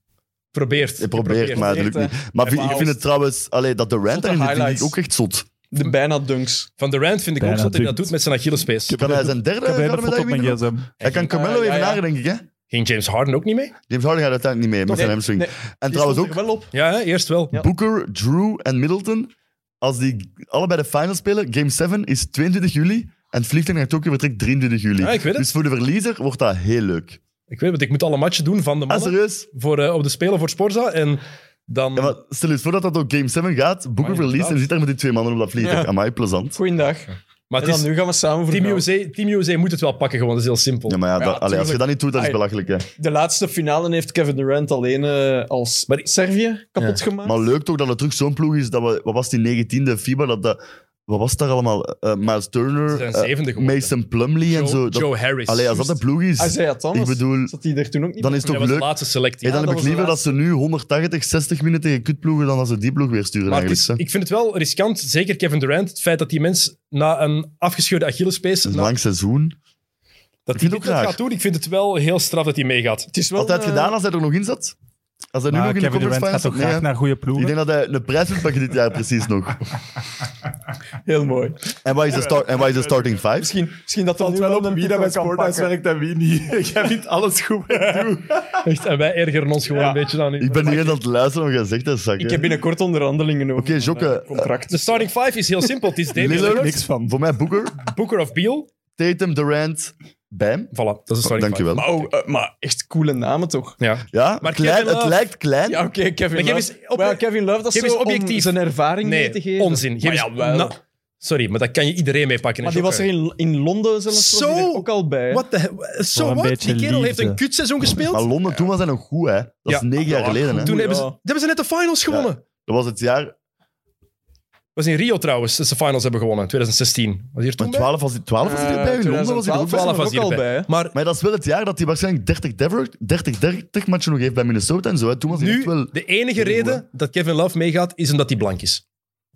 S1: Probeert.
S2: Hij probeert, maar het lukt niet. Maar vind- ik vind het trouwens... Allee, dat de rant
S5: Zotte
S2: daarin zit, vind ik ook
S5: highlights.
S2: echt zot.
S5: de bijna dunks.
S1: Van Durant vind ik ook
S3: Bijna
S1: dat hij dat
S3: doet.
S1: doet met zijn Achillespees.
S2: Kan hij zijn derde
S6: Ik heb een
S2: gouden
S6: hele foto
S2: medaille
S6: op mijn
S2: winnen?
S6: gsm.
S2: Hij kan Carmelo
S5: Ah, ja,
S2: even
S5: ja.
S2: nagen, denk ik, hè.
S1: Ging James Harden ook niet mee?
S2: James Harden gaat uiteindelijk niet mee, met zijn hamstring.
S5: nee.
S2: En trouwens ook,
S5: wel op.
S1: Ja, hè, eerst wel.
S5: Ja.
S2: Booker, Drew en Middleton, als die allebei de final spelen, game 7 is 22 juli en het vliegtuig naar Tokio vertrekt 23 juli.
S1: Ja, ik weet het.
S2: Dus voor de verliezer wordt dat heel leuk.
S1: Ik weet het, ik moet alle matchen doen van de
S2: Ah,
S1: mannen
S2: serieus?
S1: voor, eh, op de Spelen voor Sporza. En dan...
S2: Ja, maar stel eens voor dat dat ook game 7 gaat, Booker
S1: Amai,
S2: verliest en
S1: inderdaad.
S2: zit daar met die twee mannen op dat vliegtuig.
S5: Ja.
S2: Amai, plezant.
S5: Goeiedag.
S1: Maar
S5: En
S1: het
S5: dan
S1: is...
S5: nu gaan we samen voor
S1: Team USA, Team USA moet het wel pakken gewoon, dat is heel simpel.
S2: Ja, maar ja,
S5: Ja,
S2: dat- allee, als je
S5: tuurlijk.
S2: dat niet doet, dat is
S5: Ai.
S2: belachelijk. Hè.
S5: De laatste finale heeft Kevin Durant alleen eh, als
S1: Maar-
S5: Servië kapot gemaakt.
S2: Maar leuk toch dat het terug zo'n ploeg is dat we, wat was die 19e FIBA, dat, dat, wat was daar allemaal? Eh Miles
S1: Ze
S2: Turner,
S1: zijn
S2: eh,
S1: zevende geworden.
S2: Mason Plumlee en
S1: Joe,
S2: zo. Dat,
S1: Joe Harris.
S2: allee, als dat een ploeg is,
S5: Isaiah Thomas.
S2: ik bedoel,
S5: Zat hij er toen ook niet
S2: dan is het
S1: dat
S2: toch
S1: was de
S2: leuk.
S1: laatste selectie.
S2: Hey, dan heb
S5: dat
S2: ik
S5: was de
S2: liever dat
S5: laatste.
S2: ze nu 180, 60 minuten tegen kutploegen dan dat ze die ploeg weer sturen.
S1: Maar het
S2: eigenlijk.
S1: is,
S2: hè.
S1: ik vind het wel riskant, zeker Kevin Durant, het feit dat die mens na een afgescheurde Achillespees,
S2: Het is
S1: na-
S2: een lang seizoen.
S1: dat
S2: Ik
S1: hij
S2: vind
S1: dit
S2: het
S1: nog
S2: ook
S1: gaat
S2: raar.
S1: doen, ik vind het wel heel straf dat hij meegaat.
S5: Het is wel,
S2: Had hij het
S5: eh,
S2: gedaan als hij er nog in zat? Als hij nu
S3: Maar
S2: nog in de
S3: Nou, Kevin
S2: conference
S3: Durant gaat
S2: finals
S3: toch
S2: zat?
S3: graag
S2: Nee, hè.
S3: naar goede
S2: Ik
S3: ploegen?
S2: denk dat hij een prijs wil pakken dit jaar precies nog.
S5: Heel mooi.
S2: En wat is de, start, en wat is de starting five?
S5: Misschien, misschien dat er nu
S6: Valt wel
S5: wel
S6: op
S5: een
S6: wie
S5: type
S6: dat bij
S5: kan
S6: Sporthuis
S5: pakken.
S6: werkt en wie niet. Jij vindt alles goed.
S1: Echt, en wij ergeren ons gewoon een beetje aan.
S2: Ik ben niet aan het luisteren wat jij zegt, dat zak.
S5: Ik heb binnenkort onderhandelingen over
S2: Oké, Jokke.
S5: eh, contract.
S1: De starting five is heel simpel. Het is Damian
S2: Lillard,
S1: Lillard,
S6: Niks van.
S2: Voor mij Booker,
S1: Booker of Beal.
S2: Tatum, Durant, Bam.
S1: Voilà, dat is de starting five.
S2: Dankjewel.
S5: Maar, oh, eh, maar echt coole namen toch?
S1: Ja.
S2: Ja,
S1: Maar
S2: klein,
S1: Kevin
S2: het
S1: Love-
S2: lijkt klein.
S5: Ja, oké, Kevin
S1: Maar
S5: Love.
S1: geef eens op-
S5: Maar ja, Kevin Love, dat is
S1: geef eens
S5: zo om
S1: objectief.
S5: zijn ervaring mee te
S1: Nee,
S5: geven.
S1: onzin. Geef
S5: Maar
S1: eens-
S5: jawel.
S1: na- sorry, maar dat kan je iedereen meepakken.
S5: Maar die was er in, in Londen zelfs was
S1: Zo?
S5: die er ook al bij. hè.
S1: What the hell?
S3: Voor
S1: So
S3: een
S1: what?
S3: beetje
S1: Die kerel heeft
S3: liefde.
S1: een kutseizoen
S2: Maar
S1: gespeeld.
S2: Londen, toen was hij nog goed, hè. Dat is
S1: Ja.
S2: negen jaar geleden, hè.
S1: Toen hebben ze,
S5: Ja.
S1: toen hebben ze net de finals gewonnen.
S2: Dat was het jaar...
S1: was in Rio trouwens, dat ze finals hebben gewonnen. 2016. Was hier
S2: Maar
S1: toen bij?
S2: 12 was hij 12
S3: Eh,
S2: was hij erbij? In Londen was hij er ook bij?
S5: 12 was
S1: hier
S5: ook al bij. hè.
S1: Maar
S2: Maar dat is wel het jaar dat hij waarschijnlijk 30 Dever- 30, 30 matchen nog heeft bij Minnesota en zo. hè. Toen was hij
S1: nu,
S2: echt wel...
S1: de enige reden dat Kevin Love meegaat, is omdat hij blank is.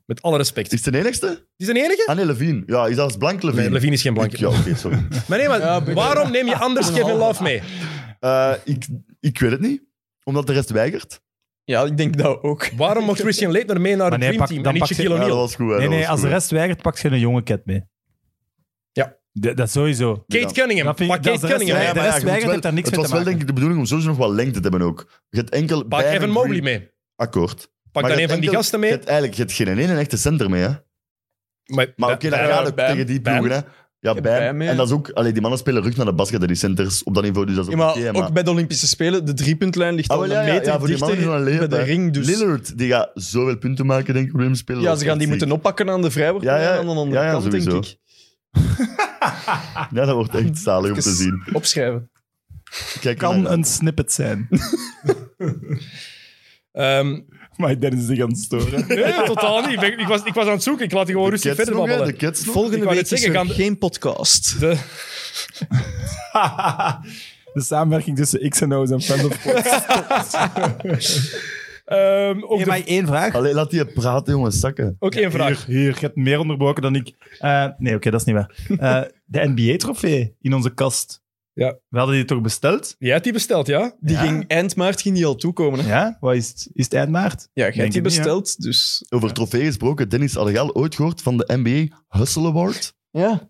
S1: Met alle respect.
S2: Is
S1: Is
S2: het de enigste?
S1: hij de enige?
S2: Ah nee, Levine. Ja, is dat als blank Levine?
S1: Nee, Levine is geen
S2: Ik-
S1: blanke.
S2: Ja, oké, sorry.
S1: Maar nee, maar
S5: Ja, ben-
S1: waarom neem je anders Kevin Love mee?
S2: Eh, ik, ik weet het niet. Omdat de rest weigert.
S5: Ja, ik denk dat ook.
S1: Waarom mocht Christian Leitner mee naar
S3: Maar
S1: het
S3: nee,
S1: Dream
S3: pak-
S1: Team
S3: dan
S1: en niet
S3: pak je-
S1: Shaquille
S2: Ja, dat
S1: O'Neal?
S2: was goed. hè,
S3: Nee,
S2: dat
S3: nee,
S2: was
S3: als de
S2: goed, hè.
S3: rest weigert, pak je een jonge cat mee.
S1: Ja.
S3: De- dat sowieso.
S1: Kate Cunningham.
S3: Dat vind ik-
S1: pak
S3: dat
S1: Kate
S3: is de rest
S1: Cunningham
S3: wij-
S1: mee.
S3: de
S2: maar
S3: rest
S2: je moet
S3: weigert
S2: wel-
S3: heeft daar niks
S2: Het
S3: mee
S2: was
S3: te maken.
S2: wel denk ik de bedoening om sowieso nog wat lengte te hebben ook. Je hebt enkel...
S1: Pak
S2: Bam
S1: Evan
S2: en
S1: Mobley
S2: Green.
S1: mee.
S2: Akkoord.
S1: Pak
S2: Maar
S1: dan
S2: je
S1: een van die
S2: hebt enkel-
S1: gasten
S2: Je
S1: mee.
S2: hebt eigenlijk je hebt geen ene echte center mee, hè. Maar oké, dan gaat het
S5: Bam.
S2: tegen die
S1: Bam.
S2: ploegen, hè. Ja, Bam.
S5: Bam, ja.
S2: En dat is ook... Allee, die mannen spelen rug naar de basket, hè, die centers. Op dat niveau, dus dat is
S5: Ja,
S2: ook
S5: maar
S2: oké, maar...
S5: ook bij de Olympische Spelen, de driepuntlijn ligt
S2: Ah,
S5: al
S2: wel,
S5: een
S2: ja, ja,
S5: meter
S2: ja, voor die
S5: dichter
S2: mannen is dat een
S5: bij
S2: leven,
S5: de
S2: hè.
S5: ring. Dus
S2: Lillard, die gaat zoveel punten maken, denk ik, op de spelen.
S5: ja, ze gaan die moeten
S2: op.
S5: oppakken aan de vrijworplijn
S2: Ja, ja,
S5: aan de andere
S2: ja, ja,
S5: kant, denk
S2: sowieso.
S5: ik.
S2: Ja, dat wordt echt zalig om te
S5: Even
S2: zien.
S5: Opschrijven.
S2: Kijk
S6: kan
S2: maar.
S6: een snippet zijn.
S1: Ehm,
S6: Maar Dennis is gaan storen.
S1: nee, totaal niet. Ik, ben- ik was, ik was aan het zoeken. Ik laat die gewoon
S2: De
S1: rustig
S2: kids
S1: verder
S2: nog, hè,
S1: babbelen.
S2: de kids nog.
S1: Ik
S5: Volgende
S1: wou
S5: week
S1: net
S5: is
S1: zeggen,
S5: er
S1: gaan de-
S5: geen podcast.
S1: De,
S6: De samenwerking tussen X en O's en Friends of Course.
S1: ehm, ook, de-
S3: één vraag?
S2: Allee, laat die praten, jongens, zakken.
S1: ook één vraag.
S3: Hier, hier, je hebt meer onderbroken dan ik. Eh, nee, oké, dat is niet waar. Eh, de NBA-trofee in onze kast.
S1: Ja.
S3: We hadden die toch besteld?
S1: Jij hebt die besteld, ja?
S5: Die
S3: Ja.
S5: ging eind maart ging die al toekomen. Hè?
S3: Ja? Wat is het? Is het eind maart?
S5: Ja, jij
S3: Denk
S5: hebt die
S3: het niet, hè?
S5: besteld, dus...
S2: Over trofee gesproken, Dennis, had jij al ooit gehoord van de NBA Hustle Award?
S5: Ja.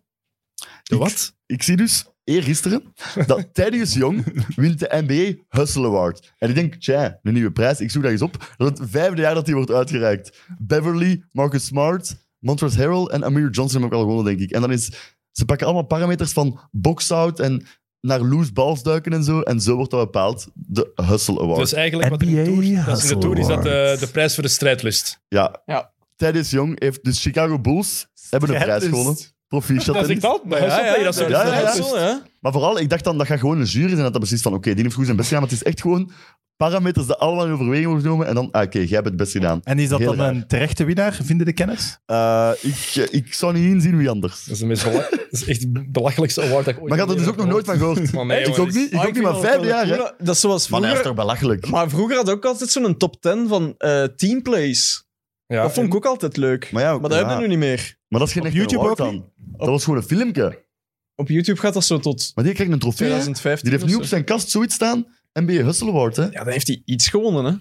S2: De wat? Ik, zie dus eergisteren dat Thaddeus Jong wint de NBA Hustle Award. En ik denk, tja, een nieuwe prijs. Ik zoek dat eens op. Dat is het vijfde jaar dat die wordt uitgereikt. Beverly, Marcus Smart, Montrezl Harrell en Amir Johnson hebben ook al gewonnen, denk ik. En dan is... Ze pakken allemaal parameters van box-out en naar loose balls duiken en zo. En zo wordt dat bepaald. De Hustle Award.
S1: Dus eigenlijk wat er in de
S3: NBA
S1: Tour, dat is, in de
S3: Hustle
S1: tour is dat de,
S3: Award.
S1: de prijs voor de strijdlust.
S2: Ja.
S5: Ja.
S2: Thaddeus Jong heeft... Dus Chicago Bulls hebben een prijs gewonnen. Proficiat.
S1: dus- Dat is
S2: Dennis.
S1: ik dat. Maar ja, ja, dat is-
S5: dat
S2: ja, ja.
S5: is wel, ja.
S2: Maar vooral, ik dacht dan, dat gaat gewoon een jury zijn dat dat precies van, oké, die heeft goed zijn best gedaan, maar het is echt gewoon parameters die allemaal in overweging worden genomen en dan, ah, oké, jij hebt het best gedaan.
S3: En is dat
S2: Heel
S3: dan
S2: raar.
S3: een terechte winnaar, vinden de kennis?
S2: Eh, ik, eh, ik zou niet inzien wie anders.
S1: Dat is, de meest bela- dat is echt het belachelijkste award dat ik ooit
S2: Maar ik had er
S1: heb
S2: dus ook nog nooit van gehoord.
S1: Maar nee,
S2: ik
S1: jongen,
S2: ook
S1: dit-
S2: niet, ik
S5: Ah,
S2: ook niet,
S5: vind
S2: maar
S5: dat
S2: vijfde
S5: wel
S2: jaar, hè.
S5: cool, Dat is zoals
S2: Maar dat is
S5: vroeger...
S2: toch belachelijk?
S5: Maar vroeger had ik ook altijd zo'n top 10 van eh teamplays.
S1: Ja,
S5: dat vond ik ook altijd leuk.
S2: Maar ja,
S5: maar dat
S2: ja.
S5: hebben we nu niet meer.
S2: Maar dat is geen
S3: Op
S2: echte
S3: YouTube
S2: award
S3: ook
S2: dan. Dat was gewoon een filmpje.
S5: Op YouTube gaat dat zo tot
S2: Maar die krijgt een trofee, hè.
S5: 2015
S2: Die heeft nu
S5: of
S2: op
S5: zo.
S2: zijn kast zoiets staan. NBA Hustle Award, hè.
S5: Ja, dan heeft hij iets gewonnen, hè.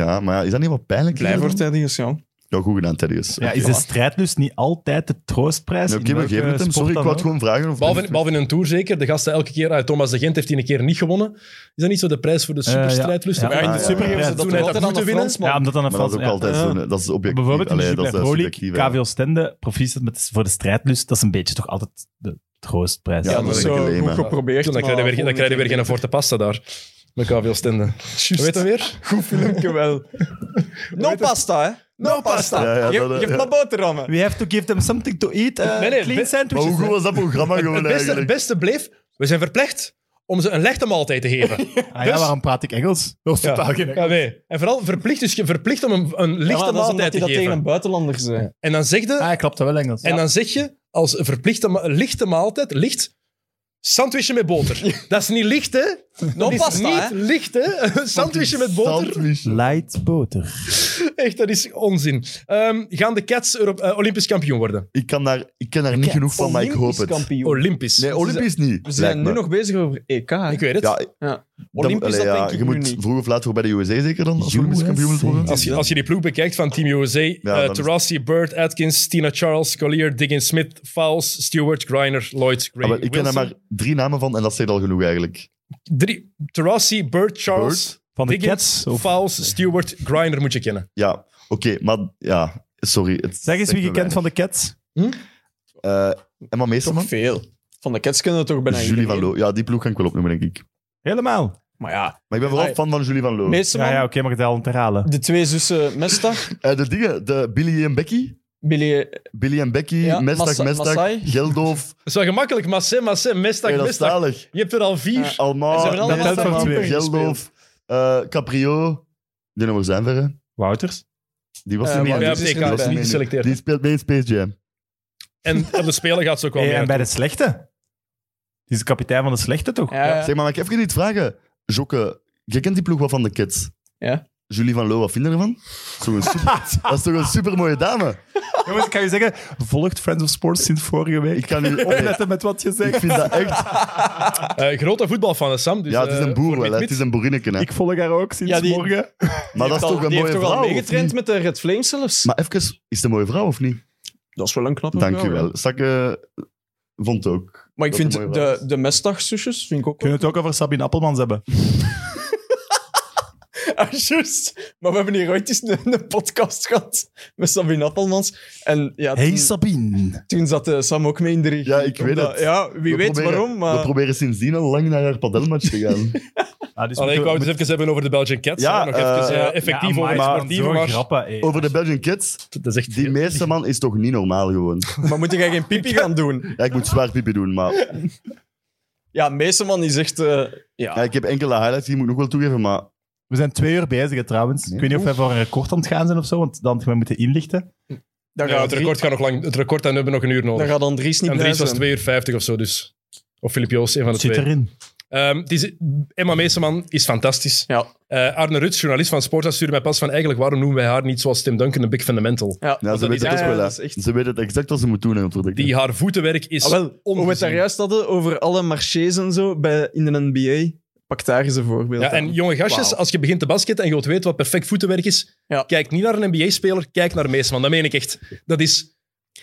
S2: Ja, maar ja, is dat niet wat pijnlijk?
S5: Blij voor Thaddeus Young.
S2: Ja, goed gedaan, Thaddeus.
S3: Ja, is de strijdlust niet altijd de troostprijs?
S2: Ja,
S3: in
S2: Oké, maar
S3: welke
S2: geef het hem.
S3: sport
S2: Sorry, ik
S3: dan
S2: wou het
S3: ook?
S2: gewoon vragen. Of
S1: Behalve, behalve in een tour zeker. De gasten elke keer. ah, Thomas de Gent heeft die een keer niet gewonnen. Is dat niet zo de prijs
S5: Eh,
S1: voor de
S3: Eh, ja.
S1: superstrijdlust?
S3: Ja,
S1: Maar
S2: ja,
S1: in de
S2: ja.
S1: super
S3: Ja,
S1: geven ze
S3: dat
S1: toen hij dat
S5: altijd aan
S1: moeten
S5: de
S1: winnen.
S5: Fransman.
S3: Ja, omdat dan een
S2: Maar dat is
S3: Frans-
S2: ook altijd
S3: ja. eh,
S2: zo'n... eh, Dat is objectief.
S3: Bijvoorbeeld in de
S2: Allee, dat is eh,
S3: Super League,
S2: subjectief, hè.
S3: KVO Stende, proficiat met, voor de strijdlust, dat is een beetje toch altijd de troostprijs.
S2: Ja,
S5: Ja,
S2: dat
S5: dat
S2: is
S5: is
S2: een
S5: zo
S2: leem,
S5: goed
S2: hè.
S5: geprobeerd.
S1: Toen, dan krijg je weer, dan krijg je weer geen forte pasta daar. Met KVL Stende. Hoe heet dat weer?
S5: Goed filmpje wel. No pasta, hè. No pasta.
S2: Ja, ja,
S5: Geef-
S2: dat, eh,
S5: geef
S2: ja.
S5: maar boterhammen.
S3: We have to give them something to eat. eh,
S1: Nee, nee,
S3: clean
S1: be-
S2: Maar hoe
S3: sandwiches.
S2: goed was dat programma
S1: Het
S2: gewoon
S1: beste, het
S2: eigenlijk?
S1: beste bleef, we zijn verplicht om ze een lichte maaltijd te geven.
S3: Ah ja,
S1: dus-
S3: waarom praat ik Engels? Dat is totaal geen
S1: Ja, nee. En vooral verplicht, dus je verplicht om een, een lichte
S5: Ja, maar dat is omdat
S1: maaltijd
S5: hij
S1: te
S5: dat tegen eh,
S1: geven.
S5: een buitenlander zei.
S1: En dan zeg je,
S3: Ah, hij klapte wel Engels.
S1: en dan zeg je als een verplichte ma- een lichte maaltijd, licht, sandwichje met boter. dat is niet licht, hè?
S5: No
S1: dat is
S5: pasta,
S1: niet
S5: hè.
S1: licht, hè? Een sandwichje met boter.
S2: Sandwich.
S3: Light boter.
S1: Echt, dat is onzin. Ehm, gaan de Cats Euro- eh, Olympisch kampioen worden?
S2: Ik, kan daar, ik ken daar niet genoeg van, maar ik hoop
S5: Olympisch
S2: het.
S5: kampioen.
S1: Olympisch.
S2: Nee, Olympisch niet.
S5: We zijn
S2: lijkt
S5: nu
S2: me.
S5: nog bezig over EK. hè.
S1: Ik weet het.
S2: Ja, dan-
S5: Olympisch,
S2: allee,
S5: dat
S2: ja,
S5: denk ik
S2: je
S5: nu
S2: moet
S5: niet.
S2: vroeg of laat voor bij de USA zeker dan, als
S3: USA.
S2: Olympisch kampioen wilt worden.
S1: Als je, als je die ploeg bekijkt van Team USA, eh
S2: dan is-
S1: Taurasi, Bird, Atkins, Tina Charles, Collier, Diggins, Smith, Fowles, Stewart, Griner, Lloyd,
S2: Ah,
S1: Gray,
S2: wel, ik ken daar
S1: Wilson.
S2: maar drie namen van en dat zegt al genoeg eigenlijk.
S1: Drie, Taurasi, Bird, Charles,
S3: Van de
S1: Diggins,
S3: Cats? Of...
S1: Fowles, Stewart, Griner moet je kennen.
S2: Ja, oké, maar ja, sorry. Het
S3: Zeg eens
S2: zegt
S3: wie je
S2: me
S3: kent van de Cats.
S2: weinig. Eh, Emma Meesterman?
S5: Veel. Van de Cats kunnen we toch bijna
S2: Julie van
S5: iedereen.
S2: Loo. Ja, die ploeg kan ik wel opnoemen, denk ik.
S3: Helemaal.
S5: Maar ja,
S2: Maar ik ben vooral
S5: Ah,
S2: fan van Julie van Loo.
S5: Meesterman,
S3: Ja, ja oké, maar het al om te herhalen.
S5: de twee zussen Mestag,
S2: Eh, de dingen, de Billy en Becky.
S5: Billy... eh,
S2: Billy en Becky,
S5: Ja,
S2: Mestak,
S5: Massa-
S2: Mestak,
S5: Maasai.
S2: Geldoof,
S1: Dat is wel gemakkelijk. Massé, Massé, Mestak, Mestak.
S2: Nederlandstalig.
S1: Je hebt er al vier.
S5: Ja.
S2: Alma,
S5: Ze hebben allemaal
S2: Net-
S3: samen
S2: Net-
S3: twee.
S2: Geldoof, eh, Caprio. Die nummer zijn ver, hè.
S3: Wouters?
S2: Die was
S5: Eh,
S2: er niet.
S5: maar
S2: aan.
S1: ja,
S5: dit is
S1: PK
S2: Die
S5: niet
S1: is
S2: was er
S5: bij.
S1: niet
S2: niet aan.
S1: geselecteerd.
S2: Die speelt mee in Space Jam.
S1: En op de Spelen gaat ze ook wel
S3: Eh,
S1: mee.
S3: en bij de slechte? Die is de kapitein van de slechte, toch?
S5: Ja, ja.
S2: Zeg maar, mag ik even iets vragen? Jokke, jij kent die ploeg wel van de kids.
S5: Ja.
S2: Julie van Loo, wat vind je ervan? Dat is toch een super- dat is toch een supermooie dame?
S3: Jongens, ik kan je zeggen, volgt Friends of Sports sinds vorige
S2: Ik
S3: week.
S2: kan nu... Ik
S3: Opletten met wat je zegt.
S2: vind dat echt...
S1: Eh, grote voetbalfan, hè, Sam. Dus,
S2: Ja, het is
S1: eh,
S2: een boer
S1: voor
S2: wel, hè.
S1: Mid-Mid.
S2: Het is een boerinneke, hè.
S3: Ik volg haar ook sinds
S5: Ja, die-
S3: morgen.
S2: Maar dat is toch een
S5: die
S2: mooie
S5: heeft toch
S2: vrouw?
S5: al
S2: of niet?
S5: meegetraind met de Red Flames zelfs.
S2: Maar even, is het een mooie vrouw of niet?
S5: dat is wel een knappe
S2: Dank
S5: vrouw,
S2: u
S5: hè.
S2: wel. Sakke vond ook.
S5: Maar ik
S2: Dat
S5: vind
S2: is een mooie
S5: de, de Mestag-zusjes vind ik ook...
S3: Kunnen we het ook over Sabine Appelmans hebben?
S5: Ah, juist. Maar we hebben hier ooit eens een, een podcast gehad met Sabine Appelmans. En ja, toen,
S3: Sabine.
S5: toen zat eh, Sam ook mee in de regie.
S2: Ja, ik weet
S5: Omdat-
S2: het.
S5: Ja, wie
S2: We
S5: weet
S2: proberen-
S5: waarom,
S2: We
S5: maar...
S2: proberen sindsdien al lang naar haar padelmatch te gaan.
S3: Ah, dus
S1: Allee, ik wou
S3: moeten
S1: het
S3: we-
S1: eens even hebben over de Belgian Cats.
S2: Ja,
S1: hè. Nog
S2: eh,
S1: even eh,
S2: ja,
S1: effectief
S3: Ja,
S1: over het
S3: amai,
S1: sportieve,
S3: zo'n
S1: maar...
S3: grappen, eh, hé.
S2: Over de Belgian Kids.
S1: Dat is echt...
S2: Die meesterman is toch niet normaal gewoon.
S5: Maar moet jij geen pipi gaan doen?
S2: Ja, ik moet zwaar pipi doen, maar...
S5: Ja, Meeseman die zegt... eh, ja,
S2: Ja, ik heb enkele highlights die moet ik nog wel toegeven, maar...
S3: We zijn twee uur bezig hè, trouwens. Ik weet niet of wij voor een record aan het gaan zijn of zo, want dan gaan we moeten inlichten.
S5: Daar
S1: Ja,
S5: gaat
S1: het
S5: drie-
S1: record gaat nog lang. Het record dan hebben we nog een uur
S5: Daar
S1: nodig.
S5: gaat Andries niet
S1: En
S5: bij
S1: Dries was
S5: zijn.
S1: 2 uur 50 of zo, dus. Of Filip Joos, een van de
S3: Zit
S1: twee.
S3: erin.
S1: Ehm, het is, Emma Meeseman is fantastisch.
S5: Ja.
S1: Eh, Arne Ruts, journalist van Sportza, stuurde mij pas van eigenlijk waarom noemen wij haar niet zoals Tim Duncan een big fundamental.
S5: Ja.
S2: Ja, ze
S1: dat
S2: weten
S1: is-
S2: het
S5: ja,
S2: ook wel.
S5: dat
S2: hè.
S5: is echt-
S2: Ze weten het exact wat ze moeten doen in het product.
S1: Die haar voetenwerk is...
S5: Ah, wel, hoe we het
S1: ongezien.
S5: daar juist hadden over alle marchés en zo bij, in de NBA. Pak daar eens een voorbeeld
S1: ja,
S5: aan.
S1: en jonge gastjes,
S5: Wauw.
S1: als je begint te basketten en je wilt weten wat perfect voetenwerk is,
S5: Ja.
S1: kijk niet naar een NBA-speler, kijk naar Meeseman. Dat meen ik echt. Dat is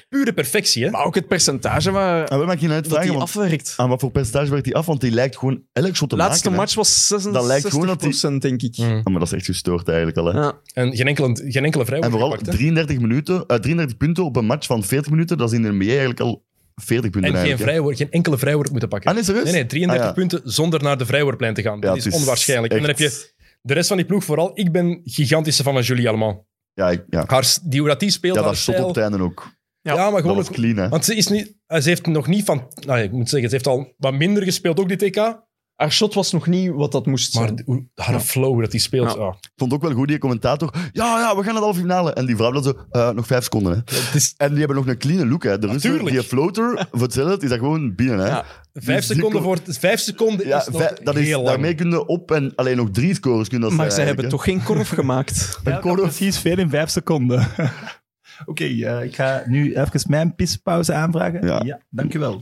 S1: pure perfectie, hè?
S5: Maar ook het percentage waar
S2: En we maken geen
S5: dat
S2: uitvragen,
S5: hij
S2: nou want
S5: afwerkt.
S2: aan wat voor percentage werkt die af? Want die lijkt gewoon elk shot te
S5: Laatste
S2: maken. hè.
S5: match was 66%
S2: Dat lijkt gewoon dat die-
S5: denk ik.
S1: Mm.
S2: Ah, maar dat is echt gestoord eigenlijk al. Hè.
S5: Ja.
S1: En geen enkele, geen enkele vrijwoord
S2: En vooral
S1: gepakt, hè.
S2: 33, minuten, eh, 33 punten op een match van 40 minuten, dat is in de NBA eigenlijk al 40 punten.
S1: En geen,
S2: eigenlijk, hè.
S1: vrijwoord, geen enkele vrijwoord moeten pakken.
S2: Ah, nee, serieus?
S1: Nee, nee, 33
S2: Ah, ja.
S1: punten zonder naar de vrijwoordplein te gaan.
S2: Ja,
S1: dat
S2: het
S1: is onwaarschijnlijk. En dan heb
S2: echt-
S1: je de rest van die ploeg, vooral ik ben gigantische fan van Julie Allemand.
S2: Ja, ik- ja.
S1: Haar, s- die, hoe dat die speelt,
S2: ja
S1: haar
S2: dat shot
S1: stijl.
S2: op het einde ook.
S1: ja. maar
S2: Dat
S1: gewoon...
S2: was
S1: ook-
S2: clean, hè.
S1: want ze, is niet, ze heeft nog niet van... Nou, ik moet zeggen, ze heeft al wat minder gespeeld, ook dit TK.
S5: Haar shot was nog niet wat dat moest
S1: Maar
S5: zijn.
S1: de- hoe- haar flow, hoe dat die speelt.
S5: Ja.
S1: ah.
S2: Vond ook wel goed, die commentator. Ja, ja, we gaan naar de halve finale. En die vrouw dat zo, eh, nog vijf seconden, hè.
S1: Het is
S2: En die hebben nog een clean look, hè. De Russen,
S1: Natuurlijk.
S2: die floater, voor hetzelfde, is dat gewoon binnen, hè.
S5: Ja.
S1: vijf
S2: die
S1: seconden
S2: kom-
S1: voor... Vijf seconden
S2: Ja,
S1: is nog
S2: vij- dat is,
S1: heel lang.
S2: daarmee kunnen op en alleen nog drie scores kunnen dat
S5: Maar
S2: zijn
S5: zij hebben
S2: eigenlijk,
S5: toch geen korf gemaakt.
S2: hè.
S3: Ja,
S2: Een corner-
S3: precies veel in vijf seconden. Oké, eh, ik ga nu even mijn pispauze aanvragen.
S2: Ja.
S3: Ja, dankjewel.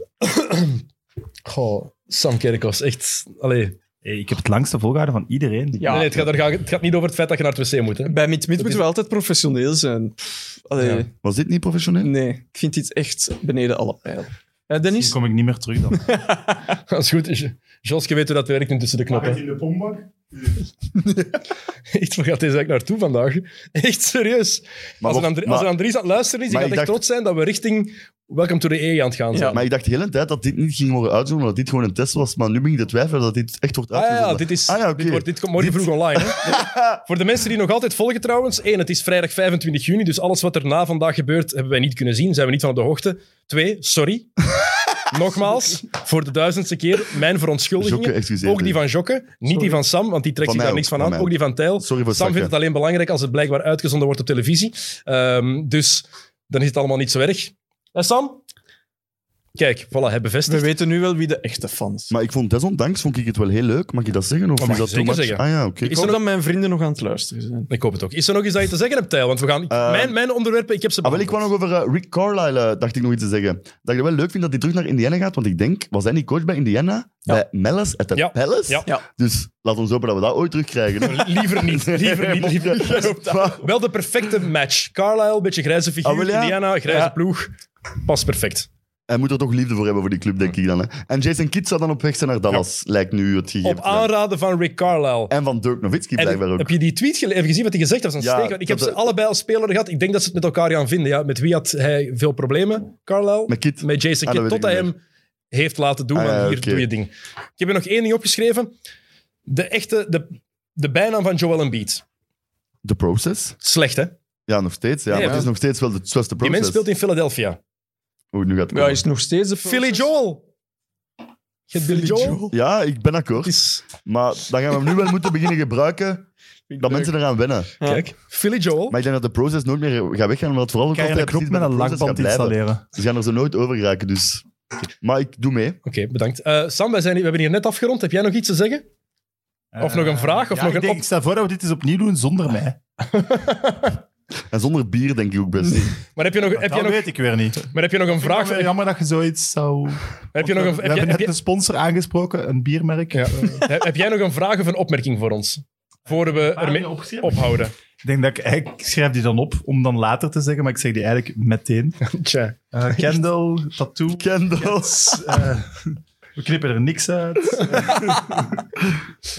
S1: Goh, Sam Kerkhoffs, echt... Allee.
S3: Hey, ik heb het langste volgehouden van iedereen.
S5: Ja.
S1: nee, nee, het, gaat, er ga- het gaat niet over het feit dat je naar het wc moet. Hè.
S5: Bij mid
S1: is-
S5: moeten we altijd professioneel zijn. Pff, allee,
S1: Ja.
S2: Was dit niet professioneel?
S5: Nee, ik vind dit echt beneden alle pijl. Ja,
S3: Dan
S5: Dennis?
S3: kom ik niet meer terug dan.
S1: Dat is goed. Jo- Jos, je weet hoe dat werkt nu tussen de knoppen.
S6: in de pombak?
S1: Echt, waar gaat deze eigenlijk naartoe vandaag? Echt serieus.
S2: Maar
S1: als, een
S2: wat-
S1: Andri-
S2: maar-
S1: als een Andries aan het luisteren is, die
S2: maar
S1: gaat echt
S2: ik dacht-
S1: trots zijn dat we richting Welcome to the E aan het gaan zijn.
S5: Ja.
S2: Maar ik dacht de hele tijd dat dit niet ging worden uitgezonden, dat dit gewoon een test was. Maar nu ben ik te twijfelen dat dit echt wordt
S1: Ah ja,
S2: uitgezonden.
S1: dit, is,
S2: Ah ja, oké.
S1: dit, wordt, dit komt morgen vroeg online. Hè? Voor de mensen die nog altijd volgen trouwens. één, het is vrijdag 25 juni, dus alles wat er na vandaag gebeurt, hebben wij niet kunnen zien. Zijn we niet van op de hoogte. Twee, sorry. Nogmaals, voor de duizendste keer, mijn
S2: Jokke,
S1: verontschuldigingen.
S2: excuseer.
S1: Ook die van Jokke, niet die van Sam, want die trekt zich
S2: Van mij
S1: daar niks van
S2: ook, van
S1: aan.
S2: mij
S1: Ook die van Tijl.
S2: Sorry voor het
S1: Sam vindt
S2: zakken.
S1: het alleen belangrijk als het blijkbaar uitgezonden wordt op televisie. Ehm, dus dan is het allemaal niet zo erg. En Sam? Kijk, voilà, hij
S5: We
S1: bevestigt.
S5: weten nu wel wie de echte fans zijn.
S2: Maar ik vond desondanks vond ik het wel heel leuk. Mag je dat zeggen? Of
S1: Dat Oh, mag
S2: is dat
S1: je
S2: too
S1: zeker
S2: much?
S1: zeggen.
S2: Ah ja, oké.
S5: Ik hoop dat mijn vrienden nog aan het luisteren zijn.
S1: Ik hoop het ook. Is er nog iets dat je te zeggen hebt, Tijl? Want we gaan...
S2: Eh,
S1: mijn, mijn onderwerpen, ik heb ze
S2: Ah, wel, ik wou nog over eh, Rick Carlisle, eh, dacht ik nog iets te zeggen. Dat ik het wel leuk vind dat hij terug naar Indiana gaat, want ik denk, was hij niet coach bij Indiana? Bij Mellis at the
S1: Ja.
S2: Palace?
S1: Ja.
S5: Ja.
S2: Dus laat ons hopen dat we dat ooit terugkrijgen.
S1: Liever niet, liever niet, liever niet.
S2: Maar-
S1: Wel de perfecte match. Carlisle, beetje grijze figuur.
S2: Ah, wel, ja?
S1: Indiana, grijze
S5: Ja.
S1: ploeg. Pas perfect.
S2: Hij moet er toch liefde voor hebben voor die club, denk ik dan. Hè. En Jason Kidd zou dan op weg zijn naar Dallas, lijkt nu het gegeven.
S1: Op
S2: te zijn.
S1: aanraden van Rick Carlisle.
S2: En van Dirk Nowitzki blijkbaar
S1: En
S2: ook.
S1: heb je die tweet gele- even gezien wat hij gezegd heeft? Dat is een
S2: Ja,
S1: steek. Want Ik heb
S2: dat-
S1: ze allebei als speler gehad. Ik denk dat ze het met elkaar gaan vinden. Ja, met wie had hij veel problemen? Carlisle?
S2: Met Kidd.
S1: Met Jason
S2: Ah, dat
S1: Kidd.
S2: weet
S1: Tot hij
S2: ik niet
S1: hem heeft laten doen.
S2: Ah,
S1: van
S2: ja,
S1: hier
S2: oké.
S1: doe je ding. Ik heb er nog één ding opgeschreven. De echte... De, de bijnaam van Joel Embiid.
S2: The Process?
S1: Slecht, hè? Die
S2: Ja, nog steeds. Ja.
S1: Ja.
S2: Maar het is nog steeds wel de zesde proces.
S1: mens speelt in Philadelphia.
S2: Oeh, nu gaat het
S5: Ja,
S2: komen.
S5: is nog steeds de
S1: Philly Joel. Je hebt Billy
S5: Philly
S1: Joel?
S5: Joel.
S2: Ja, ik ben akkoord.
S1: Het is...
S2: Maar dan gaan we hem nu wel moeten beginnen gebruiken dat mensen eraan wennen.
S5: Ja.
S1: Kijk, Philly Joel.
S2: Maar ik denk dat de process nooit meer gaat weggaan, omdat het vooral ook
S3: Kan je een
S2: altijd
S3: knop
S2: precies
S3: met
S2: bij
S3: een
S2: de process
S3: lakband
S2: gaat blijven.
S3: installeren?
S2: Ze gaan er zo nooit over geraken, dus... Maar ik doe mee.
S1: Oké, bedankt. Eh, Sam, wij zijn, we hebben hier net afgerond. Heb jij nog iets te zeggen? Of nog een vraag, of
S3: Eh, Ja,
S1: nog
S3: ik,
S1: een
S3: denk,
S1: op-
S3: ik stel voor dat we dit eens opnieuw doen zonder mij.
S2: En zonder bier denk ik ook best niet.
S1: Maar heb je nog, heb
S3: dat
S1: je nog,
S3: weet ik weer niet.
S1: maar heb je nog een vraag?
S3: Vraag
S1: voor-
S3: jammer dat je zoiets zou... eh,
S1: Heb je nog een,
S3: we
S1: heb jij-
S3: hebben
S1: heb
S3: net
S1: jij-
S3: een sponsor aangesproken, een biermerk.
S1: Ja. Heb heb jij nog een vraag of een opmerking voor ons? Voor we ermee ophouden.
S3: Ik denk dat ik, eigenlijk- ik schrijf die dan op om dan later te zeggen, maar ik zeg die eigenlijk meteen.
S1: Tja.
S3: Eh Kendall, tattoo.
S2: Candles!
S3: eh, we knippen er niks uit. Eh,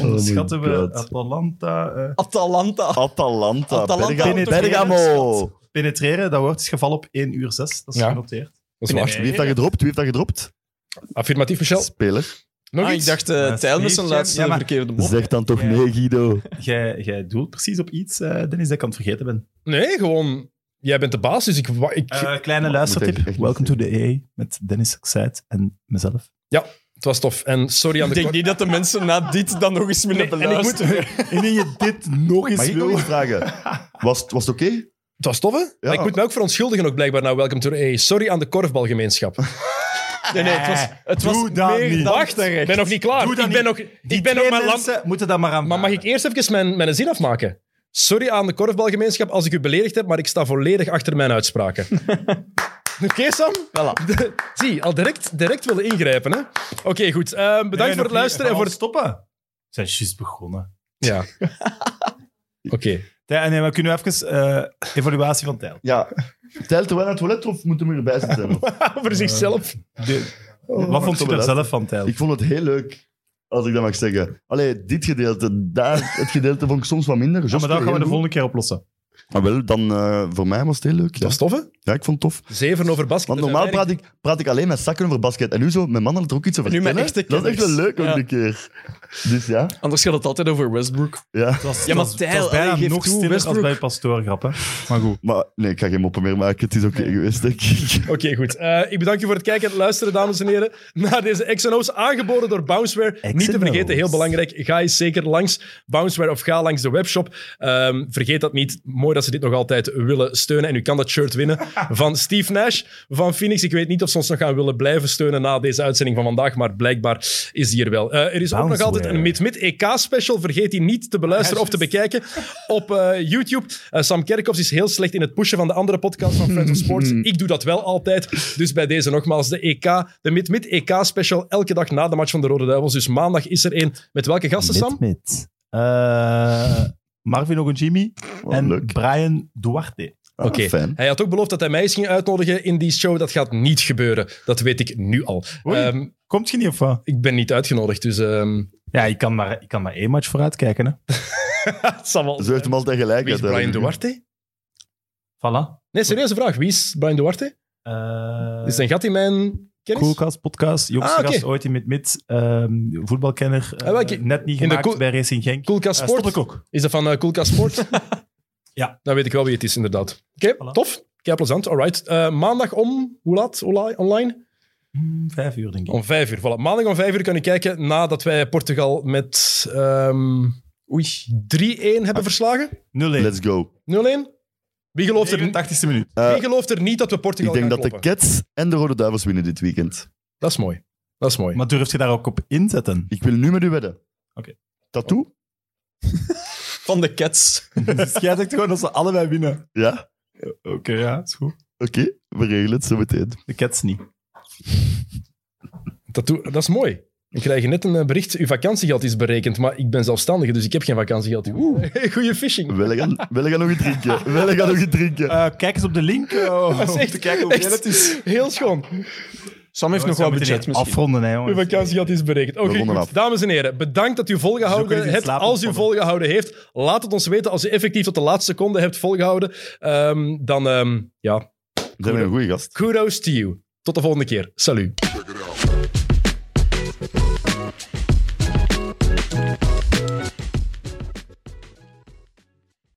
S3: Onderschatten
S2: Oh my
S3: we
S2: God.
S3: Atalanta. eh,
S5: Atalanta.
S2: Atalanta,
S5: Atalanta
S2: Bergamo.
S5: toch weer
S2: Bergamo.
S3: penetreren, dat woord is gevallen op 1 uur 6. Dat is
S1: Ja.
S3: genoteerd.
S1: Dat is waar.
S2: Wie heeft dat gedropt? Wie heeft dat gedropt?
S1: Affirmatief, Michel.
S2: Speler.
S1: Nog
S5: Ah,
S1: iets?
S5: ik dacht, eh
S3: Ja,
S5: Tijl met zijn
S3: Steve,
S5: laatste
S3: ja, maar-
S5: verkeerde mop.
S2: Zeg dan toch
S3: Ja.
S2: nee, Guido.
S3: Jij, jij doelt precies op iets, eh, Dennis, dat ik aan het vergeten ben.
S1: Nee, gewoon... Jij bent de baas, dus ik... wa- ik
S3: Eh, kleine
S2: moet echt-
S3: luistertip.
S2: echt
S3: Welcome to the EA met Dennis Said en mezelf.
S1: Het was tof. En sorry aan
S5: Ik
S1: de
S5: denk
S1: kort-
S5: niet dat de mensen na dit dan nog eens willen
S1: en ik moet-
S5: beluisteren.
S6: Indien je dit nog eens
S2: Mag ik nog
S6: wil...
S2: iets vragen? Was, het- was het oké?
S1: Het was tof, hè? Maar ik moet me ook verontschuldigen ook blijkbaar naar Welcome to... Hey, sorry aan de korfbalgemeenschap.
S5: Nee, nee, het was, het was
S6: Doe dat
S5: meer
S6: niet.
S5: dan
S1: Wacht,
S5: terecht.
S1: ik ben nog niet klaar.
S3: Doe dat
S1: Ik ben
S3: niet.
S1: nog, ik ben nog
S3: Twee
S1: maar lam-
S3: mensen moeten dat maar aan
S1: Maar mag ik eerst even mijn, mijn zin afmaken? Sorry aan de korfbalgemeenschap als ik u beledigd heb, maar ik sta volledig achter mijn uitspraken. Oké, Sam?
S5: Voilà.
S1: De- zie, al direct, direct willen ingrijpen, hè? Oké, goed. Ehm, bedankt voor het luisteren en voor het...
S3: stoppen. We zijn juist begonnen.
S1: Ja. Oké.
S3: Tij, nee, maar kunnen we even eh, evaluatie van Tijl?
S2: Ja. Telt er wel naar het toilet of moeten we erbij zitten?
S1: Over zichzelf.
S2: Oh,
S3: Wat vond je
S2: zullen
S3: er
S2: we
S3: zelf van, Tijl?
S2: Ik vond het heel leuk, als ik dat mag zeggen. Allee, dit gedeelte, daar, het gedeelte vond ik soms wat minder.
S3: Ja, maar dat gaan we de
S2: Heel goed.
S3: volgende keer oplossen.
S2: Maar wel, dan eh, voor mij was het heel leuk.
S1: Dat
S2: Ja,
S1: is tof, hè?
S2: ja ik vond het tof.
S1: Zeven over basket.
S3: Dus
S2: Want normaal
S1: Er zijn
S2: praat ik, praat ik alleen met zakken over basket. En nu zo, mijn man had er ook iets over
S5: Nu met
S2: vertellen.
S5: echte
S2: Dat is echt wel
S5: kennis.
S2: leuk ook
S5: Ja.
S2: een keer. Dus ja,
S5: Anders gaat het altijd over Westbrook.
S2: ja.
S3: Het was,
S5: Ja,
S3: het
S5: maar
S3: was- het
S5: Tijl,
S3: was bijna
S5: allee, geef
S3: nog
S5: toe,
S3: stiller als
S5: Westbrook.
S3: bij pastoorgrappen. Maar goed.
S2: Maar nee, ik ga geen moppen meer maken. Het is oké geweest, denk ik.
S1: Oké, goed. Eh, ik bedank u voor het kijken en het luisteren, dames en heren, naar deze X&O's, aangeboden door Bounceware. Niet te vergeten, heel belangrijk, ga eens zeker langs Bounceware of ga langs de webshop. Ehm, vergeet dat niet. Mooi dat ze dit nog altijd willen steunen. En u kan dat shirt winnen van Steve Nash van Phoenix. Ik weet niet of ze ons nog gaan willen blijven steunen na deze uitzending van vandaag, maar blijkbaar is die er wel. Eh, er is ook nog
S3: Bounceware.
S1: altijd een Mid-Mid-EK-special. Vergeet die niet te beluisteren of te bekijken op eh, YouTube. Eh, Sam Kerkhoffs is heel slecht in het pushen van de andere podcast van Friends of Sports. Ik doe dat wel altijd. Dus bij deze nogmaals de EK, de Mid-Mid-EK-special. Elke dag na de match van de Rode Duivels. Dus maandag is er één. Met welke gasten, Sam?
S3: Mit. Eh, Marvin Ogunjimi
S2: Wat
S3: en
S2: Oh, leuk.
S3: Brian Duarte.
S2: Ah,
S1: Oké.
S2: Fijn.
S1: Hij had ook beloofd dat hij mij eens ging uitnodigen in die show. Dat gaat niet gebeuren. Dat weet ik nu al.
S3: Oei.
S1: Ehm,
S3: Komt je niet of wat?
S1: ik ben niet uitgenodigd, dus ehm
S3: Ja, ik kan maar, ik kan maar één match vooruit kijken. Hè.
S1: het zal wel...
S2: Zo heeft hem altijd gelijk.
S1: Wie is Brian
S2: uiteindelijk.
S1: Duarte?
S3: Voilà.
S1: Nee, serieuze vraag. Wie is Brian Duarte?
S3: Eh,
S1: Is er een gat in mijn kennis?
S3: Coolcast podcast, jongste
S1: Ah, oké.
S3: gast ooit in met mid, ehm, voetbalkenner, eh,
S1: Ah, wel, ik-
S3: net niet
S1: in de
S3: gemaakt
S1: cool-
S3: bij Racing Genk.
S1: Koelkast
S3: Eh,
S1: Sport.
S3: stop ik ook.
S1: Is dat van eh Koelkast Sport?
S3: Ja.
S1: Dan weet ik wel wie het is, inderdaad. Oké,
S3: Voilà.
S1: tof. Kijk, plezant. All right. Eh, maandag om, hoe laat Oli- online?
S3: Hmm, vijf uur denk ik.
S1: Om vijf uur. Voilà. Maandag om vijf uur kan je kijken nadat wij Portugal met ehm, 3-1 hebben verslagen. 0-1.
S3: 0-1.
S2: Let's go.
S1: Wie gelooft, er,
S3: 89 minuut.
S2: Eh,
S1: wie gelooft er niet dat we
S2: ik
S1: Portugal
S2: denk
S1: gaan
S2: dat de
S1: kloppen?
S2: Cats en de Rode Duivels winnen dit weekend.
S1: Dat is mooi. Dat is mooi.
S3: Maar durf je daar ook op inzetten?
S2: Ik wil nu met u wedden.
S3: Oké.
S2: Tattoo?
S5: Van de Cats.
S6: Dus jij zegt gewoon dat ze allebei winnen.
S2: Ja?
S3: Oké, ja, is goed.
S2: Oké, we regelen het zo meteen.
S3: De Cats niet.
S1: Dat, doe- dat is mooi. Ik krijg net een eh, bericht. Uw vakantiegeld is berekend, maar ik ben zelfstandige, dus ik heb geen vakantiegeld. Oeh, goede phishing.
S2: Willen gaan, willen gaan nog iets drinken? Willen gaan nog iets drinken?
S3: Eh, kijk eens op de link. Oh,
S1: Dat is echt, echt Oh, heel schoon.
S5: Sam heeft nog
S3: Zou
S5: wel
S3: moeten
S5: budget
S3: die
S5: misschien.
S3: Afronden, hè, jongens.
S1: Uw vakantiegeld is berekend. Oké,
S2: We ronden
S1: goed.
S2: af.
S1: dames en heren, bedankt dat u
S3: Zoeken
S1: volgehouden
S3: jullie
S1: hebt.
S3: slaap
S1: Als u
S3: ontspannen.
S1: volgehouden heeft, laat het ons weten. Als u effectief tot de laatste seconde hebt volgehouden, ehm, dan ehm, ja,
S2: Zijn we een goede gast?
S1: kudos to you. Tot de volgende keer. Salut.
S7: Check it out.